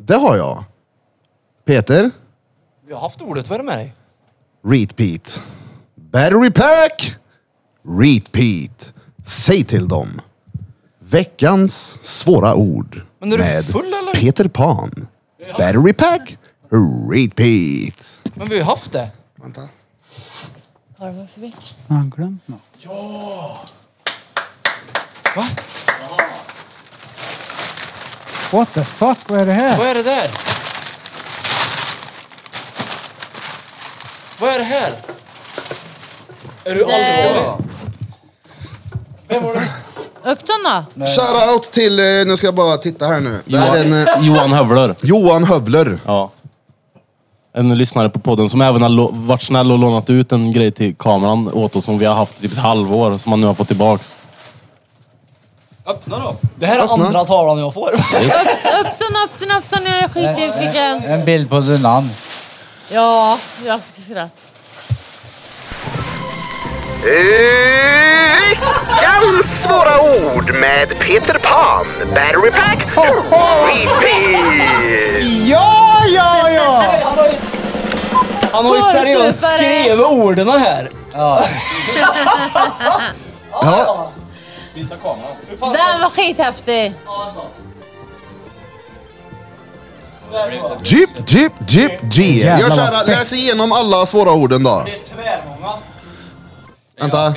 S1: Det har jag. Peter,
S5: Vi har haft ordet, vad är det med dig?
S1: repeat. Battery pack, repeat. Säg till dem. Veckans svåra ord
S5: Men är du
S1: med
S5: full, eller?
S1: Peter Pan. Battery pack, repeat.
S5: Men vi har ju haft det.
S3: Har du varit förbi?
S2: Har han glömt något?
S5: Va?
S2: What the fuck, vad är det
S5: Vad
S2: här?
S5: är det där? Vad är det här? Är du allvarlig? Vem var det?
S3: Upp den då.
S1: Shout out till, eh, nu ska jag bara titta här nu. Det här är en,
S4: Johan,
S1: eh,
S4: Johan Hövler.
S1: Johan Hövler.
S4: Ja. En lyssnare på podden som även har lo- varit snäll och lånat ut en grej till kameran åt oss som vi har haft i typ ett halvår som han nu har fått tillbaks.
S7: öppna då.
S5: Det här är
S1: Öppna.
S5: andra tavlan jag får.
S3: Upp den, upp den, upp den. Jag skiter i fickan.
S6: En bild på Dunan.
S3: Ja, jag ska skratta.
S13: Eh, Veckans svåra ord med Peter Pan. Battery pack, repeat.
S5: Ja, ja, ja! Han har ju, han har ju seriöst
S3: Porrsupare.
S5: skrivit orden här.
S1: Ja,
S7: Visa kameran.
S3: Den var skithäftig.
S1: Jeep, Jeep, Jeep, G.
S2: Jävlar,
S1: Gör så
S2: vad
S1: här,
S2: fett.
S1: läs igenom alla svåra orden då.
S5: Det är tvärmånga.
S1: Vänta.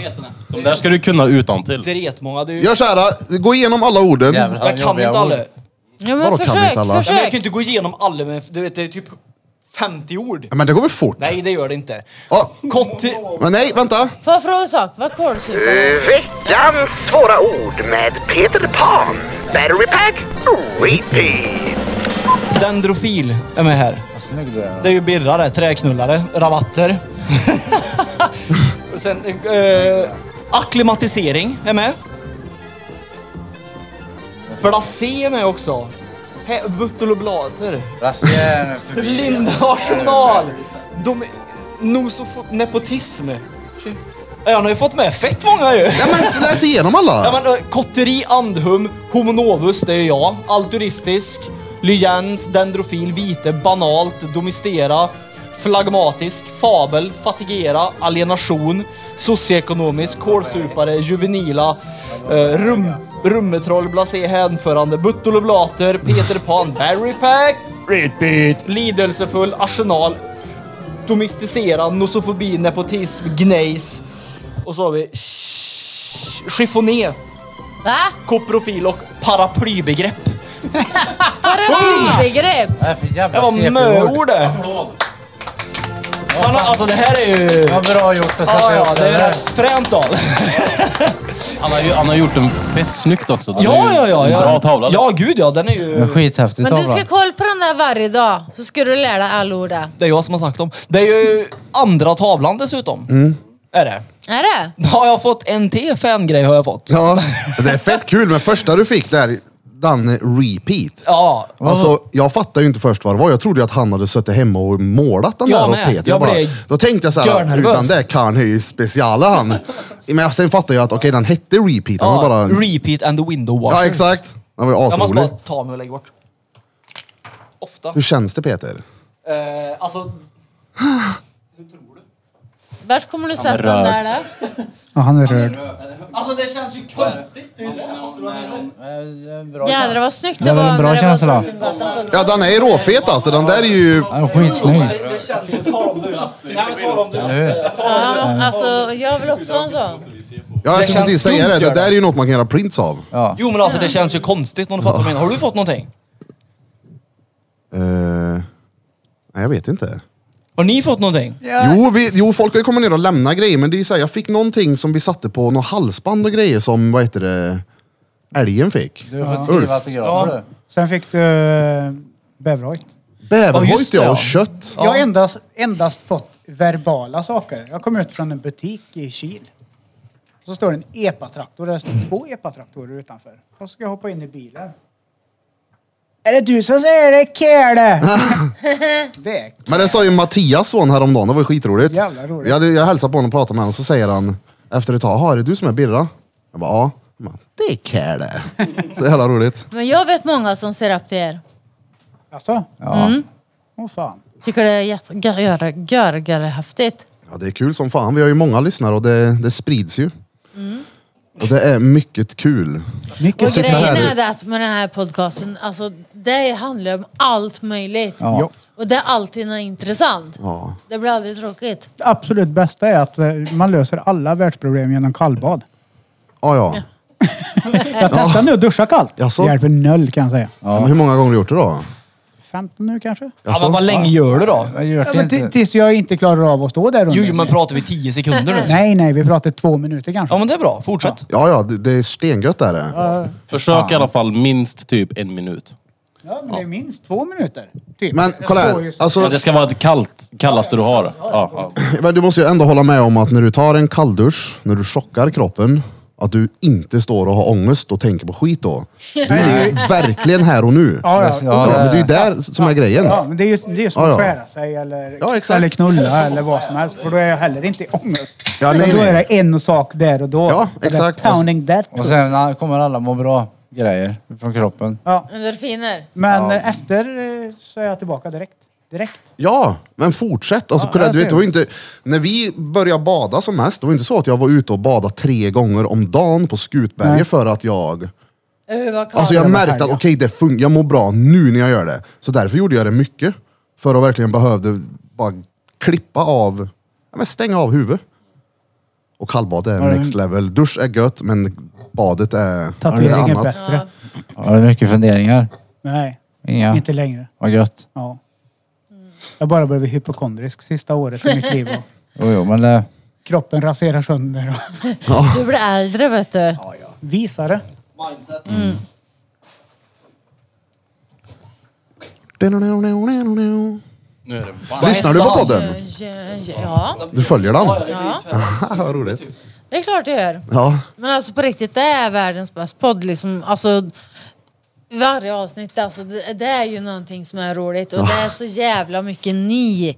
S4: De där ska du kunna utan till.
S5: Dretmånga. Det är ju...
S1: Gör så här, eh, gå igenom alla orden.
S6: Jävlar,
S5: Jag kan
S6: jobbiga
S5: inte alla.
S6: ord.
S5: Nej,
S3: Ja, men
S1: Vadå kan vi
S3: försök,
S1: inte alla?
S5: men jag kan ju
S3: försök.
S5: inte gå igenom alla, men du vet, det är typ 50 ord.
S1: Ja, men det går väl fort?
S5: Nej, det gör det inte.
S1: Ja,
S5: Kotti...
S1: men nej, vänta.
S3: Får jag fråga en sak? Vad kålsupare?
S13: Eh, Veckans svåra ord med Peter Pan. Battery pack, repeat.
S5: Dendrofil är med här.
S6: Vad snygg du är.
S5: Det är ju birrar där, träknullare, rabatter. Och Sen eh, akklimatisering är med. Blasé är med också. He- Buttel och blater.
S6: Brasilien förbi.
S5: Linda Arsenal. Dom- Nosofo... Nepotism. Shit. Ja, han har ju fått med fett många ju.
S1: Ja, men läs igenom
S5: Ja,
S1: alla.
S5: men, eh, kotteri, andhum, homo novus, det är jag. Alturistisk, lyens, dendrofil, vite, banalt, domestera, flagmatisk, fabel, fatigera, alienation, socioekonomisk, kålsupare, juvenila, eh, rum, rummetroll, blasé, hänförande, buttoloblater, Peter Pan, Barry Pack, lidelsefull, arsenal, domesticera, nosofobi, nepotism, gnejs. Och så har vi ch- chiffoné
S3: Va?
S5: koprofil och paraplybegrepp.
S3: Paraplybegrepp.
S6: Vad är det för
S5: Det
S6: jävla
S5: var
S6: CP-ord?
S5: möord det. Man har- Alltså det här är ju...
S6: Vad bra gjort att
S5: Ja,
S6: sätta
S5: ja,
S6: ihop
S5: det
S6: det
S5: är
S6: där.
S5: rätt fränt av.
S4: Han har, ju, han har gjort den fett snyggt också. Den är
S5: Ja,
S4: ju
S5: ja, ja.
S4: en
S5: ja.
S4: Bra tavla.
S5: Ja, gud ja. Den är
S6: Men
S5: ju...
S6: skithäftig
S3: Men du ska
S6: tavla.
S3: kolla på den där varje dag, så ska du lära dig alla ord där.
S5: Det är jag som har sagt dem. Det är ju andra tavlan dessutom. Är det?
S3: Är det?
S5: Har jag fått en till fangrej har jag fått.
S1: Ja, det är fett kul, men första du fick där, den repeat.
S5: Ja.
S1: Alltså, jag fattade ju inte först vad det var. Jag trodde ju att han hade suttit hemma och målat den
S5: Jag
S1: där åt
S5: med.
S1: Peter.
S5: Jag
S1: bara,
S5: blev
S1: då tänkte jag så här,
S5: görnervös.
S1: utan det kan han ju speciala han. Men sen fattade jag att okej, den hette repeat. Den var
S5: ja.
S1: bara...
S5: Repeat and the window washer.
S1: Ja, exakt. Den var ju
S5: Jag måste bara
S1: asrolig.
S5: ta mig och lägga bort. Ofta.
S1: Hur känns det Peter?
S5: Eh, alltså...
S3: Vart kommer du sätta den där då?
S2: Ja, han är rörd.
S5: Alltså det känns ju konstigt. Det är ju det.
S3: Jädrar vad snyggt det,
S6: Det var
S3: var
S6: en bra
S3: när det
S6: känsla.
S3: var vattenpulver.
S1: Ja, den är råfet alltså. Den där är ju...
S6: Han är skitsnygg.
S5: Det känns ju... Ta dem du. Nej, men ta dem du.
S6: Eller hur?
S3: Ja, alltså jag vill också ha en sån.
S1: Ja, jag
S5: Det
S1: skulle
S5: känns
S1: precis säga
S5: dumt,
S1: det. Det
S5: gör
S1: där
S5: det.
S1: är ju något man kan göra prints av.
S6: Ja.
S5: Jo men alltså det känns ju konstigt om du fattar vad jag menar. Har du fått någonting?
S1: Eh, Nej, Eh, jag vet inte.
S5: Har ni fått någonting?
S1: Jo, vi, jo, folk har ju kommit ner och lämnat grejer, men det är så här, jag fick någonting som vi satte på något halsband och grejer som, vad heter det, älgen fick.
S6: Du har fått skriva autografer du.
S2: Sen fick du eh, bäverhojt.
S1: Bäverhojt ja, och kött.
S2: Jag har endast, endast fått verbala saker. Jag kom ut från en butik i Kil. Så står det en epatraktor. Där står två epatraktorer utanför. Och så ska jag hoppa in i bilen. Är det du som säger det, Kele? det är
S1: Men det sa ju Mattias son häromdagen, det var ju skitroligt.
S2: Jävla roligt.
S1: Jag, hade, jag hälsade på honom och pratade med honom, så säger han efter ett tag, "Jaha, är det du som är Birra? Jag bara, ja. Han bara, Det är Kärle. Så jävla roligt.
S3: Men jag vet många som ser upp till er.
S2: Alltså?
S1: Ja.
S3: Mm.
S2: Åh fan.
S3: Tycker det är jätte- gör- gör- gör- häftigt.
S1: Ja, det är kul som fan. Vi har ju många lyssnare och det, det sprids ju.
S2: Mm.
S1: Och det är mycket kul.
S3: Och
S1: Mycket
S3: grejen är det att med den här podcasten, alltså det handlar om allt möjligt.
S1: Ja. Ja.
S3: Och det är alltid något intressant.
S1: Ja.
S3: Det blir aldrig tråkigt.
S2: Det absolut bästa är att eh, man löser alla världsproblem genom kallbad.
S1: Ja, ja.
S2: Jag testar nu att duscha kallt.
S1: Jaså?
S2: Det hjälper noll kan jag säga.
S1: Men hur många gånger har du gjort det då?
S2: 15 nu kanske?
S5: Ja, men vad länge gör du då?
S6: Jag gör
S2: Ja,
S6: det
S2: men
S6: inte.
S2: t- tills jag inte klarar av att stå där under.
S5: Jo, men pratar vi 10 sekunder nu?
S2: Nej, nej, vi pratar två minuter kanske.
S5: Ja, men det är bra. Fortsätt.
S1: Ja, ja, det, det är stengött är det.
S4: Försök i alla fall minst typ en minut.
S2: Ja, men det är minst två minuter. Typ.
S1: Men
S2: Jag
S1: kolla
S2: står
S1: här.
S2: ju så-
S4: Ja,
S1: Alltså,
S4: det ska vara det kallt, kallaste du har. Ja, ja.
S1: men du måste ju ändå hålla med om att när du tar en kalldusch, när du chockar kroppen, att du inte står och har ångest och tänker på skit då. Du är ju verkligen här och nu.
S2: Ja, ja.
S1: Ja, men det är ju där som är grejen.
S2: Ja, men det är ju det är ju som
S1: Ja,
S2: att
S1: ja.
S2: skära sig eller,
S1: Ja, exakt.
S2: eller knulla eller vad som helst. För då är jag heller inte i ångest.
S1: Ja, nej,
S2: Men då
S1: nej.
S2: är det en sak där och då.
S1: Ja,
S2: Det är
S1: exakt.
S2: Pounding that
S6: Och
S2: puss.
S6: sen ah, kommer alla må bra grejer från kroppen.
S2: ja.
S3: Endorfiner.
S2: Men
S6: Ja.
S2: eh, efter eh, så är jag tillbaka direkt. Direkt.
S1: Ja, men fortsätt. Alltså,
S2: Ja,
S1: kolla,
S2: jag
S1: du vet,
S2: ser
S1: det var ju inte, när vi började bada som mest, det var inte så att jag var ute och badade tre gånger om dagen på Skutberget
S2: Nej.
S1: för att jag...
S3: Uh, vad kallt.
S1: Alltså jag
S2: det var
S1: märkte att
S2: härliga.
S1: okej, det fun- jag mår bra nu när jag gör det. Så därför gjorde jag det mycket. För att verkligen behövde bara klippa av, ja, men stänga av huvudet. Och kallbad är
S6: det-
S1: next level. Dusch är gött, men badet är, är
S2: Tatuering är
S1: annat.
S2: bättre.
S6: Har du mycket funderingar?
S2: Nej,
S6: Inga?
S2: inte längre.
S6: Vad gött.
S2: Ja. Jag bara blev hypokondrisk sista året i mitt liv. Och
S6: Jo, jo, men det...
S2: kroppen raserar sönder. Och
S3: Du blir äldre vet du.
S2: visar det.
S14: Nu är det
S1: Lyssnar du på podden?
S3: Ja, ja, ja.
S1: Du följer den?
S3: ja,
S1: Vad roligt.
S3: det är klart jag gör.
S1: Ja.
S3: Men alltså på riktigt, det är världens bästa podd liksom. Alltså, varje avsnitt, alltså, det, det är ju någonting som är roligt och det är så jävla mycket ni.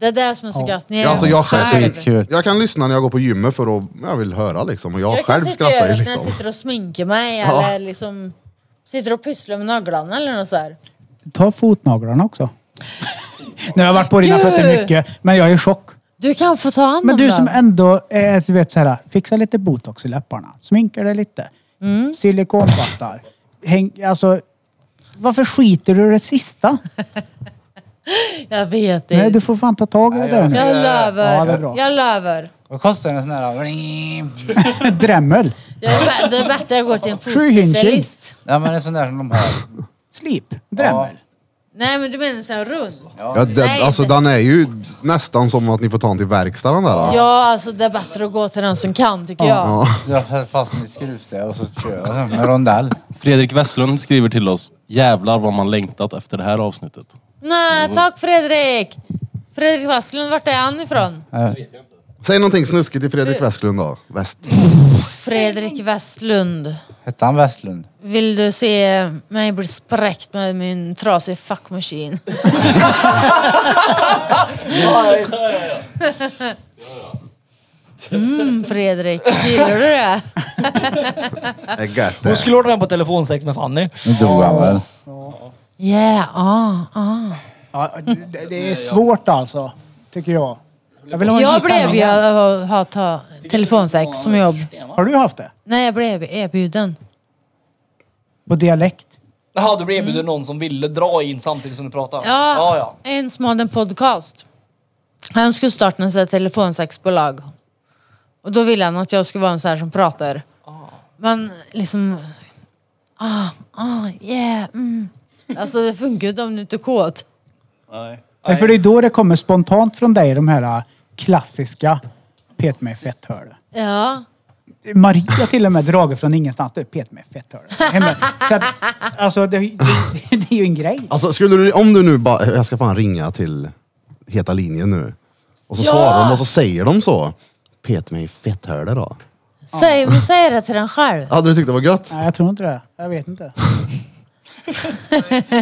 S3: Det är det som är så gött. Ni är
S1: Ja, alltså jag själv-
S6: Skitkul.
S1: Jag kan lyssna när jag går på gymmet för att jag vill höra liksom. Och jag,
S3: Jag
S1: själv
S3: kan sitta och göra
S1: skrattar
S3: det
S1: ju
S3: när jag
S1: liksom.
S3: sitter och sminkar mig
S1: Ja.
S3: eller liksom sitter och pysslar med naglarna eller något så här.
S2: Ta fotnaglarna också. Nu har jag varit på dina
S3: Du!
S2: fötter mycket, men jag är i chock.
S3: Du kan få ta hand om
S2: Men du
S3: dem.
S2: som ändå är, alltså, du vet så här, fixa lite botox i läpparna, sminka dig lite,
S3: Mm.
S2: silikonbattar. Häng, alltså, varför skiter du i det sista?
S3: Jag vet
S2: Nej, du
S3: inte.
S2: får fan ta tag i det där nu.
S3: Jag
S2: Ja, det är
S3: löver.
S2: bra.
S3: jag löver.
S6: Vad kostar en sån här?
S2: Drämmel.
S3: Jag är- Det är bättre att jag går till en
S2: Sjuhinching.
S3: fotspecialist.
S6: Ja, men en sån där som de har.
S2: Slip. Drämmel.
S3: Nej men du menar en sån här rund?
S1: Ja, den,
S3: Nej,
S1: alltså
S3: det-
S1: den är ju nästan som att ni får ta den till verkstaden där. då.
S3: Ja alltså det är bättre att gå till den som kan tycker jag.
S1: Ja.
S6: Jag har fast i ett skruvstäd och så kör jag sen med rondell.
S4: Fredrik Westlund skriver till oss. Jävlar vad man längtat efter det här avsnittet.
S3: Nej, tack Fredrik! Fredrik Wasslund, vart är han ifrån?
S1: Säg någonting snuskigt till Fredrik Westlund då. West.
S3: Fredrik Westlund.
S6: Hette han Westlund?
S3: Vill du se mig bli spräckt med min trasiga fuckmaskin? Mm, Fredrik, gillar du det?
S1: Det är gött
S5: Hon
S1: det.
S5: skulle ordna den på telefonsex med Fanny.
S6: Nu dog han väl?
S3: Yeah, ah, ah.
S2: Ja, det, det är svårt alltså, tycker jag. Jag, vill ha en
S3: Jag
S2: liten
S3: blev ju
S2: annan.
S3: att ha ta telefonsex som jobb.
S2: Har du haft det?
S3: Nej, jag blev erbjuden.
S2: På dialekt?
S5: Jaha, du blev erbjuden någon som ville dra in samtidigt som du pratade?
S3: Ja,
S5: ja. ja.
S3: en som hade en podcast. Han skulle starta en sån här telefonsexbolag. Och då ville han att jag skulle vara en sån här som pratar. Men liksom... Ah, ah, yeah, mm. Alltså det funkar ju inte om du inte är kåt.
S14: Nej.
S2: Nej, för det är då det kommer spontant från dig, de här äh, klassiska pet mig fett hör du.
S3: Ja.
S2: Maria till och med dragit från ingenstans. Du, pet mig fett hör du. Hemma. Så att, alltså, det, det, det är ju en grej.
S1: Alltså, skulle du, om du nu bara, jag ska fan ringa till Heta linjen nu. Och så
S3: Ja!
S1: svarar de och så säger de så. Pet mig i fetthörde då.
S3: Ah. Säg, men säg det till den själv.
S1: Hade du tyckt det var gött?
S2: Nej, jag tror inte det. Jag vet inte.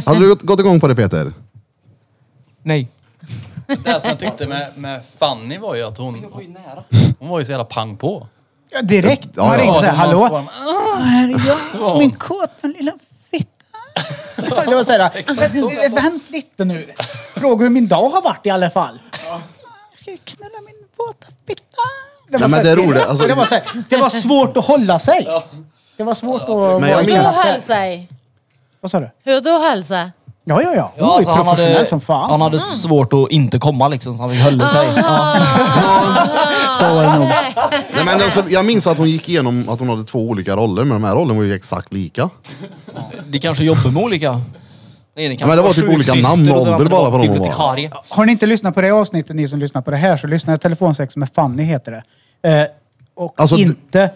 S1: Hade du gått- gått igång på det Peter?
S5: Nej.
S7: Det som jag tyckte med, med Fanny var ju att hon... Hon var ju så jävla pang på.
S2: Ja, direkt.
S7: Ja,
S2: Man
S7: ja.
S2: ringde så här,
S7: Ja, det var
S2: hallå?
S7: en
S2: Åh, här är jag, min kåta lilla fitta. Det var så här, eh, vänt lite nu. Fråga hur min dag har varit i alla fall. Jag
S1: Ja,
S2: ska
S1: men
S2: knulla
S1: det är
S2: min våta fitta.
S1: roligt, alltså-
S2: var så här, det, var så här, det var svårt att hålla sig. Det var svårt att...
S1: Men jag
S3: Hur då
S1: minns-
S3: hälsar?
S2: Vad sa du?
S3: Hur då hälsar?
S2: Ja, ja, ja. Hon var ju
S5: Ja, alltså, han,
S2: professionell
S5: hade,
S2: som fan.
S5: han hade svårt att inte komma liksom, så han höll sig.
S3: Ah.
S1: Så var det nog. Nej, men alltså, jag minns att hon gick igenom att hon hade två olika roller, men de här rollerna var ju exakt lika.
S5: Det kanske jobbar med olika. Nej,
S1: Ja, men det var typ olika namn och ålder bara på dem hon var.
S5: Bibliotekarie.
S2: Har ni inte lyssnat på det avsnittet, ni som lyssnar på det här, så lyssna på Telefonsex med Fanny heter det. Eh, och
S1: Alltså, d-
S2: inte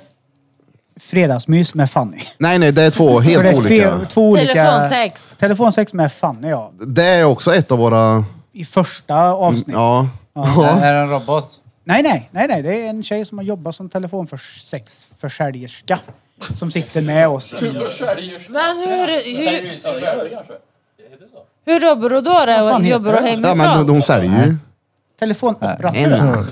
S2: Fredagsmys med Fanny.
S1: Nej, nej, det är två
S2: För det är
S1: helt
S2: tre-
S1: olika.
S2: Två olika.
S3: Telefonsex.
S2: Telefonsex med Fanny, ja.
S1: Det är också ett av våra...
S2: I första avsnittet.
S1: Mm, Ja.
S6: Det
S1: ja.
S6: är en robot.
S2: Nej, nej, nej, nej. Det är en tjej som har jobbat som telefonförsäljerska. Som sitter med oss. i-
S3: Men hur... hur hur jobbar du då? då?
S2: fan heter
S3: Jobbar du
S2: det?
S1: ja men hon,
S3: hemifrån?
S1: hon säljer ju.
S2: Telefonoperatör.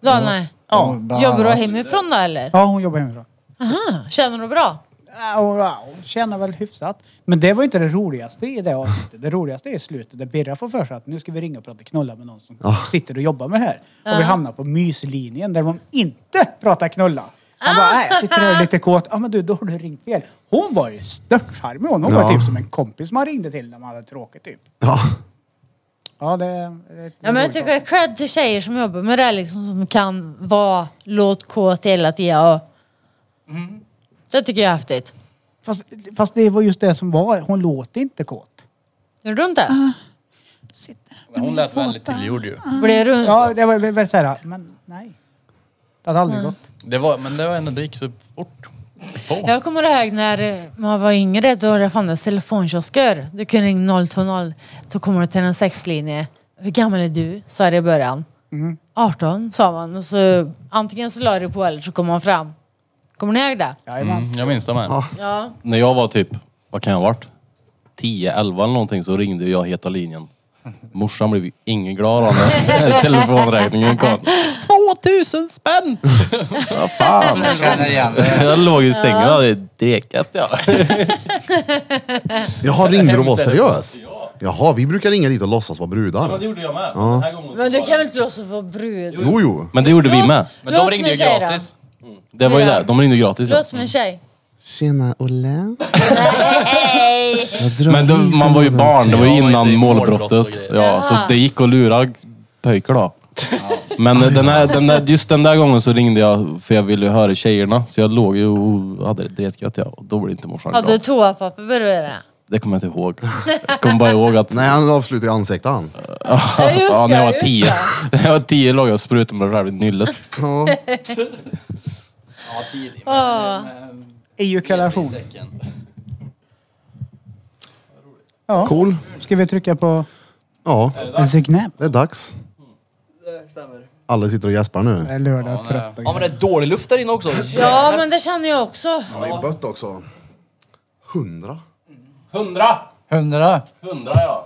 S3: Ja, nej.
S2: Ja.
S6: Bland
S3: Jobbar du
S6: annat.
S3: hemifrån då eller?
S2: ja, hon jobbar hemifrån.
S3: Aha, känner du bra?
S2: Ja, Äh, och- ja, Hon tjänar väl hyfsat. Men det var inte det roligaste i det avsnittet. Det roligaste är i slutet där Birra får för sig att nu ska vi ringa och prata knulla med någon som sitter och jobbar med det här. Och vi hamnar på myslinjen där de inte pratar knulla. Han bara, nej, jag sitter här och är lite kåt. Ja men du, då har du ringt fel. Hon var ju störtcharmig hon. Hon var
S1: Ja.
S2: typ som en kompis man ringde till när man hade tråkigt typ.
S1: Ja.
S2: Ja, det... det
S3: Ja, men jag tycker det är cred till tjejer som jobbar med det här, liksom, som kan vara låtkåt hela tiden. Och...
S2: Mm.
S3: Det tycker jag är häftigt.
S2: Fast, fast det var just det som var, hon låter inte kåt.
S3: Gör du inte?
S7: Men hon lät väldigt tillgjord ju.
S3: Blir du...
S2: Ja, det var väldigt såhär, men nej. Det hade aldrig gått.
S7: Det var, men det var ändå, det gick så fort.
S3: Jag kommer ihåg när eh, man var yngre, då det fanns telefonkiosker. Du kunde ringa 020, då kommer du till en sexlinje. Hur gammal är du? sa det i början.
S2: Mm.
S3: 18, sa man. Och så, antingen så la du på eller så kom man fram. Kommer ni ihåg det?
S2: Jajamän.
S7: Mm, Jag minns det med.
S3: Ja.
S4: När jag var typ, vad kan jag ha varit? 10, 11 eller någonting så ringde jag Heta linjen. Morsan blev ju ingen glad av när telefonräkningen kom.
S15: 2000 spänn!
S4: Vad fan.
S6: Jag känner igen det.
S4: Jag låg i sängen och hade dekat jag.
S1: Jaha, ringde du och var seriös? Jaha, vi brukar ringa dit och låtsas vara brudar.
S4: gjorde jag med.
S1: Den
S3: Men du kan väl inte låtsas vara brud?
S1: Jo, jo.
S4: Men det gjorde vi med.
S7: Men de
S3: Låt
S7: ringde ju
S3: mig säga det.
S7: gratis.
S4: Det var ju det. De ringde gratis. Ja.
S3: Låt som en tjej.
S1: Tjena Olle.
S3: Hej!
S1: Jag drar
S4: Men
S1: hit
S3: Mm,
S4: de, man var ju
S1: från-
S4: barn. Det var ju
S7: Ja, det
S4: innan
S7: är målbrott och
S4: målbrottet.
S7: grejer.
S4: Ja, så
S3: Jaha.
S4: det gick att lura pojkar då. Men eh, den här, den där, just den där gången så ringde jag för jag ville ju höra tjejerna. Så jag låg ju och hade det dretgött ja. Och då blev inte morsan
S3: Hade du
S4: glad.
S3: toapapper bredvid dig?
S4: Det kommer jag inte ihåg. Jag kommer bara ihåg att
S1: Nej, han avslutade i ansiktet han.
S3: Ja, just
S4: ja,
S3: det,
S4: när jag var
S3: just
S4: tio.
S3: det.
S4: När jag var tio låg jag och sprutade mig själv i nyllet.
S1: Ja.
S7: Ja, tidigt.
S3: Åh.
S2: E EU-kalation. Ja.
S1: Cool.
S2: Ska vi trycka på
S1: Ja,
S2: en knäpp?
S1: det är dags. Alla sitter och gäspar
S2: Det
S1: nu.
S2: är lördag och trött.
S5: Ja men det är dålig luft där inne också.
S3: Ja, men det känner jag också.
S1: Ja, i bött också. Hundra.
S4: Hundra!
S6: Hundra.
S4: Hundra ja.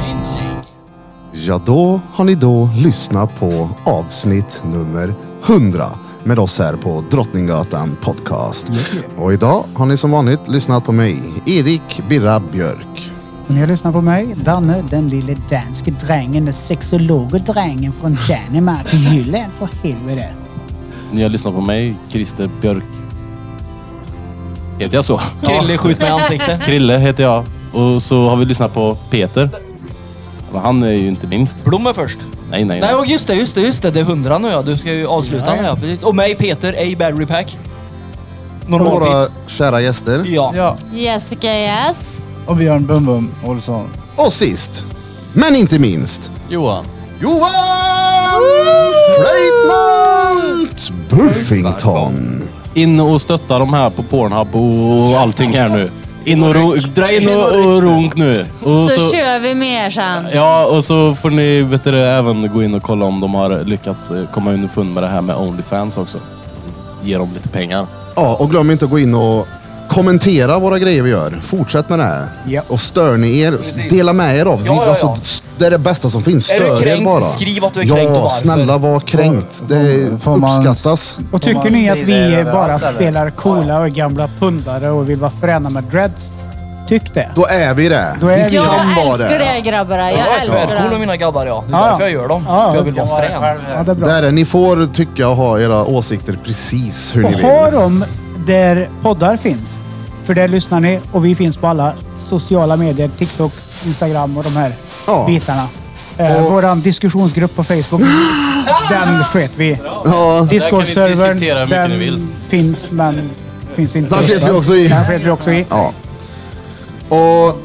S1: Ja, då har ni då lyssnat på avsnitt nummer 100 med oss här på Drottninggatan Podcast. Och idag har ni som vanligt lyssnat på mig, Erik Birra Björk.
S2: Ni har lyssnat på mig, Danne, den lille danske drängen, den sexologe drängen från Danmark, Jylland, för helvete.
S4: Ni har lyssnat på mig, Christer Björk. Heter jag så?
S5: Krille skjut mig i ansiktet.
S4: Krille heter jag. Och så har vi lyssnat på Peter. Men han är ju inte minst.
S5: Blommor först.
S4: Nej,
S5: Nej
S4: nej, nej.
S5: och just det, just det, just det. Det är hundra nu ja. Du ska ju avsluta nu ja. Precis. Och mig Peter, A Battery Pack.
S1: Och
S5: Normal
S1: våra
S5: pit.
S1: kära gäster.
S5: Ja.
S6: Ja.
S3: Jessica, yes.
S6: Och Björn Bum Bum Olsson.
S1: Och sist, Men inte minst
S7: Johan.
S16: Johan!
S1: Flöjtnant Buffington.
S4: In och stötta de här på Pornhub och allting här nu. In och ro, dra in och, och runk nu. Och
S3: Så,
S4: så,
S3: kör vi mer sen.
S4: ja, och så får ni vet du, det, även gå in och kolla om de har lyckats eh, komma underfund med det här med Onlyfans också. Ge dem lite pengar.
S1: Ja, och glöm inte att gå in och kommentera våra grejer vi gör. Fortsätt med det här. Och stör ni er, dela med er av. Vi-
S5: Ja, ja, ja.
S1: Alltså, s- det är det bästa som finns.
S5: Är du
S1: Stör er
S5: kränkt?
S1: bara.
S5: Skriv att du är
S1: ja,
S5: kränkt och varför.
S1: snälla var kränkt. Det uppskattas.
S2: Och tycker ni att vi bara spelar coola och gamla pundare och vill vara fräna med dreads? Tyck det.
S1: Då är vi det.
S2: Då är vi
S3: Jag
S2: det.
S3: älskar det grabbar.
S5: Jag
S3: Jag
S5: är tvärcool
S3: älskar
S5: med
S3: det.
S5: mina grabbar ja. Det är
S2: Ja, ja.
S5: därför jag gör dem.
S2: Ja,
S5: för jag vill
S2: jag
S5: vara frän.
S2: Ja, det är bra.
S1: Där är, ni får tycka och ha era åsikter precis hur ni
S2: Och
S1: vill.
S2: ha dem där poddar finns. För där lyssnar ni och vi finns på alla sociala medier. TikTok, Instagram och de här
S1: Ja.
S2: bitarna. Eh, Våran diskussionsgrupp på Facebook, den sket vi.
S1: Ja.
S7: Där kan ni diskutera hur mycket
S2: den
S7: ni vill.
S2: finns men finns inte.
S1: Den sket vi också i.
S2: Den sket vi också i.
S1: Ja. Och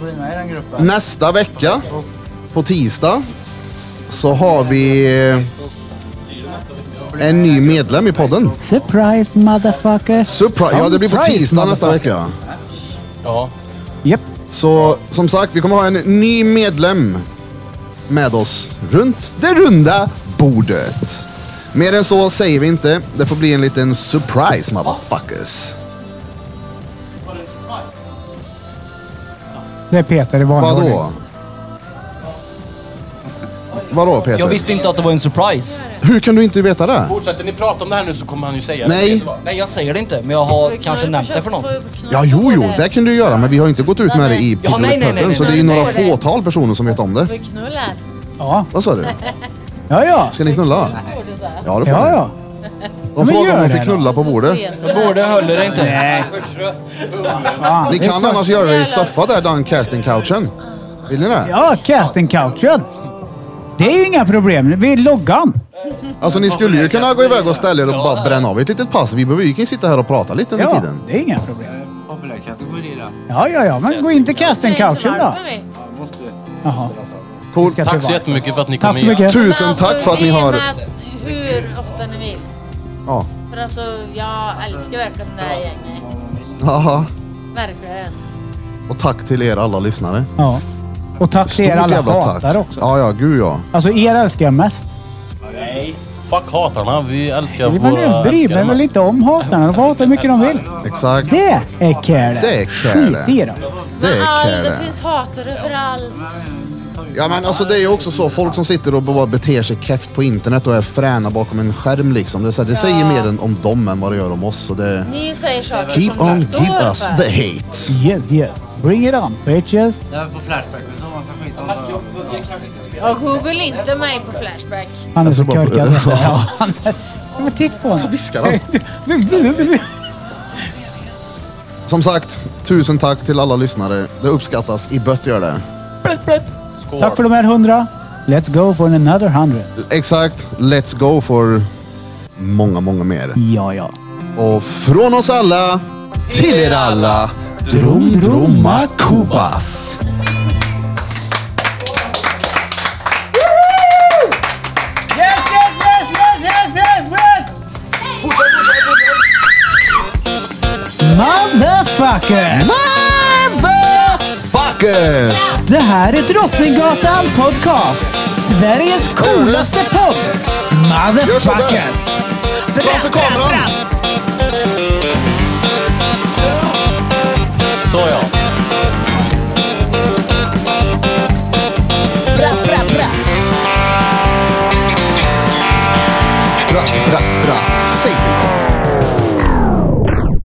S1: nästa vecka, på tisdag, så har vi en ny medlem i podden.
S2: Surprise motherfucker!
S1: Surprise! Ja, det blir på
S2: Surprise,
S1: tisdag nästa
S2: motherfucker.
S1: vecka.
S7: Ja.
S2: Japp.
S1: Så som sagt, vi kommer ha en ny medlem med oss runt det runda bordet. Mer än så säger vi inte. Det får bli en liten surprise, motherfuckers.
S2: Det är Peter i vanlig
S1: Vadå? Vadå Peter?
S5: Jag visste inte att det var en surprise.
S1: Hur kan du inte veta det?
S4: Fortsätter ni prata om det här nu så kommer han ju säga
S1: Nej.
S4: vet du vad?
S5: Nej jag säger det inte, men jag har kanske nämnt det för någon.
S1: Ja, jo, jo, det kan du göra, men vi har inte gått ut med det i
S5: Ja, nej, nej, nej,
S1: Picklewick-podden,
S5: nej,
S1: så det är ju
S5: nej,
S1: några
S3: nej.
S1: fåtal personer som vet om det.
S3: Vi knullar.
S2: Ja,
S1: Vad sa du?
S2: ja, ja.
S1: Ska ni knulla? Ja, det får
S2: ja,
S1: ni.
S2: ja.
S1: De
S2: men
S1: frågar
S2: gör
S1: om de
S2: det
S1: fick
S2: då.
S1: knulla på bordet.
S5: Jag borde höll det inte.
S2: Fan,
S1: Ni
S2: det är
S1: kan
S2: klart.
S1: annars göra det i soffa där, den casting-couchen. Vill ni det?
S2: Ja, casting couchen. Det är ju inga problem. Vi är loggan.
S1: Alltså ni skulle ju kunna gå iväg och ställa er och bara bränna av ett litet pass. Vi behöver ju kunna sitta här och prata lite under
S2: Ja,
S1: tiden.
S2: det är inga problem.
S17: Populär kategori då.
S2: Ja, ja, ja. Men gå in till casting couchen då. Jaha.
S1: Cool.
S2: Ska
S4: Tack så
S2: tillbaka.
S4: jättemycket för att ni kom
S2: Tack så
S4: hit.
S2: mycket.
S1: Tusen tack för att
S3: Alltså,
S1: ni har...
S3: Hur ofta ni vill.
S1: Ja.
S3: För alltså, jag älskar verkligen det här gänget.
S1: Aha.
S3: Verkligen.
S1: Och tack till er alla lyssnare.
S2: Ja. Och tack till er
S1: Stort
S2: alla
S1: jävla
S2: hatare
S1: tack.
S2: också.
S1: Ja, ja, gud ja.
S2: Alltså er älskar jag mest.
S4: Fuck hatarna, vi äh, älskar
S2: Vi
S4: våra
S2: man bryr mig
S4: älskade
S2: väl
S4: män.
S2: inte om hatarna. De får hata hur mycket de vill.
S1: Exakt.
S2: Det är care
S1: Det är care.
S2: Skit i dem.
S1: Det
S3: Men
S1: är
S3: all, det
S1: care.
S3: finns hatare överallt.
S1: Ja men alltså det är ju också så, folk som sitter och bara beter sig keft på internet och är fräna bakom en skärm liksom. Det, är så här, det säger mer än om dem än vad det gör om oss. Så det...
S3: Ni säger saker
S1: Keep
S3: som
S1: on
S3: ni står
S1: give us
S3: för.
S1: the hate.
S2: Yes, yes. Bring it on bitches.
S17: Det här på Flashback. Det är så massa skit om det.
S3: Och Google inte mig på Flashback.
S2: Han är så
S1: Jag ska bara- Alltså,
S2: korkad. Ja, han är... Ja, Men titta på
S1: Så
S2: honom.
S1: viskar de. Som sagt, tusen tack till alla lyssnare. Det uppskattas i bött gör det.
S2: Tack för de här hundra. Let's go for another hundred.
S1: Exakt, let's go for många, många mer.
S2: Ja, ja.
S1: Och från oss alla, till er alla, Drum Drumma Kubas.
S2: Yes, yes, yes, yes, yes, yes, yes! Motherfucker!
S1: Motherfuckers!
S2: Det här är Drottninggatan Podcast. Sveriges coolaste podd.
S1: Gör så där.
S2: Motherfuckers!
S1: Framför kameran!